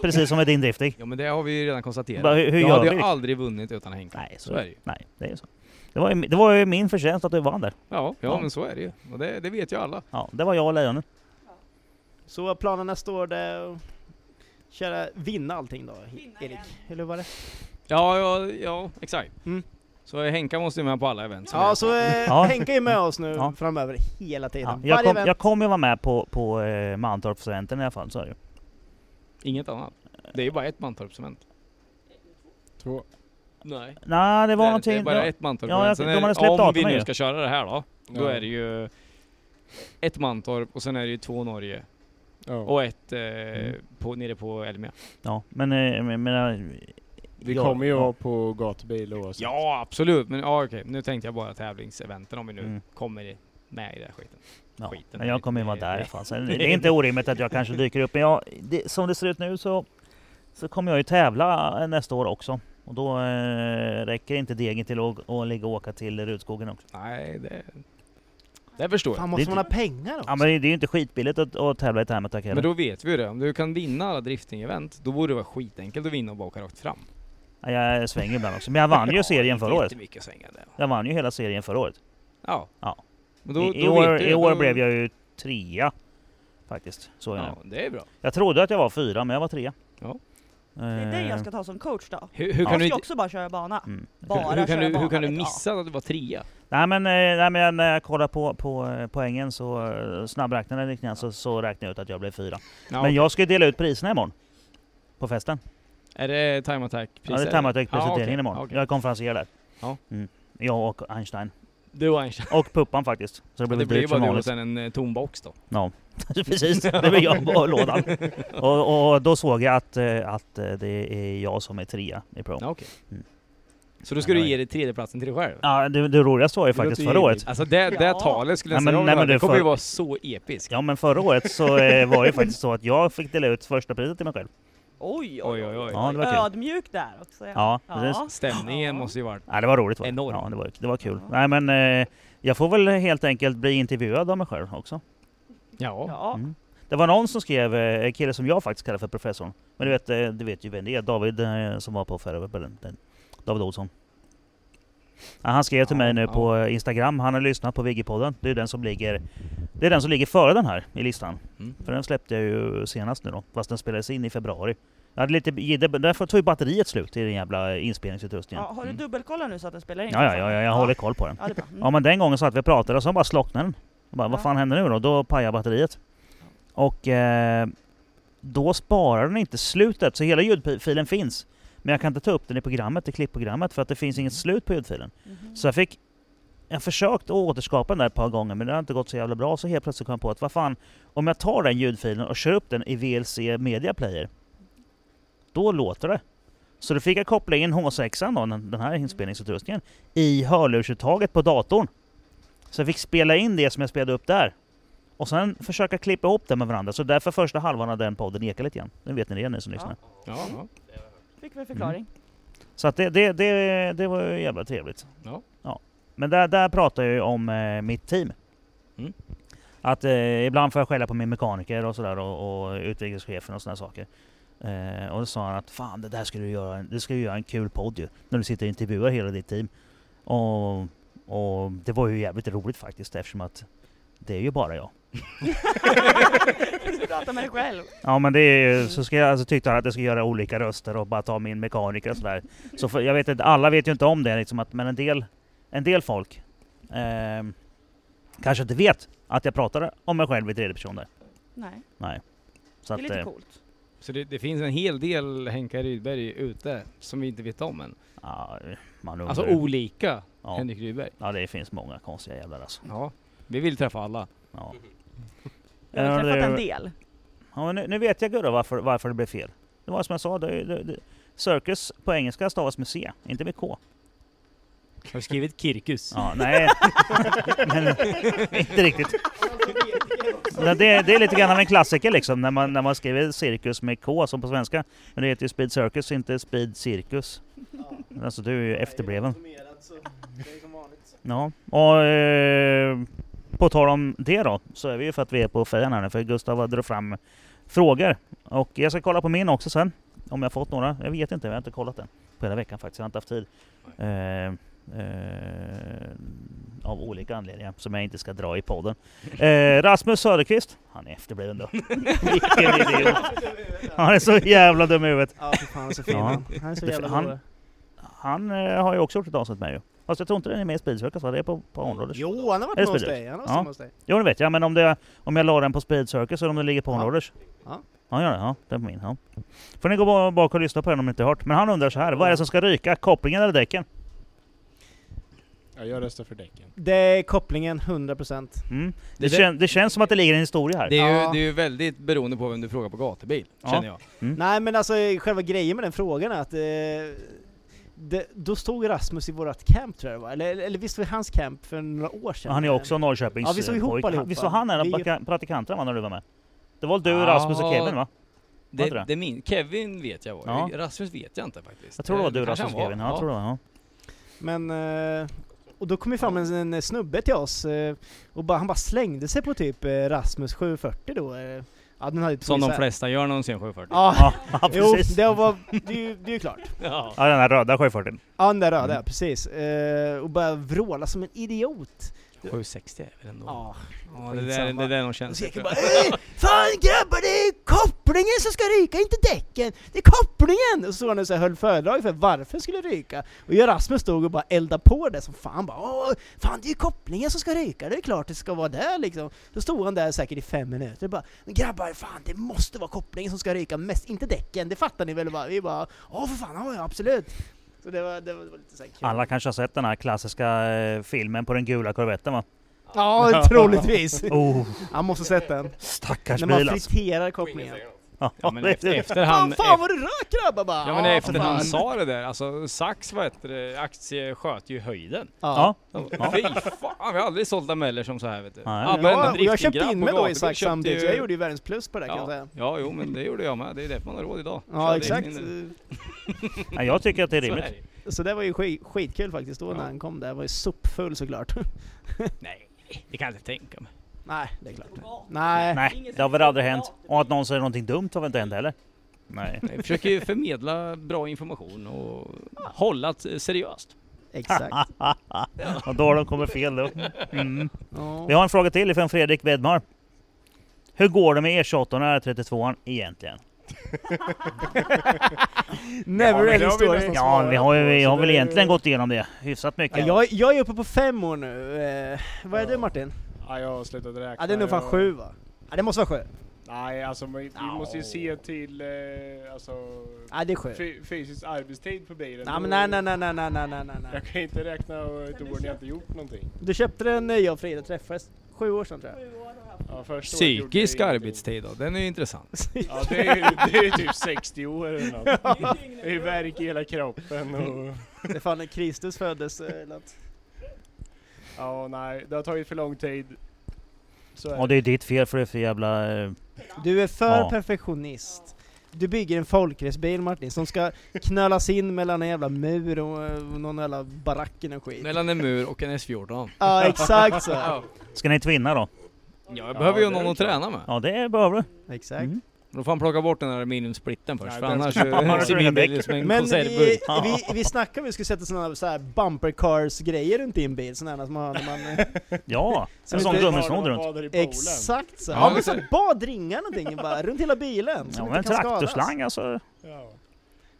S1: Precis som med din driftig.
S2: Ja men det har vi ju redan konstaterat.
S1: Bara, hur- hur
S2: jag
S1: gör
S2: hade
S1: vi?
S2: ju aldrig vunnit utan Henke.
S1: Nej,
S2: Så är det ju.
S1: Nej, det är ju så. Det var ju, mi- det var ju min förtjänst att du vann där.
S2: Ja, ja,
S1: Ja.
S2: men så är det ju. Och det, det vet ju alla.
S1: Ja, det var jag och lejonen.
S6: Så planerna står där och köra, vinna allting då
S5: Vinna
S6: Erik?
S5: igen.
S6: Eller vad var det?
S2: Ja, ja, ja exakt.
S6: Mm.
S2: Så Henka måste ju med på alla event.
S6: Ja så eh,
S1: Ja.
S6: Henke är med oss nu
S1: Ja.
S6: framöver hela
S1: Ja,
S6: tiden.
S1: jag,
S6: Varje
S1: kom,
S6: event.
S1: jag kommer ju vara med på, på eh, Mantorpseventen i alla fall, så är det ju.
S2: Inget annat. Det är ju bara ett Mantorp-cement.
S4: Två.
S2: Nej.
S1: Nej, det var
S2: det,
S1: någonting...
S2: det är bara ett Mantorp-cement.
S1: Ja, jag-
S2: Sen
S1: de
S2: är det-
S1: hade släppt
S2: Om vi
S1: datumen
S2: nu
S1: ju.
S2: ska köra det här då. Då
S4: Ja.
S2: är det ju ett Mantorp och sen är det ju två Norge.
S4: Ja.
S2: Och ett eh,
S1: Mm.
S2: på, nere på Elmia.
S1: Ja, men... eh, men, men eh,
S4: Vi
S1: jag-
S4: kommer ju
S1: ja.
S4: vara på gatubil och så.
S2: Ja absolut, men ja, okej. Nu tänkte jag bara tävlingseventen om vi nu
S1: Mm.
S2: kommer i- med i den här skiten.
S1: Ja,
S2: skiten.
S1: men jag kommer ju vara där i alla
S2: Nej.
S1: fall. Så det det är inte orimligt att jag kanske dyker upp. Men jag, det, som det ser ut nu så, så kommer jag ju tävla eh, nästa år också. Och då eh, räcker inte degen till att att ligga och åka till Rudskogen också.
S2: Nej, det... Det förstår jag.
S6: Fan måste
S1: Det-
S6: man ha pengar också?
S1: Ja men det är ju inte skitbilligt att, att tävla i Thermotech heller.
S2: Men då vet vi ju det. Om du kan vinna alla drifting-event, då borde det vara skitenkelt att vinna och bara åka rakt fram.
S1: Ja, Jag svänger ibland också. Men jag vann ju serien förra året.
S2: Jättemycket svängar där.
S1: Jag vann ju hela serien förra året.
S2: Ja.
S1: Ja.
S2: Men då,
S1: I,
S2: då
S1: i, år,
S2: vet du,
S1: I år
S2: då,
S1: blev jag ju trea. Faktiskt. Så är det.
S2: Ja, det är bra.
S1: Jag trodde att jag var fyra, men jag var trea. Eh,
S2: Ja.
S5: Det är dig jag ska ta som coach då.
S2: Hur, hur
S5: jag
S2: kan du,
S5: ska
S2: inte-
S5: också bara köra bana.
S1: Mm.
S5: Bara
S2: hur, hur kan
S5: köra
S2: du,
S5: bana.
S2: hur kan du
S5: vet jag.
S2: missa att du var trea?
S1: Nej men, eh, nej men när jag kollar på, på eh, poängen så eh, snabbräknade jag lite grann så, så räknade jag ut att jag blev fyra.
S2: Ja,
S1: Men jag ska ju dela ut priserna imorgon. På festen.
S2: Är det time
S1: Ja,
S2: attack-priser?
S1: det är Thermatec-presenteringen
S2: okej,
S1: imorgon.
S2: okej.
S1: Jag är konferencier där.
S2: Ja.
S1: Mm. Jag och Einstein.
S2: Du och Einstein.
S1: Och Puppan faktiskt. Så det blir
S2: Det
S1: väl
S2: blir ju
S1: dyrt som
S2: bara du och
S1: vanligt.
S2: sen en eh, tom box då.
S1: Ja, precis. Det blir jag på lådan. Och, och då såg jag att, eh, att eh, det är jag som är trea i Pro.
S2: Ja, okej.
S1: Mm.
S2: Så då ska
S1: Ja,
S2: du
S1: det-
S2: ge dig tredjeplatsen till dig själv?
S1: Ja, det, det roligaste var ju
S4: Det
S1: faktiskt
S4: låter
S1: förra
S4: ju
S1: året.
S2: Alltså det, det
S5: Ja.
S2: talet skulle jag
S1: Nej, men-
S2: säga om
S1: nej,
S2: det
S1: men
S2: här.
S1: du
S2: Det kommer ju
S1: får-
S2: vara så episkt.
S1: Ja men förra året så eh, var det ju faktiskt så att jag fick dela ut första priset till mig själv.
S5: Oj, oj,
S10: Oj, oj, oj.
S1: Ja, det var kul.
S5: Ödmjuk där också. Ja,
S1: Ja, precis.
S10: Stämningen måste ju varit...
S1: Ja, det var roligt. Va?
S10: Enorm.
S1: Ja, det var, det var kul.
S5: Ja.
S1: Nej, men eh, jag får väl helt enkelt bli intervjuad av mig själv också.
S10: Ja.
S5: Ja.
S1: Mm. Det var någon som skrev, eh, en kille som jag faktiskt kallar för professorn. Men du vet, eh, du vet ju vem det är, David eh, som var på förra den, den, David Olsson. Ja, han skrev till
S10: Ja,
S1: mig nu
S10: ja.
S1: på eh, Instagram, han har lyssnat på Viggy-podden. Det är den som ligger, det är den som ligger före den här i listan.
S10: Mm.
S1: För den släppte jag ju senast nu då, fast den spelades in i februari. Jag hade lite, det- därför tog ju batteriet slut i den jävla inspelningsutrustningen.
S5: Ja, har du
S10: Mm.
S5: dubbelkollat nu så att den spelar in?
S1: Ja, ja, ja, ja jag håller koll på den.
S5: Ja, det är bra. Mm.
S1: Ja men den gången satt vi och pratade och så bara slocknade den. Jag bara, vad
S5: Ja.
S1: fan händer nu då? Då pajar batteriet. Och eh, då sparar den inte slutet, så hela ljudfilen finns. Men jag kan inte ta upp den i programmet, i klippprogrammet, för att det finns inget slut på ljudfilen.
S5: Mhm.
S1: Så jag fick... Jag försökt att återskapa den där ett par gånger men det har inte gått så jävla bra så helt plötsligt kom jag på att vad fan, om jag tar den ljudfilen och kör upp den i VLC Media Player, då låter det. Så då fick jag koppla in H6an då, den den här inspelningsutrustningen, i hörlursuttaget på datorn. Så jag fick spela in det som jag spelade upp där. Och sen försöka klippa ihop det med varandra, så därför första halvan av den podden ekar lite grann. Nu vet ni det ni som lyssnar.
S10: Ja, ja.
S5: Fick vi en förklaring.
S1: Mm. Så att det, det, det, det var ju jävla trevligt.
S10: Ja.
S1: Men där, där pratar jag ju om eh, mitt team.
S10: Mm.
S1: Att eh, ibland får jag skälla på min mekaniker och sådär och, och utrikeschefen och sådana saker. Eh, och då sa han att fan det där ska du göra, en- du ska ju göra en kul podd ju. När du sitter och intervjuar hela ditt team. Och, och det var ju jävligt roligt faktiskt eftersom att det är ju bara jag.
S5: Du pratar med dig själv.
S1: Ja men det är ju, så ska jag, alltså, tyckte han att jag skulle göra olika röster och bara ta min mekaniker och sådär. Så för, jag vet inte, alla vet ju inte om det liksom, att, men en del, en del folk ehm, kanske inte vet att jag pratar om mig själv i tredje person där.
S5: Nej,
S1: Så
S5: det är
S1: att,
S5: lite
S1: eh,
S5: coolt.
S10: Så det, det finns en hel del Henka Rydberg ute som vi inte vet om än.
S1: ja, man undrar.
S10: Alltså olika
S1: ja,
S10: Henrik Rydberg.
S1: ja det finns många konstiga jävlar alltså.
S10: Ja. Vi vill träffa alla.
S1: Ja.
S5: Jag har
S1: Ja,
S5: träffat
S1: det-
S5: en del.
S1: Ja, men nu, nu vet jag Gurra varför, varför det blev fel. Det var som jag sa, det, det, det, circus på engelska stavas med C, inte med K.
S10: Har du skrivit Kirkus?
S1: Ja, nej, men, inte riktigt. Det, det, det är lite grann av en klassiker liksom, när man, när man skriver cirkus med K som på svenska. Men det heter ju Speed Circus, inte Speed Cirkus. Alltså du är ju efterbliven. Ja, och eh, på tal om det då, så är vi ju för att vi är på fejan här nu, för Gustav har dragit fram frågor. Och jag ska kolla på min också sen, om jag fått några. Jag vet inte, jag har inte kollat den på hela veckan faktiskt, jag har inte haft tid. Eh, eh, av olika anledningar som jag inte ska dra i podden. Eh, Rasmus Söderqvist, han är efterbliven då. Vilken idiot! Han är så jävla dum i huvudet.
S6: Ja, fy fan han är så fin
S1: Ja.
S6: han. Han är så
S1: Det-
S6: jävla
S1: han-
S6: god.
S1: Han eh, har ju också gjort ett avsnitt med ju. Fast jag tror inte den är med i Speedsökare, så det är på, på Onroaders.
S6: Jo, han har varit
S1: Är det
S6: med hos
S1: speeders?
S6: dig. Han har
S1: Ja.
S6: varit med hos dig.
S1: Jo det vet jag, men om, det, om jag la den på Speed Circus eller om den ligger på
S6: Ja.
S1: Onroaders?
S6: Ja.
S1: Ja, gör det. Ja, den är på min. Ja. Får ni gå ba- bak och lyssna på den om ni inte hört. Men han undrar så här, vad är det som ska ryka? Kopplingen eller däcken?
S4: Ja, jag röstar för däcken.
S6: Det är kopplingen 100%.
S1: Mm. Det,
S10: Det där-
S1: kän, det känns som att det ligger en historia här.
S10: Det är, ju,
S6: Ja.
S10: det är ju väldigt beroende på vem du frågar på gatubil,
S1: Ja.
S10: känner jag.
S6: Nej men alltså själva grejen med den frågan är att eh, det, då stod Rasmus i vårt camp tror jag det var, eller, eller visst var det hans camp för några år sedan?
S1: han är också Norrköpings... eh,
S6: Ja, vi såg ihop
S1: pojk.
S6: allihopa.
S1: Visst var han en av
S6: Vi-
S1: praktika- praktikanterna va, när du var med? Det var du,
S10: Ja.
S1: Rasmus och Kevin va? Var
S10: Det,
S1: inte det?
S10: det? min, Kevin vet jag var.
S1: Ja.
S10: Rasmus vet jag inte faktiskt.
S1: Jag tror det var
S10: Eh,
S1: du,
S10: kanske
S1: Rasmus och
S10: han
S1: Kevin. Ja, jag tror det var, ja.
S6: Men, eh, och då kom ju fram en, en snubbe till oss eh, och bara, han bara slängde sig på typ eh, Rasmus 740 då. eh. Ja, den hade två
S10: Som de
S6: isär.
S10: flesta gör någonsin 740.
S6: Ja,
S1: Ja, ja
S6: jo,
S1: precis.
S6: det, var, det, är ju, det är ju klart.
S10: Ja.
S1: Ja, den här röda 740.
S6: Ja, den där röda,
S1: Mm.
S6: precis. Eh, och bara vråla som en idiot.
S10: 760 är väl ändå...
S6: Ja.
S10: Ja, det, där, det
S6: skitsamma.
S10: där är någon
S6: Och
S10: känsla.
S6: så gick jag bara "Ey, Fan grabbar det är kopplingen som ska ryka, inte däcken! Det är kopplingen! Och så han och så här höll föredrag för varför det skulle ryka. Och jag och Rasmus stod och bara eldade på det som fan bara Åh, Fan det är ju kopplingen som ska ryka, det är klart det ska vara där liksom. Då stod han där säkert i fem minuter och bara "Men Grabbar fan det måste vara kopplingen som ska ryka mest, inte däcken, det fattar ni väl? Och bara, vi bara Ja för fan, ja ja, absolut! Så det var, det var lite så här kul.
S1: Alla kanske har sett den här klassiska eh, filmen på den gula korvetten va?
S6: Ja troligtvis!
S1: Oh,
S6: Han måste ha sett den.
S1: stackars
S6: När man
S1: bil alltså.
S6: friterar kopplingen.
S2: Ja, men efter,
S1: det-
S2: efter
S6: Fan,
S2: han...
S6: fan vad du rök grabbar bara!
S2: Ja men
S6: Ja,
S2: efter
S6: för
S2: han
S6: fan.
S2: sa det där, alltså Sax vad heter det, aktie sköt ju höjden.
S1: Ja,
S2: Fy fan, vi har aldrig sålt ameller som så här vet du.
S1: Nej.
S2: Ja, men en
S6: Ja, och
S2: riktig
S6: jag köpte
S2: grabb
S6: in
S2: på
S6: mig då i
S2: gatan
S6: Sax
S2: köpte
S6: samtidigt, så jag gjorde ju världens plus på det kan jag
S2: ja,
S6: säga.
S2: ja, jo men det gjorde jag med. Det är därför man har råd idag.
S6: Ja,
S2: Körde
S6: exakt.
S2: in i det. eh,
S1: Nej, jag tycker att det är
S2: Så är
S1: rimligt.
S2: det ju.
S6: Så det var ju skit, skitkul faktiskt då
S2: Ja.
S6: när han kom där. Jag var ju sopfull såklart.
S2: Nej, det kan jag inte tänka mig.
S6: Nej, det är klart.
S5: Gott.
S6: Nej.
S1: Nej, det har väl aldrig hänt. Och att någon säger någonting dumt har väl inte hänt heller? Nej.
S2: Jag försöker ju förmedla bra information och hålla t- seriöst.
S6: Exakt.
S1: Och då har de kommit fel då. Mm.
S6: Ja.
S1: Vi har en fråga till ifrån Fredrik Wedmar. Hur går det med E28 och R32 egentligen?
S4: Ja,
S6: Never
S4: men
S6: ending
S4: det har vi
S6: story.
S4: nästan
S1: Ja, vi har, ju, vi
S4: Så
S1: har väl
S4: det-
S1: egentligen gått igenom det hyfsat
S6: Ja,
S1: mycket.
S6: jag, jag är uppe på fem år nu. Eh, vad är det Martin?
S4: Ja, jag har slutat räkna.
S6: Ja, det är nog fan
S4: Jag-
S6: sju va? Ja, det måste vara sju.
S4: Nej, alltså vi, vi
S1: Ja.
S4: måste ju se till eh, alltså,
S6: Ja, det är sju.
S4: fy- fysisk arbetstid på bilen.
S6: Nej, men nej, nej, nej, nej, nej, nej, nej, nej.
S4: Jag kan ju inte räkna ett år när jag inte gjort någonting.
S6: Du köpte den när jag och Frida träffades. Sju år sedan tror jag.
S4: Ja, första året gjorde jag
S2: Psykisk
S4: ingenting.
S2: arbetstid då, den är ju intressant.
S4: Ja, det är, ju- det är ju typ 60 år eller något. Det är ju värk i hela kroppen och...
S6: Det är fan när Kristus föddes eh, eller något.
S4: Ja, nej, det har tagit för lång tid. Så är
S1: Och det är ditt fel för det är för jävla... eh,
S6: Du är för
S1: Ja.
S6: perfektionist. Du bygger en folkracebil Martin som ska knölas in mellan en jävla mur och eh, någon jävla barack eller skit.
S2: Mellan en mur och en S14.
S6: Ja exakt så.
S2: Ja,
S1: Ska ni twinna då?
S2: jag behöver ju
S4: det är
S2: någon att
S4: klart.
S2: träna med.
S1: Ja, det behöver du.
S6: Exakt.
S1: Mm.
S2: Då får han plocka bort den här aluminiumsplitten först,
S4: Nej,
S2: för
S4: den
S2: annars
S4: ska-
S2: eh, ser min bil ut som en
S6: Men vi,
S2: konservburk.
S6: vi, vi snackade om att vi skulle sätta sådana så här bumper cars grejer runt din bil, sådana här som man har när man... eh,
S1: Ja, en sån
S6: inte-
S1: gummisnodd runt.
S4: Badar i poolen.
S6: Exakt så.
S2: Ja,
S6: Ja, men
S2: men
S6: så
S2: så-
S6: badringar någonting bara, runt hela bilen.
S1: Ja,
S6: Som
S1: men en
S6: inte kan skadas.
S1: traktorslang alltså.
S4: Ja.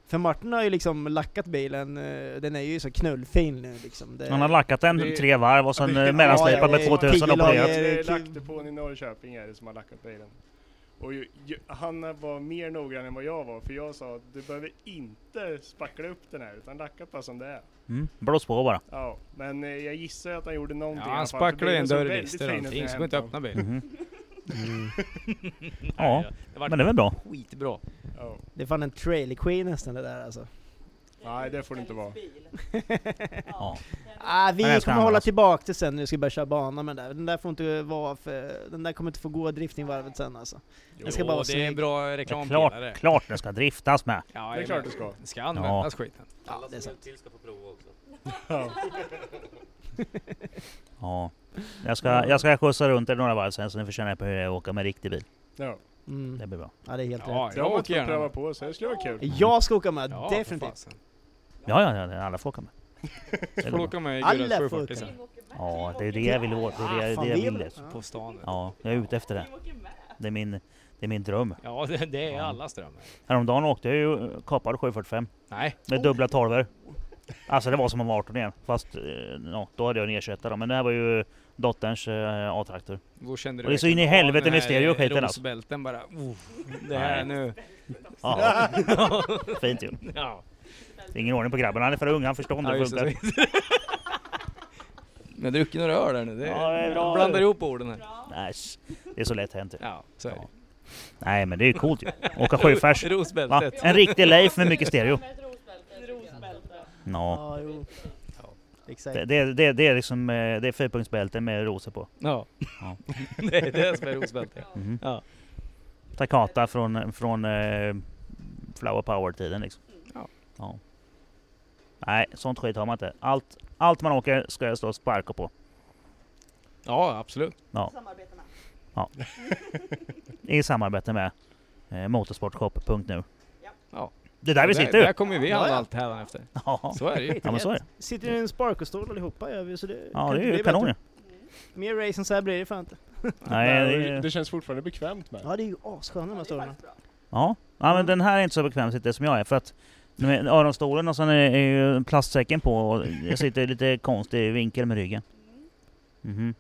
S6: För Martin har ju liksom lackat bilen, eh, den är ju så knullfin nu liksom. Det,
S1: Han har lackat den
S4: Det-
S1: tre varv och sen
S4: det-
S1: eh, mellanslipat
S6: ja,
S1: med
S6: ja,
S1: 2000 och
S6: tio lager.
S1: polerat.
S6: eh, typ.
S4: Det är
S6: Erik-
S4: Laktepon i Norrköping är det som har lackat bilen. Och ju, ju, han var mer noggrann än vad jag var, för jag sa att du behöver inte spackla upp den här, utan lacka bara som det är.
S1: Mm, blås på bara.
S4: Ja, men eh, jag gissar att han gjorde
S2: Ja,
S4: någonting. i alla
S2: han
S4: fall, för
S2: spacklade
S4: bilen
S2: en
S4: såg
S2: dörrlist
S4: väldigt
S2: eller
S4: fin ut när
S2: någonting,
S4: jag
S2: så går inte att
S4: hämtade
S2: öppna bilen.
S1: Mhm. Ja,
S2: Mm. det var
S1: men det är väl bra.
S2: skitbra.
S4: den. Ja.
S6: det är fan en trailer queen nästan det där alltså.
S4: Nej, det får det inte vara.
S1: Ja.
S6: Ah,
S1: Men
S6: vi
S1: jag ska
S6: kommer hålla
S4: alltså.
S1: användas.
S6: tillbaka det sen när vi ska börja köra bana med den där. Den där får inte vara för, den där kommer inte få gå driftingvarvet sen alltså.
S2: Jo,
S6: ska bara vara
S2: det är en
S6: snygg.
S2: bra
S1: Det är
S2: reklampelare.
S1: klart, klart det ska driftas med.
S2: Ja,
S4: Det är
S2: jajamän.
S4: klart du ska.
S2: Det ska användas skiten.
S6: Ja, det är sant.
S7: Alltså, till ska få prova också.
S1: Ja. Jag ska, jag ska skjutsa runt er några varv sen så ni får känna på hur det är att åka med riktig bil.
S4: Ja.
S6: Mm.
S1: Det blir bra.
S6: Ja, det är helt
S2: Ja,
S6: rätt.
S4: Det har
S2: jag åker
S4: man inte fått pröva
S2: gärna.
S4: på, så det skulle vara kul.
S6: Jag ska åka med,
S2: Ja, för
S6: definitivt.
S2: fasen.
S1: Ja, ja, ja alla får åka med. Det är
S2: Får
S1: bra.
S2: åka med i
S6: Alla
S2: Gurras
S6: får
S2: 740
S6: åka.
S2: sen.
S1: Ja, det är det jag vill åt. Det är det,
S6: fan,
S1: jag- det jag
S6: vi är
S1: vill.
S6: väl-
S1: efter.
S2: På stan. Ja,
S1: Ja, jag är ute efter det. Det är min, det är min dröm.
S2: det, det är allas dröm.
S1: Häromdagen åkte jag ju eh, kapade 745
S2: Nej,
S1: med dubbla tolvor. Alltså det var som om 18 igen. Fast eh, ja, då hade jag en E21 då. Men det här var ju dotterns eh, A-traktor.
S2: då kände du
S1: Och det är så in i
S2: verkligen,
S1: helvete
S2: ja, den
S1: med
S2: här
S1: stereo och skiten, alltså.
S2: Rosbälten bara, oh, det här
S1: Nej.
S2: nu.
S1: Ja, fint ju.
S2: Ja,
S1: Det är ingen ordning på grabben. Han är för ung, han förstår inte
S2: ja
S1: hur det
S2: just
S1: funkar.
S2: det. Ni har druckit några öl här nu. Det,
S1: Ja, det är bra.
S2: Blandar ihop orden här.
S1: Nej, det är så lätt hänt ju.
S2: Ja, så är det.
S1: Nej men det är ju coolt ju. Åka sjöfärs. Va?
S2: Rosbältet.
S1: En riktig Leif med mycket stereo.
S5: Rosbälte.
S1: Ja,
S6: Ja, jo.
S2: Ja.
S6: Exakt.
S1: det, det, det, det är liksom eh, det är fyrpunktsbälte med rosor på.
S2: Ja.
S1: Ja.
S2: det är det som är rosbälte.
S1: Mhm.
S2: Ja.
S1: Takata från, från eh, Flower Power-tiden liksom.
S2: Ja.
S1: Ja. Nej, sånt skit har man inte. Allt, allt man åker ska jag stå och sparka på.
S2: Ja, absolut.
S5: Samarbete med.
S1: I samarbete med eh, motorsportshop.nu.
S2: Ja.
S1: Det är där vi
S2: där,
S1: sitter ju!
S2: Där kommer vi
S6: Ja,
S2: handla
S6: ja.
S2: allt hädanefter.
S1: Ja.
S2: Så är det ju.
S1: ja men så är det.
S6: Sitter i en Sparko-stol allihopa gör vi, så det
S1: Ja det
S6: kan inte
S1: är ju
S6: bli
S1: kanon ju.
S6: bättre.
S5: Mm.
S6: Mer race än så här blir det fan inte.
S1: Nej, det,
S4: det,
S1: är-
S4: det känns fortfarande bekvämt med.
S6: Ja, det är ju assköna de här stolarna.
S1: ja. ja
S4: Mm.
S1: men den här är inte så bekväm att sitta som jag är för att med öronstolen och sen är, är ju plastsäcken på och jag sitter i lite konstig vinkel med ryggen.
S5: Mm.
S1: Mhm.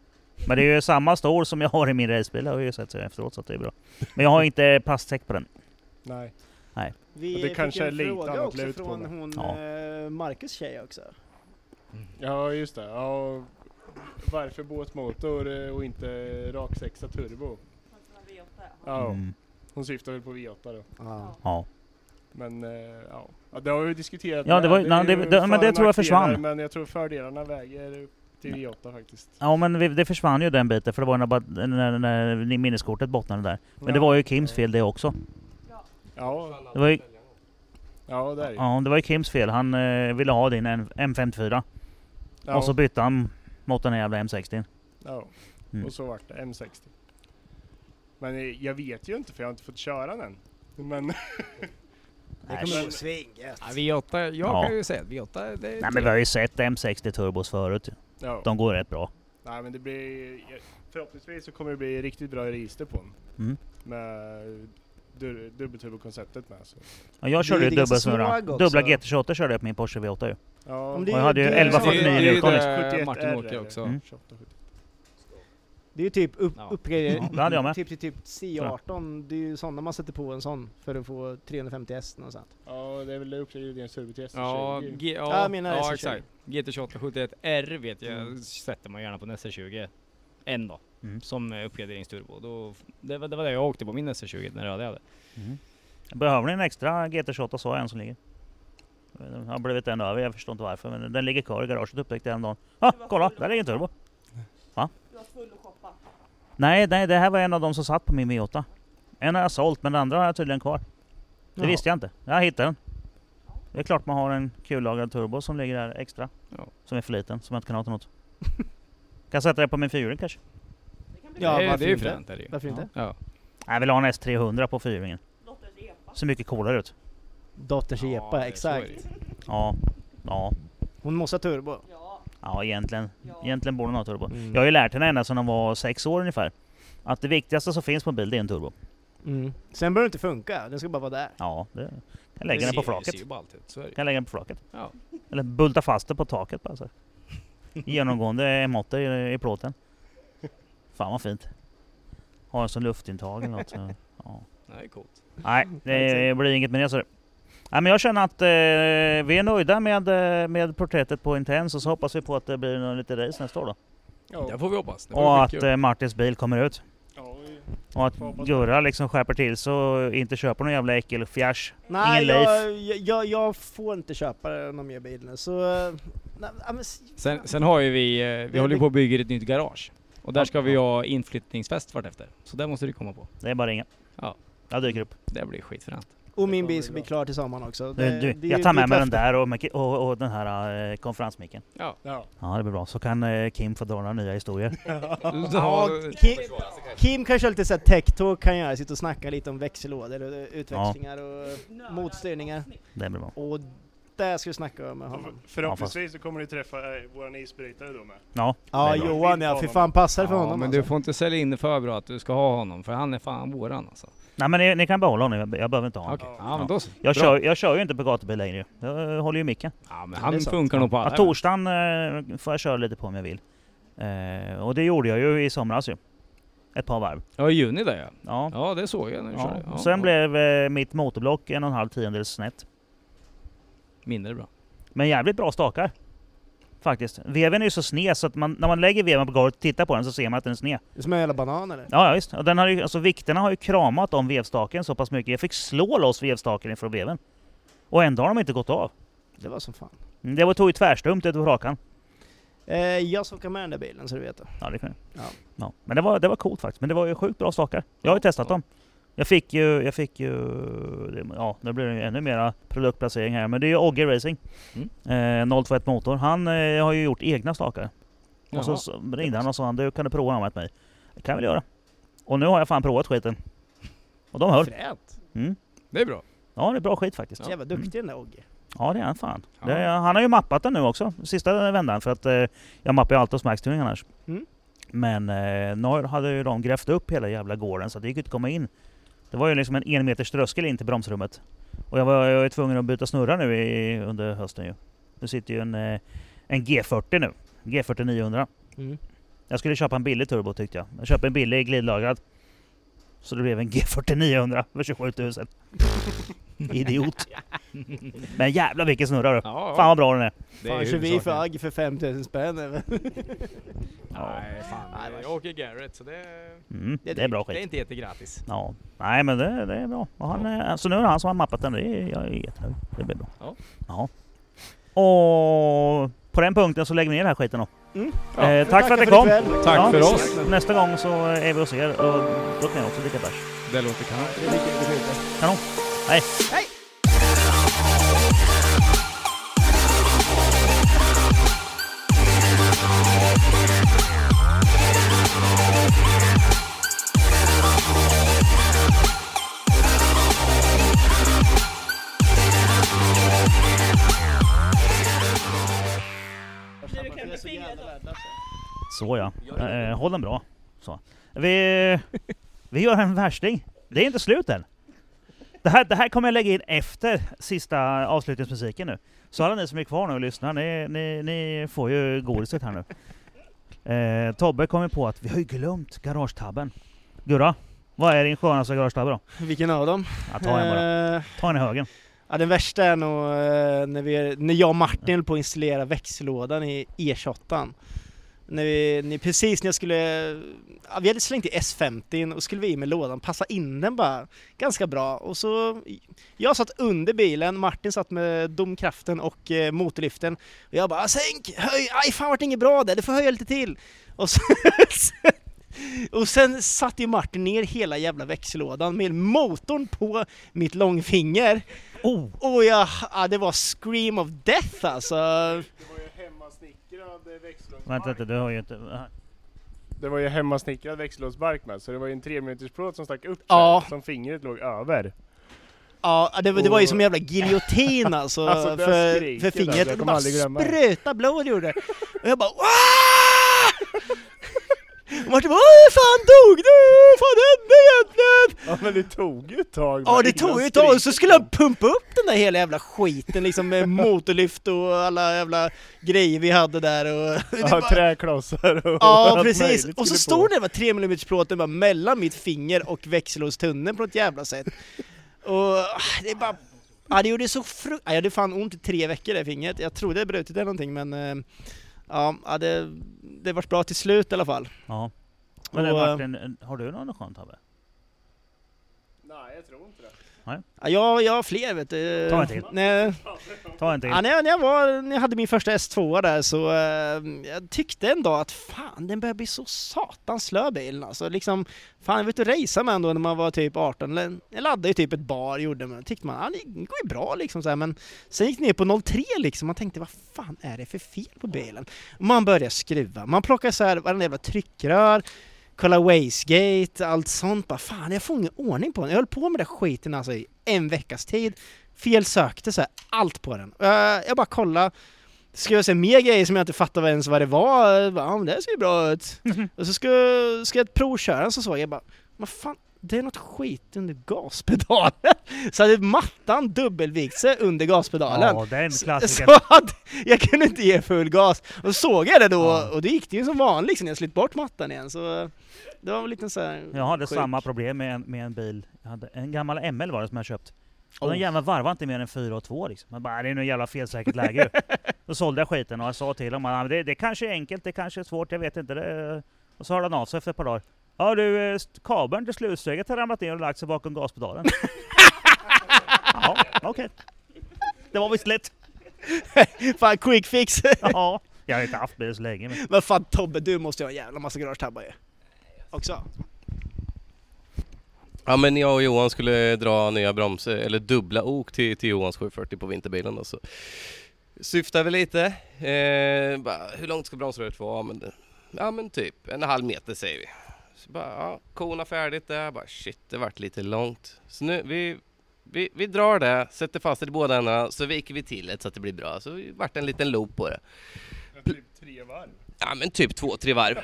S1: Men det är ju
S4: Mm.
S1: samma stol som jag har i min racebil, det har jag ju sett så efteråt så att det är bra. Men jag har inte plastsäck på den.
S4: Nej.
S6: Vi
S4: Och det
S6: fick
S4: kanske
S6: en
S4: är lite
S6: fråga
S4: annat
S6: också
S4: lut på
S6: från
S4: det.
S6: hon,
S1: Ja.
S6: eh, Marcus tjej också.
S4: Ja, just det. Ja, varför
S5: Alltså,
S4: båtmotor eh, och inte raksexa turbo? Ja.
S1: Mm.
S4: Hon syftar väl på Viata då.
S6: Ja.
S1: Ja.
S4: Men eh, ja. ja, det har vi ju diskuterat.
S1: Ja, det
S4: med.
S1: var- nej,
S4: är
S1: det-
S4: ju
S1: det- men
S4: för-
S1: det tror jag försvann.
S4: nackdelar, Men jag tror fördelarna väger till Viata faktiskt.
S1: Ja men vi, det försvann ju den biten för det var när, bara- när, när minneskortet bottnade där. Men det var ju Kims fel det också.
S4: Ja,
S1: Det var ju,
S4: ja det är det.
S1: ja, det var ju Kims fel. Han eh, ville ha din M- M54
S4: ja.
S1: och så bytte han mot den här jävla M60.
S4: Ja,
S1: Mm.
S4: och så vart det M60. Men eh, jag vet ju inte för jag har inte fått köra den än. Men
S3: Det kommer gå svinget.
S10: Ja, V8, jag
S1: Ja.
S10: kan ju säga att V8 det är
S1: Nej men vi har ju sett M60 turbos förut.
S4: ja,
S1: De går rätt bra.
S4: nej men det blir... jag- Förhoppningsvis så kommer det bli riktigt bra register på den.
S1: Mm.
S4: Med du, dubbelturbokonceptet med. Så.
S1: Ja, jag körde ju
S6: Det är ganska
S1: dubbelsnurra.
S6: svag också.
S1: Dubbla GT28 körde jag på min Porsche V8 ju.
S4: Ja,
S6: Om
S1: Och jag hade ju
S6: Det är-
S10: Det är ju-
S1: 1149
S10: det är ju
S1: i utgång.
S10: det
S4: 71
S10: Martin
S4: R,
S10: åker
S4: eller?
S10: också.
S1: Mm.
S4: 28, 70.
S6: Det är ju typ upp,
S10: Ja.
S1: Ja,
S6: uppgradering.
S1: det hade jag med.
S6: Typ till typ C18. Det är ju sådana man sätter på en sån för att få 350 häst och sånt.
S4: Ja, det är väl det uppgraderings turbo till
S10: Ja,
S4: S20.
S10: G, ja,
S6: Ja, jag menar
S10: ja
S6: SR20.
S10: exakt. GT28 71 R vet jag
S6: Mm.
S10: sätter man gärna på en SR20. En då.
S1: Mm.
S10: Som eh, uppgraderingsturbo. Då, f- det, var, det var det jag åkte på min SR20, den röda jag hade.
S1: Mm. Behöver ni en extra GT28 så har jag en som ligger. Den har blivit en över, jag förstår inte varför. Men den ligger kvar i garaget upptäckte jag en dag. Ah, kolla! Där ligger en turbo!
S5: Du var full och shoppa.
S1: Nej, nej, det här var en av de som satt på min V8. En har jag sålt, men den andra har jag tydligen kvar. Det
S6: Jaha.
S1: visste jag inte. Jag hittade den. Det är klart man har en kullagrad turbo som ligger där extra.
S10: Ja.
S1: Som är för liten, som jag inte kan ha till något. kan sätta det på min fyrhjuling kanske?
S5: Det kan bli
S6: Ja,
S10: det, är- det
S6: varför
S10: är ju
S6: inte?
S10: fränt. Är det ju.
S6: Varför inte?
S10: Ja.
S1: Nej, jag vill ha en S300 på fyrhjulingen.
S5: Dotters epa.
S1: Ser mycket coolare ut.
S6: Dotterns
S10: Ja,
S6: epa,
S10: det är
S6: exakt.
S10: så är det.
S1: Ja, ja,
S6: Hon måste ha turbo.
S5: Ja,
S1: ja egentligen.
S5: ja.
S1: Egentligen borde den ha turbo.
S6: Mm.
S1: Jag har ju lärt henne ända sedan hon var sex år ungefär. Att det viktigaste som finns på en bil, det är en turbo.
S6: Mm. Sen behöver det inte funka, den ska bara vara där.
S1: Ja, det kan jag lägga den på
S10: ser- Det
S1: flaket.
S10: ser ju ballt ut, så är det ju.
S1: Kan jag lägga den på flaket.
S10: Ja.
S1: Eller bulta fast det på taket bara så. här. Genomgående emotter i, i plåten. Fan vad fint. Har en sån luftintag eller något. så- Ja.
S10: Nej, det är coolt.
S1: Nej,
S6: Mm,
S1: det blir inget med det. Så. Nej, men jag känner att eh, vi är nöjda med, eh, med porträttet på Intense och så hoppas vi på att det blir någon lite race nästa år då.
S10: Det
S4: Ja,
S10: får vi hoppas. Det
S1: Och
S10: vore
S1: att
S10: skitkul.
S1: eh, Martins bil kommer ut.
S4: ja, vi-
S1: Och att
S4: Får hoppas det.
S1: Gurra liksom skärper till så inte köper någon jävla äckelfjärs.
S6: Nej,
S1: Ingen
S6: jag, jag, jag får inte köpa någon mer bil nu så... eh, Nej, ja, men, s-
S10: Sen, sen har ju vi, eh, vi
S6: Det-
S10: håller ju
S6: det-
S10: på att bygga ett nytt garage. Och där ska vi ha inflyttningsfest vartefter. Så där måste du komma på.
S1: Det är bara att ringa.
S10: Ja.
S1: Jag dyker upp.
S10: Det blir skitfränt.
S6: och min bil
S4: kommer bli
S6: ska
S4: bra.
S6: bli klar till sommaren också.
S1: Du,
S6: Det-
S1: du,
S6: det är
S1: jag
S6: ju
S1: tar
S6: ett
S1: med mig den
S6: löfte.
S1: där och, mic- och, och den här eh, konferensmicken.
S4: ja.
S1: Ja, det blir bra. Så kan eh, Kim få dra några nya historier.
S6: Ja, Kim, Kim kanske har lite såhär tech-talk kan göra, sitta och snacka lite om växellådor och eh, utväxlingar och...
S5: Nördar
S6: Motstyrningar.
S5: avsnitt.
S1: Det blir bra.
S6: Och det ska vi snacka om med
S4: Ja,
S1: Mm.
S6: honom.
S4: Förhoppningsvis så kommer ni träffa eh, våran isbrytare då med.
S1: Ja,
S6: Ja,
S1: det är bra.
S6: Johan ja, fy fan passar för
S10: Ja,
S6: honom
S10: men
S6: alltså.
S10: du får inte sälja in det för bra att du ska ha honom, för han är fan våran alltså.
S1: Nej men ni, ni kan behålla honom. Jag, jag behöver inte ha honom.
S10: Okej, ja, men då så.
S1: Jag,
S10: Bra.
S1: kör, jag kör ju inte på gatubil längre ju. Jag eh, håller ju micken.
S10: Ja, men
S6: Det är
S10: han
S6: sant.
S10: funkar nog på alla.
S1: Ja, torsdagen eh, får jag köra lite på om jag vill. Eh, och det gjorde jag ju i somras ju. Ett par varv.
S10: Ja, i juni där ja.
S1: Ja.
S10: Ja, det såg jag när du
S1: Ja.
S10: körde. Ja,
S1: Sen
S10: ja.
S1: blev eh, mitt motorblock en och en halv tiondel snett.
S10: Mindre bra.
S1: Men jävligt bra stakar. Faktiskt. Veven är ju så sned så att man, när man lägger veven på golvet och tittar på den så ser man att den är sned.
S6: Det är som en jävla banan eller?
S1: Ja, ja visst. Och Den har ju, alltså, vikterna har ju kramat om vevstaken så pass mycket. Jag fick slå loss vevstaken ifrån veven. Och ändå har de inte gått av.
S6: Det var som fan.
S1: Mm, Det var tog ju tvärstumt ut på rakan.
S6: Eh, jag ska åka med den där bilen så du vet det.
S1: Ja, det kan
S6: Ja.
S1: jag. Ja. Men det var, det var coolt faktiskt. Men det var ju sjukt bra stakar. Jag har ju testat dem. Jag fick ju... Jag fick ju det, ja, nu blir det ju ännu mera produktplacering här. Men det är ju Ogge Racing. Eh, 021 Motor. Han eh, har ju gjort egna stakar. Och så,
S10: Jaha.
S1: så ringde han och sa han, du kan du prova dem med mig? Det kan jag väl göra. Och nu har jag fan provat skiten. Och de höll.
S6: Fränt!
S1: Mm.
S10: Det är bra.
S1: Ja, Mm. det är bra skit faktiskt.
S6: Jävla duktig den där Ogge.
S1: Ja det är han fan.
S10: Ja.
S1: Det, han har ju mappat den nu också, sista vändan. För att eh, jag mappar ju alltid hos Maxtuning annars.
S6: Mm.
S1: Men eh, nu hade ju de grävt upp hela jävla gården så det gick ju inte att komma in. Det var ju liksom en en meters tröskel in till bromsrummet. Och jag var, jag var ju tvungen att byta snurra nu i, under hösten ju. Nu sitter ju en, eh, en G40 nu. G40 900.
S6: Mm.
S1: Jag skulle köpa en billig turbo tyckte jag. Jag köpte en billig glidlagrad. Så det blev en G4900 för 27 000. Idiot. Men jävlar vilken snurra du.
S10: Ja,
S1: Fan vad bra den är.
S10: det
S6: Fan
S10: är
S6: kör vi för
S10: huvudsaken.
S6: agg för 5000 spänn eller?
S10: Nej, fan. Jag åker Garrett så det,
S1: Mm, det är bra
S10: Det är
S1: skit.
S10: inte jättegratis.
S1: Ja. Nej men det, det är bra. Och han, är- alltså nu är det han som har mappat den. Det är, jag är jättenöjd. Det blir bra.
S10: Ja.
S1: Ja. Och på den punkten så lägger vi ner den här skiten då.
S6: Mm.
S1: Eh, tack för att ni
S6: Tackar
S1: kom!
S6: ikväll.
S10: Tack
S1: Ja.
S10: för oss.
S1: Nästa gång så är vi hos er och då kan jag också dricka bärs.
S10: Det låter kanon.
S1: Kanon! Hej!
S5: Blir du klämd i fingret då?
S1: Så ja. Eh, håll den bra. Så. Vi, vi gör en värsting. Det är inte slut än. Det här, det här kommer jag lägga in efter sista avslutningsmusiken nu. Så alla ni som är kvar nu och lyssnar, ni, ni, ni får ju godiset här nu. Eh, Tobbe kommer på att vi har ju glömt garagetabben. Gurra, vad är din skönaste garagetabbe då?
S6: Vilken av dem?
S1: Ja, ta en bara.
S6: Eh,
S1: Ta en i högen.
S6: Ja, den värsta är nog eh, när, vi, när jag och Martin höll på att installera växellådan i E28. När vi, när, precis när jag skulle, ja, vi hade slängt i S50 och skulle vi i med lådan, passa in den bara ganska bra. Och så, jag satt under bilen, Martin satt med domkraften och eh, motorlyften. Och jag bara sänk, höj, aj fan vart det inget bra där, du får höja lite till. Och, så, och sen satt ju Martin ner hela jävla växellådan med motorn på mitt långfinger.
S1: Oh!
S6: Och jag, ja, Ah, det var scream of death alltså.
S4: Det var ju hemmasnickrad eh, växellådsbark.
S1: Vänta inte, du har ju inte...
S4: Det var ju hemmasnickrad växellådsbark med, så det var ju en 3-metersplåt som stack upp så
S6: Ja.
S4: här, som fingret låg över.
S6: Ja, ah, det, var- det var ju
S4: Och-
S6: som en jävla giljotin alltså,
S4: Oh. Alltså, det
S6: för,
S4: skriket
S6: för
S4: alltså,
S6: fingret.
S4: jag
S6: Och det
S4: kommer
S6: bara
S4: aldrig glömma det.
S6: spröta blod gjorde det. Och jag bara "Wah!" Och Martin bara Åh, fan dog du? Vad fan hände egentligen?
S4: Ja men det tog ju ett tag.
S6: Ja,
S4: bara
S6: det
S4: innan
S6: tog ju ett tag. Och Så
S4: skriket
S6: skulle han
S4: kom.
S6: pumpa upp den där hela jävla skiten liksom med motorlyft och alla jävla grejer vi hade där. Och det
S4: Ja,
S6: bara-
S4: träklossar och
S6: Ja
S4: allt
S6: precis,
S4: möjligt
S6: och så
S4: skulle
S6: stod
S4: på.
S6: det bara 3 mm plåten bara mellan mitt finger och växellådstunneln på ett jävla sätt. Och ah, det är bara... Ja det gjorde så fru... Ja, jag hade fan ont i tre veckor det fingret. Jag trodde jag brutit eller någonting men... eh, Ja, ja det, det vart bra till slut i alla fall.
S1: Ja. Men
S6: Och, eh,
S1: Martin, har du någon skön tabbe?
S4: Nej, jag tror inte det.
S6: Ja, jag, jag har fler vet du.
S1: Ta en till.
S6: Nej,
S1: Ta en till.
S6: Ja, när, jag, när, jag var, när jag hade min första S2 där så eh, jag tyckte en dag att fan den börjar bli så satans slö bilen alltså. Liksom, fan jag vet du racea med den då när man var typ 18. eller- Jag laddade ju typ ett bar gjorde man. Tyckte man, ja det går ju bra liksom så här, men sen gick det ner på 03 liksom. Man tänkte vad fan är det för fel på bilen? Och man började skruva. Man plockade så här varenda jävla tryckrör. Kolla wastegate, allt sånt bara. Fan, jag får ingen ordning på den. Jag höll på med den skiten alltså i en veckas tid fel sökte så här, allt på den. Eh, jag bara kollade, skrev jag se mer grejer som jag inte fattade ens vad det var. Jag bara, ja men det här ser ju bra ut. och så ska, ska jag provköra den så såg jag bara, vad fan, det är något skit under gaspedalen. så hade mattan dubbelvikt sig under gaspedalen.
S1: Ja, det är en
S6: Så-
S1: klassiker.
S6: Så att jag kunde inte ge full gas. Och så såg jag det då
S1: Ja.
S6: och det gick det ju som vanligt liksom, när jag slet bort mattan igen. Så eh, det var väl lite så här...
S1: Jag hade
S6: sjuk.
S1: samma problem med en, med en bil. Jag hade en gammal ML var det som jag köpt. Och den
S6: Oh.
S1: jäveln varvade inte mer än 4 och 2 liksom. Jag bara, det är nog jävla felsäkert läge ju. Då sålde jag skiten och jag sa till honom att det, det kanske är enkelt, det kanske är svårt, jag vet inte. Det... Och så hörde han av sig efter ett par dagar. Ja du, eh, st- kabeln till slutsteget har ramlat in och lagt sig bakom gaspedalen. ja, okej. Det var visst lätt.
S6: Fan, quick fix!
S1: Ja, jag har inte haft bil så länge. Men...
S6: Men fan Tobbe, du måste ju ha en jävla massa garagetabbar ju. Också.
S7: Ja men jag och Johan skulle dra nya bromsar, eller dubbla ok till, till Johans 740 på vinterbilen då så syftade vi lite. Eh, bara, hur långt ska bromsröret vara? Ja men, det- ja men typ en halv meter säger vi. Så bara, ja, kona färdigt där, bara shit det vart lite långt. Så nu, vi, vi, vi drar det, sätter fast det i båda ändarna, så viker vi till det så att det blir bra. Så vart en liten loop på det.
S4: Typ tre varv.
S7: Ja men typ två, tre varv.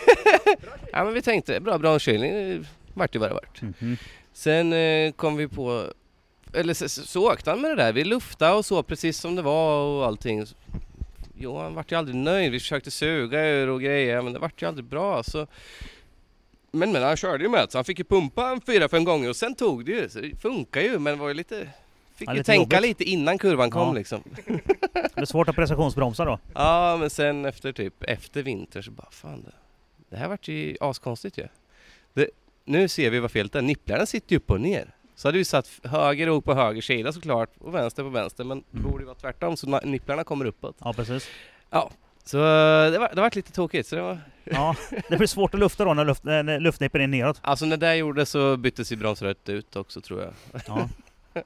S7: ja men vi tänkte det, bra bromskylning, det vart ju vad det vart.
S6: Mm-hmm.
S1: Mhm.
S7: Sen eh, kom vi på, eller så, så, så åkte han med det där. Vi luftade och så precis som det var och allting. Johan vart ju aldrig nöjd. Vi försökte suga ur och grejer men det vart ju aldrig bra. Så Men, men han körde ju med det, så han fick ju pumpa en fyra, fem gånger och sen tog det ju. Så det funkar ju, men det var ju lite... Fick
S1: Ja,
S7: ju
S1: lite
S7: tänka
S1: jobbigt.
S7: lite innan kurvan kom
S1: Ja.
S7: liksom.
S1: Det är svårt att prestationsbromsa då.
S7: Ja, men sen efter typ, efter vinter så bara fan det, det här vart ju askonstigt ju. Det, nu ser vi vad felet är, nipplarna sitter ju upp och ner. Så hade vi satt f- höger ok på höger sida såklart och vänster på vänster men det
S1: Mm.
S7: borde ju vara tvärtom så na- nipplarna kommer uppåt.
S1: Ja precis.
S7: Så eh, det var, det vart lite tokigt. Så det var,
S1: Ja, det blir svårt att lufta då när, luft, när luftnippen är neråt.
S7: alltså när det gjordes så byttes ju bromsröret ut också tror jag.
S1: Ja.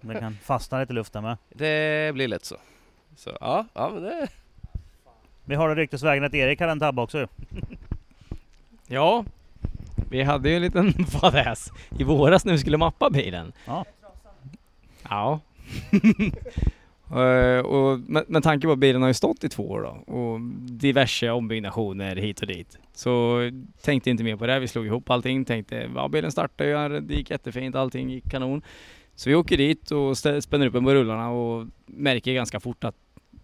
S1: Det kan fastna lite i luften med.
S7: Det blir lätt så. Så ja, ja men det...
S1: Vi har det ryktesvägen att Erik hade en tabbe också ju.
S2: Ja, vi hade ju en liten fadäs i våras när vi skulle mappa bilen.
S1: Ja.
S2: Ja. Eh, och med, med tanke på att bilen har ju stått i två år då och diverse ombyggnationer hit och dit. Så tänkte inte mer på det. Vi slog ihop allting. Tänkte ja, bilen startade ju, det gick jättefint, allting gick kanon. Så vi åker dit och stä- spänner upp den på rullarna och märker ganska fort att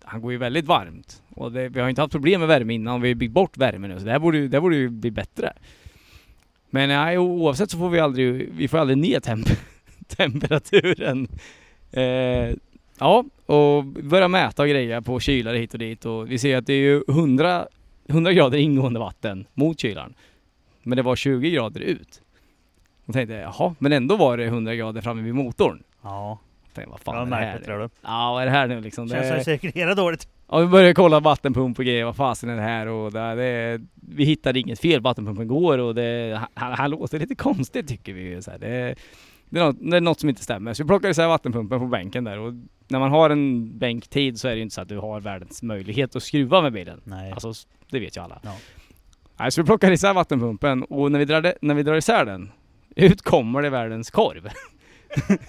S2: han går ju väldigt varmt. Och det, vi har ju inte haft problem med värme innan, vi har ju byggt bort värme nu så det här borde, ju- det här borde ju bli bättre. Men nej, o- oavsett så får vi aldrig, vi får aldrig ner temp temperaturen. Eh, ja, och börja mäta och greja på kylare hit och dit och vi ser att det är ju 100, 100 grader ingående vatten mot kylaren. Men det var 20 grader ut. Och tänkte jaha, men ändå var det 100 grader framme vid motorn.
S1: Ja,
S2: Tänkte, vad
S1: det
S2: fan
S1: var
S2: är det här?
S1: märkligt tror du.
S2: Ja, vad är det här nu liksom?
S1: Känns
S2: Det-
S1: som det cirkulerar dåligt.
S2: Ja, vi började kolla vattenpump och grejer. Vad fasen är det här? Och det, det, vi hittade inget fel. Vattenpumpen går och det, han, han låter lite konstigt tycker vi. ju, Så här. Det, det, är något, det är något som inte stämmer. Så vi plockade isär vattenpumpen på bänken där. Och när man har en bänktid så är det ju inte så att du har världens möjlighet att skruva med bilen.
S1: Nej.
S2: Alltså, s- det vet ju alla.
S1: Ja.
S2: Nej, så vi plockar isär vattenpumpen och när vi drar, det, när vi drar isär den, ut kommer det världens korv.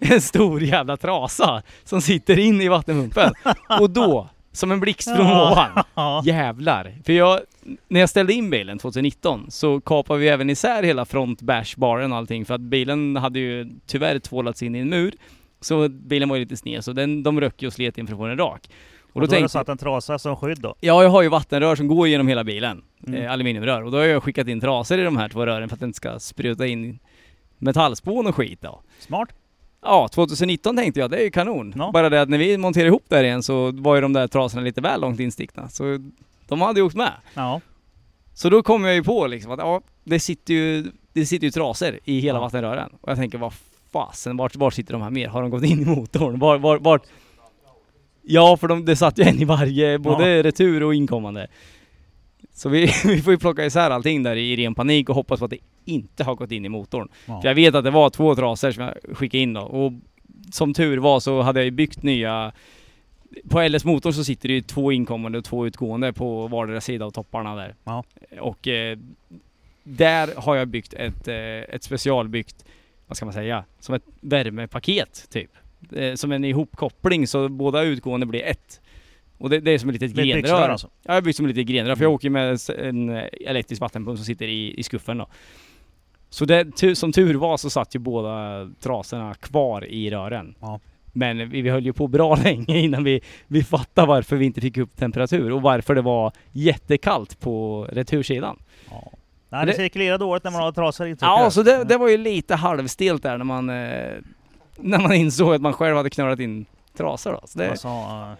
S2: en stor jävla trasa som sitter in i vattenpumpen. Och då, som en blixt från
S1: Ja.
S2: ovan,
S1: Ja.
S2: jävlar. För jag, när jag ställde in bilen 2019 så kapade vi även isär hela front, bash, baren och allting för att bilen hade ju tyvärr tvålats in i en mur. Så bilen var ju lite sned så den, de röck ju och slet in för att få den rak.
S1: Och då, då har du
S2: tänkte-
S1: satt en trasa som skydd då.
S2: Ja, jag har ju vattenrör som går genom hela bilen.
S1: Mm.
S2: Eh, aluminiumrör. Och då har jag skickat in trasor i de här två rören för att det inte ska spruta in metallspån och skit då.
S1: Smart.
S2: Ja, 2019 tänkte jag, det är ju kanon.
S1: Ja.
S2: Bara det att när vi monterade ihop där igen så var ju de där trasorna lite väl långt instickna. Så de hade ju åkt med.
S1: Ja.
S2: Så då kom jag ju på liksom att ja, det sitter ju, det sitter ju trasor i hela
S1: Ja.
S2: vattenrören. Och jag tänker, vad fasen, vart, vart sitter de här mer? Har de gått in i motorn? Var, var, vart? Ja, för de, det satt ju en i varje, både retur och inkommande. Så vi, vi får ju plocka isär allting där i ren panik och hoppas på att det inte har gått in i motorn.
S1: Ja.
S2: För jag vet att det var två trasor som jag skickade in då. Och som tur var så hade jag ju byggt nya... På LS motor så sitter det ju två inkommande och två utgående på vardera sida av topparna där.
S1: Ja.
S2: Och eh, där har jag byggt ett, eh, ett specialbyggt, vad ska man säga, som ett värmepaket typ. Eh, som en ihopkoppling så båda utgående blir ett. Och det, det är som ett litet
S1: Med ett byxrör
S2: grenrör.
S1: alltså.
S2: Ja, jag har byggt som lite grenrör, för jag åker ju med s- en eh, elektrisk vattenpump som sitter i, i skuffen då. Så det, tu- som tur var så satt ju båda trasorna kvar i rören.
S1: Ja.
S2: Men vi, vi höll ju på bra länge innan vi, vi fattade varför vi inte fick upp temperatur och varför det var jättekallt på retursidan.
S1: Ja. Nej, det
S2: Det-
S1: cirkulerar dåligt när man har trasor i Mm.
S2: Ja, så det, det
S1: Ja.
S2: var ju lite halvstelt där när man, eh, när man insåg att man själv hade knölat in trasor då. Så det,
S1: Alltså, eh,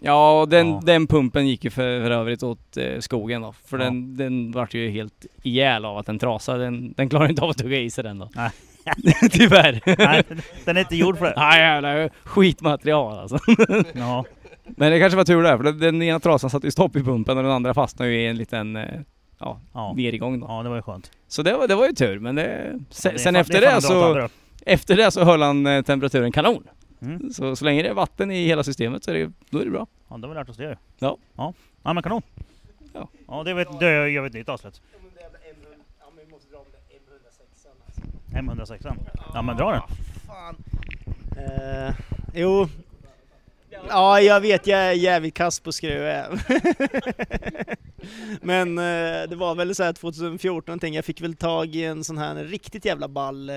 S2: Ja, och den,
S1: Ja.
S2: den pumpen gick ju för, för övrigt åt eh, skogen då. För
S1: Ja.
S2: den, den vart ju helt ihjäl av att den trasade. Den, den klarar inte av att tugga i sig den då.
S1: Nej.
S2: Tyvärr.
S1: nej, den är inte gjord för det.
S2: Nej jävlar, skitmaterial alltså.
S1: Ja.
S2: Men det kanske var tur där, för den, den ena trasan satte ju stopp i pumpen och den andra fastnade ju i en liten eh,
S1: Ja.
S2: nergång då.
S1: ja, det var ju skönt.
S2: Så det var, det var ju tur, men det,
S1: Ja,
S2: sen,
S1: det är
S2: sen
S1: fan-
S2: efter
S1: är fan
S2: det
S1: en bra
S2: så,
S1: tabbe
S2: efter det så höll han eh, temperaturen kanon.
S1: Mm.
S2: Så, så länge det är vatten i hela systemet så är det, då är det bra.
S1: då. Ja, det har vi lärt oss det ju.
S2: Ja.
S1: Ja, ja men kanon.
S2: Ja.
S1: Ja, det vet- det gör vi ett nytt avslut.
S6: alltså.
S1: M106. Ja, men dra den.
S6: Eh, jo. Ja, jag vet, jag är jävligt kass på skruv. Men eh, det var väl så här 2014 någonting, jag fick väl tag i en sån här riktigt jävla ball eh,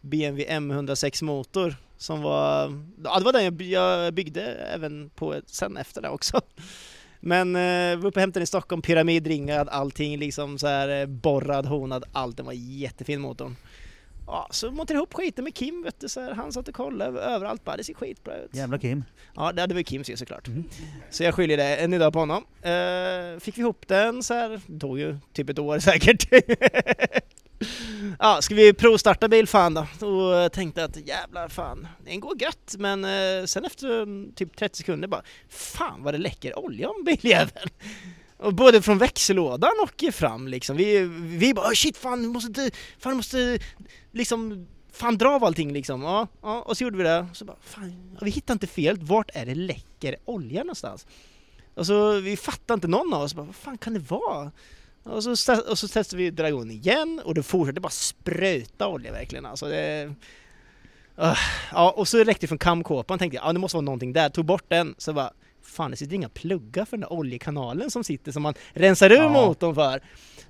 S6: BMW M106 motor som var, ja det var den jag, by- jag byggde även på sen efter det också. Men eh, var uppe och hämtade den i Stockholm, pyramidringad, allting liksom så här eh, borrad, honad, allt. Den var jättefin motorn. Ja, så montade jag ihop skiten med Kim vet du, så här. han satt och kollade överallt bara, det ser skitbra ut.
S1: Jävla Kim.
S6: Ja, det hade väl Kim fel såklart. Så jag skyller det än idag på honom. Eh, fick vi ihop den så här, det tog ju typ ett år säkert. ja, ska vi provstarta bil fan då? Och jag tänkte att jävlar fan, den går gött. Men eh, sen efter mm, typ 30 sekunder bara, fan vad det läcker olja om biljäveln. Och både från växellådan och fram liksom. Vi, vi bara "Åh, shit fan, du måste, fan du måste liksom Fan dra av allting liksom, ja, ja, och så gjorde vi det. Så bara, fan, ja, vi hittar inte fel, vart är det läcker olja någonstans? Och så vi fattar inte någon av oss, bara, vad fan kan det vara? Och så, sta- och så testade vi Dragon igen och det fortsatte bara spruta olja verkligen alltså. Det, Ah, ja, och så räckte det från kamkåpan tänkte jag, ja det måste vara någonting där, tog bort den, så bara Fan det sitter inga pluggar för den där oljekanalen som sitter som man rensar ur
S1: Ja.
S6: motorn för.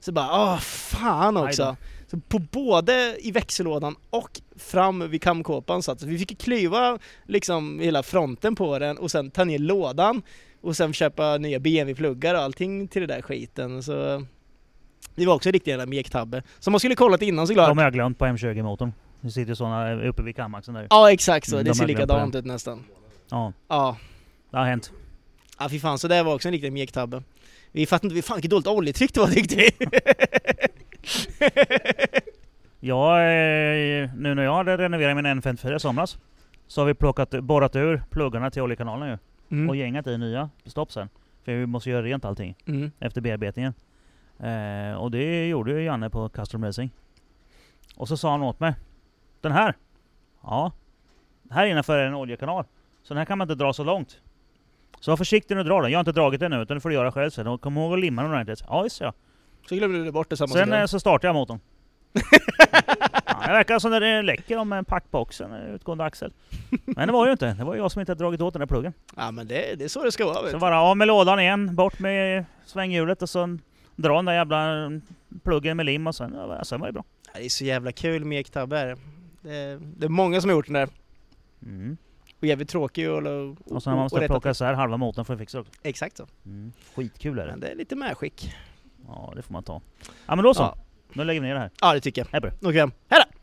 S6: Så bara, ah fan
S1: Aj
S6: också. Så på både i växellådan och fram vid kamkåpan satt så vi fick ju klyva liksom hela fronten på den och sen ta ner lådan och sen köpa nya BMW-pluggar och allting till den där skiten så Det var också en riktig jävla mektabbe. Som man skulle kollat innan såklart.
S1: De har jag glömt på M20-motorn. Det sitter ju sådana uppe vid kamaxen där.
S6: Ja exakt så,
S1: Mm,
S6: det
S1: de
S6: ser
S1: har glömt på
S6: likadant ut nästan.
S1: Ja,
S6: Ja,
S1: det har hänt.
S6: ja fy fan så det var också en riktig mjäktabbe. Vi fattade inte, vi- fan vilket dåligt oljetryck det var tyckte vi.
S1: Jag, eh, nu när jag hade renoverat min N54 i somras så har vi plockat, borrat ur pluggarna till oljekanalen ju. Och
S6: Mm.
S1: gängat i nya stopp sen. För vi måste göra rent allting
S6: Mm.
S1: efter bearbetningen. Eh, och det gjorde ju Janne på Custom Racing. Och så sa han åt mig. Den här! Ja. Här innanför är en oljekanal. Så den här kan man inte dra så långt. Så var försiktig när du drar den. Jag har inte dragit den nu utan det får du göra själv sen. Och kom ihåg att limma den ordentligt. Ja, just det, ja.
S6: Så glömde du bort det samma
S1: Sen eh,
S6: sekund.
S1: så startar jag motorn. ja, det verkar som när det läcker om en packboxen, en utgående axel. Men det var ju inte. Det var ju jag som inte hade dragit åt den där pluggen.
S6: Ja men det, det är så det ska vara vet
S1: Så
S6: du.
S1: bara av med lådan igen, bort med svänghjulet och sen dra den där jävla pluggen med lim och sen, ja, sen var det bra.
S6: Ja, Det är så jävla kul mjäktabbe är det. det. Det är många som har gjort den där.
S1: Mm.
S6: Och jävligt tråkig och... Och,
S1: Och sen när man
S6: och
S1: måste
S6: rätta
S1: plocka isär halva motorn för att fixa det också.
S6: till. Exakt så.
S1: Mm. Skitkul är det.
S6: Men det är lite medskick.
S1: Ja, det får man ta. Ja men då så.
S6: Ja.
S1: Nu lägger vi ner det här.
S6: Ja det tycker jag.
S1: Hej på dig.
S6: Okej, hejdå!